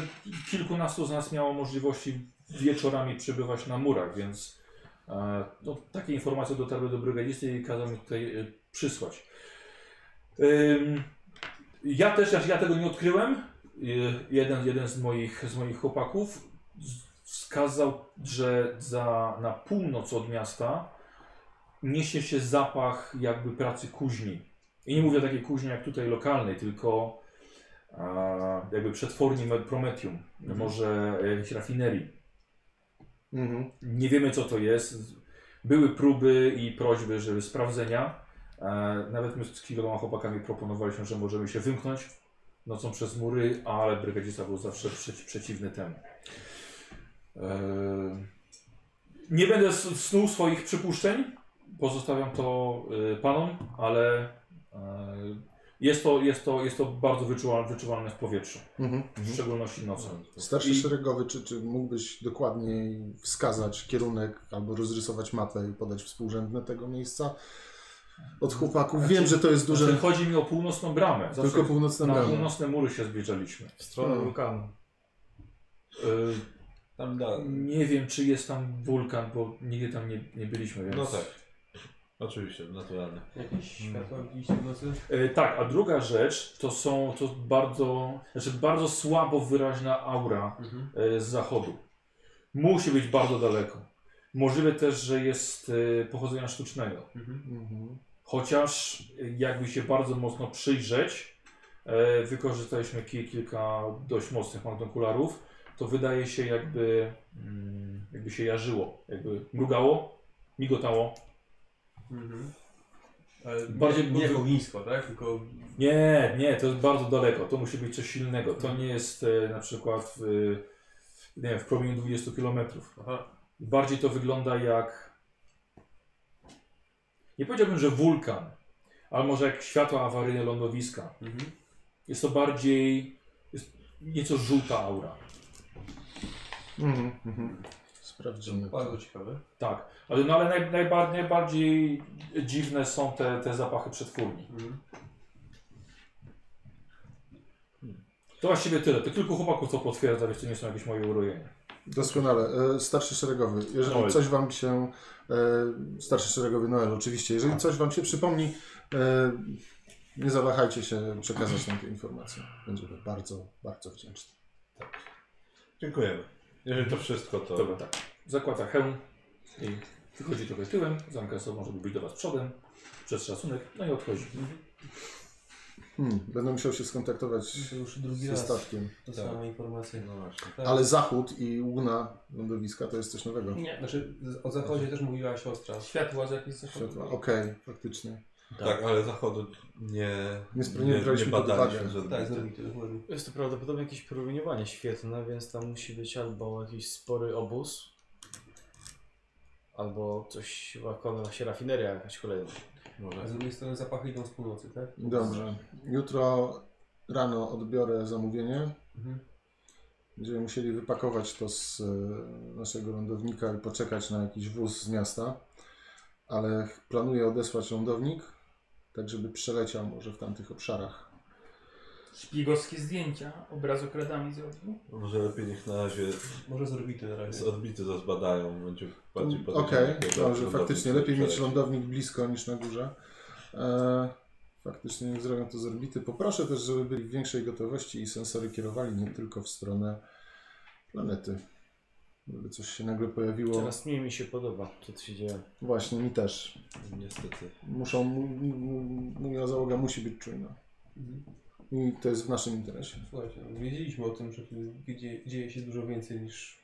Speaker 1: kilkunastu z nas miało możliwości wieczorami przebywać na murach, więc E, No, takie informacje dotarły do brygadzisty i kazał mi tutaj e, przysłać. Ym, Ja też, znaczy ja tego nie odkryłem. Y, Jeden, jeden z, moich, z moich chłopaków z- wskazał, że za, na północ od miasta niesie się zapach jakby pracy kuźni. I nie mówię takiej kuźni jak tutaj lokalnej, tylko e, jakby przetworni Prometium, może e, jakiejś rafinerii.
Speaker 5: Mhm.
Speaker 1: Nie wiemy, co to jest. Były próby i prośby, żeby sprawdzenia. E, Nawet my z kilkoma chłopakami proponowaliśmy, że możemy się wymknąć nocą przez mury, ale brygadzista był zawsze przeci przeciwny temu. E, Nie będę s- snuł swoich przypuszczeń, pozostawiam to e, panom, ale e, jest to, jest to, jest to bardzo wyczuwal- wyczuwalne w powietrzu,
Speaker 5: Mhm.
Speaker 1: w szczególności nocą.
Speaker 5: Starszy
Speaker 1: I-
Speaker 5: szeregowy, czy, czy mógłbyś dokładniej wskazać kierunek albo rozrysować mapę i podać współrzędne tego miejsca? Od chłopaków wiem, że to jest duże.
Speaker 1: Znaczy, chodzi mi o północną bramę. Zawsze
Speaker 5: Tylko północne
Speaker 1: na
Speaker 2: No.
Speaker 5: bramy.
Speaker 1: No, północne mury się zbliżaliśmy.
Speaker 3: W stronę
Speaker 5: Hmm.
Speaker 3: wulkanu.
Speaker 1: E,
Speaker 2: Tam da.
Speaker 1: Nie wiem, czy jest tam wulkan, bo nigdy tam nie, nie byliśmy, więc...
Speaker 2: No
Speaker 5: Mm.
Speaker 2: tak. Oczywiście, naturalnie.
Speaker 6: Jakieś światła widzieliście w nocy?
Speaker 1: E, tak, a druga rzecz to są, to bardzo, znaczy bardzo słabo wyraźna aura
Speaker 6: Mhm.
Speaker 1: e, z zachodu. Musi być bardzo daleko. Możliwe też, że jest e, pochodzenia sztucznego.
Speaker 5: Mhm.
Speaker 1: Chociaż e, jakby się bardzo mocno przyjrzeć, e, wykorzystaliśmy ki- kilka dość mocnych magnokularów, to wydaje się jakby, mm, jakby się jarzyło, jakby mrugało, migotało.
Speaker 6: Mhm. Ale
Speaker 1: Bardziej
Speaker 6: nie, nie
Speaker 1: był-
Speaker 6: ognisko, tak? Tylko
Speaker 1: Nie, nie, to jest bardzo daleko, to musi być coś silnego. To nie jest e, na przykład w, e, nie wiem, w promieniu 20 km.
Speaker 6: aha,
Speaker 1: Bardziej to wygląda jak, nie powiedziałbym, że wulkan, ale może jak światła awaryjne lądowiska.
Speaker 6: mhm.
Speaker 1: Jest to bardziej jest nieco żółta aura.
Speaker 5: Mhm. Mhm. Sprawdzimy.
Speaker 6: bardzo
Speaker 5: To.
Speaker 6: ciekawe.
Speaker 1: Tak, ale, no, ale naj, najba, najbardziej dziwne są te, te zapachy przetwórni.
Speaker 6: Mhm.
Speaker 1: Hmm. To właściwie tyle. To kilku chłopaków to potwierdza, więc to nie są jakieś moje urojenia.
Speaker 5: Doskonale. E, Starszy szeregowy, jeżeli
Speaker 1: Noel.
Speaker 5: coś wam się. e, Starszy szeregowy Noel, oczywiście. Jeżeli coś wam się przypomni, e, nie zawahajcie się przekazać nam te informacje. Będziemy bardzo, bardzo wdzięczni.
Speaker 2: Dziękujemy. Jeżeli to wszystko, to.
Speaker 1: Dobra, tak. Zakłada hełm i wychodzi trochę tyłem, zamyka sobą, żeby być do Was przodem, przez szacunek, no i odchodzi.
Speaker 5: Hmm, będę musiał się skontaktować
Speaker 6: To już drugi
Speaker 5: ze
Speaker 6: raz
Speaker 5: statkiem.
Speaker 6: to
Speaker 2: Tak.
Speaker 6: sama informacja.
Speaker 2: No właśnie. Tak.
Speaker 5: Ale zachód i łuna lądowiska to jest coś nowego.
Speaker 6: Nie, znaczy z- o zachodzie też mówiła siostra.
Speaker 4: Światła, że jakieś
Speaker 5: Światła.
Speaker 4: zachodzą.
Speaker 5: Okej, faktycznie.
Speaker 2: Tak, ale zachodu nie,
Speaker 5: Nie spro- nie braliśmy pod
Speaker 2: badaliśmy
Speaker 5: uwagę.
Speaker 2: żadnego.
Speaker 6: Tak, zrobił to dokładnie.
Speaker 3: Jest to prawdopodobnie jakieś promieniowanie świetne, więc tam musi być albo jakiś spory obóz, albo coś, chyba kolejna się rafineria jakaś kolejna.
Speaker 6: A z drugiej strony zapachy idą z północy, tak?
Speaker 5: Dobrze. Jutro rano odbiorę zamówienie.
Speaker 6: Mhm.
Speaker 5: Będziemy musieli wypakować to z e, naszego lądownika i poczekać na jakiś wóz z miasta. Ale ch- planuję odesłać lądownik, tak żeby przeleciał może w tamtych obszarach.
Speaker 4: Szpiegowskie zdjęcia, obraz okradami zrobił.
Speaker 2: Może lepiej niech na razie
Speaker 6: Może zrobił to na
Speaker 2: z
Speaker 6: razie.
Speaker 2: odbity to zbadają, będzie bardziej
Speaker 5: Mm, Okej, dobrze, faktycznie lepiej mieć
Speaker 2: lądowisko.
Speaker 5: lądownik blisko niż na górze. E, faktycznie niech zrobią to z orbity. Poproszę też, żeby byli w większej gotowości i sensory kierowali nie tylko w stronę planety. Żeby coś się nagle pojawiło.
Speaker 3: Teraz mniej mi się podoba, co tu się dzieje.
Speaker 5: Właśnie, mi też.
Speaker 2: Niestety.
Speaker 5: Muszą, m- m- moja załoga musi być czujna.
Speaker 6: Mhm.
Speaker 5: I to jest w naszym interesie.
Speaker 6: Słuchajcie, no, wiedzieliśmy o tym, że tu dzieje, dzieje się dużo więcej niż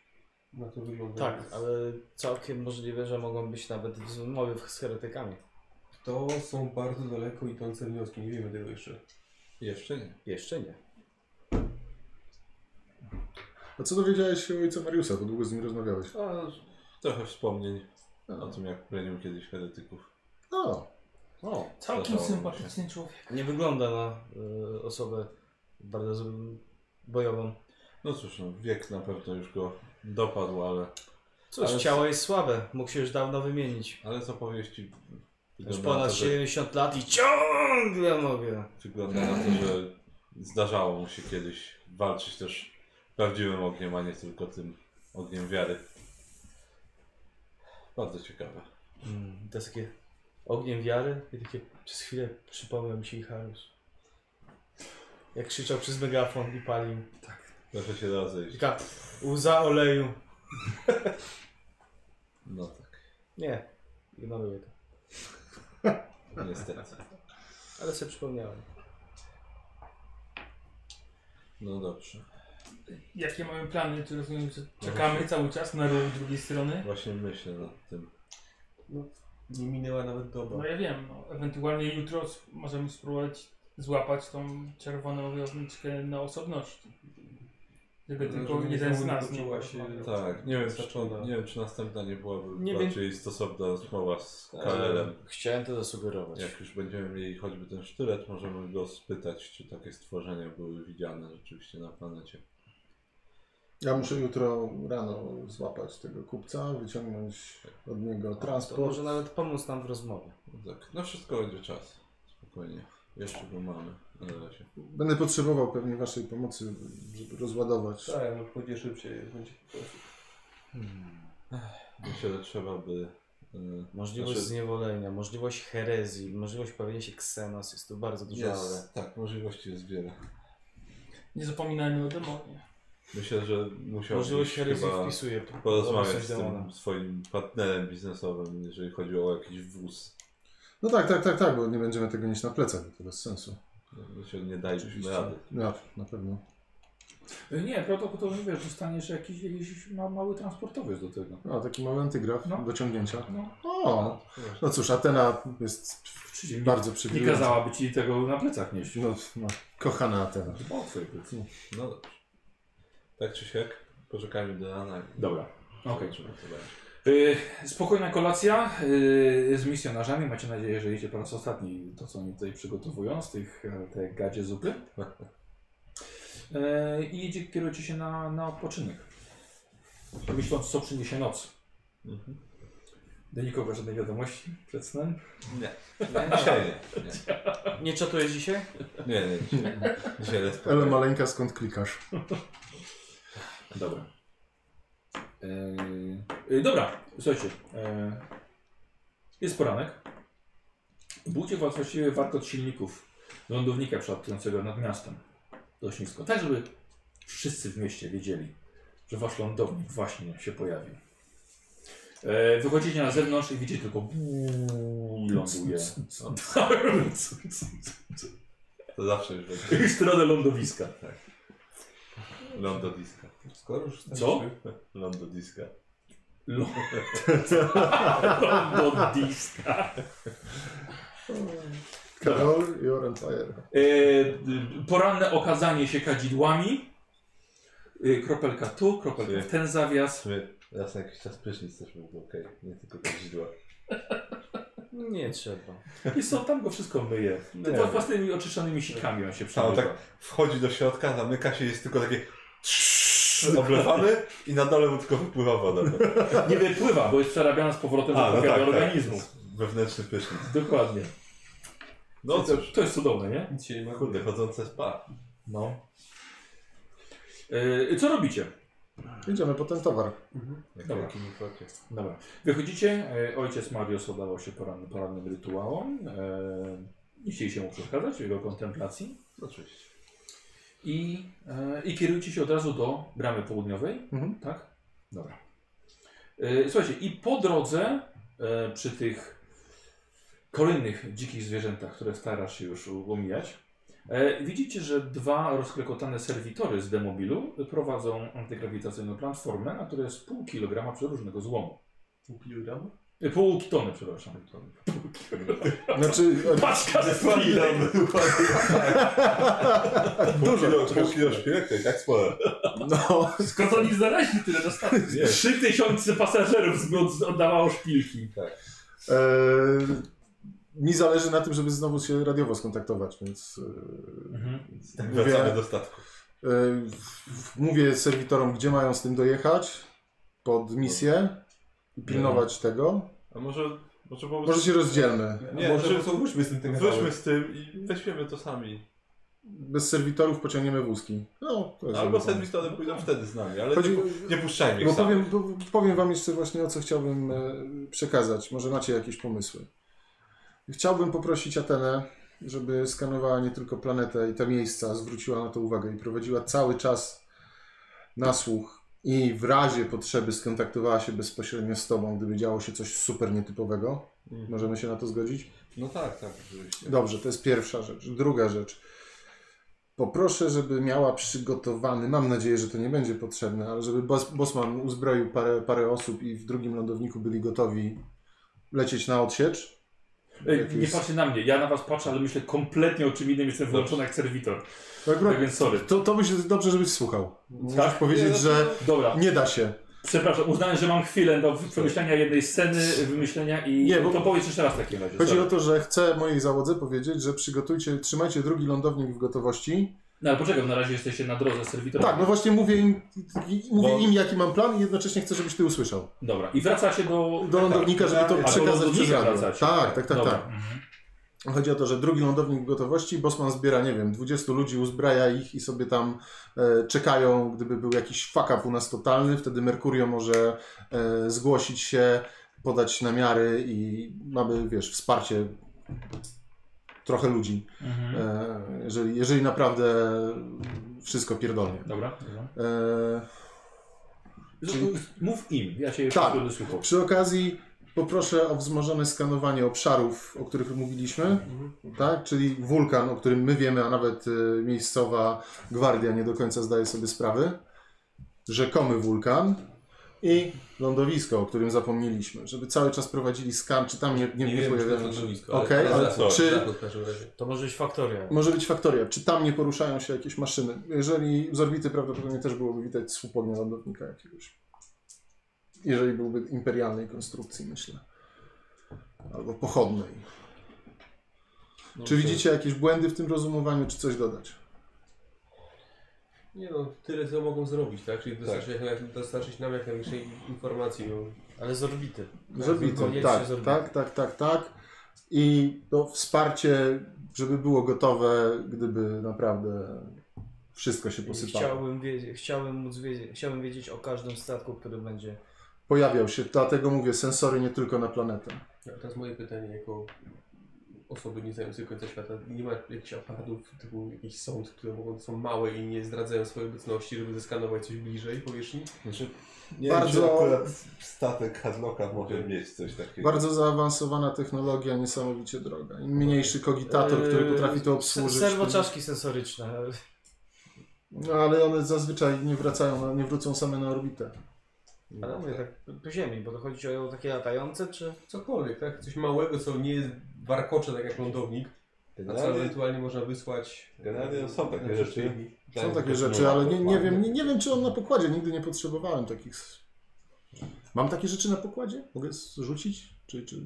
Speaker 6: na to wygląda.
Speaker 3: Tak, ale całkiem możliwe, że mogą być nawet rozmowy z heretykami.
Speaker 6: To są bardzo daleko idące wnioski, nie wiemy tego jeszcze.
Speaker 2: Jeszcze nie.
Speaker 3: Jeszcze nie.
Speaker 5: A co dowiedziałeś się o ojcu Mariusza? Bo długo z nim rozmawiałeś. E,
Speaker 2: A, trochę wspomnień o
Speaker 5: A,
Speaker 2: tym, jak plenił kiedyś heretyków.
Speaker 5: no,
Speaker 2: O,
Speaker 4: Całkiem sympatyczny człowiek.
Speaker 3: Nie wygląda na y, osobę bardzo z- bojową.
Speaker 2: No cóż, no, wiek na pewno już go dopadł, ale,
Speaker 3: Cóż,
Speaker 2: Ale-
Speaker 3: ciało jest słabe, mógł się już dawno wymienić.
Speaker 2: ale z opowieści
Speaker 3: Już
Speaker 2: wygląda na,
Speaker 3: ponad
Speaker 2: no to, że,
Speaker 3: 70 lat i ciągle mogę.
Speaker 2: wygląda na to, że zdarzało mu się kiedyś walczyć też prawdziwym ogniem, a nie tylko tym ogniem wiary. Bardzo ciekawe.
Speaker 3: Mm, to jest takie ogniem wiary i takie przez chwilę przypomniał mi się Icharus. Jak krzyczał przez megafon i palił.
Speaker 2: Proszę się rozejść.
Speaker 3: Taka łza oleju.
Speaker 2: No tak,
Speaker 3: Nie, ignoruję to.
Speaker 2: niestety.
Speaker 3: Ale sobie przypomniałem.
Speaker 2: No dobrze.
Speaker 4: Jakie mamy plany? Czy rozumiem, że czekamy cały czas na ruch drugiej strony?
Speaker 2: Właśnie myślę nad tym.
Speaker 6: Nie minęła nawet
Speaker 4: No
Speaker 6: doba.
Speaker 4: ja wiem, no, ewentualnie jutro s- możemy spróbować złapać tą czerwoną wioźniczkę na osobności. Żeby
Speaker 6: No,
Speaker 4: tylko
Speaker 6: żeby nie
Speaker 4: jeden z nas nie
Speaker 6: poczuła się-
Speaker 4: porozmawiał.
Speaker 2: Tak, nie wiem, czy,
Speaker 6: Zaczona.
Speaker 2: nie wiem, czy następna nie byłaby
Speaker 3: Nie wiem.
Speaker 2: bardziej stosowna rozmowa z
Speaker 3: Tak.
Speaker 2: Kalelem.
Speaker 3: Chciałem to zasugerować.
Speaker 2: Jak już będziemy mieli choćby ten sztylet, możemy go spytać, czy takie stworzenia były widziane rzeczywiście na planecie.
Speaker 5: ja muszę jutro rano złapać tego kupca, wyciągnąć od niego
Speaker 3: To
Speaker 5: No, transport.
Speaker 3: może nawet pomóc nam w rozmowie.
Speaker 2: No tak, no wszystko będzie czas. Spokojnie. Jeszcze go mamy na razie.
Speaker 5: Będę potrzebował pewnie waszej pomocy, żeby rozładować.
Speaker 6: Tak, no pójdzie szybciej, będzie po prostu.
Speaker 2: Myślę, że trzeba by... y,
Speaker 3: Możliwość
Speaker 2: Znaczy-
Speaker 3: zniewolenia, możliwość herezji, możliwość pojawienia się ksenos, jest tu bardzo dużo. ale-
Speaker 2: Jest, tak, możliwości jest wiele.
Speaker 4: Nie zapominajmy o demonie.
Speaker 2: Myślę, że musiałbyś
Speaker 3: Możliwość herezji
Speaker 2: chyba...
Speaker 3: wpisuje.
Speaker 2: porozmawiać
Speaker 3: obecność
Speaker 2: z tym
Speaker 3: demona.
Speaker 2: swoim partnerem biznesowym, jeżeli chodzi o jakiś wóz.
Speaker 5: No tak, tak, tak, tak, bo nie będziemy tego nieść na plecach, bo to bez sensu.
Speaker 2: Myślę, że nie dalibyśmy rady.
Speaker 5: Ja, na pewno.
Speaker 1: Nie, protokół to nie wiesz, dostaniesz jakiś, jakiś ma, mały transportowiec do tego.
Speaker 5: A, taki mały antygraf
Speaker 1: No.
Speaker 5: do ciągnięcia.
Speaker 1: No,
Speaker 5: O, no cóż, Atena jest
Speaker 1: czyli nie,
Speaker 5: bardzo
Speaker 1: nie
Speaker 5: przywilejowana.
Speaker 1: kazałaby ci tego na plecach nieść.
Speaker 5: No, no, kochana Atena.
Speaker 1: O, twoje plecy.
Speaker 2: No dobrze. Tak czy siak, poczekajmy do rana. i
Speaker 1: Dobra, okej.
Speaker 2: zobaczymy, co będzie.
Speaker 1: Y, Spokojna kolacja y, z misjonarzami. Macie nadzieję, że jecie po raz ostatni to, co oni tutaj przygotowują z tych e, te gadzie zupy. Y, I jedzie, kierujecie się na, na odpoczynek. Myśląc, co przyniesie noc.
Speaker 2: Mhm.
Speaker 1: Do nikogo żadnej wiadomości przed snem.
Speaker 2: Dzisiaj nie.
Speaker 3: Nie czatujesz dzisiaj?
Speaker 2: Nie, nie, nie. Dzisiaj, dzisiaj jest
Speaker 5: Ale
Speaker 2: spokojnie.
Speaker 5: maleńka, skąd klikasz?
Speaker 1: Dobra. Yy, yy, dobra, słuchajcie. Yy, jest poranek. Budzie was właściwie warkot silników lądownika przelatującego nad miastem. Dość nisko. Tak, żeby wszyscy w mieście wiedzieli, że wasz lądownik właśnie się pojawił. E, wychodzicie na zewnątrz i widzicie tylko buuu, ląduje.
Speaker 2: To zawsze już będzie.
Speaker 1: W stronę lądowiska.
Speaker 2: Lądodiska. Skoro już
Speaker 1: Co?
Speaker 2: Lądodiska.
Speaker 1: [LAUGHS] Lądodiska.
Speaker 5: Karol, you're on fire.
Speaker 1: E, d- poranne okazanie się kadzidłami. E, kropelka tu, kropelka w ten
Speaker 2: W
Speaker 1: zawias.
Speaker 2: sumie raz na jakiś czas prysznic też byłby okej. Nie tylko kadzidła.
Speaker 3: Nie trzeba.
Speaker 1: I są tam go wszystko myje.
Speaker 2: No Nie.
Speaker 1: Pod własnymi oczyszczonymi sikami on się
Speaker 2: Tam
Speaker 1: przemywa.
Speaker 2: tak wchodzi do środka, zamyka się, jest tylko takie oblewany i na dole mu tylko wypływa woda.
Speaker 1: Tak. Nie wypływa, bo jest przerabiana z powrotem do
Speaker 2: tak,
Speaker 1: no organizmu.
Speaker 2: Wewnętrzny prysznic.
Speaker 1: Dokładnie.
Speaker 2: No
Speaker 1: to,
Speaker 2: cóż,
Speaker 1: to jest cudowne, nie?
Speaker 6: Nic się nie ma.
Speaker 2: kurde, chodzące spa.
Speaker 1: No. E, co robicie?
Speaker 5: Idziemy po ten towar.
Speaker 2: Jak
Speaker 1: Dobra.
Speaker 2: na kinifocie.
Speaker 1: Dobra. Wychodzicie, e, ojciec Mariusz oddawał się porannym, porannym rytuałom. E, nie chcieliście mu przeszkadzać w jego kontemplacji.
Speaker 2: Oczywiście.
Speaker 1: I, e, I kierujcie się od razu do bramy południowej,
Speaker 5: Mhm.
Speaker 1: tak? Dobra. E, słuchajcie, i po drodze e, przy tych kolejnych dzikich zwierzętach, które starasz się już u- omijać, e, widzicie, że dwa rozklekotane serwitory z demobilu prowadzą antygrawitacyjną platformę, na której jest pół kilograma przeróżnego złomu.
Speaker 6: Pół kilogramu?
Speaker 1: E, Pół tony, przepraszam.
Speaker 5: Znaczy,
Speaker 1: Paczka ze
Speaker 2: Dokładnie tak.
Speaker 5: Dużo.
Speaker 2: Pół kilo- Pół kilo szpilek to i tak
Speaker 5: [LAUGHS]
Speaker 2: sporo.
Speaker 5: no,
Speaker 4: Skąd oni znaleźli tyle dostatek?
Speaker 2: Nie,
Speaker 1: Trzy tysiące pasażerów z- od- oddawało szpilki.
Speaker 5: e, mi zależy na tym, żeby znowu się radiowo skontaktować, więc e,
Speaker 2: tak
Speaker 5: Mówię-
Speaker 2: wracamy do statku.
Speaker 5: e, e, w- mówię serwitorom, gdzie mają z tym dojechać pod misję i pilnować tego.
Speaker 2: A może, może po
Speaker 5: Może
Speaker 2: prostu...
Speaker 5: się rozdzielmy.
Speaker 2: Nie,
Speaker 6: może
Speaker 2: może-
Speaker 6: po prostu wróćmy z tym tym
Speaker 2: Wróćmy z tym i weźmiemy to sami.
Speaker 5: Bez serwitorów pociągniemy wózki. No, to jest
Speaker 2: Albo
Speaker 5: dobry pomysł.
Speaker 2: serwitorem pójdą wtedy z nami, ale
Speaker 5: No tak. Chodzi,
Speaker 2: nie, nie puszczajmy
Speaker 5: bo
Speaker 2: ich samych.
Speaker 5: powiem, bo, powiem wam jeszcze właśnie o co chciałbym e, przekazać. Może macie jakieś pomysły. Chciałbym poprosić Atenę, żeby skanowała nie tylko planetę i te miejsca, zwróciła na to uwagę i prowadziła cały czas nasłuch i w razie potrzeby skontaktowała się bezpośrednio z tobą, gdyby działo się coś super nietypowego.
Speaker 2: Mhm.
Speaker 5: Możemy się na to zgodzić?
Speaker 2: No tak, tak, oczywiście.
Speaker 5: Dobrze, to jest pierwsza rzecz. Druga rzecz. Poproszę, żeby miała przygotowany, mam nadzieję, że to nie będzie potrzebne, ale żeby Bos Bosman uzbroił parę, parę osób i w drugim lądowniku byli gotowi lecieć na odsiecz.
Speaker 1: Ej, E, nie patrzcie na mnie, ja na was patrzę, ale myślę kompletnie o czym innym, jestem włączony jak serwitor.
Speaker 5: To Akurat,
Speaker 1: Tak więc sorry.
Speaker 5: to, to myślę, że dobrze, żebyś słuchał.
Speaker 1: Tak?
Speaker 5: Powiedzieć, że
Speaker 1: Dobra,
Speaker 5: nie da się.
Speaker 1: przepraszam, uznałem, że mam chwilę do przemyślenia jednej sceny, wymyślenia i...
Speaker 5: Nie,
Speaker 1: Nie,
Speaker 5: bo-
Speaker 1: bo... To powiedz jeszcze raz w takim razie.
Speaker 5: Chodzi
Speaker 1: sorry.
Speaker 5: o to, że chcę mojej załodze powiedzieć, że przygotujcie, trzymajcie drugi lądownik w gotowości.
Speaker 1: No ale poczekaj, na razie jesteście na drodze serwitora.
Speaker 5: Tak, no właśnie mówię im, i- mówię
Speaker 2: Bo-
Speaker 5: im jaki mam plan i jednocześnie chcę, żebyś ty usłyszał.
Speaker 1: Dobra, i wracacie do...
Speaker 5: Do lądownika, żeby
Speaker 1: Tak. A,
Speaker 5: to
Speaker 1: do
Speaker 5: przekazać
Speaker 1: lądownika
Speaker 5: przez radio.
Speaker 1: wracacie.
Speaker 5: Tak, tak, tak,
Speaker 1: Dobra.
Speaker 5: tak. Chodzi o to, że drugi lądownik w gotowości, Bosman zbiera, nie wiem, 20 ludzi, uzbraja ich i sobie tam e, czekają, gdyby był jakiś fuck up u nas totalny, wtedy Merkurio może e, zgłosić się, podać namiary i mamy, wiesz, wsparcie trochę ludzi,
Speaker 1: Mhm. Mhm.
Speaker 5: e, jeżeli, jeżeli naprawdę wszystko pierdolnie.
Speaker 1: Dobra, dobra.
Speaker 5: E, Czyli-
Speaker 1: Z- Mów im, ja się
Speaker 5: Tak.
Speaker 1: będę słuchał.
Speaker 5: Przy okazji poproszę o wzmożone skanowanie obszarów, o których mówiliśmy, tak? czyli wulkan, o którym my wiemy, a nawet y, miejscowa gwardia nie do końca zdaje sobie sprawy, rzekomy wulkan i lądowisko, o którym zapomnieliśmy, żeby cały czas prowadzili skan, czy tam nie, nie,
Speaker 6: Nie wiem, czy to
Speaker 5: pojawiają
Speaker 6: jest
Speaker 5: się-
Speaker 6: lądowisko, ale-
Speaker 5: Okej,
Speaker 6: ale
Speaker 5: ale
Speaker 2: zaraz,
Speaker 5: czy,
Speaker 6: Tak, w każdym razie.
Speaker 3: To może być faktoria.
Speaker 5: może być faktoria, czy tam nie poruszają się jakieś maszyny? Jeżeli z orbity prawdopodobnie też byłoby widać słupodnie lądownika jakiegoś. Jeżeli byłby imperialnej konstrukcji, myślę. Albo pochodnej.
Speaker 6: No
Speaker 5: czy widzicie jakieś błędy w tym rozumowaniu, czy coś dodać?
Speaker 6: Nie no, tyle co mogą zrobić, tak? Czyli dostarczyć,
Speaker 2: Tak.
Speaker 6: Jak, dostarczyć nam jak największej informacji no. o
Speaker 3: Ale z orbity.
Speaker 5: Z orbitą,
Speaker 3: koniecznie
Speaker 5: tak,
Speaker 3: z orbitą.
Speaker 5: tak, tak, tak, tak. I to wsparcie, żeby było gotowe, gdyby naprawdę wszystko się posypało.
Speaker 3: Chciałbym, wiedzieć, chciałbym, móc wiedzieć, chciałbym wiedzieć o każdym statku, który będzie.
Speaker 5: Pojawiał się, dlatego mówię, sensory nie tylko na planetę.
Speaker 6: A teraz moje pytanie jako osoby nie znającej końca świata. Nie ma jakichś aparatów typu jakichś sond, które mogą, są małe i nie zdradzają swojej obecności, żeby zeskanować coś bliżej powierzchni?
Speaker 2: Znaczy, Nie
Speaker 5: Bardzo-
Speaker 2: wiem, czy akurat statek Hadlocka może mieć coś takiego.
Speaker 5: Bardzo zaawansowana technologia, niesamowicie droga. Im mniejszy kogitator, który
Speaker 6: Eee,
Speaker 3: Yy,
Speaker 5: potrafi to obsłużyć. tym-
Speaker 3: Serwoczaszki sensoryczne.
Speaker 5: No ale one zazwyczaj nie wracają, na- nie wrócą same na orbitę.
Speaker 3: Ale mówię tak po ziemi, bo to chodzi o takie latające, czy...
Speaker 6: Cokolwiek, tak? Coś małego, co nie jest warkocze, tak jak lądownik, a co
Speaker 2: Generalnie,
Speaker 6: ewentualnie można wysłać.
Speaker 2: generalnie są takie
Speaker 6: na
Speaker 2: rzeczy.
Speaker 6: Tak,
Speaker 2: Tak,
Speaker 5: Są takie rzeczy, ale nie, nie wiem, nie, nie wiem czy on na pokładzie, nigdy nie potrzebowałem takich. Mam takie rzeczy na pokładzie? Mogę zrzucić? Czy, czy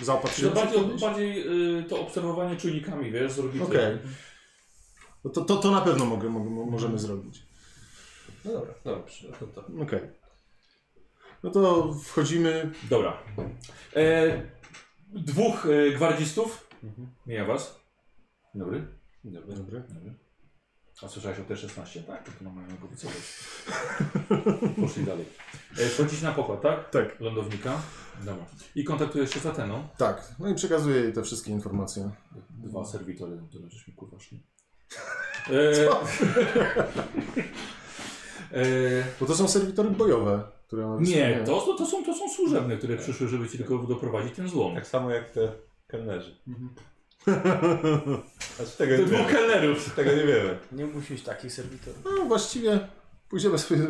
Speaker 1: No
Speaker 5: zaopatrzyłem się
Speaker 1: bardziej
Speaker 5: kiedyś?
Speaker 1: bardziej y, to obserwowanie czujnikami, wiesz, zrobić.
Speaker 5: Okej. No To, to, to na pewno mogę, mogę, mo- możemy zrobić.
Speaker 6: No dobra, dobrze, to to.
Speaker 5: Okej. No to wchodzimy.
Speaker 1: Dobra. E, dwóch e, gwardzistów.
Speaker 5: Mhm.
Speaker 1: Mija was. Dobry.
Speaker 2: Dobry.
Speaker 5: Dobry.
Speaker 1: A słyszałeś o T-16? Tak, to tu mamy go wycofać. Poszli dalej. E, wchodzić na pokład, tak?
Speaker 5: Tak.
Speaker 1: Lądownika. Dobra. I kontaktujesz się z Ateną.
Speaker 5: Tak. No i przekazuję jej te wszystkie informacje.
Speaker 1: Dwa serwitory, no tyle żeśmy kurwa [LAUGHS] szli. E, [LAUGHS] e,
Speaker 5: Bo to są serwitory bojowe, które ona
Speaker 1: nie,
Speaker 5: wystawiała.
Speaker 1: to, to, to, są, to są służebne, które przyszły, żeby ci tylko doprowadzić ten złom.
Speaker 2: Tak samo jak te kelnerzy.
Speaker 5: Mhm.
Speaker 2: [LAUGHS] Znaczy tego
Speaker 1: To
Speaker 2: nie
Speaker 1: dwóch
Speaker 2: wiemy.
Speaker 1: kelnerów.
Speaker 2: Tego nie wiemy.
Speaker 3: Nie musi mieć takich serwitorów.
Speaker 5: No właściwie pójdziemy sobie.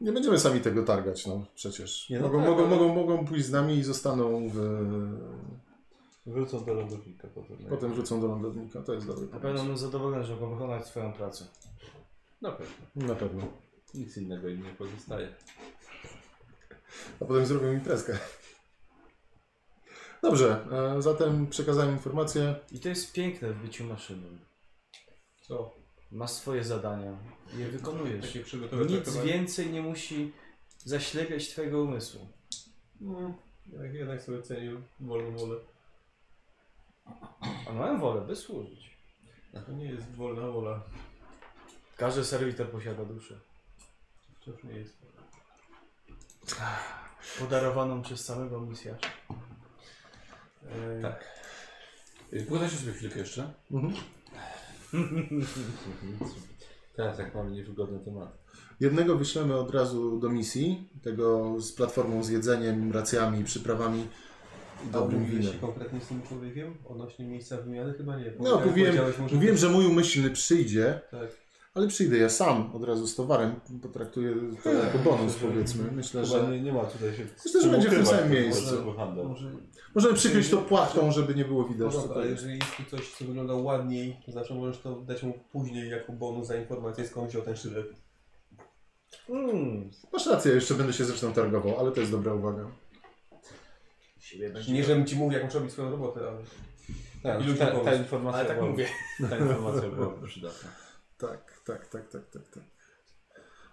Speaker 5: Nie będziemy sami tego targać, no przecież.
Speaker 2: Nie, no
Speaker 5: mogą,
Speaker 2: tak,
Speaker 5: mogą,
Speaker 2: ale-
Speaker 5: mogą, mogą pójść z nami i zostaną w.
Speaker 2: Wrócą do lądownika potem. no
Speaker 5: Potem wrócą do lądownika. To jest dobry
Speaker 3: Na pewno
Speaker 5: pomysł.
Speaker 3: będą zadowolony, że mogą wykonać swoją pracę.
Speaker 2: Na pewno.
Speaker 5: Na pewno.
Speaker 2: Nic innego im nie pozostaje.
Speaker 5: A potem zrobią imprezkę. Dobrze, e, zatem przekazałem informację.
Speaker 3: I to jest piękne w byciu maszyną.
Speaker 6: Co?
Speaker 3: Masz swoje zadania. i Je wykonujesz.
Speaker 6: Takie przygotowane.
Speaker 3: Nic więcej nie musi zaślepiać twojego umysłu.
Speaker 6: No, jak jednak sobie cenię wolną wolę.
Speaker 3: A mają wolę, by służyć.
Speaker 6: To nie jest wolna wola.
Speaker 3: Każdy serwitor posiada duszę.
Speaker 6: Wciąż nie jest.
Speaker 3: Podarowaną przez samego misjacza.
Speaker 6: Eee, tak.
Speaker 1: E, Pogadajcie sobie chwilkę jeszcze.
Speaker 2: Teraz jak mamy niewygodny temat.
Speaker 5: Jednego wyślemy od razu do misji, tego z platformą z jedzeniem, racjami, przyprawami i
Speaker 6: A
Speaker 5: dobrym
Speaker 6: mówiłeś się
Speaker 5: winem.
Speaker 6: konkretnie z tym człowiekiem? Odnośnie miejsca wymiany? Chyba nie.
Speaker 5: No,
Speaker 6: Powiedziałeś-
Speaker 5: mówiłem,
Speaker 6: powiedziałeś może-
Speaker 5: mówiłem, że mój umyślny przyjdzie,
Speaker 6: Tak.
Speaker 5: ale przyjdę ja sam od razu z towarem, potraktuję to
Speaker 6: Tak,
Speaker 5: jako bonus powiedzmy. Myślę,
Speaker 2: Chyba
Speaker 5: że
Speaker 2: nie, nie ma tutaj się.
Speaker 5: Myślę, że będzie w tym
Speaker 2: ukrywać,
Speaker 5: samym
Speaker 2: to
Speaker 5: miejscu.
Speaker 2: może handel.
Speaker 6: Może...
Speaker 5: możemy przykryć to płachtą, żeby nie było
Speaker 6: No
Speaker 5: widać. co
Speaker 6: dobra,
Speaker 5: to
Speaker 6: ale
Speaker 5: jest.
Speaker 6: jeżeli jest tu coś, co wygląda ładniej, to zawsze możesz to dać mu później jako bonus za informację, skąd wziął ten sztylet.
Speaker 3: Mmm,
Speaker 5: Masz rację, jeszcze będę się zresztą targował, ale to jest dobra uwaga.
Speaker 3: siebie
Speaker 6: Nie, żebym ci mówił, jak muszę robić swoją robotę, ale...
Speaker 2: Tak,
Speaker 6: I ludzie
Speaker 2: ta,
Speaker 6: pomysł.
Speaker 2: ta informacja
Speaker 3: Ale tak
Speaker 2: była,
Speaker 3: mówię.
Speaker 2: [LAUGHS] Ta informacja byłaby przydatna.
Speaker 5: Tak, tak, tak, tak, tak, tak.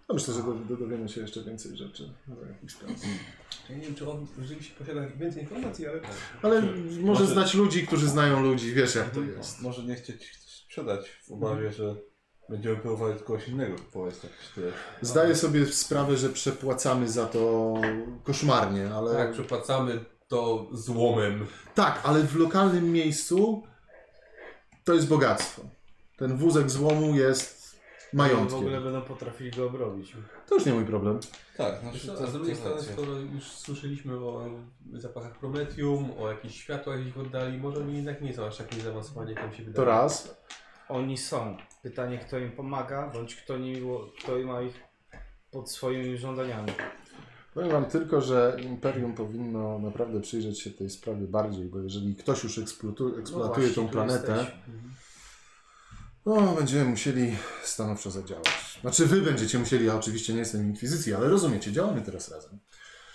Speaker 5: No myślę, że do- do- dowiemy się jeszcze więcej rzeczy za jakiś czas.
Speaker 6: Ja nie wiem, czy on rzeczywiście posiada więcej informacji, ale...
Speaker 5: Ale może
Speaker 2: Może-
Speaker 5: znać ludzi, którzy znają ludzi, wiesz jak
Speaker 6: No.
Speaker 5: to jest.
Speaker 2: No, Może nie chcieć coś sprzedać w obawie, że będziemy próbowali od kogoś innego kupować taki sztylet.
Speaker 5: Zdaję sobie sprawę, że przepłacamy za to koszmarnie, ale
Speaker 6: Tak,
Speaker 5: tak,
Speaker 6: przepłacamy to złomem.
Speaker 5: ale w lokalnym miejscu to jest bogactwo. Ten wózek złomu jest
Speaker 3: W
Speaker 5: majątkiem.
Speaker 3: ogóle będą potrafili go obrobić.
Speaker 5: To już nie mój problem.
Speaker 2: Tak,
Speaker 6: Wiesz
Speaker 2: znaczy
Speaker 6: co,
Speaker 2: to
Speaker 6: A z drugiej
Speaker 2: to
Speaker 6: strony,
Speaker 2: racja.
Speaker 6: skoro już słyszeliśmy o zapachach Prometium, o jakichś światłach ich oddali, może oni jednak nie są aż tak niezaawansowani, jak nam się wydaje.
Speaker 5: To raz.
Speaker 3: Oni są. Pytanie, kto im pomaga, bądź kto, nie, kto ma ich pod swoimi żądaniami. No
Speaker 5: Powiem wam tylko, że Imperium powinno naprawdę przyjrzeć się tej sprawie bardziej, bo jeżeli ktoś już eksploatu- eksploatuje
Speaker 3: No właśnie,
Speaker 5: tą
Speaker 3: tu
Speaker 5: planetę,
Speaker 3: jesteśmy.
Speaker 5: no, będziemy musieli stanowczo zadziałać. Znaczy wy będziecie musieli, ja oczywiście nie jestem inkwizycji, ale rozumiecie, działamy teraz razem.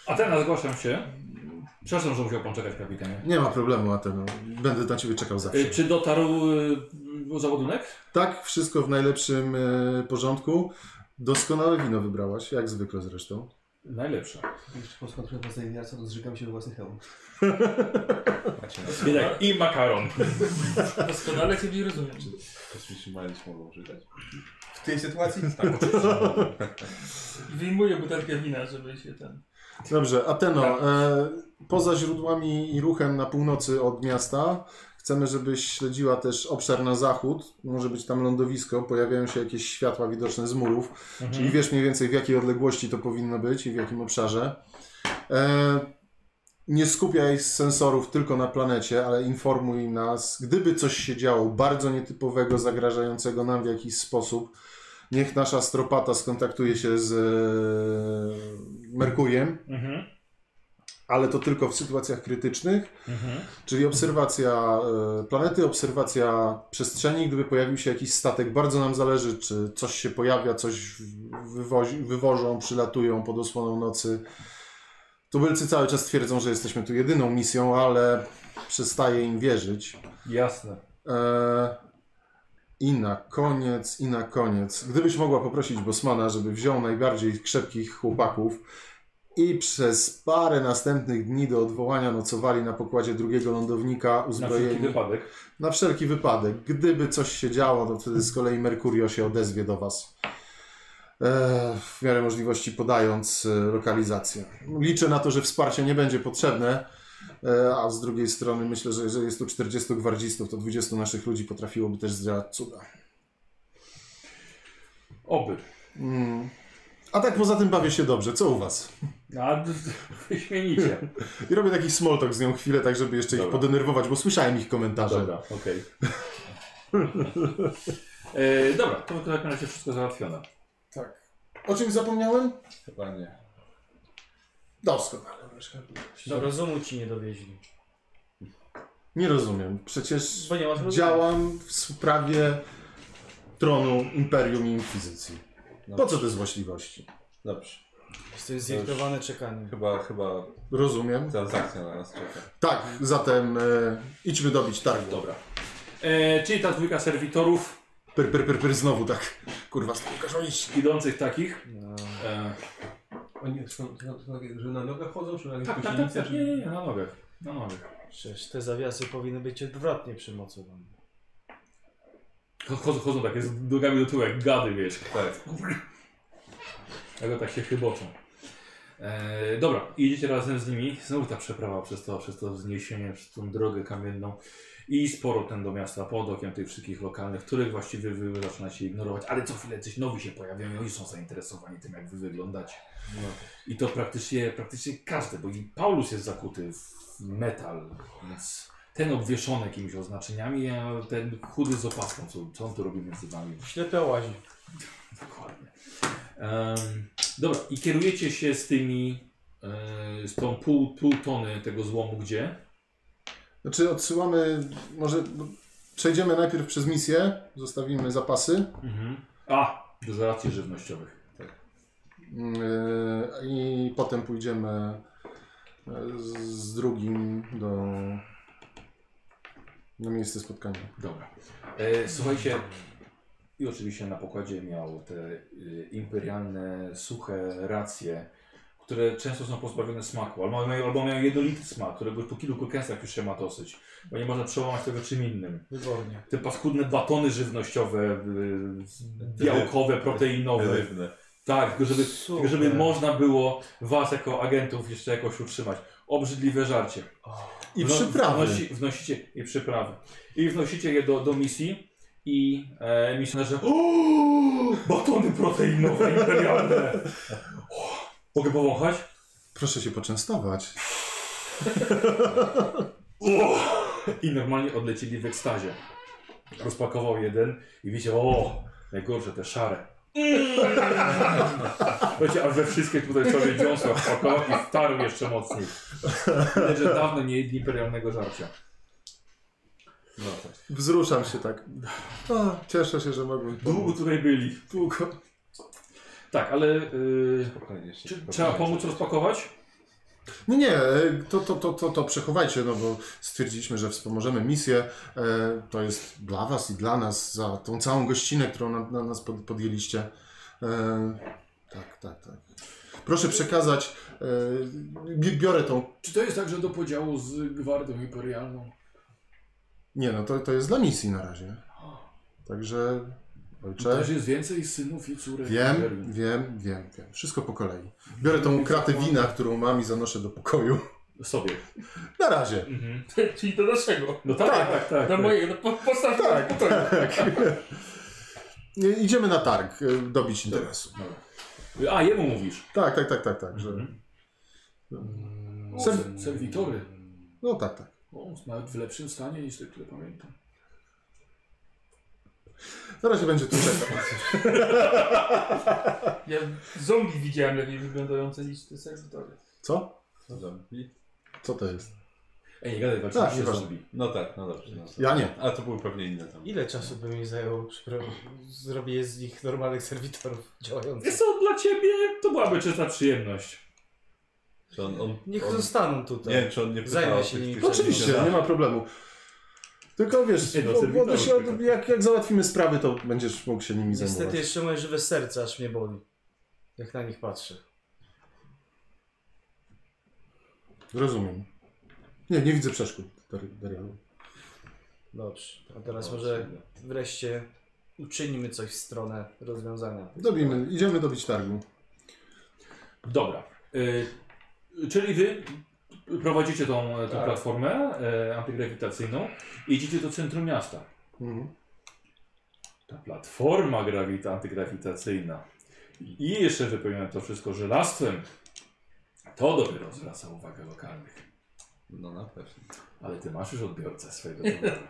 Speaker 1: Atena, zgłaszam się. Przepraszam, że musiał pan czekać, kapitanie.
Speaker 5: Nie ma problemu, Ateno. Będę na ciebie czekał zawsze.
Speaker 1: Y, Czy dotarł y, m, załadunek?
Speaker 5: Tak, wszystko w najlepszym e, porządku. Doskonałe wino wybrałaś, jak zwykle zresztą.
Speaker 1: Najlepsze.
Speaker 6: Jeszcze posłucham własnej miasta, to zrzekam się we własny hełm.
Speaker 2: Macie
Speaker 1: Jednak i makaron.
Speaker 4: Doskonale Ciebie rozumiem.
Speaker 2: Kosmiczni mając mogą używać.
Speaker 6: W tej
Speaker 2: [LAUGHS]
Speaker 6: sytuacji? Tak.
Speaker 4: I Wyjmuję butelkę wina, żeby się ten... [LAUGHS]
Speaker 5: Dobrze, Ateno, e, poza źródłami i ruchem na północy od miasta Chcemy, żebyś śledziła też obszar na zachód. Może być tam lądowisko, pojawiają się jakieś światła widoczne z murów. Czyli wiesz mniej więcej w jakiej odległości to powinno być i w jakim obszarze. E, nie skupiaj sensorów tylko na planecie, ale informuj nas, gdyby coś się działo bardzo nietypowego, zagrażającego nam w jakiś sposób. Niech nasza stropata skontaktuje się z e, Merkuriem,
Speaker 1: Mhm.
Speaker 5: ale to tylko w sytuacjach krytycznych.
Speaker 1: Mhm.
Speaker 5: Czyli obserwacja e, planety, obserwacja przestrzeni. Gdyby pojawił się jakiś statek, bardzo nam zależy, czy coś się pojawia, coś wywozi, wywożą, przylatują pod osłoną nocy. Tubylcy cały czas twierdzą, że jesteśmy tu jedyną misją, ale przestaje im wierzyć.
Speaker 1: Jasne.
Speaker 5: E, I na koniec, i na koniec. Gdybyś mogła poprosić Bosmana, żeby wziął najbardziej krzepkich chłopaków i przez parę następnych dni do odwołania nocowali na pokładzie drugiego lądownika
Speaker 1: Na wszelki
Speaker 5: uzbrojeni.
Speaker 1: wypadek.
Speaker 5: Na wszelki wypadek. Gdyby coś się działo, to wtedy z kolei Merkurio się odezwie do Was. E, W miarę możliwości podając e, lokalizację. Liczę na to, że wsparcie nie będzie potrzebne, e, a z drugiej strony myślę, że jeżeli jest tu 40 gwardzistów, to 20 naszych ludzi potrafiłoby też zdziałać cuda.
Speaker 1: Oby.
Speaker 5: Mm. A tak poza tym bawię się dobrze. Co u Was?
Speaker 1: A, d- wyśmienicie.
Speaker 5: I robię taki small talk z nią chwilę, tak żeby jeszcze ich
Speaker 1: Dobra.
Speaker 5: podenerwować, bo słyszałem ich komentarze.
Speaker 1: Dobra, okej. [LAUGHS] E, Dobra, to w takim razie wszystko załatwione.
Speaker 5: Tak. O czymś zapomniałem?
Speaker 2: Chyba nie.
Speaker 5: Doskonale.
Speaker 3: Do rozumu ci nie dowieźli.
Speaker 5: Nie rozumiem. Przecież
Speaker 3: Bo nie masz rozumu.
Speaker 5: działam w sprawie tronu, imperium i inkwizycji. Po co te złośliwości?
Speaker 2: Dobrze.
Speaker 3: Jesteś zirytowany czekaniem.
Speaker 2: Chyba, chyba
Speaker 5: Rozumiem.
Speaker 2: transakcja na nas czeka.
Speaker 5: Tak, zatem e, idźmy dobić targu.
Speaker 1: Dobra. E, czyli ta dwójka serwitorów
Speaker 5: Pyr, pyr, pyr, pyr, znowu tak. Kurwa, znowu każą iść.
Speaker 1: idących takich. E,
Speaker 6: Oni są, są, są takie, że na nogach chodzą, czy na jakieś
Speaker 1: tak, tak, tak,
Speaker 6: gąsienice,
Speaker 1: tak.
Speaker 6: czy-
Speaker 1: Nie, nie, nie, na nogach. Na nogach.
Speaker 3: Przecież te zawiasy powinny być odwrotnie przymocowane.
Speaker 1: Cho- Chodzą, chodzą takie z nogami do tyłu jak gady, wiesz.
Speaker 2: Tak.
Speaker 1: Dlatego tak się chyboczą. E, dobra, idziecie razem z nimi. Znowu ta przeprawa przez to, przez to wzniesienie, przez tą drogę kamienną i sporo ten do miasta pod okiem tych wszystkich lokalnych, których właściwie wy, wy zaczynacie ignorować, ale co chwilę coś nowi się pojawiają i są zainteresowani tym, jak wy wyglądacie. I to praktycznie, praktycznie każdy, bo i Paulus jest zakuty w metal, więc ten obwieszony jakimiś oznaczeniami, a ten chudy z opaską, co, co on tu robi między wami.
Speaker 3: Ślepe łazi.
Speaker 1: Dokładnie. Em, dobra, i kierujecie się z tymi, e, z tą pół, pół tony tego złomu gdzie?
Speaker 5: Znaczy odsyłamy, może no, przejdziemy najpierw przez misję, zostawimy zapasy
Speaker 1: A, do racji żywnościowych.
Speaker 5: e, i potem pójdziemy e, z- z drugim do na miejsce spotkania.
Speaker 1: Dobra. E, słuchajcie, i oczywiście na pokładzie miał te y, imperialne, suche racje, które często są pozbawione smaku, albo mają, albo mają jednolity smak, którego po kilku kęsach już się ma dosyć, bo nie można przełamać tego czym innym.
Speaker 3: Wybornie.
Speaker 1: Te paskudne batony żywnościowe, y, białkowe, proteinowe.
Speaker 2: Rybne.
Speaker 1: Tak, tylko żeby,
Speaker 3: Super.
Speaker 1: tylko żeby można było was jako agentów jeszcze jakoś utrzymać. Obrzydliwe żarcie.
Speaker 5: I
Speaker 1: Wno-
Speaker 5: przyprawy.
Speaker 1: Wnosi, wnosicie i przyprawy. I wnosicie je do, do misji i e, misjonarze "O, batony proteinowe imperialne. O, Mogę powąchać?
Speaker 5: Proszę się poczęstować.
Speaker 1: O! I normalnie odlecieli w ekstazie. Rozpakował jeden i wiecie, o, najgorsze te szare. [LAUGHS] Wiecie, a we wszystkie tutaj sobie dziąsła wpakował i wtarł jeszcze mocniej. Widać, że dawno nie jedli imperialnego żarcia.
Speaker 2: No tak.
Speaker 5: Wzruszam się tak. O, cieszę się, że mogłem.
Speaker 1: Długo
Speaker 5: pomóc.
Speaker 1: tutaj byli.
Speaker 5: Długo.
Speaker 1: Tak, ale y,
Speaker 2: Spokojnie jeszcze.
Speaker 1: czy
Speaker 2: Spokojnie.
Speaker 1: trzeba
Speaker 7: tak.
Speaker 1: pomóc rozpakować?
Speaker 5: Nie, nie, e, to, to, to, to, to przechowajcie, no bo stwierdziliśmy, że wspomożemy misję. E, To jest dla was i dla nas, za tą całą gościnę, którą na, na nas pod, podjęliście. E, Tak, tak, tak. Proszę przekazać, e, bi- biorę tą...
Speaker 7: Czy to jest także do podziału z Gwardą Imperialną?
Speaker 5: Nie, no to, to jest dla misji na razie. Także, ojcze...
Speaker 7: Też jest więcej synów i córek.
Speaker 5: Wiem,
Speaker 7: imperium.
Speaker 5: wiem, wiem, wiem. Wszystko po kolei. Biorę tą kratę wina, którą mam i zanoszę do pokoju.
Speaker 1: Sobie.
Speaker 5: Na razie.
Speaker 1: Mhm.
Speaker 4: Czyli do naszego.
Speaker 1: No tak, tak, tak.
Speaker 4: Do mojego. No, po, postaw
Speaker 5: Tak.
Speaker 4: tak. tak.
Speaker 5: Nie, Idziemy na targ y, dobić interesu. No.
Speaker 1: A, jemu mówisz.
Speaker 5: Tak, tak, tak, tak, tak. Że...
Speaker 1: Mm,
Speaker 5: Ser-
Speaker 1: Serwitory.
Speaker 5: No tak, tak.
Speaker 1: O, nawet w lepszym stanie niż te, które pamiętam.
Speaker 5: Na razie będzie tu czekał.
Speaker 4: Ja zombie widziałem lepiej wyglądające niż te serwitory.
Speaker 5: Co?
Speaker 2: Co zombie?
Speaker 5: Co to jest?
Speaker 1: Ej, nie gadaj, walczysz
Speaker 5: Tak,
Speaker 1: się
Speaker 5: nieważne.
Speaker 1: zombie.
Speaker 2: No tak, no dobrze. No,
Speaker 5: Ja nie.
Speaker 2: A to były pewnie inne tam.
Speaker 3: Ile czasu by mi zajęło przypro- zrobienie z nich normalnych serwitorów działających?
Speaker 1: Jest to dla ciebie, to byłaby czysta przyjemność.
Speaker 2: Czy on, on,
Speaker 3: Niech
Speaker 2: on,
Speaker 3: zostaną tutaj.
Speaker 2: nie wiem, czy on nie pytał
Speaker 3: Zajmę
Speaker 2: o
Speaker 3: się
Speaker 2: tych-
Speaker 3: nimi.
Speaker 2: tych-
Speaker 5: Oczywiście, nie ma problemu. Tylko wiesz,
Speaker 1: Nie, no,
Speaker 5: bo- bo to
Speaker 1: serwitorzy
Speaker 5: się, od-
Speaker 1: tylko.
Speaker 5: jak, jak załatwimy sprawy, to będziesz mógł się nimi
Speaker 3: Niestety
Speaker 5: zajmować.
Speaker 3: jeszcze moje żywe serce aż mnie boli. Jak na nich patrzę.
Speaker 5: Rozumiem. Nie, nie widzę przeszkód, Dar- Darialu.
Speaker 3: Dobrze. A teraz
Speaker 2: No,
Speaker 3: może wreszcie uczynimy coś w stronę rozwiązania.
Speaker 5: Dobimy, idziemy dobić targu.
Speaker 1: Dobra. Y, czyli wy prowadzicie tą, tą
Speaker 6: Tak.
Speaker 1: platformę y, antygrawitacyjną i idziecie do centrum miasta.
Speaker 5: Mhm.
Speaker 1: Ta platforma grawita, antygrawitacyjna i jeszcze wypełnione to wszystko żelastwem, to dopiero zwraca uwagę lokalnych.
Speaker 2: No na pewno.
Speaker 1: Ale ty masz już odbiorcę swojego
Speaker 4: [LAUGHS]
Speaker 1: towaru.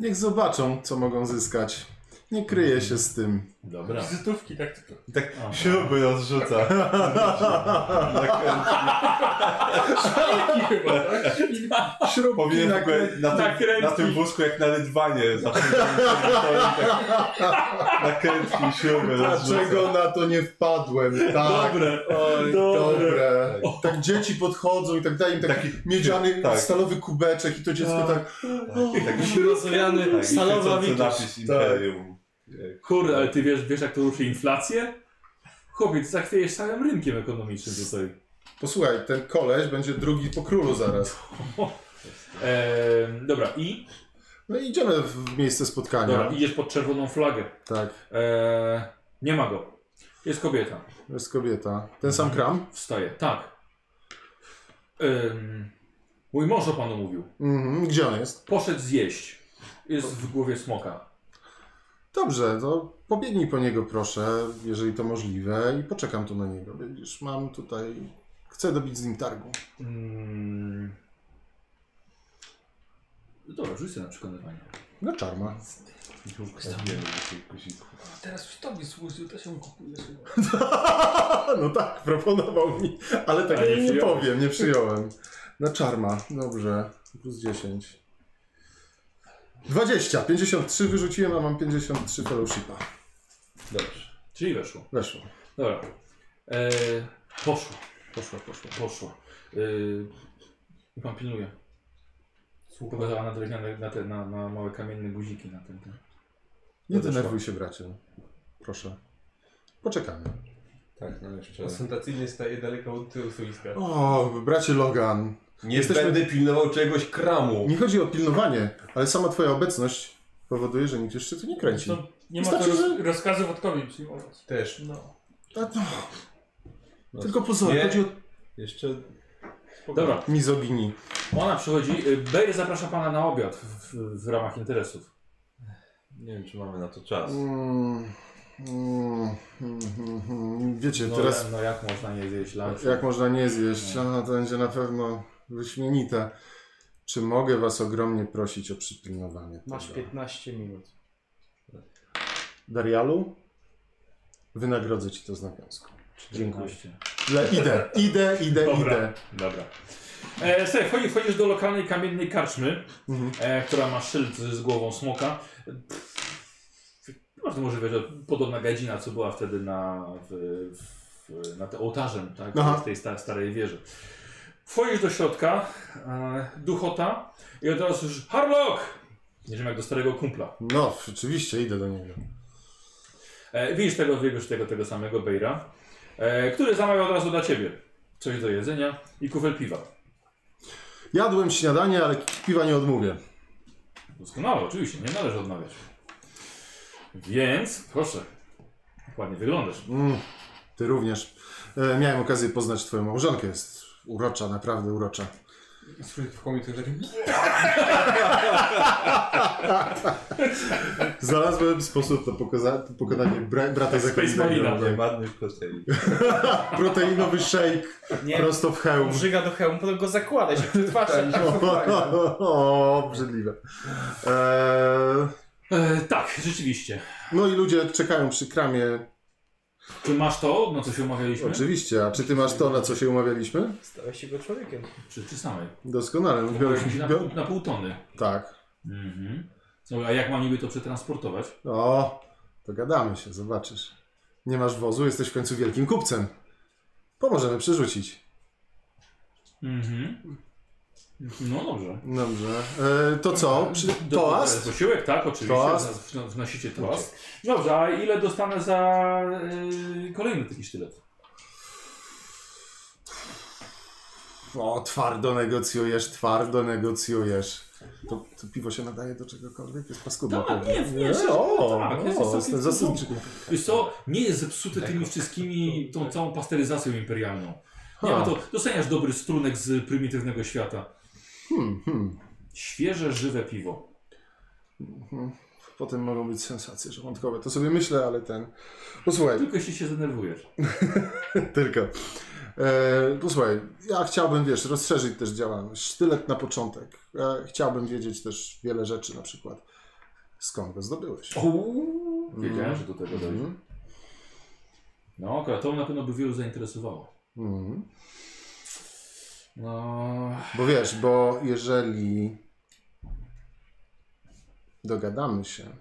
Speaker 5: Niech zobaczą, co mogą zyskać. Nie kryję się z tym.
Speaker 1: Dobra.
Speaker 4: Wizytówki, tak tylko.
Speaker 2: I tak
Speaker 1: Aha.
Speaker 2: śruby [LAUGHS] rozrzuca.
Speaker 4: Szpilki chyba, tak? Szpilki.
Speaker 2: Powinien na,
Speaker 5: Na
Speaker 2: na, tym,
Speaker 1: nakrętki.
Speaker 2: na tym wózku jak na Lydwanie. za tym, tak, na krętki śruby rozrzuca.
Speaker 5: Dlaczego na to nie wpadłem? Tak.
Speaker 1: Dobre.
Speaker 5: Oj,
Speaker 1: Dobre.
Speaker 5: dobre. Tak dzieci podchodzą i tak dalej, im taki, miedziany,
Speaker 2: tak.
Speaker 5: stalowy kubeczek i to dziecko tak...
Speaker 2: I tak
Speaker 3: Rozwijany
Speaker 2: tak,
Speaker 3: stalowa
Speaker 2: i
Speaker 3: witusz.
Speaker 2: napis Imperium.
Speaker 1: Kurde, ale ty wiesz, wiesz jak to ruszy inflację? Chłopie, ty zachwiejesz całym rynkiem ekonomicznym tutaj.
Speaker 5: Posłuchaj, ten koleś będzie drugi po królu zaraz.
Speaker 1: Ehm, dobra, i
Speaker 5: No i idziemy w miejsce spotkania.
Speaker 1: dobra, idziesz pod czerwoną flagę.
Speaker 5: Tak,
Speaker 1: Ehm, nie ma go. Jest kobieta.
Speaker 5: to jest kobieta. Ten sam kram?
Speaker 1: Wstaje. Tak. Ehm, mój mąż o panu mówił.
Speaker 5: Mhm. Gdzie on jest?
Speaker 1: Poszedł zjeść. Jest w głowie smoka.
Speaker 5: Dobrze, to pobiegnij po niego proszę, jeżeli to możliwe i poczekam tu na niego. Widzisz, mam tutaj... Chcę dobić z nim targu.
Speaker 1: Mm. Dobra, rzuć sobie na przekonywanie.
Speaker 5: No czarma.
Speaker 2: Tak,
Speaker 4: Teraz już tobie służył, to się kupuje. chyba.
Speaker 5: No tak, proponował mi, ale tak
Speaker 1: A nie
Speaker 5: nie, nie
Speaker 1: przyjąłeś.
Speaker 5: powiem, nie przyjąłem. Na czarma, dobrze, plus 10. 20, 53 wyrzuciłem, a mam 53 fellowshipa.
Speaker 2: Dobrze.
Speaker 1: Czyli weszło.
Speaker 5: Weszło,
Speaker 1: Dobra. Ehm, poszło.
Speaker 5: poszło, poszło.
Speaker 1: Poszło. Yy, i pan pilnuje. Pokazała na drewniane, na, te, na, na małe kamienne guziki na tym. tak. tym.
Speaker 5: Nie
Speaker 1: Odeszła.
Speaker 5: denerwuj się bracie, proszę. Poczekamy.
Speaker 2: Tak, no jeszcze.
Speaker 6: Ostentacyjnie staje daleko od tyłu stoiska.
Speaker 5: O, bracie Logan,
Speaker 2: Nie
Speaker 5: Jesteśmy-
Speaker 2: będę pilnował czegoś kramu.
Speaker 5: nie chodzi o pilnowanie, ale sama twoja obecność powoduje, że nikt jeszcze tu nie kręci.
Speaker 4: To nie ma
Speaker 5: Wystarczy,
Speaker 4: roz,
Speaker 5: że-
Speaker 4: rozkazów od kobiet przyjmować.
Speaker 6: Też.
Speaker 4: No.
Speaker 5: A, no. Tylko pozor,
Speaker 2: Nie.
Speaker 5: chodzi o
Speaker 2: Jeszcze
Speaker 1: Dobra,
Speaker 5: mizoginii.
Speaker 1: Ona przychodzi. y, Bej zaprasza pana na obiad w, w, w ramach interesów.
Speaker 2: nie wiem, czy mamy na to czas.
Speaker 5: Mm, mm, mm, mm, mm. Wiecie,
Speaker 1: No,
Speaker 5: teraz
Speaker 1: ja- no jak można nie zjeść lunch?
Speaker 5: Jak można nie zjeść? A, to będzie na pewno wyśmienite. Czy mogę Was ogromnie prosić o przypilnowanie
Speaker 3: Masz
Speaker 5: tego?
Speaker 3: 15 minut.
Speaker 5: Darialu, wynagrodzę Ci to z nawiązką. Dziękuję.
Speaker 1: 15.
Speaker 5: Le, idę, idę, idę,
Speaker 1: Dobra.
Speaker 5: idę.
Speaker 1: Dobra. E, słuchaj, wchodzi, wchodzisz do lokalnej kamiennej karczmy,
Speaker 5: Mhm.
Speaker 1: e, która ma szyld z głową smoka. Bardzo możliwe, że podobna gadzina, co była wtedy na, w, w, na te, ołtarzem, tak?
Speaker 5: Aha.
Speaker 1: W tej sta, starej wieży. Wchodzisz do środka, e, duchota i od razu już Harlock! Jedziemy jak do starego kumpla.
Speaker 5: No, rzeczywiście idę do niego.
Speaker 1: E, widzisz tego, wiesz tego, tego samego Bejra, e, który zamawia od razu dla ciebie coś do jedzenia i kufel piwa.
Speaker 5: Jadłem śniadanie, ale piwa nie odmówię.
Speaker 1: Doskonale, oczywiście, nie należy odmawiać. Więc, proszę, ładnie wyglądasz.
Speaker 5: Mm, ty również. E, miałem okazję poznać Twoją małżonkę. Jest urocza, naprawdę urocza.
Speaker 6: I słyszę w końcu takie...
Speaker 5: Znalazłem sposób na pokoza- pokonanie bra- brata zakonnego.
Speaker 2: Nie marnuj protein.
Speaker 1: tak.
Speaker 5: Proteinowy shake
Speaker 2: Tak.
Speaker 3: Nie,
Speaker 5: prosto w hełm.
Speaker 3: brzyga do hełmu, potem go zakłada się przed twarzą.
Speaker 5: [LAUGHS]
Speaker 2: Tak, no.
Speaker 5: O, obrzydliwe. Eee,
Speaker 1: E, tak, rzeczywiście.
Speaker 5: no i ludzie czekają przy kramie.
Speaker 1: Czy masz to, na co się umawialiśmy?
Speaker 5: Oczywiście, a czy ty masz to, na co się umawialiśmy?
Speaker 3: [LAUGHS] Stałeś się go człowiekiem.
Speaker 1: Czy, czy samej?
Speaker 5: Doskonale. no Biorę,
Speaker 1: Umawialiśmy się na,
Speaker 5: biorę,
Speaker 1: pół- na pół tony.
Speaker 5: tak.
Speaker 1: Mhm. No, a jak mam niby to przetransportować?
Speaker 5: O, dogadamy się, zobaczysz. Nie masz wozu, jesteś w końcu wielkim kupcem. Pomożemy przerzucić.
Speaker 1: Mhm. No dobrze. E,
Speaker 5: Dobrze. Eee, to co? Przy, toast?
Speaker 1: Posiłek, tak, oczywiście.
Speaker 5: Toast.
Speaker 1: Wno- Wnosicie toast. Dobrze, a ile dostanę za y, kolejny taki sztylet?
Speaker 5: O, twardo negocjujesz, twardo negocjujesz. To, to piwo się nadaje do czegokolwiek? Jest paskudne.
Speaker 1: Tak,
Speaker 5: pewnie.
Speaker 1: nie, nie, że-
Speaker 5: o,
Speaker 1: tak,
Speaker 5: o,
Speaker 1: jest
Speaker 5: jestem
Speaker 1: całkiem
Speaker 5: zasadniczy.
Speaker 1: Wiesz co, nie jest zepsute tymi wszystkimi, tą całą pasteryzacją imperialną. Nie,
Speaker 5: Ha.
Speaker 1: no to doceniasz dobry strunek z prymitywnego świata.
Speaker 5: Hmm, hmm.
Speaker 1: Świeże, żywe piwo.
Speaker 5: Mhm. Potem mogą być sensacje żołądkowe. To sobie myślę, ale ten... Posłuchaj,
Speaker 1: Tylko jeśli się zdenerwujesz.
Speaker 5: tylko. E, posłuchaj, ja chciałbym, wiesz, rozszerzyć też działalność. Sztylet na początek. E, chciałbym wiedzieć też wiele rzeczy, na przykład skąd go zdobyłeś.
Speaker 1: Uuu, Mm. Wiedziałem,
Speaker 5: Mhm.
Speaker 1: że do tego dojdzie.
Speaker 5: Mhm.
Speaker 1: No, akurat to na pewno by wielu zainteresowało.
Speaker 5: Mhm.
Speaker 1: No,
Speaker 5: Bo wiesz, bo jeżeli dogadamy się,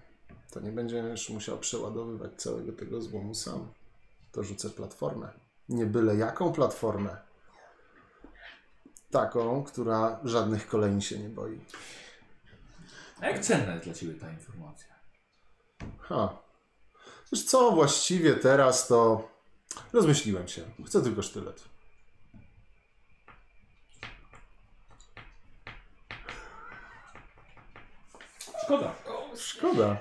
Speaker 5: to nie będziesz musiał przeładowywać całego tego złomu sam. To rzucę platformę. Nie byle jaką platformę. Taką, która żadnych kolei się nie boi.
Speaker 1: a jak cenna jest dla Ciebie ta informacja?
Speaker 5: Ha. Wiesz co, właściwie teraz to rozmyśliłem się. Chcę tylko sztylet.
Speaker 1: Szkoda.
Speaker 5: Szkoda.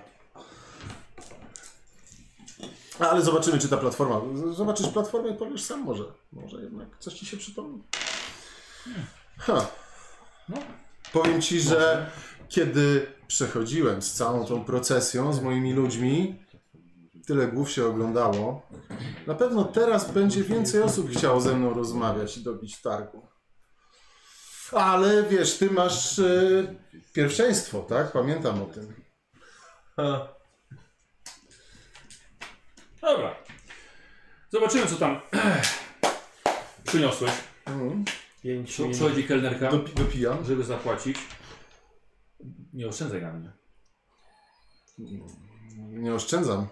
Speaker 5: Ale zobaczymy, czy ta platforma. z- Zobaczysz platformę i powiesz sam może. Może jednak coś ci się przypomni. Ha.
Speaker 1: No.
Speaker 5: Powiem ci, że kiedy przechodziłem z całą tą procesją z moimi ludźmi, tyle głów się oglądało. Na pewno teraz będzie więcej osób chciało ze mną rozmawiać i dobić targu. Ale wiesz, ty masz e, pierwszeństwo, tak? Pamiętam o tym.
Speaker 1: Dobra. Zobaczymy, co tam [CLEARS THROAT] przyniosłeś.
Speaker 5: Mhm.
Speaker 3: Pięciu.
Speaker 1: Przy- Przychodzi kelnerka,
Speaker 5: Dopi- dopijam.
Speaker 1: żeby zapłacić. Nie oszczędzaj na mnie.
Speaker 5: Nie oszczędzam.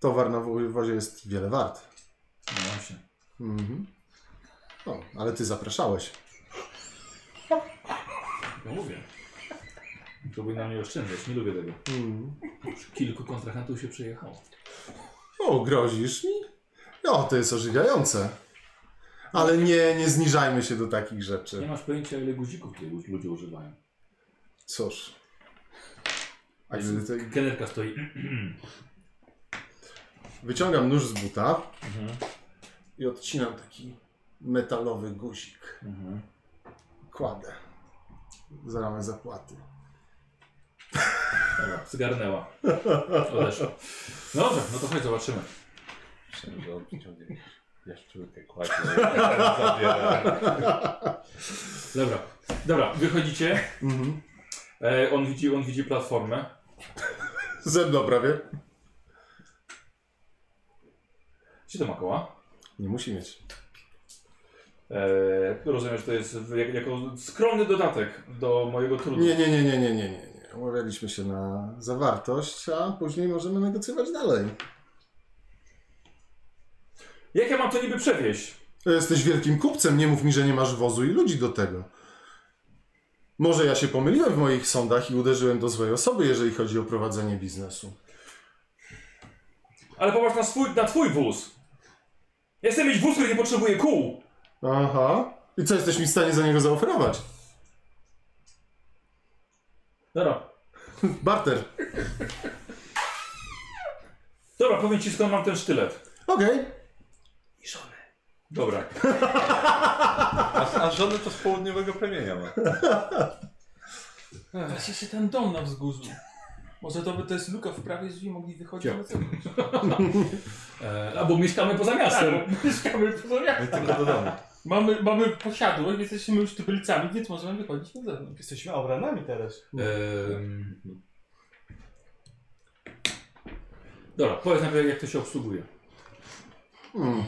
Speaker 5: Towar na wo- wozie jest wiele wart.
Speaker 1: No właśnie.
Speaker 5: Mhm. O, ale ty zapraszałeś.
Speaker 1: No mówię. Próbuj na mnie oszczędzać, nie lubię tego.
Speaker 5: Mhm.
Speaker 1: Kilku kontrahentów się przejechało.
Speaker 5: O, grozisz mi? O, to jest ożywiające. Ale nie, nie zniżajmy się do takich
Speaker 1: Nie
Speaker 5: rzeczy.
Speaker 1: masz pojęcia, ile guzików tutaj lu- ludzie używają.
Speaker 5: Cóż. A gdy to,
Speaker 1: Kelnerka stoi.
Speaker 5: wyciągam nóż z buta
Speaker 1: Mhm,
Speaker 5: i odcinam taki metalowy guzik.
Speaker 1: mhm.
Speaker 5: Kładę. Za ramę zapłaty.
Speaker 1: Dobra, zgarnęła. Odeszła. No Dobrze, no to chodź, zobaczymy.
Speaker 2: Myślałem, że on przyciągnie jaszczurkę, kładzie. Zabiera.
Speaker 1: Dobra, dobra, wychodzicie.
Speaker 5: Mhm.
Speaker 1: E, on, widzi, on widzi platformę.
Speaker 5: Ze mną prawie.
Speaker 1: Gdzie to ma koła?
Speaker 5: Nie musi mieć.
Speaker 1: Eee, rozumiem, że to jest w- jak, jako skromny dodatek do mojego trudu.
Speaker 5: Nie, nie, nie, nie, nie, nie, nie. nie. Umawialiśmy się na zawartość, a później możemy negocjować dalej.
Speaker 1: Jak ja mam to niby przewieźć?
Speaker 5: Jesteś wielkim kupcem, nie mów mi, że nie masz wozu i ludzi do tego. Może ja się pomyliłem w moich sądach i uderzyłem do złej osoby, jeżeli chodzi o prowadzenie biznesu.
Speaker 1: Ale popatrz na, swój, na twój wóz. Ja chcę mieć wóz, który nie potrzebuje kół.
Speaker 5: Aha. I co jesteś mi w stanie za niego zaoferować?
Speaker 1: Dobra.
Speaker 5: Barter.
Speaker 1: Dobra, powiem ci skąd mam ten sztylet.
Speaker 5: Okej.
Speaker 1: Dobra.
Speaker 2: A, a żonę to z południowego plemienia ma.
Speaker 4: Weź jeszcze ten dom na wzgórzu. Może to by to jest luka w prawie, żeby mogli wychodzić
Speaker 1: Dział.
Speaker 4: na zewnątrz.
Speaker 1: E, albo mieszkamy poza miastem.
Speaker 4: Tak, bo mieszkamy poza
Speaker 2: My
Speaker 4: miastem.
Speaker 2: tylko do domu.
Speaker 4: Mamy, mamy posiadłość, więc jesteśmy już tybylcami, więc możemy wychodzić na zewnątrz.
Speaker 3: Jesteśmy obranami teraz.
Speaker 1: Em, Dobra, powiedz najpierw jak to się obsługuje.
Speaker 5: Hmm.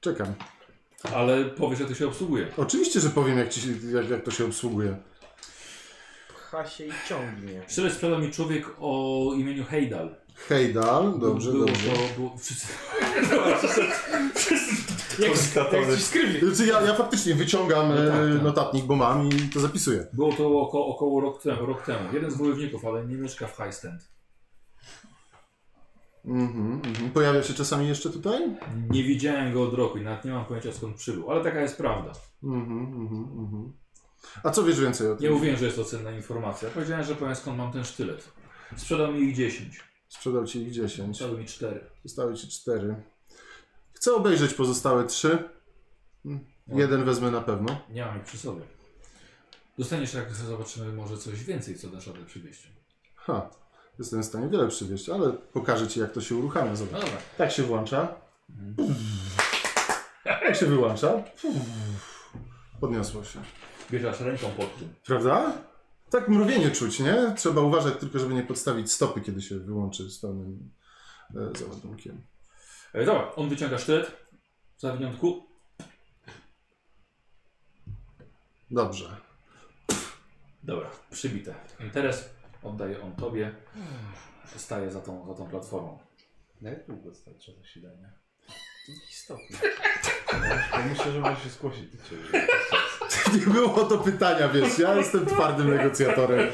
Speaker 5: Czekam.
Speaker 1: Ale powiesz jak to się obsługuje.
Speaker 5: Oczywiście, że powiem, jak, ci, się- jak, jak to się obsługuje.
Speaker 3: Pcha się i ciągnie.
Speaker 1: Szczerze sprzedał mi człowiek o imieniu Hejdal.
Speaker 5: Hejdal, dobrze,
Speaker 1: było
Speaker 5: dobrze.
Speaker 1: To, było, wszyscy,
Speaker 3: Jak ci skrywi.
Speaker 5: Znaczy, ja, ja faktycznie wyciągam
Speaker 1: No tak,
Speaker 5: e,
Speaker 1: tak.
Speaker 5: notatnik, bo mam i to zapisuję.
Speaker 1: było to około, około rok, temu, rok temu. Jeden z wojowników, ale nie mieszka w Highstand.
Speaker 5: Mhm, mhm. Pojawia się czasami jeszcze tutaj?
Speaker 1: Nie widziałem go od roku i nawet nie mam pojęcia skąd przybył. Ale taka jest prawda.
Speaker 5: Mhm, mhm, mhm. A co wiesz więcej o tym?
Speaker 1: Nie mówiłem, że jest to cenna informacja. Powiedziałem, że powiem skąd mam ten sztylet. Sprzedał mi ich 10.
Speaker 5: Sprzedał ci ich 10,
Speaker 1: Sprzedał mi 4.
Speaker 5: zostały ci 4. Chcę obejrzeć pozostałe 3. Jeden wezmę na pewno.
Speaker 1: Nie mam ich przy sobie. Dostaniesz, jak zobaczymy, może coś więcej, co dasz radę przywieźć.
Speaker 5: Ha, jestem w stanie wiele przywieźć, ale pokażę ci, jak to się uruchamia.
Speaker 1: No
Speaker 5: Zobacz.
Speaker 1: dobra.
Speaker 5: Tak się włącza. Jak się wyłącza? Podniosło się.
Speaker 1: Bierzesz ręką pod tym.
Speaker 5: Prawda? Tak mrowienie czuć, nie? Trzeba uważać tylko, żeby nie podstawić stopy, kiedy się wyłączy z pełnym e, załadunkiem.
Speaker 1: E, dobra, on wyciąga sztylet. Za wyjątku.
Speaker 5: Dobrze. [LAUGHS]
Speaker 1: Dobra, przybite. Interes oddaje on tobie. Staje za tą, za tą platformą.
Speaker 2: Na jak długo starcza zasilania?
Speaker 3: Istotnie.
Speaker 2: Ja myślę, że może się zgłosić do ciebie.
Speaker 5: Nie było do pytania, wiesz, ja jestem twardym negocjatorem.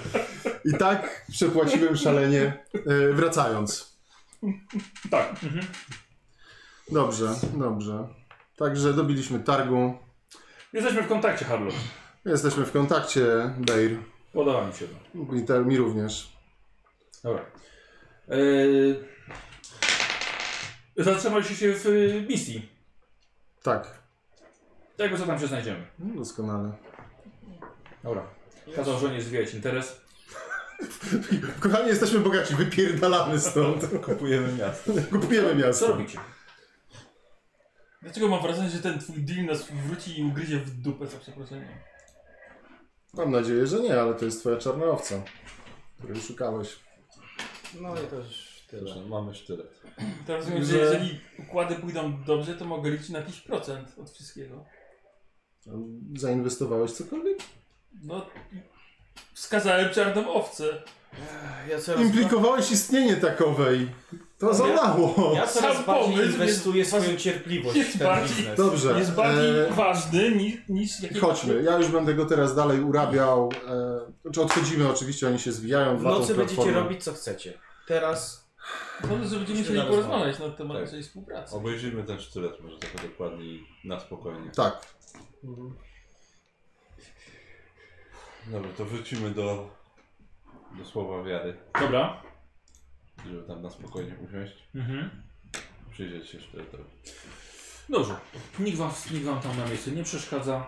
Speaker 5: I tak przepłaciłem szalenie, e, wracając.
Speaker 1: Tak. Mhm.
Speaker 5: Dobrze, dobrze. Także dobiliśmy targu.
Speaker 1: Jesteśmy w kontakcie, Harlow.
Speaker 5: Jesteśmy w kontakcie, Bejr.
Speaker 1: Podoba mi się to.
Speaker 5: I te, mi również.
Speaker 1: Dobra. Yy... Zatrzymaliście się w y, misji.
Speaker 5: Tak,
Speaker 1: Tego co tam się znajdziemy.
Speaker 5: no, doskonale.
Speaker 1: Dobra. Kazał żonie zwijać interes.
Speaker 5: Kochani, jesteśmy bogaci, wypierdalamy stąd.
Speaker 2: Kupujemy miasto.
Speaker 5: Kupujemy
Speaker 1: Co
Speaker 5: miasto.
Speaker 1: robicie?
Speaker 4: Dlaczego mam wrażenie, że ten twój deal nas wróci i ugryzie w dupę za przeproszeniem?
Speaker 5: Mam nadzieję, że nie, ale to jest twoja czarna owca, której szukałeś.
Speaker 3: No i to już tyle.
Speaker 2: Dobrze, mamy sztylet.
Speaker 4: To rozumiem, że
Speaker 5: Że-
Speaker 4: jeżeli układy pójdą dobrze, to mogę liczyć na jakiś procent od wszystkiego.
Speaker 5: Zainwestowałeś cokolwiek?
Speaker 4: No, wskazałem czarną owcę.
Speaker 3: Ja coraz,
Speaker 5: Implikowałeś istnienie takowej. To za mało.
Speaker 3: ja
Speaker 4: Sam
Speaker 3: coraz bardziej
Speaker 4: pomysł
Speaker 3: inwestuję
Speaker 4: jest-
Speaker 3: swoją cierpliwość
Speaker 4: jest
Speaker 3: w ten
Speaker 4: bardziej-
Speaker 3: biznes.
Speaker 5: Dobrze.
Speaker 4: Jest bardziej
Speaker 5: e,
Speaker 4: ważny niż, niż jakieś...
Speaker 5: Chodźmy, ja już będę go teraz dalej urabiał. E, znaczy odchodzimy oczywiście, oni się zwijają.
Speaker 3: W
Speaker 5: wlatą
Speaker 3: nocy będziecie
Speaker 5: platformą.
Speaker 3: robić co chcecie. Teraz
Speaker 4: Sądzę, że No, będziemy
Speaker 3: Myślę,
Speaker 4: musieli
Speaker 3: że
Speaker 4: porozmawiać na temat
Speaker 2: Tak.
Speaker 4: naszej współpracy.
Speaker 2: Obejrzyjmy ten sztylet może trochę dokładniej na spokojnie.
Speaker 5: Tak,
Speaker 2: Dobra, to wrócimy do, do słowa wiary,
Speaker 1: Dobra.
Speaker 2: żeby tam na spokojnie usiąść.
Speaker 1: Mhm.
Speaker 2: Przyjrzeć się sztyletowi.
Speaker 1: Dobrze. Nikt wam, nikt wam tam na miejscu nie przeszkadza.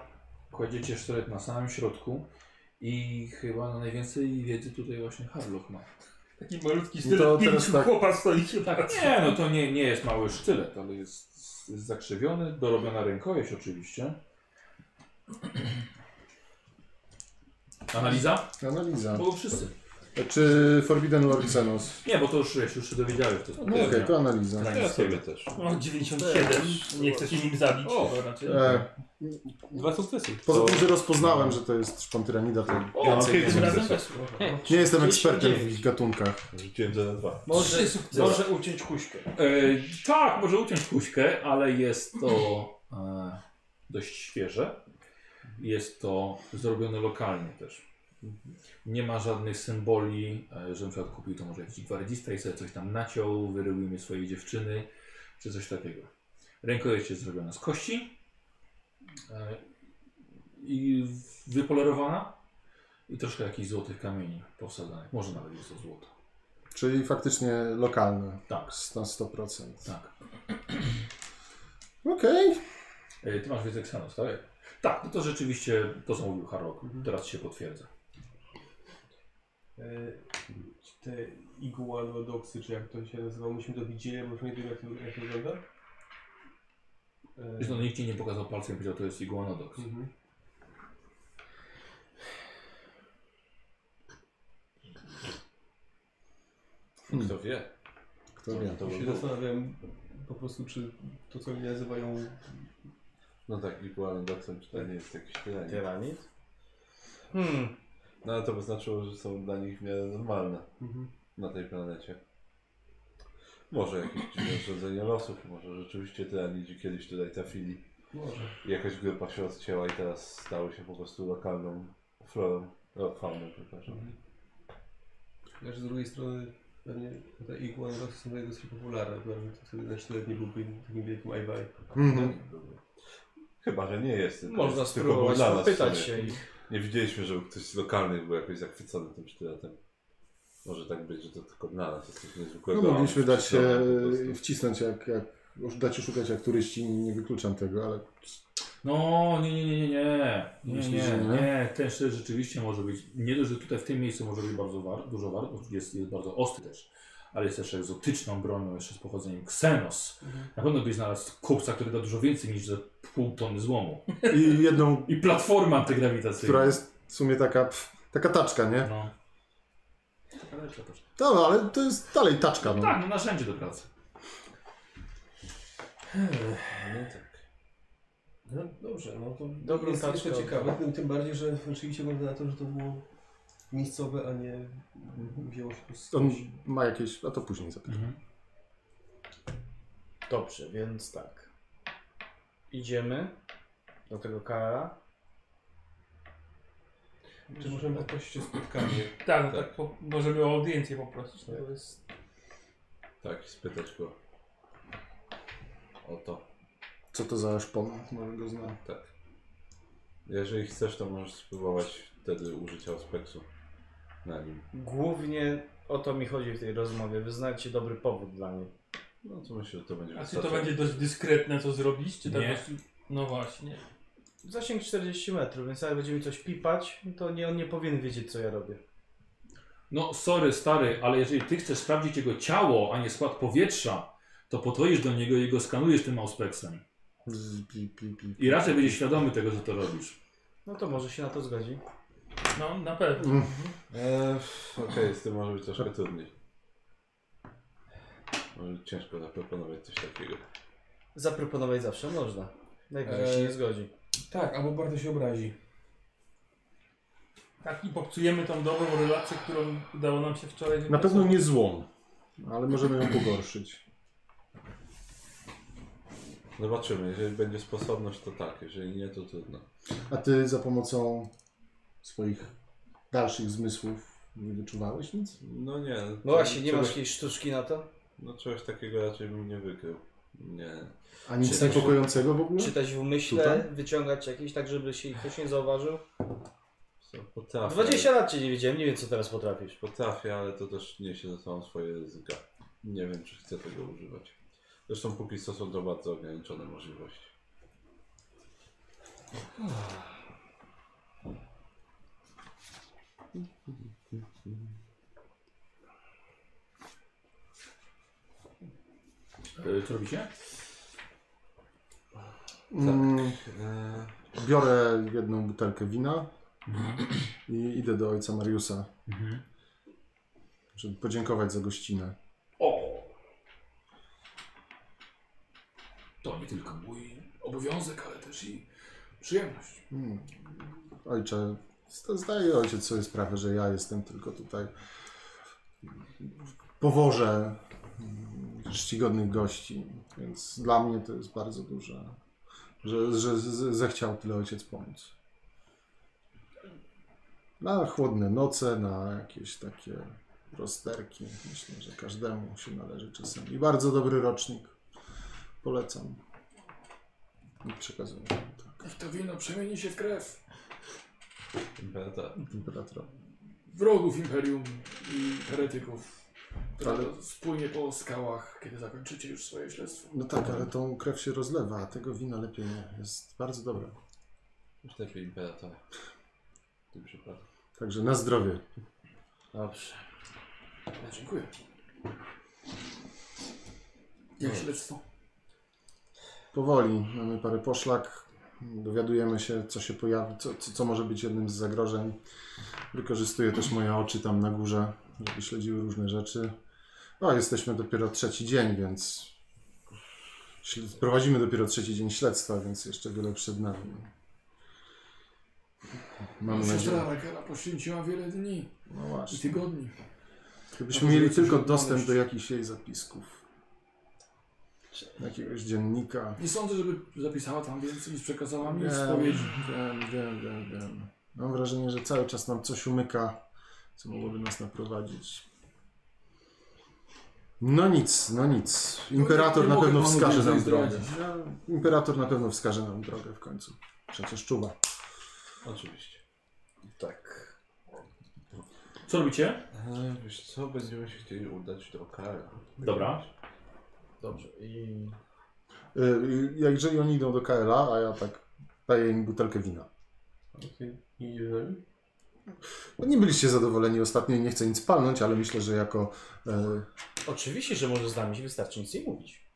Speaker 1: Kładziecie sztylet na samym środku. I chyba na najwięcej wiedzy tutaj właśnie Harloch ma.
Speaker 4: Taki malutki
Speaker 5: No to
Speaker 4: styl no
Speaker 5: teraz
Speaker 4: pięciu
Speaker 5: tak.
Speaker 4: chłopa stoi się tak.
Speaker 1: Nie, no to nie, nie jest mały sztylet, ale jest, jest zakrzywiony, dorobiona rękojeść oczywiście. Analiza?
Speaker 5: analiza.
Speaker 1: To było wszyscy.
Speaker 5: Czy Forbidden Lord Xenos?
Speaker 1: Nie, bo to już, jeśli już się dowiedziałeś, to jest
Speaker 5: No okej, to analiza.
Speaker 2: Ja sobie
Speaker 1: granicę.
Speaker 2: też.
Speaker 4: No, 97. Nie chcę się nim zabić.
Speaker 2: O.
Speaker 4: to raczej.
Speaker 5: E,
Speaker 2: Dwa sukcesy.
Speaker 5: poza tym, że rozpoznałem, że to jest szpon tyranida, to
Speaker 2: O,
Speaker 5: więcej
Speaker 2: okej,
Speaker 5: nie wiem.
Speaker 2: dobra.
Speaker 4: Razem weszło.
Speaker 5: Nie jestem ekspertem w ich gatunkach.
Speaker 2: Rzuciłem to na dwa.
Speaker 3: może,
Speaker 4: Trzy sukcesy.
Speaker 3: może uciąć kuśkę.
Speaker 1: E, tak, może uciąć kuśkę, ale jest to e, dość świeże. Jest to zrobione lokalnie też. Nie ma żadnych symboli, e, że na przykład kupił to może jakiś gwardzista i sobie coś tam naciął, wyrył imię swojej dziewczyny, czy coś takiego. Rękojeść jest zrobiona z kości e, i wypolerowana i troszkę jakichś złotych kamieni powsadzanych. Może nawet jest to złoto.
Speaker 5: Czyli faktycznie lokalne.
Speaker 1: Tak.
Speaker 5: Na 100%.
Speaker 1: Tak.
Speaker 5: Okej. No
Speaker 1: E, Ty masz wiedzę Xenos, tak? Tak, no to rzeczywiście to, co mówił Harrok,
Speaker 5: Mhm.
Speaker 1: teraz się potwierdza.
Speaker 6: E, te iguanodoksy, czy jak to się nazywa, musimy do widzieli, może nie wiem jak to, jak to wygląda. E,
Speaker 1: Wiesz, no nikt ci nie pokazał palcem i powiedział, to jest Iguanodox.
Speaker 6: mhm.
Speaker 2: Kto Hmm. wie?
Speaker 5: Kto wie.
Speaker 2: To by
Speaker 6: się
Speaker 2: było.
Speaker 6: zastanawiam po prostu, czy to, co oni nazywają
Speaker 2: No tak, iguanodoksem czy to nie jest jakiś tyranie.
Speaker 3: Tyranit? Hmm,
Speaker 2: No ale to by znaczyło, że są dla nich w miarę normalne
Speaker 6: Mhm.
Speaker 2: na tej planecie. Może jakieś dziwne urządzenie losów, może rzeczywiście tyranidzi kiedyś tutaj trafili.
Speaker 6: Może.
Speaker 2: I Jakaś grupa się odcięła i teraz stały się po prostu lokalną florą, o, fauną, przepraszam.
Speaker 6: Znaczy, z drugiej strony pewnie te iguanodosy są tutaj dosyć popularne, pewnie to wtedy na 4 dni byłby takim wielkim ajwaj.
Speaker 5: Mhm.
Speaker 2: Chyba, że nie jest. tylko
Speaker 3: można
Speaker 2: jest, tylko był
Speaker 3: spróbować
Speaker 2: dla nas w
Speaker 3: popytać
Speaker 2: sumie.
Speaker 3: się ich.
Speaker 2: Nie widzieliśmy, żeby ktoś z lokalnych był jakoś zachwycony tym sztyletem. Może tak być, że to tylko dla nas jest coś niezwykłego.
Speaker 5: No
Speaker 2: a
Speaker 5: mogliśmy
Speaker 2: oni
Speaker 5: dać się
Speaker 2: po prostu.
Speaker 5: wcisnąć jak, jak dać się szukać jak turyści, nie wykluczam tego, ale
Speaker 1: No, nie, nie, nie, nie, nie. Nie,
Speaker 5: Myślisz,
Speaker 1: nie,
Speaker 5: że nie?
Speaker 1: nie. Ten sztylet rzeczywiście może być. Nie dość, że tutaj w tym miejscu może być bardzo war, dużo war, bo jest, jest bardzo ostry też, ale jest też egzotyczną bronią, jeszcze z pochodzeniem Xenos.
Speaker 5: Mhm.
Speaker 1: Na pewno byś znalazł kupca, który da dużo więcej niż za pół tony złomu.
Speaker 5: i jedną,
Speaker 1: I platforma antygrawitacyjna.
Speaker 5: która jest w sumie taka, pff, taka taczka, nie?
Speaker 1: No. Taka lepsza też.
Speaker 5: No, ale to jest dalej taczka, no.
Speaker 1: Tak, no narzędzie do pracy.
Speaker 2: No tak.
Speaker 6: No dobrze, no to
Speaker 3: Dobrą
Speaker 6: jest, jest to
Speaker 3: taczką.
Speaker 6: ciekawe, tym, tym bardziej, że oczywiście wygląda na to, że to było miejscowe, a nie wzięło się tu z
Speaker 5: On ma jakieś, a to później zapytam.
Speaker 3: Dobrze, więc tak. Idziemy do tego Kaela.
Speaker 6: Czy możemy jakoś spotkanie?
Speaker 4: Tak, no tak po, możemy o audiencję poprosić. No to jest...
Speaker 2: Tak, i spytać go. O to,
Speaker 5: Co to za szpon? Może go znam.
Speaker 2: tak. Jeżeli chcesz, to możesz spróbować wtedy użycia ospeksu na nim.
Speaker 3: Głównie o to mi chodzi w tej rozmowie. Wyznajcie dobry powód dla niej.
Speaker 2: No to myślę, że to będzie
Speaker 4: A czy to
Speaker 2: wystarczające.
Speaker 4: będzie dość dyskretne, co zrobić? Czy tak
Speaker 1: Nie.
Speaker 4: dość- No właśnie.
Speaker 3: Zasięg 40 metrów, więc jak będzie mi coś pipać, to nie, on nie powinien wiedzieć, co ja robię.
Speaker 1: No, sorry, stary, ale jeżeli ty chcesz sprawdzić jego ciało, a nie skład powietrza, to podchodzisz do niego i go skanujesz tym auspeksem.
Speaker 5: Bzz, Pi, pi, pi.
Speaker 1: I raczej będziesz świadomy tego, że to robisz.
Speaker 3: No to może się na to zgodzi.
Speaker 4: No na pewno.
Speaker 5: Mm.
Speaker 2: Eee, Okej, z tym może być troszkę trudniej. Może być ciężko zaproponować coś takiego.
Speaker 3: Zaproponować zawsze można. Najwyżej się
Speaker 6: Eee.
Speaker 3: nie zgodzi.
Speaker 6: Tak, albo bardzo się obrazi.
Speaker 4: Tak i popsujemy tą dobrą relację, którą udało nam się wczoraj
Speaker 5: Na
Speaker 4: wypracować.
Speaker 5: pewno nie złą, ale możemy [CLEARS THROAT] ją pogorszyć.
Speaker 2: Zobaczymy, jeżeli będzie sposobność, to tak, jeżeli nie, to trudno.
Speaker 5: A ty za pomocą swoich dalszych zmysłów nie wyczuwałeś nic?
Speaker 2: No nie.
Speaker 3: No właśnie, nie masz
Speaker 2: czegoś,
Speaker 3: jakiejś sztuczki na to?
Speaker 2: No czegoś takiego raczej bym nie wykrył. Nie.
Speaker 5: A nic
Speaker 2: Czy-
Speaker 5: niepokojącego w ogóle?
Speaker 3: Czytać w umyśle,
Speaker 5: Tutaj?
Speaker 3: wyciągać jakieś, tak żeby się ich ktoś nie zauważył?
Speaker 2: Co, Potrafię.
Speaker 3: 20 lat cię nie widziałem, nie wiem, co teraz potrafisz.
Speaker 2: Potrafię, ale to też niesie ze sobą swoje ryzyka. Nie wiem, czy chcę tego używać. Zresztą póki co są to bardzo ograniczone możliwości.
Speaker 1: E, Co robicie?
Speaker 5: Mm,
Speaker 2: Eee,
Speaker 5: biorę jedną butelkę wina i idę do ojca Mariusa,
Speaker 1: Mhm.
Speaker 5: żeby podziękować za gościnę.
Speaker 1: O! To nie tylko mój obowiązek, ale też i przyjemność.
Speaker 5: Mm. Ojcze, zda- zdaje ojciec sobie sprawę, że ja jestem tylko tutaj w poworze mm, czcigodnych gości, więc dla mnie to jest bardzo duże, że, że z- zechciał tyle ojciec pomóc. Na chłodne noce, na jakieś takie rozterki. Myślę, że każdemu się należy czasem. I bardzo dobry rocznik. Polecam. I przekazuję. Tak,
Speaker 7: Niech to wino przemieni się w krew
Speaker 2: Imperator.
Speaker 5: imperatorowi.
Speaker 7: wrogów Imperium i heretyków.
Speaker 1: która
Speaker 5: Ale-
Speaker 1: spłynie po skałach, kiedy zakończycie już swoje śledztwo.
Speaker 5: No tak, ale tą krew się rozlewa, a tego wina lepiej nie. Jest bardzo dobre.
Speaker 2: Już lepiej [LAUGHS] imperatora. W tym przypadku.
Speaker 5: Także na zdrowie.
Speaker 3: Dobrze.
Speaker 1: No, dziękuję. Jak śledztwo?
Speaker 5: Powoli mamy parę poszlak. Dowiadujemy się, co się pojawi, co, co, co może być jednym z zagrożeń. Wykorzystuję też moje oczy tam na górze, żeby śledziły różne rzeczy. No, jesteśmy dopiero trzeci dzień, więc śled- prowadzimy dopiero trzeci dzień śledztwa, więc jeszcze wiele przed nami. Mam nadzieję.
Speaker 1: Siostra Rakela poświęciła wiele dni
Speaker 5: No
Speaker 1: i
Speaker 5: właśnie.
Speaker 1: tygodni.
Speaker 5: Gdybyśmy mieli
Speaker 1: Możecie
Speaker 5: tylko
Speaker 1: się
Speaker 5: dostęp
Speaker 1: odnaleźć.
Speaker 5: do jakichś jej zapisków. Jakiegoś dziennika.
Speaker 1: Nie sądzę, żeby zapisała tam więcej niż przekazała mi
Speaker 5: Wiem,
Speaker 1: w spowiedzi.
Speaker 5: Wiem, wiem, wiem, wiem. Mam wrażenie, że cały czas nam coś umyka, co mogłoby nas naprowadzić. No nic, no nic. Imperator
Speaker 1: nie
Speaker 5: na
Speaker 1: mogę
Speaker 5: pewno
Speaker 1: panu
Speaker 5: wskaże
Speaker 1: więcej
Speaker 5: nam drogę.
Speaker 1: zdradzić.
Speaker 5: No, Imperator na pewno wskaże nam drogę w końcu. Przecież czuwa.
Speaker 2: Oczywiście.
Speaker 5: Tak.
Speaker 10: Co robicie?
Speaker 2: E, wiesz co, będziemy się chcieli udać do Kara.
Speaker 10: Dobra.
Speaker 3: Dobrze. I
Speaker 5: Y, Jak jeżeli oni idą do KLA, a ja tak daję im butelkę wina.
Speaker 6: Okej. I idzie za nim?
Speaker 5: No nie byliście zadowoleni ostatnio i nie chcę nic palnąć, ale myślę, że jako e,
Speaker 3: oczywiście, że może z nami się wystarczy nic nie mówić.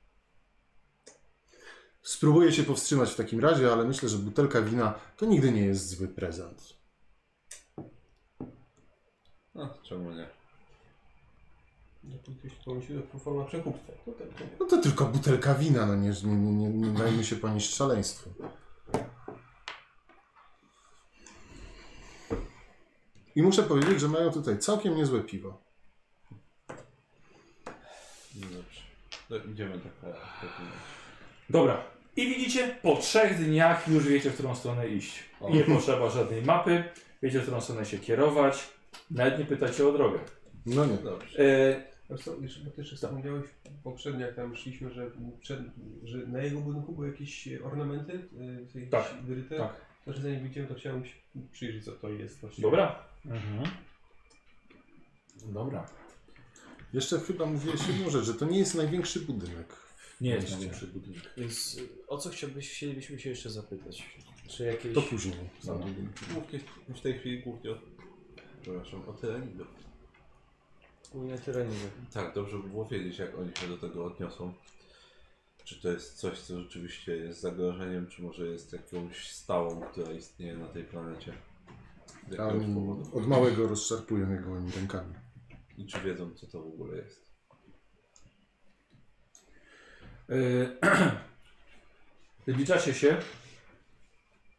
Speaker 5: Spróbuję się powstrzymać w takim razie, ale myślę, że butelka wina to nigdy nie jest zły prezent.
Speaker 2: No, czemu nie?
Speaker 6: Dopóki się pomyśli, to forma przekupstwa. To tak, to nie.
Speaker 5: No to tylko butelka wina, no nie, nie, nie, nie, nie dajmy się ponieść szaleństwu. I muszę powiedzieć, że mają tutaj całkiem niezłe piwo.
Speaker 2: No dobrze. To idziemy do Kara. w takim razie.
Speaker 10: Dobra. I widzicie, po trzech dniach już wiecie, w którą stronę iść.
Speaker 2: O.
Speaker 10: Nie potrzeba żadnej mapy, wiecie, w którą stronę się kierować. Nawet nie pytacie o drogę.
Speaker 5: No nie.
Speaker 2: Dobrze.
Speaker 10: E,
Speaker 6: Wiesz co, jeszcze, bo ty jeszcze wspomniałeś poprzednio, jak tam szliśmy, że, przed, że na jego budynku były jakieś e, ornamenty, y, jakieś
Speaker 10: Tak,
Speaker 6: wyryte.
Speaker 10: tak.
Speaker 6: To, że zanim widziałem, to chciałem się przyjrzeć, co to jest właściwie.
Speaker 10: dobra. Mhm. Dobra.
Speaker 5: Jeszcze chyba mówiłeś jedną rzecz, że to nie jest największy budynek.
Speaker 10: Nie jest
Speaker 5: Mieście.
Speaker 10: największy budynek.
Speaker 3: Więc y, o co chciałbyś, chcielibyśmy się jeszcze zapytać? Czy jakieś...
Speaker 5: To później.
Speaker 2: No. Głównie w tej chwili głównie o... Przepraszam, o tyranidu.
Speaker 3: Głównie tyranidy.
Speaker 2: Tak, dobrze by było wiedzieć, jak oni się do tego odniosą. Czy to jest coś, co rzeczywiście jest zagrożeniem, czy może jest jakąś stałą, która istnieje na tej planecie? Z
Speaker 5: A
Speaker 2: jakiegoś
Speaker 5: on
Speaker 2: powodu.
Speaker 5: od małego rozszarpują je gołymi rękami.
Speaker 2: I czy wiedzą, co to w ogóle jest?
Speaker 10: [CLEARS THROAT] E, Zbliżacie się,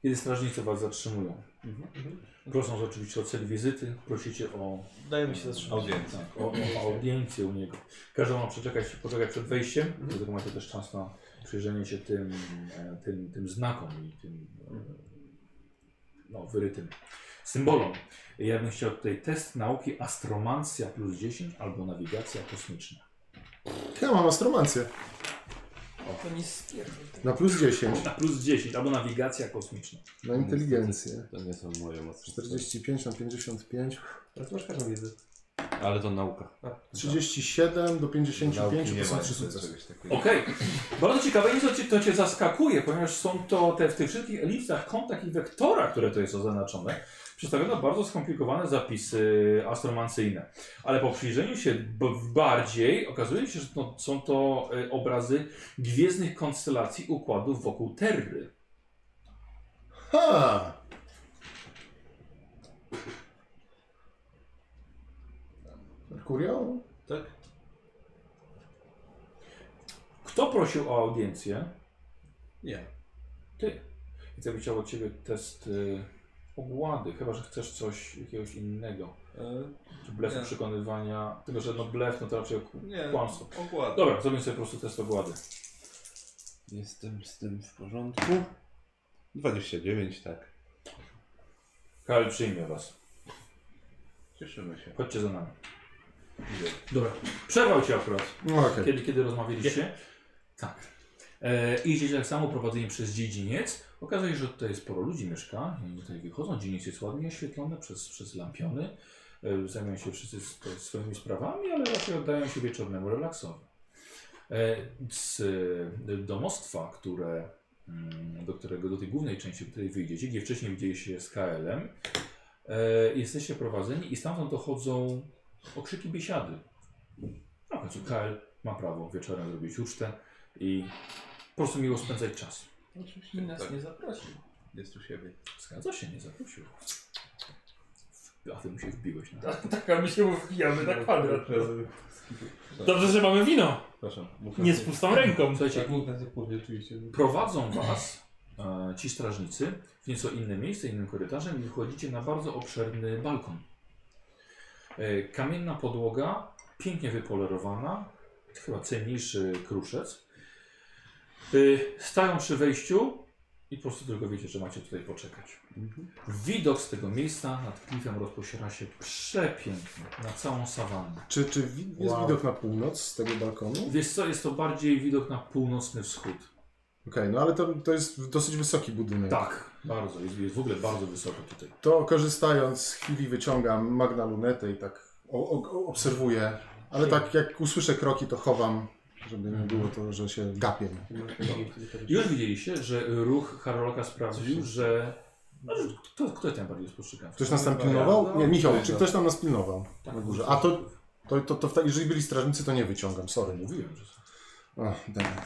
Speaker 10: kiedy strażnicy was zatrzymują. Prosząc oczywiście o cel wizyty, prosicie o Tak,
Speaker 3: Dajemy się zatrzymać.
Speaker 2: Audiencja.
Speaker 10: o, o audiencję u niego. Każdy ma przeczekać, poczekać przed wejściem,
Speaker 3: Mhm.
Speaker 10: dlatego macie też czas na przyjrzenie się tym, e, tym, tym znakom i tym e, no, wyrytym symbolom. Ja bym chciał tutaj test nauki astromancja plus 10 albo nawigacja kosmiczna.
Speaker 5: Ja mam astromancję.
Speaker 4: To nie spierdol.
Speaker 5: Na plus 10.
Speaker 10: Na plus 10 albo nawigacja kosmiczna.
Speaker 5: Na inteligencję.
Speaker 2: To nie są moje mocne
Speaker 5: 45 na 55.
Speaker 6: Ale to masz każdą wiedzę.
Speaker 2: strony. Ale to nauka.
Speaker 5: 37 do 55
Speaker 2: Nauki
Speaker 5: to
Speaker 2: nie
Speaker 5: są
Speaker 2: ma
Speaker 5: trzy sukcesy.
Speaker 2: czegoś takiego.
Speaker 10: Okej. Bardzo ciekawe jest, to cię, to cię zaskakuje, ponieważ są to te, w tych wszystkich elipsach, kątach i wektorach, które to jest oznaczone, przedstawiono bardzo skomplikowane zapisy astromancyjne. Ale po przyjrzeniu się b- bardziej okazuje się, że to, są to y, obrazy gwiezdnych konstelacji układów wokół Terry.
Speaker 5: Ha! Merkurio?
Speaker 2: Tak?
Speaker 10: Kto prosił o audiencję?
Speaker 2: Nie.
Speaker 10: Ty. I to by chciał od ciebie test y, ogłady, chyba że chcesz coś jakiegoś innego.
Speaker 2: E,
Speaker 10: Czy blef
Speaker 2: Nie.
Speaker 10: przekonywania. Tylko, że no blef, no to raczej ku-
Speaker 2: nie,
Speaker 10: kłamstwo.
Speaker 2: ogłady.
Speaker 10: Dobra, zrobimy sobie po prostu test ogłady.
Speaker 2: Jestem z tym w porządku. 29, tak.
Speaker 10: Karl przyjmie was.
Speaker 2: Cieszymy się.
Speaker 10: Chodźcie za nami.
Speaker 2: Idę.
Speaker 10: Dobra. Przerwał cię akurat,
Speaker 5: No okej.
Speaker 10: kiedy, kiedy rozmawialiście. Tak. E, idziecie tak samo prowadzeni przez dziedziniec. Okazuje się, że tutaj sporo ludzi mieszka. Oni tutaj wychodzą. Dziedziniec jest ładnie oświetlony przez, przez lampiony. E, Zajmują się wszyscy sw- swoimi sprawami, ale raczej oddają się wieczornemu relaksowi. E, Z e, domostwa, które, mm, do którego do tej głównej części, do której wyjdziecie, gdzie wcześniej widzieliście się z KL-em, e, jesteście prowadzeni i stamtąd dochodzą okrzyki biesiady. Na końcu KL ma prawo wieczorem zrobić ucztę i po prostu miło spędzać czas.
Speaker 4: Oczywiście nas
Speaker 2: Tak.
Speaker 4: nie zaprosił.
Speaker 2: Jest u siebie.
Speaker 10: Zgadza się, nie zaprosił. A ty mu się wbiłeś na...
Speaker 4: A tak a my się wbijamy
Speaker 6: No,
Speaker 4: na kwadrat.
Speaker 2: Tak.
Speaker 4: Dobrze, że mamy wino.
Speaker 2: Przepraszam.
Speaker 4: Nie z pustą ręką.
Speaker 10: Słuchajcie,
Speaker 6: Tak, mówmy jak później, oczywiście.
Speaker 10: prowadzą was e, ci strażnicy w nieco inne miejsce, innym korytarzem i wchodzicie na bardzo obszerny balkon. E, kamienna podłoga, pięknie wypolerowana, chyba cenniejszy kruszec. E, stają przy wejściu i po prostu tylko wiecie, że macie tutaj poczekać. Widok z tego miejsca nad klifem rozpościera się przepiękny na całą sawannę.
Speaker 5: Czy, czy wi- jest
Speaker 10: Wow.
Speaker 5: widok na północ z tego balkonu? Okej,
Speaker 10: Wiesz co, jest to bardziej widok na północny wschód.
Speaker 5: no ale to, to jest dosyć wysoki budynek.
Speaker 10: Tak, bardzo. Jest, jest w ogóle bardzo wysoko tutaj.
Speaker 5: To korzystając z chwili wyciągam magna lunetę i tak o, o, o- obserwuję. Ale tak jak usłyszę kroki, to chowam, żeby nie było to, że się gapię.
Speaker 10: Już widzieliście, że ruch Harolka sprawił, że... No, że Kto, kto tam bardziej Tak, spostrzegał?
Speaker 5: Ktoś nas tam pilnował? Nie, Michał, czy ktoś tam nas pilnował?
Speaker 10: Tak,
Speaker 5: na górze. A to, to, to, to w ta, jeżeli byli strażnicy, to nie wyciągam, sorry.
Speaker 10: Mówiłem, że... są.
Speaker 5: Ach, dammit.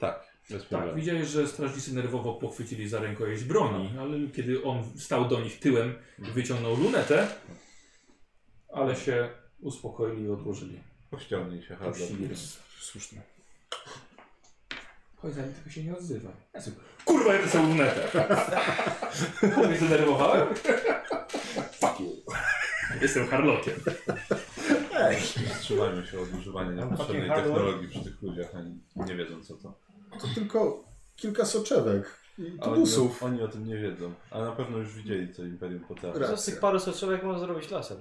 Speaker 2: Tak, bez
Speaker 10: Tak,
Speaker 2: problemu.
Speaker 10: widziałeś, że strażnicy nerwowo pochwycili za rękojeść broni, ale kiedy on stał do nich tyłem i wyciągnął lunetę, ale się uspokoili i odłożyli.
Speaker 2: Pościągnij się, Hardo.
Speaker 10: Puścili ręce.
Speaker 5: Słuszne.
Speaker 10: Chodź, ale tylko się nie odzywa. Ja sobie, Kurwa, ja rysę lunetę. Kurwa, [LAUGHS] zdenerwowałem? Fuck you. Jestem harlokiem.
Speaker 2: Wstrzymajmy się od używania niepotrzebnej
Speaker 3: Hardo.
Speaker 2: technologii przy tych ludziach, ani nie wiedzą co to.
Speaker 5: To tylko kilka soczewek i
Speaker 2: Ale oni,
Speaker 5: busów.
Speaker 2: oni o tym nie wiedzą, ale na pewno już widzieli co Imperium potrafi.
Speaker 5: Racja.
Speaker 3: Z tych paru soczewek można zrobić laser.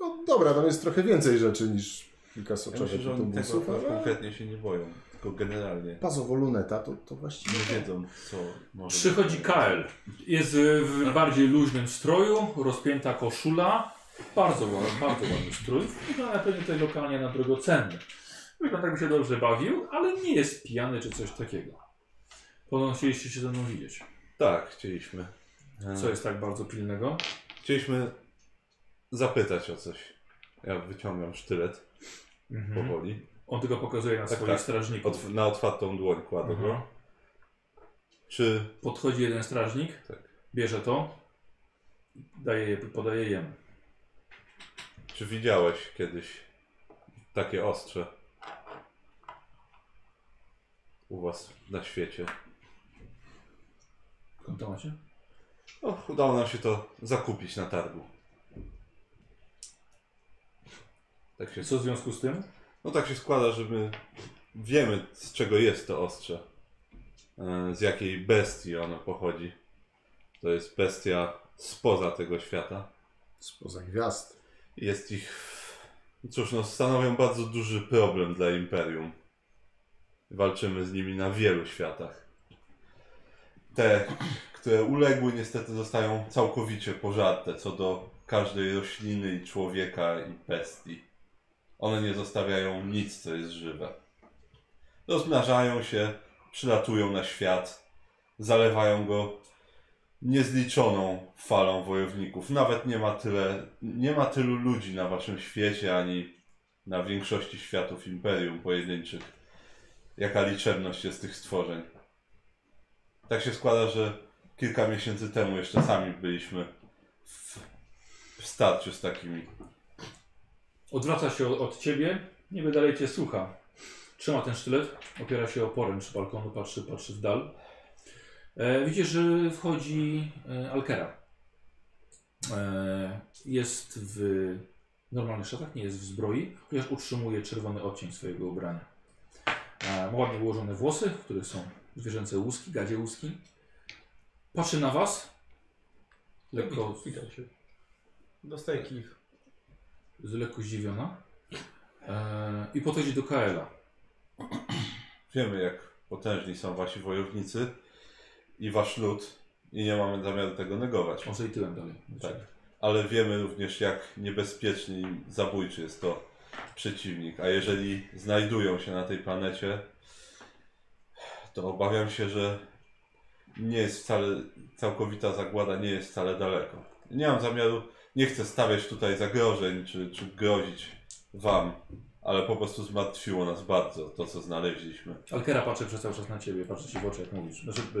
Speaker 5: No dobra, tam jest trochę więcej rzeczy niż kilka
Speaker 2: Ja
Speaker 5: soczewek
Speaker 2: myślę,
Speaker 5: i
Speaker 2: że oni tego
Speaker 5: autobusów, ale
Speaker 2: konkretnie się nie boją, tylko generalnie
Speaker 5: bazowo luneta to, to właściwie...
Speaker 2: nie wiedzą co może... Tak.
Speaker 10: Przychodzi Kael. Jest y, w bardziej luźnym stroju, rozpięta koszula. Bardzo ładny, bardzo ładny strój. Wygląda pewnie tutaj lokalnie na drogocenny. Wygląda jakby się dobrze bawił, ale nie jest pijany czy coś takiego. Podobno chcieliście się ze mną widzieć.
Speaker 2: Tak, chcieliśmy. E,
Speaker 10: Co jest tak bardzo pilnego?
Speaker 2: Chcieliśmy zapytać o coś. Ja wyciągam sztylet
Speaker 10: Mhm.
Speaker 2: powoli.
Speaker 10: On tylko pokazuje na
Speaker 2: Tak,
Speaker 10: swoich
Speaker 2: tak.
Speaker 10: strażników.
Speaker 2: Otw na otwartą dłoń kładę
Speaker 10: Mhm.
Speaker 2: go. Czy
Speaker 10: Podchodzi jeden strażnik,
Speaker 2: Tak.
Speaker 10: bierze to, daje je, podaje jemu.
Speaker 2: Czy widziałeś kiedyś takie ostrze u was na świecie?
Speaker 10: Skąd to macie?
Speaker 2: No, udało nam się to zakupić na targu. Tak się,
Speaker 10: Co w związku z tym?
Speaker 2: no tak się składa, że my wiemy z czego jest to ostrze. E, Z jakiej bestii ono pochodzi. To jest bestia spoza tego świata.
Speaker 5: Spoza gwiazd.
Speaker 2: Jest ich. Cóż, no, stanowią bardzo duży problem dla imperium. Walczymy z nimi na wielu światach. Te, które uległy, niestety zostają całkowicie pożarte co do każdej rośliny i człowieka i bestii. One nie zostawiają nic, co jest żywe. Rozmnażają się, przylatują na świat, zalewają go niezliczoną falą wojowników. Nawet nie ma tyle, nie ma tylu ludzi na waszym świecie, ani na większości światów imperium pojedynczych, jaka liczebność jest tych stworzeń. Tak się składa, że kilka miesięcy temu jeszcze sami byliśmy w, w starciu z takimi.
Speaker 10: Odwraca się od, od ciebie, niby dalej cię słucha. Trzyma ten sztylet, opiera się o poręcz balkonu, patrzy, patrzy w dal. E, widzisz, że wchodzi e, Alkera. E, jest w normalnych szatach, nie jest w zbroi, chociaż utrzymuje czerwony odcień swojego ubrania. E, ma ładnie ułożone włosy, w których są zwierzęce łuski, gadzie łuski. Patrzy na was. Lekko,
Speaker 6: Witam się.
Speaker 3: Dostaję kif.
Speaker 10: z lekko zdziwiona. E, I podchodzi do Kaela.
Speaker 2: Wiemy, jak potężni są wasi wojownicy i wasz lud i nie mamy zamiaru tego negować.
Speaker 10: Może i tyłem dalej.
Speaker 2: Tak. ale wiemy również, jak niebezpieczny i zabójczy jest to przeciwnik. A jeżeli znajdują się na tej planecie, to obawiam się, że nie jest wcale całkowita zagłada, nie jest wcale daleko. Nie mam zamiaru, nie chcę stawiać tutaj zagrożeń czy, czy grozić Wam, ale po prostu zmartwiło nas bardzo to, co znaleźliśmy.
Speaker 10: Alkera patrzy przez cały czas na ciebie, patrzy ci w oczy, jak mówisz. Znaczy, y, y, y,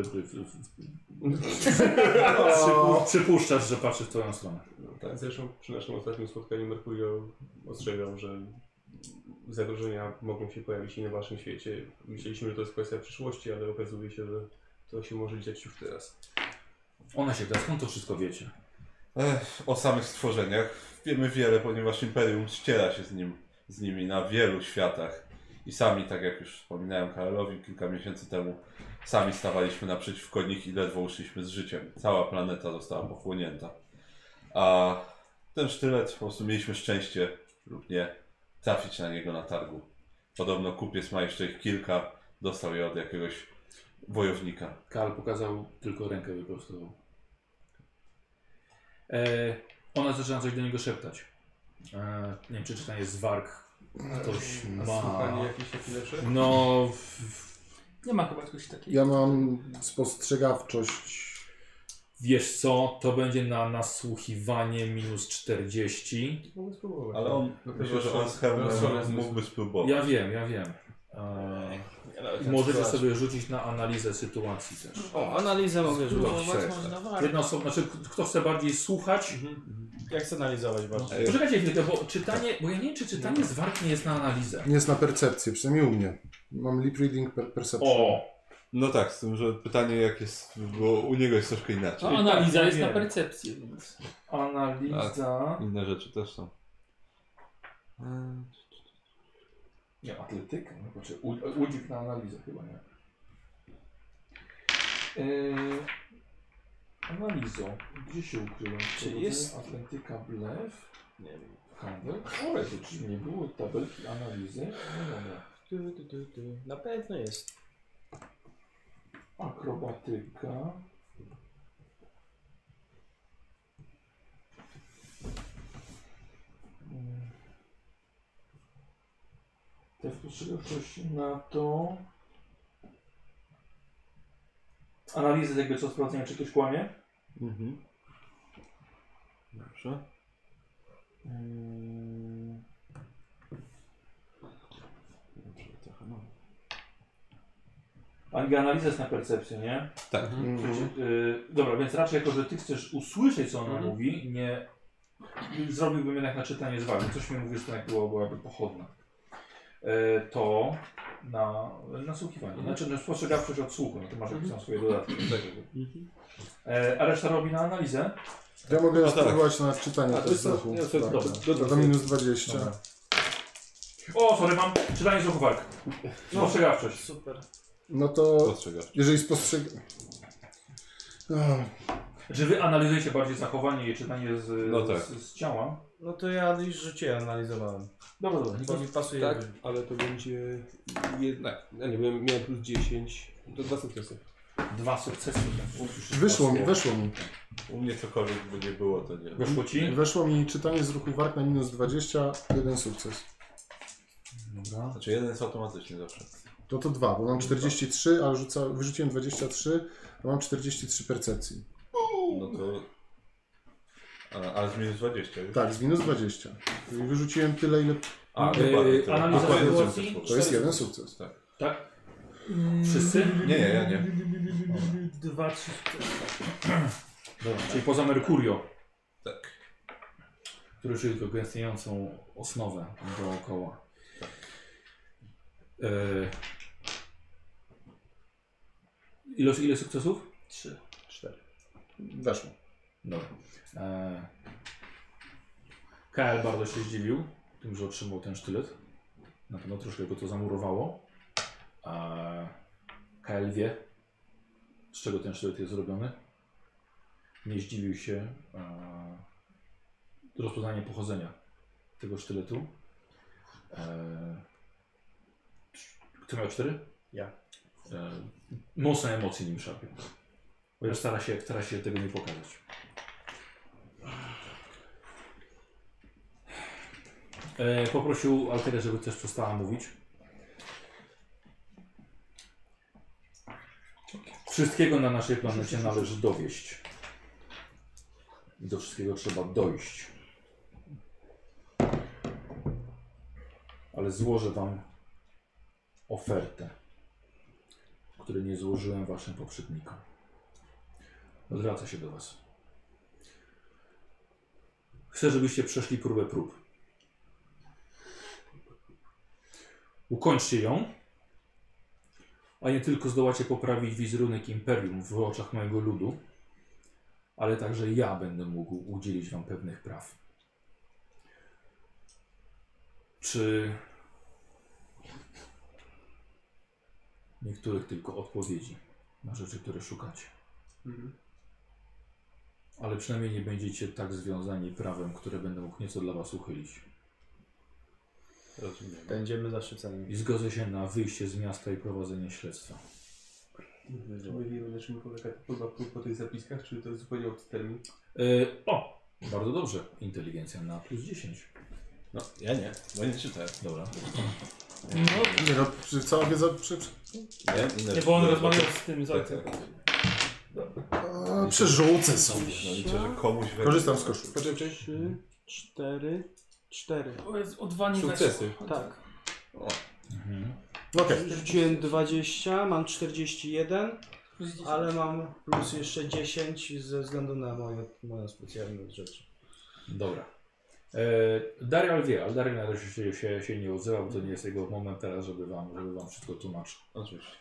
Speaker 2: [LAUGHS]
Speaker 10: y, przypu- przypuszczasz, że patrzy w twoją stronę.
Speaker 2: Tak.
Speaker 6: Zresztą przy naszym ostatnim spotkaniu Mercurio ostrzegał, że zagrożenia mogą się pojawić i na waszym świecie. Myśleliśmy, że to jest kwestia przyszłości, ale okazuje się, że to się może dziać już teraz.
Speaker 10: Ona się pyta, skąd to wszystko wiecie?
Speaker 2: Ech, o samych stworzeniach wiemy wiele, ponieważ Imperium ściera się z, nim, z nimi na wielu światach. I sami, tak jak już wspominałem Karolowi kilka miesięcy temu, sami stawaliśmy naprzeciwko nich i ledwo uszliśmy z życiem. Cała planeta została pochłonięta. A ten sztylet, po prostu mieliśmy szczęście lub nie, trafić na niego na targu. Podobno kupiec ma jeszcze ich kilka, dostał je od jakiegoś wojownika.
Speaker 10: Karl pokazał tylko rękę wyprostował. E, ona zaczyna coś do niego szeptać. E, nie wiem, czy czytanie jest warg. Ktoś
Speaker 6: A
Speaker 10: ma.
Speaker 6: słuchanie jakieś takie lepsze?
Speaker 10: No. W, w,
Speaker 4: Nie ma chyba czegoś takiego.
Speaker 5: Ja mam spostrzegawczość.
Speaker 10: wiesz co? To będzie na nasłuchiwanie minus 40.
Speaker 6: Mogę spróbować.
Speaker 2: Ale on,
Speaker 6: No,
Speaker 2: myślę, że on z
Speaker 6: rozsądny
Speaker 2: Hermanem
Speaker 6: zmysł.
Speaker 2: mógłby spróbować.
Speaker 10: Ja wiem, ja wiem. E, możecie sobie rzucić na analizę sytuacji też.
Speaker 3: O, analizę mogę rzucić.
Speaker 10: Spróbować
Speaker 11: można
Speaker 10: Jedna osoba, znaczy kto chce bardziej słuchać,
Speaker 3: Jak chcę analizować bardziej?
Speaker 2: Ej.
Speaker 10: Poczekajcie chwilkę, bo czytanie, bo ja nie wiem, czy czytanie z warg nie jest na analizę.
Speaker 5: Nie jest na percepcję, przynajmniej u mnie. Mam lip reading per perception.
Speaker 2: No tak, z tym, że pytanie jak jest, bo u niego jest troszkę
Speaker 4: No,
Speaker 2: inaczej.
Speaker 4: analiza
Speaker 10: tak,
Speaker 4: jest na
Speaker 10: wiem.
Speaker 4: percepcję, więc.
Speaker 3: Tak.
Speaker 10: Analiza.
Speaker 2: Inne rzeczy też są. Eee,
Speaker 10: Nie, atletyka, no, znaczy u- udzik na analizę chyba, nie? Yy, analizo, gdzie się ukryłem?
Speaker 3: Czy jest-
Speaker 10: Atletyka, blef,
Speaker 3: Nie wiem.
Speaker 10: handel, chore, to czy nie było tabelki analizy? Nie, nie, nie.
Speaker 3: Du, du, du, du. Na pewno jest.
Speaker 10: Akrobatyka. Mm. Te spostrzegawczości na to. Analizy jakby co sprawdzenia, czy ktoś kłamie.
Speaker 2: Mhm. Dobrze.
Speaker 10: Mm.
Speaker 2: Dobrze, trochę mam.
Speaker 10: A i analiza jest na percepcję, nie?
Speaker 2: Tak.
Speaker 5: Mhm.
Speaker 10: Czy- y, dobra, więc raczej jako, że ty chcesz usłyszeć, co ona
Speaker 6: Mhm.
Speaker 10: mówi, nie zrobiłbym jednak na czytanie z wami. Coś mi mówisz, że była, byłaby pochodna. E, to na nasłuchiwanie.
Speaker 2: Mhm.
Speaker 10: Znaczy, no, spostrzegawczość od słuchu, no ty masz jakieś tam swoje dodatki.
Speaker 2: Mhm.
Speaker 10: E, a reszta robi na analizę?
Speaker 5: Ja mogę
Speaker 2: No tak.
Speaker 5: spróbować na czytanie też z ruchu. Tak. To do minus 20.
Speaker 10: Dobra. O, sorry, mam czytanie z ruchu walk.
Speaker 2: No.
Speaker 10: Spostrzegawczość.
Speaker 3: Super.
Speaker 5: No to
Speaker 2: Postrzegasz.
Speaker 5: jeżeli spostrzeg... No, Ach,
Speaker 10: Czy wy analizujecie bardziej zachowanie i czytanie z,
Speaker 2: No tak.
Speaker 10: Y, z, z ciała?
Speaker 3: No to ja już rzuciłem, analizowałem.
Speaker 10: Dobra, dobra.
Speaker 3: Bo mi pasuje.
Speaker 6: Tak, ale to będzie jednak. Ja nie wiem, miałem plus 10, to dwa sukcesy.
Speaker 10: Dwa sukcesy.
Speaker 5: Wyszło mi, weszło mi.
Speaker 2: U mnie cokolwiek by nie było, to nie.
Speaker 10: Weszło ci?
Speaker 5: Weszło mi czytanie z ruchu warg na minus 20, jeden sukces.
Speaker 10: Dobra.
Speaker 2: Znaczy jeden jest automatycznie zawsze.
Speaker 5: No to dwa, bo mam 43, ale rzuca, wyrzuciłem 23, a mam 43 percepcji.
Speaker 2: No to... A, ale z minus 20 już?
Speaker 5: Tak, z minus 20. Czyli wyrzuciłem tyle, ile...
Speaker 2: A,
Speaker 10: Yy,
Speaker 2: dokładnie, tyle.
Speaker 10: analiza
Speaker 2: Dokładnie
Speaker 10: sytuacji?
Speaker 2: sukces po prostu.
Speaker 5: To jest jeden sukces.
Speaker 10: Tak? Wszyscy?
Speaker 2: Nie, nie, ja nie.
Speaker 4: Dwa, trzy.
Speaker 10: Dobra. Czyli poza Merkurio,
Speaker 2: Tak.
Speaker 10: który żyje tylko gęstniejącą osnowę dookoła. E... Ile, ile sukcesów?
Speaker 4: Trzy.
Speaker 5: Weszło.
Speaker 10: Dobra. E... KL bardzo się zdziwił tym, że otrzymał ten sztylet. Na pewno troszkę go to zamurowało. E... KL wie, z czego ten sztylet jest zrobiony. Nie zdziwił się e... rozpoznanie pochodzenia tego sztyletu. E... Kto miał cztery?
Speaker 3: Ja.
Speaker 10: E... Mocne emocje nim szarpią. Chociaż stara się, stara się tego nie pokazać. E, poprosił Alterę, żeby też przestała mówić. Wszystkiego na naszej planecie należy dowieść. I do wszystkiego trzeba dojść. Ale złożę wam ofertę, której nie złożyłem waszym poprzednikom. Odwraca się do was. Chcę, żebyście przeszli próbę prób. Ukończcie ją, a nie tylko zdołacie poprawić wizerunek imperium w oczach mojego ludu, ale także ja będę mógł udzielić wam pewnych praw. Czy niektórych tylko odpowiedzi na rzeczy, które szukacie. Ale przynajmniej nie będziecie tak związani prawem, które będę mógł nieco dla was uchylić.
Speaker 2: Rozumiem.
Speaker 3: Będziemy zaszczyceni.
Speaker 10: I zgodzę się na wyjście z miasta i prowadzenie śledztwa.
Speaker 6: Czy my wiemy, na czym polega ta próba prób po tych zapiskach, czy to jest zupełnie obcy termin?
Speaker 10: E, o! Bardzo dobrze. Inteligencja na plus 10.
Speaker 2: No, ja nie, bo nie czytałem. Dobra.
Speaker 5: No, nie no, przy- cała wiedza... Przy, przy,
Speaker 2: Nie, inne
Speaker 4: Nie, bo on
Speaker 2: rzeczy.
Speaker 4: rozmawiał z tym, z
Speaker 2: Tak,
Speaker 4: ojcem.
Speaker 2: tak.
Speaker 5: a, przerzucę sobie.
Speaker 2: No liczę, że komuś wejdzie.
Speaker 5: Korzystam z koszulki.
Speaker 12: Poczekaj, trzy, cztery, cztery.
Speaker 4: O, jest O dwa nie
Speaker 12: Sukcesy.
Speaker 4: weszło.
Speaker 12: Tak.
Speaker 5: No Okej.
Speaker 12: Rzuciłem 20, mam 41,
Speaker 4: Plus 10.
Speaker 12: ale mam plus jeszcze 10 ze względu na moje, moją specjalną rzecz.
Speaker 10: Dobra. E, Darial wie, ale Darial na razie się, się, się nie odzywa, bo to nie jest jego moment teraz, żeby wam, żeby wam wszystko tłumaczył.
Speaker 2: Oczywiście.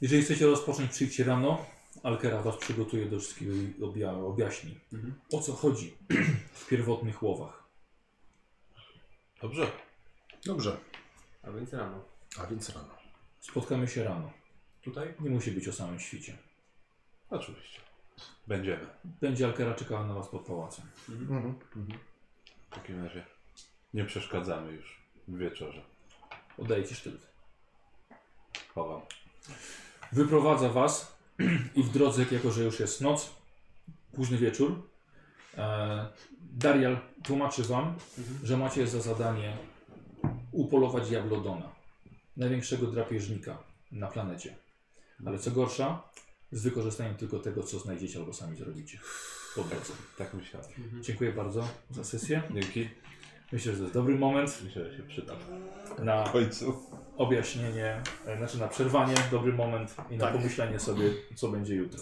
Speaker 10: Jeżeli chcecie rozpocząć, przyjdźcie rano. Alkera was przygotuje do wszystkiego i obja objaśni. O co chodzi [CLEARS THROAT] w pierwotnych łowach?
Speaker 2: Dobrze.
Speaker 5: Dobrze.
Speaker 6: A więc rano.
Speaker 5: A więc rano.
Speaker 10: Spotkamy się rano.
Speaker 6: Tutaj?
Speaker 10: Nie musi być o samym świcie.
Speaker 2: Oczywiście. Będziemy.
Speaker 10: Będzie Alkera czekała na was pod pałacem.
Speaker 5: Mhm.
Speaker 2: W takim razie nie przeszkadzamy już w wieczorze.
Speaker 10: Oddaję ci sztylet.
Speaker 2: Chowam.
Speaker 10: Wyprowadza was [CLEARS THROAT] i w drodze, jako że już jest noc, późny wieczór, e, Darial tłumaczy wam, że macie za zadanie upolować Jablodona, największego drapieżnika na planecie. Ale co gorsza, z wykorzystaniem tylko tego, co znajdziecie albo sami zrobicie. Po drodze.
Speaker 2: Tak myślałem.
Speaker 10: Dziękuję bardzo za sesję.
Speaker 2: Dzięki.
Speaker 10: Myślę, że to jest dobry moment
Speaker 2: Myślę, że się przyda.
Speaker 10: na
Speaker 2: W końcu.
Speaker 10: objaśnienie, e, znaczy na przerwanie, dobry moment i na
Speaker 2: Tak.
Speaker 10: pomyślenie sobie, co będzie jutro.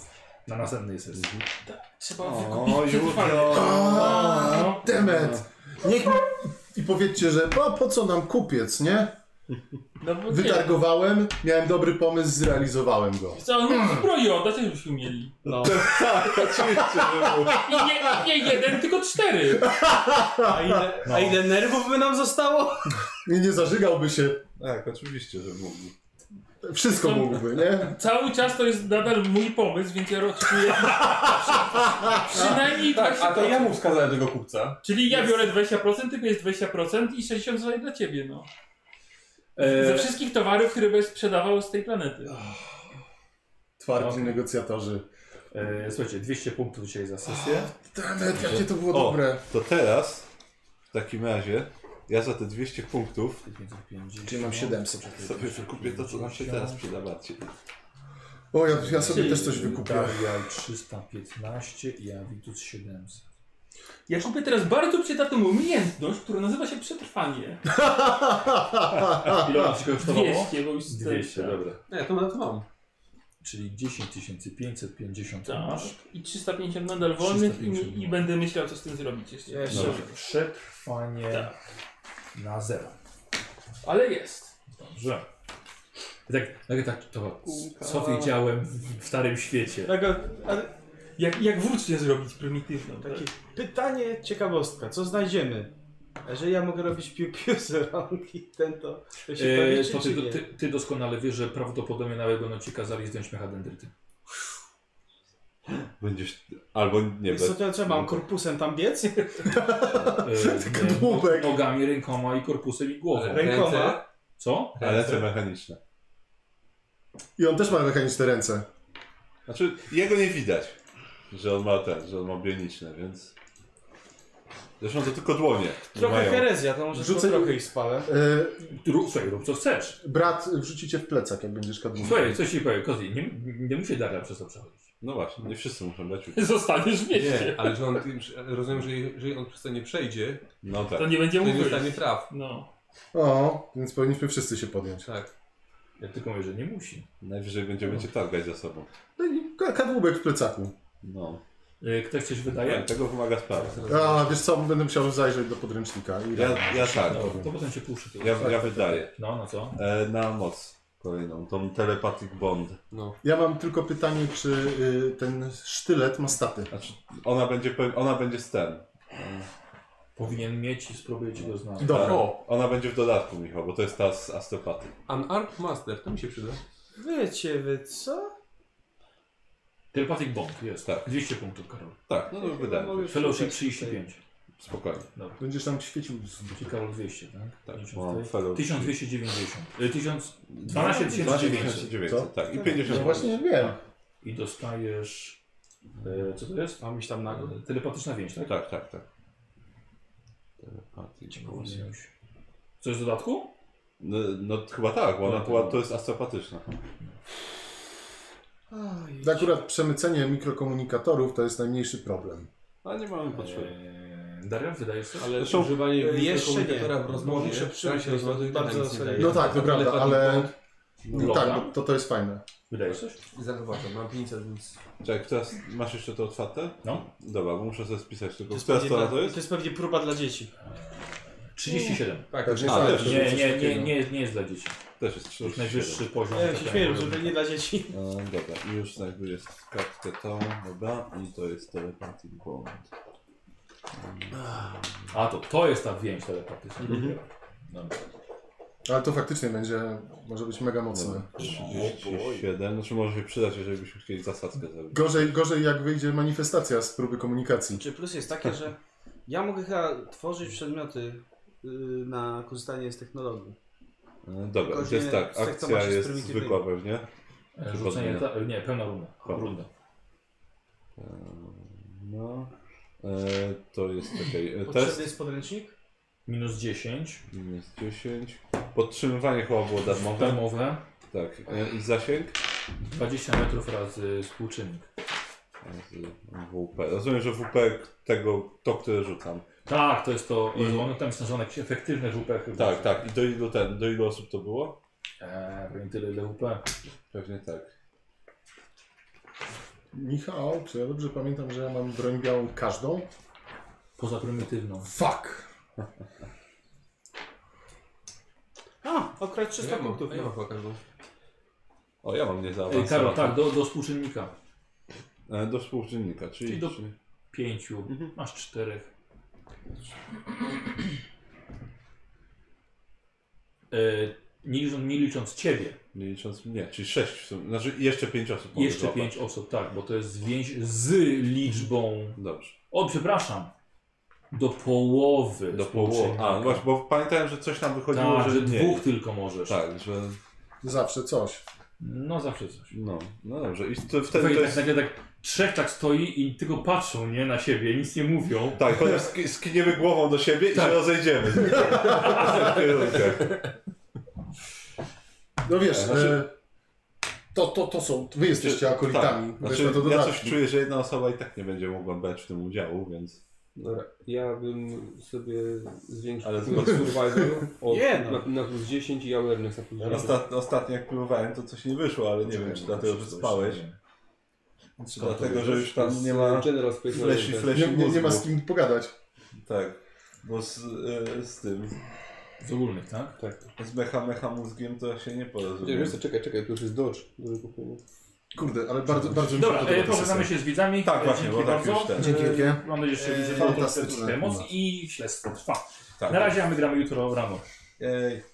Speaker 10: Na następnej sesji.
Speaker 2: Mhm.
Speaker 4: Trzeba wykupić przetrwanie.
Speaker 5: A,
Speaker 6: No,
Speaker 5: Demet! Niech mi... I powiedzcie, że po, po co nam kupiec, nie?
Speaker 4: No bo nie.
Speaker 5: Wytargowałem, miałem dobry pomysł, zrealizowałem go.
Speaker 4: Co, on zbroi oddać, żebyśmy mieli.
Speaker 6: [LAUGHS]
Speaker 3: No,
Speaker 6: Tak,
Speaker 4: I nie, nie jeden, tylko cztery.
Speaker 3: a ile, a ile nerwów by nam zostało?
Speaker 5: I nie zażygałby się.
Speaker 2: Tak, oczywiście, że mógł.
Speaker 5: Wszystko
Speaker 4: Są-
Speaker 5: mógłby, nie?
Speaker 4: Cały czas to jest nadal mój pomysł, więc ja rozczuję. Przynajmniej
Speaker 6: Tak, a to ja mu wskazałem tego kupca.
Speaker 4: Czyli ja biorę 20%, tylko jest 20% i 60 zostaje dla ciebie, no. Ze
Speaker 10: E,
Speaker 4: wszystkich towarów, które byś sprzedawał z tej planety.
Speaker 5: Twardzi
Speaker 10: Okej.
Speaker 5: negocjatorzy.
Speaker 10: e, słuchajcie, 200 punktów dzisiaj za sesję.
Speaker 5: Demet, jakie to było
Speaker 2: O.
Speaker 5: dobre.
Speaker 2: To teraz, w takim razie, ja za te 200 punktów
Speaker 10: 550.
Speaker 5: Gdzie mam 700?
Speaker 2: sobie wykupię to, co nam się teraz przyda bardziej.
Speaker 5: O, ja, ja sobie też coś wykupię.
Speaker 10: Darial 315 i Avitus 700.
Speaker 4: Ja kupię teraz bardzo przydatną umiejętność, która nazywa się przetrwanie.
Speaker 10: Ile wam się kosztowało?
Speaker 4: 200, bo już
Speaker 10: 200,
Speaker 4: tak.
Speaker 10: dobra.
Speaker 6: Nie, to na to mam.
Speaker 10: Czyli 10 550
Speaker 4: Tak.
Speaker 10: masz.
Speaker 4: I 350 nadal wolnych i,
Speaker 10: 350
Speaker 4: i będę myślał, co z tym zrobić jeszcze.
Speaker 3: Ja jeszcze-
Speaker 10: Dobrze. Przetrwanie
Speaker 2: Tak.
Speaker 10: na zero.
Speaker 4: Ale jest.
Speaker 10: Dobrze. I tak, tak, tak to, co wiedziałem w w starym świecie.
Speaker 3: Taka,
Speaker 4: Jak, jak włócznię zrobić prymitywną? Tak? [LAUGHS]
Speaker 3: takie pytanie, ciekawostka, co znajdziemy? Jeżeli ja mogę robić piu-piu z rąk i ten to, to się
Speaker 10: E,
Speaker 3: e,
Speaker 10: to
Speaker 3: czy
Speaker 10: ty,
Speaker 3: nie?
Speaker 10: ty, ty doskonale wiesz, że prawdopodobnie nawet będą ci kazali zdjąć mechadendryty.
Speaker 2: Będziesz... Albo nie
Speaker 3: Wiesz co,
Speaker 2: będę.
Speaker 3: to ja co mam, korpusem tam biec?
Speaker 10: E, nie,
Speaker 5: dłubek.
Speaker 10: no- Nogami, rękoma i korpusem i głową.
Speaker 3: Rękoma?
Speaker 10: Co?
Speaker 2: Ale te mechaniczne.
Speaker 5: I on też ma mechaniczne ręce.
Speaker 2: Znaczy, jego nie widać, że on ma ten, że on ma bioniczne, więc... Zresztą to tylko dłonie.
Speaker 13: Trochę
Speaker 2: mają.
Speaker 13: herezja, to może
Speaker 5: Rzucę-
Speaker 13: Rzucę... trochę ich spalę.
Speaker 5: E,
Speaker 10: Rób, słuchaj, rób co chcesz.
Speaker 5: brat wrzuci cię w plecak, jak będziesz kadłubił.
Speaker 10: Słuchaj, coś ci powiem, Kozi, nie, nie musi Daria przez to przechodzić.
Speaker 2: No właśnie, nie wszyscy muszą brać udział.
Speaker 4: Zostaniesz w mieście.
Speaker 6: Nie, ale że on, tym- że- rozumiem, że jeżeli on przez to nie przejdzie,
Speaker 2: No tak.
Speaker 4: To nie będzie
Speaker 6: to nie
Speaker 4: mówił.
Speaker 6: dostanie traw.
Speaker 4: No.
Speaker 5: O, więc powinniśmy wszyscy się podjąć.
Speaker 6: Tak.
Speaker 10: Ja tylko mówię, że nie musi.
Speaker 2: Najwyżej będziemy cię targać za sobą.
Speaker 5: No i ka- kadłubek w plecaku.
Speaker 2: No.
Speaker 10: E, Ktoś coś
Speaker 2: Tak. Ja,
Speaker 10: wydaje?
Speaker 2: tego wymaga sprawa.
Speaker 5: A, wiesz co, będę musiał zajrzeć do podręcznika. I...
Speaker 2: Ja, ja tak.
Speaker 10: No, to potem się puszy. ty.
Speaker 2: Ja, ja wydaję.
Speaker 10: No, no co?
Speaker 2: E, na moc kolejną, tą telepathic bond.
Speaker 5: Ja mam tylko pytanie, czy y, ten sztylet ma staty.
Speaker 2: Znaczy, ona będzie, pe- ona będzie z ten.
Speaker 10: Powinien mieć i spróbuję ci go znaleźć.
Speaker 2: No.
Speaker 5: Dobra.
Speaker 2: Tak. O, E, ona będzie w dodatku, Michał, bo to jest ta z astropaty.
Speaker 6: Unarmed Master, to mi się przyda.
Speaker 13: Wiecie wy co?
Speaker 10: Telepathic Bomb jest.
Speaker 2: Tak.
Speaker 10: 200 punktów, Karol.
Speaker 2: Tak, no to wydaje.
Speaker 13: No, już
Speaker 10: Fellowship
Speaker 13: tutaj-
Speaker 10: 35.
Speaker 2: Spokojnie.
Speaker 5: Będziesz tam świecił z
Speaker 10: Czyli Karol 200, tak?
Speaker 2: Tak,
Speaker 10: 50
Speaker 2: mam
Speaker 10: tutaj.
Speaker 2: fellow.
Speaker 10: 1290. Y, 1000 No,
Speaker 2: 12
Speaker 5: Co?
Speaker 2: 900, tak. I 50
Speaker 5: No właśnie wiem.
Speaker 10: i dostajesz. E, co to jest?
Speaker 13: Mam iść tam na górę.
Speaker 10: E, Telepatyczna więź, tak?
Speaker 2: Tak, tak, tak. Telepatii.
Speaker 10: No Coś w dodatku?
Speaker 2: No, no chyba tak, bo ona
Speaker 10: Tak.
Speaker 2: była, to jest astropatyczna.
Speaker 5: Akurat przemycenie mikrokomunikatorów to jest najmniejszy problem.
Speaker 2: A nie mamy potrzeby.
Speaker 10: Eee, Daria, wydajesz sobie?
Speaker 6: Ale
Speaker 2: Zresztą-
Speaker 6: używanie
Speaker 13: jeszcze nie.
Speaker 6: komunikatora w rozmowie,
Speaker 13: Muszę
Speaker 6: tak
Speaker 13: przymyśleć,
Speaker 6: się rozmowy,
Speaker 13: bardzo
Speaker 6: nic nie
Speaker 13: sobie-
Speaker 6: daje.
Speaker 5: No tak, to prawda,
Speaker 6: Telepathic
Speaker 5: ale-
Speaker 6: bond.
Speaker 10: Dobra.
Speaker 5: Tak, bo to, to jest fajne.
Speaker 10: Wydajesz coś?
Speaker 6: Zaraz zobaczę, mam 500, więc...
Speaker 2: Czekaj, teraz masz jeszcze to otwarte?
Speaker 10: No.
Speaker 2: Dobra, bo muszę sobie spisać
Speaker 13: To
Speaker 2: tylko.
Speaker 13: jest,
Speaker 2: Która
Speaker 13: pewnie
Speaker 2: strona
Speaker 13: dla,
Speaker 2: to
Speaker 13: to
Speaker 2: jest?
Speaker 13: jest pewnie próba dla dzieci.
Speaker 10: 37.
Speaker 6: Tak,
Speaker 5: Pewnie
Speaker 2: A,
Speaker 5: tak.
Speaker 2: też.
Speaker 10: Nie,
Speaker 5: Coś
Speaker 10: nie, nie,
Speaker 5: takiego.
Speaker 10: nie, nie jest dla dzieci.
Speaker 2: Też jest
Speaker 10: To już
Speaker 2: 37.
Speaker 10: najwyższy poziom.
Speaker 13: Ja
Speaker 10: że tak
Speaker 13: się
Speaker 10: powiem.
Speaker 13: śmieję, że pewnie dla dzieci.
Speaker 2: E, dobra, i już znajduję kartkę tą, dobra, i to jest telepathic bond.
Speaker 10: A to, to jest ta więź telepatyczna. Dobra.
Speaker 5: Ale to faktycznie będzie, może być mega mocne.
Speaker 2: No. 37, znaczy może się przydać, jeżeli byśmy chcieli zasadzkę zrobić.
Speaker 5: Gorzej, gorzej jak wyjdzie manifestacja z próby komunikacji.
Speaker 3: Czy Znaczy, plus jest takie, że ja mogę chyba tworzyć przedmioty y, na korzystanie z technologii.
Speaker 2: E, Dobra,
Speaker 3: Tylko,
Speaker 2: to jest
Speaker 3: że
Speaker 2: tak,
Speaker 3: z tych
Speaker 2: akcja
Speaker 3: tomarzy z
Speaker 2: jest
Speaker 3: prymitywnymi.
Speaker 2: zwykła pewnie.
Speaker 10: E, Rzucenie, ta, nie, pełna runda.
Speaker 2: Dobra.
Speaker 10: runda.
Speaker 2: E, No, e, to jest czekaj, e,
Speaker 13: Potrzebny
Speaker 2: test,
Speaker 13: jest podręcznik?
Speaker 10: Minus 10.
Speaker 2: minus 10. Podtrzymywanie chyba było darmowe,
Speaker 10: Darmowe.
Speaker 2: tak, e, i zasięg.
Speaker 10: 20 metrów razy współczynnik.
Speaker 2: Razy WP. Rozumiem, że WP tego, to, które rzucam.
Speaker 10: Tak, to jest to.
Speaker 2: I-
Speaker 10: One tam są jakieś efektywne WP chyba.
Speaker 2: Tak, tak, i do ilu, ten, do ilu osób to było?
Speaker 10: Eee, pewnie tyle ile WP.
Speaker 2: Pewnie tak.
Speaker 5: Michał, czy ja dobrze pamiętam, że ja mam broń białą każdą?
Speaker 10: Poza prymitywną.
Speaker 5: Fuck!
Speaker 3: A, okrać 300
Speaker 6: Ja
Speaker 10: E,
Speaker 6: mam,
Speaker 3: punktów.
Speaker 6: ja mam no. chyba każdą.
Speaker 2: O, ja mam nie
Speaker 10: Ej, Karol,
Speaker 2: zaawansowane.
Speaker 10: tak, do, do współczynnika.
Speaker 2: E, Do współczynnika, czyli,
Speaker 10: Czyli do-
Speaker 2: czyli-
Speaker 10: Pięciu, masz czterech. Eee, nie, licząc, nie licząc ciebie,
Speaker 2: nie licząc mnie, czyli sześć w sumie. Znaczy jeszcze pięć osób. mogę
Speaker 10: jeszcze
Speaker 2: złapać.
Speaker 10: pięć osób, tak, bo to jest więź z liczbą.
Speaker 2: Dobrze.
Speaker 10: O, przepraszam. Do połowy.
Speaker 2: Do połowy.
Speaker 10: współczynnika.
Speaker 2: A, no właśnie, bo pamiętałem, że coś nam wychodziło,
Speaker 10: tak,
Speaker 2: że
Speaker 10: że
Speaker 2: mniej.
Speaker 10: dwóch tylko możesz.
Speaker 2: Tak, że.
Speaker 5: Zawsze coś.
Speaker 10: No zawsze coś.
Speaker 2: No, no dobrze. I to,
Speaker 10: Wtedy
Speaker 2: wtedy to jest.
Speaker 10: tak, nagle tak trzech tak stoi i tylko patrzą nie na siebie, nic nie mówią.
Speaker 2: Tak, potem sk- skiniemy głową do siebie
Speaker 10: Tak.
Speaker 2: i się
Speaker 5: [LAUGHS]
Speaker 2: rozejdziemy. W kierunkach.
Speaker 5: No wiesz,
Speaker 2: Znaczy-
Speaker 5: e, to, to, to są, wy jesteście akolitami.
Speaker 2: Tak.
Speaker 5: Znaczy,
Speaker 2: Znaczy,
Speaker 5: to
Speaker 2: ja
Speaker 5: dodatki.
Speaker 2: coś czuję, że jedna osoba i tak nie będzie mogła brać w tym udziału, więc.
Speaker 6: Dobra, ja bym sobie zwiększył
Speaker 2: Ale
Speaker 6: Ale
Speaker 2: tylko-
Speaker 6: survival o,
Speaker 13: Nie, no.
Speaker 6: na, na plus 10 i awareness na plus 10.
Speaker 2: Osta- ostatnio jak pływałem, to coś nie wyszło, ale nie wiem, czy dlatego, że spałeś. Czy dlatego, że już tam nie ma.
Speaker 6: General Space
Speaker 2: Fleshy,
Speaker 6: Marine.
Speaker 2: fleshy
Speaker 5: Nie, nie, nie ma z
Speaker 2: mózgu.
Speaker 5: kim pogadać.
Speaker 2: Tak. Bo z, e, z tym,
Speaker 10: Z ogólnych, tak?
Speaker 2: z mecha mecha mózgiem to ja się nie
Speaker 6: Nie,
Speaker 2: porozumiem.
Speaker 6: wiesz co, czekaj, czekaj, tu już jest dodge. Dobrze, kupiłem.
Speaker 5: Kurde, ale bardzo, bardzo mi się
Speaker 10: Dobra,
Speaker 5: podoba
Speaker 10: e,
Speaker 5: ta
Speaker 10: pożegnamy
Speaker 5: sesja.
Speaker 10: się z widzami.
Speaker 2: Tak,
Speaker 10: E,
Speaker 2: właśnie,
Speaker 10: dzięki
Speaker 2: bo tak
Speaker 10: bardzo.
Speaker 2: już ten.
Speaker 5: Dzięki wielkie.
Speaker 10: Mam nadzieję, że
Speaker 5: E,
Speaker 10: widzimy e,
Speaker 5: fantastyczne.
Speaker 10: emocji i śledztwo trwa.
Speaker 2: Tak. E,
Speaker 10: Na razie, a my gramy jutro rano.
Speaker 2: Ej.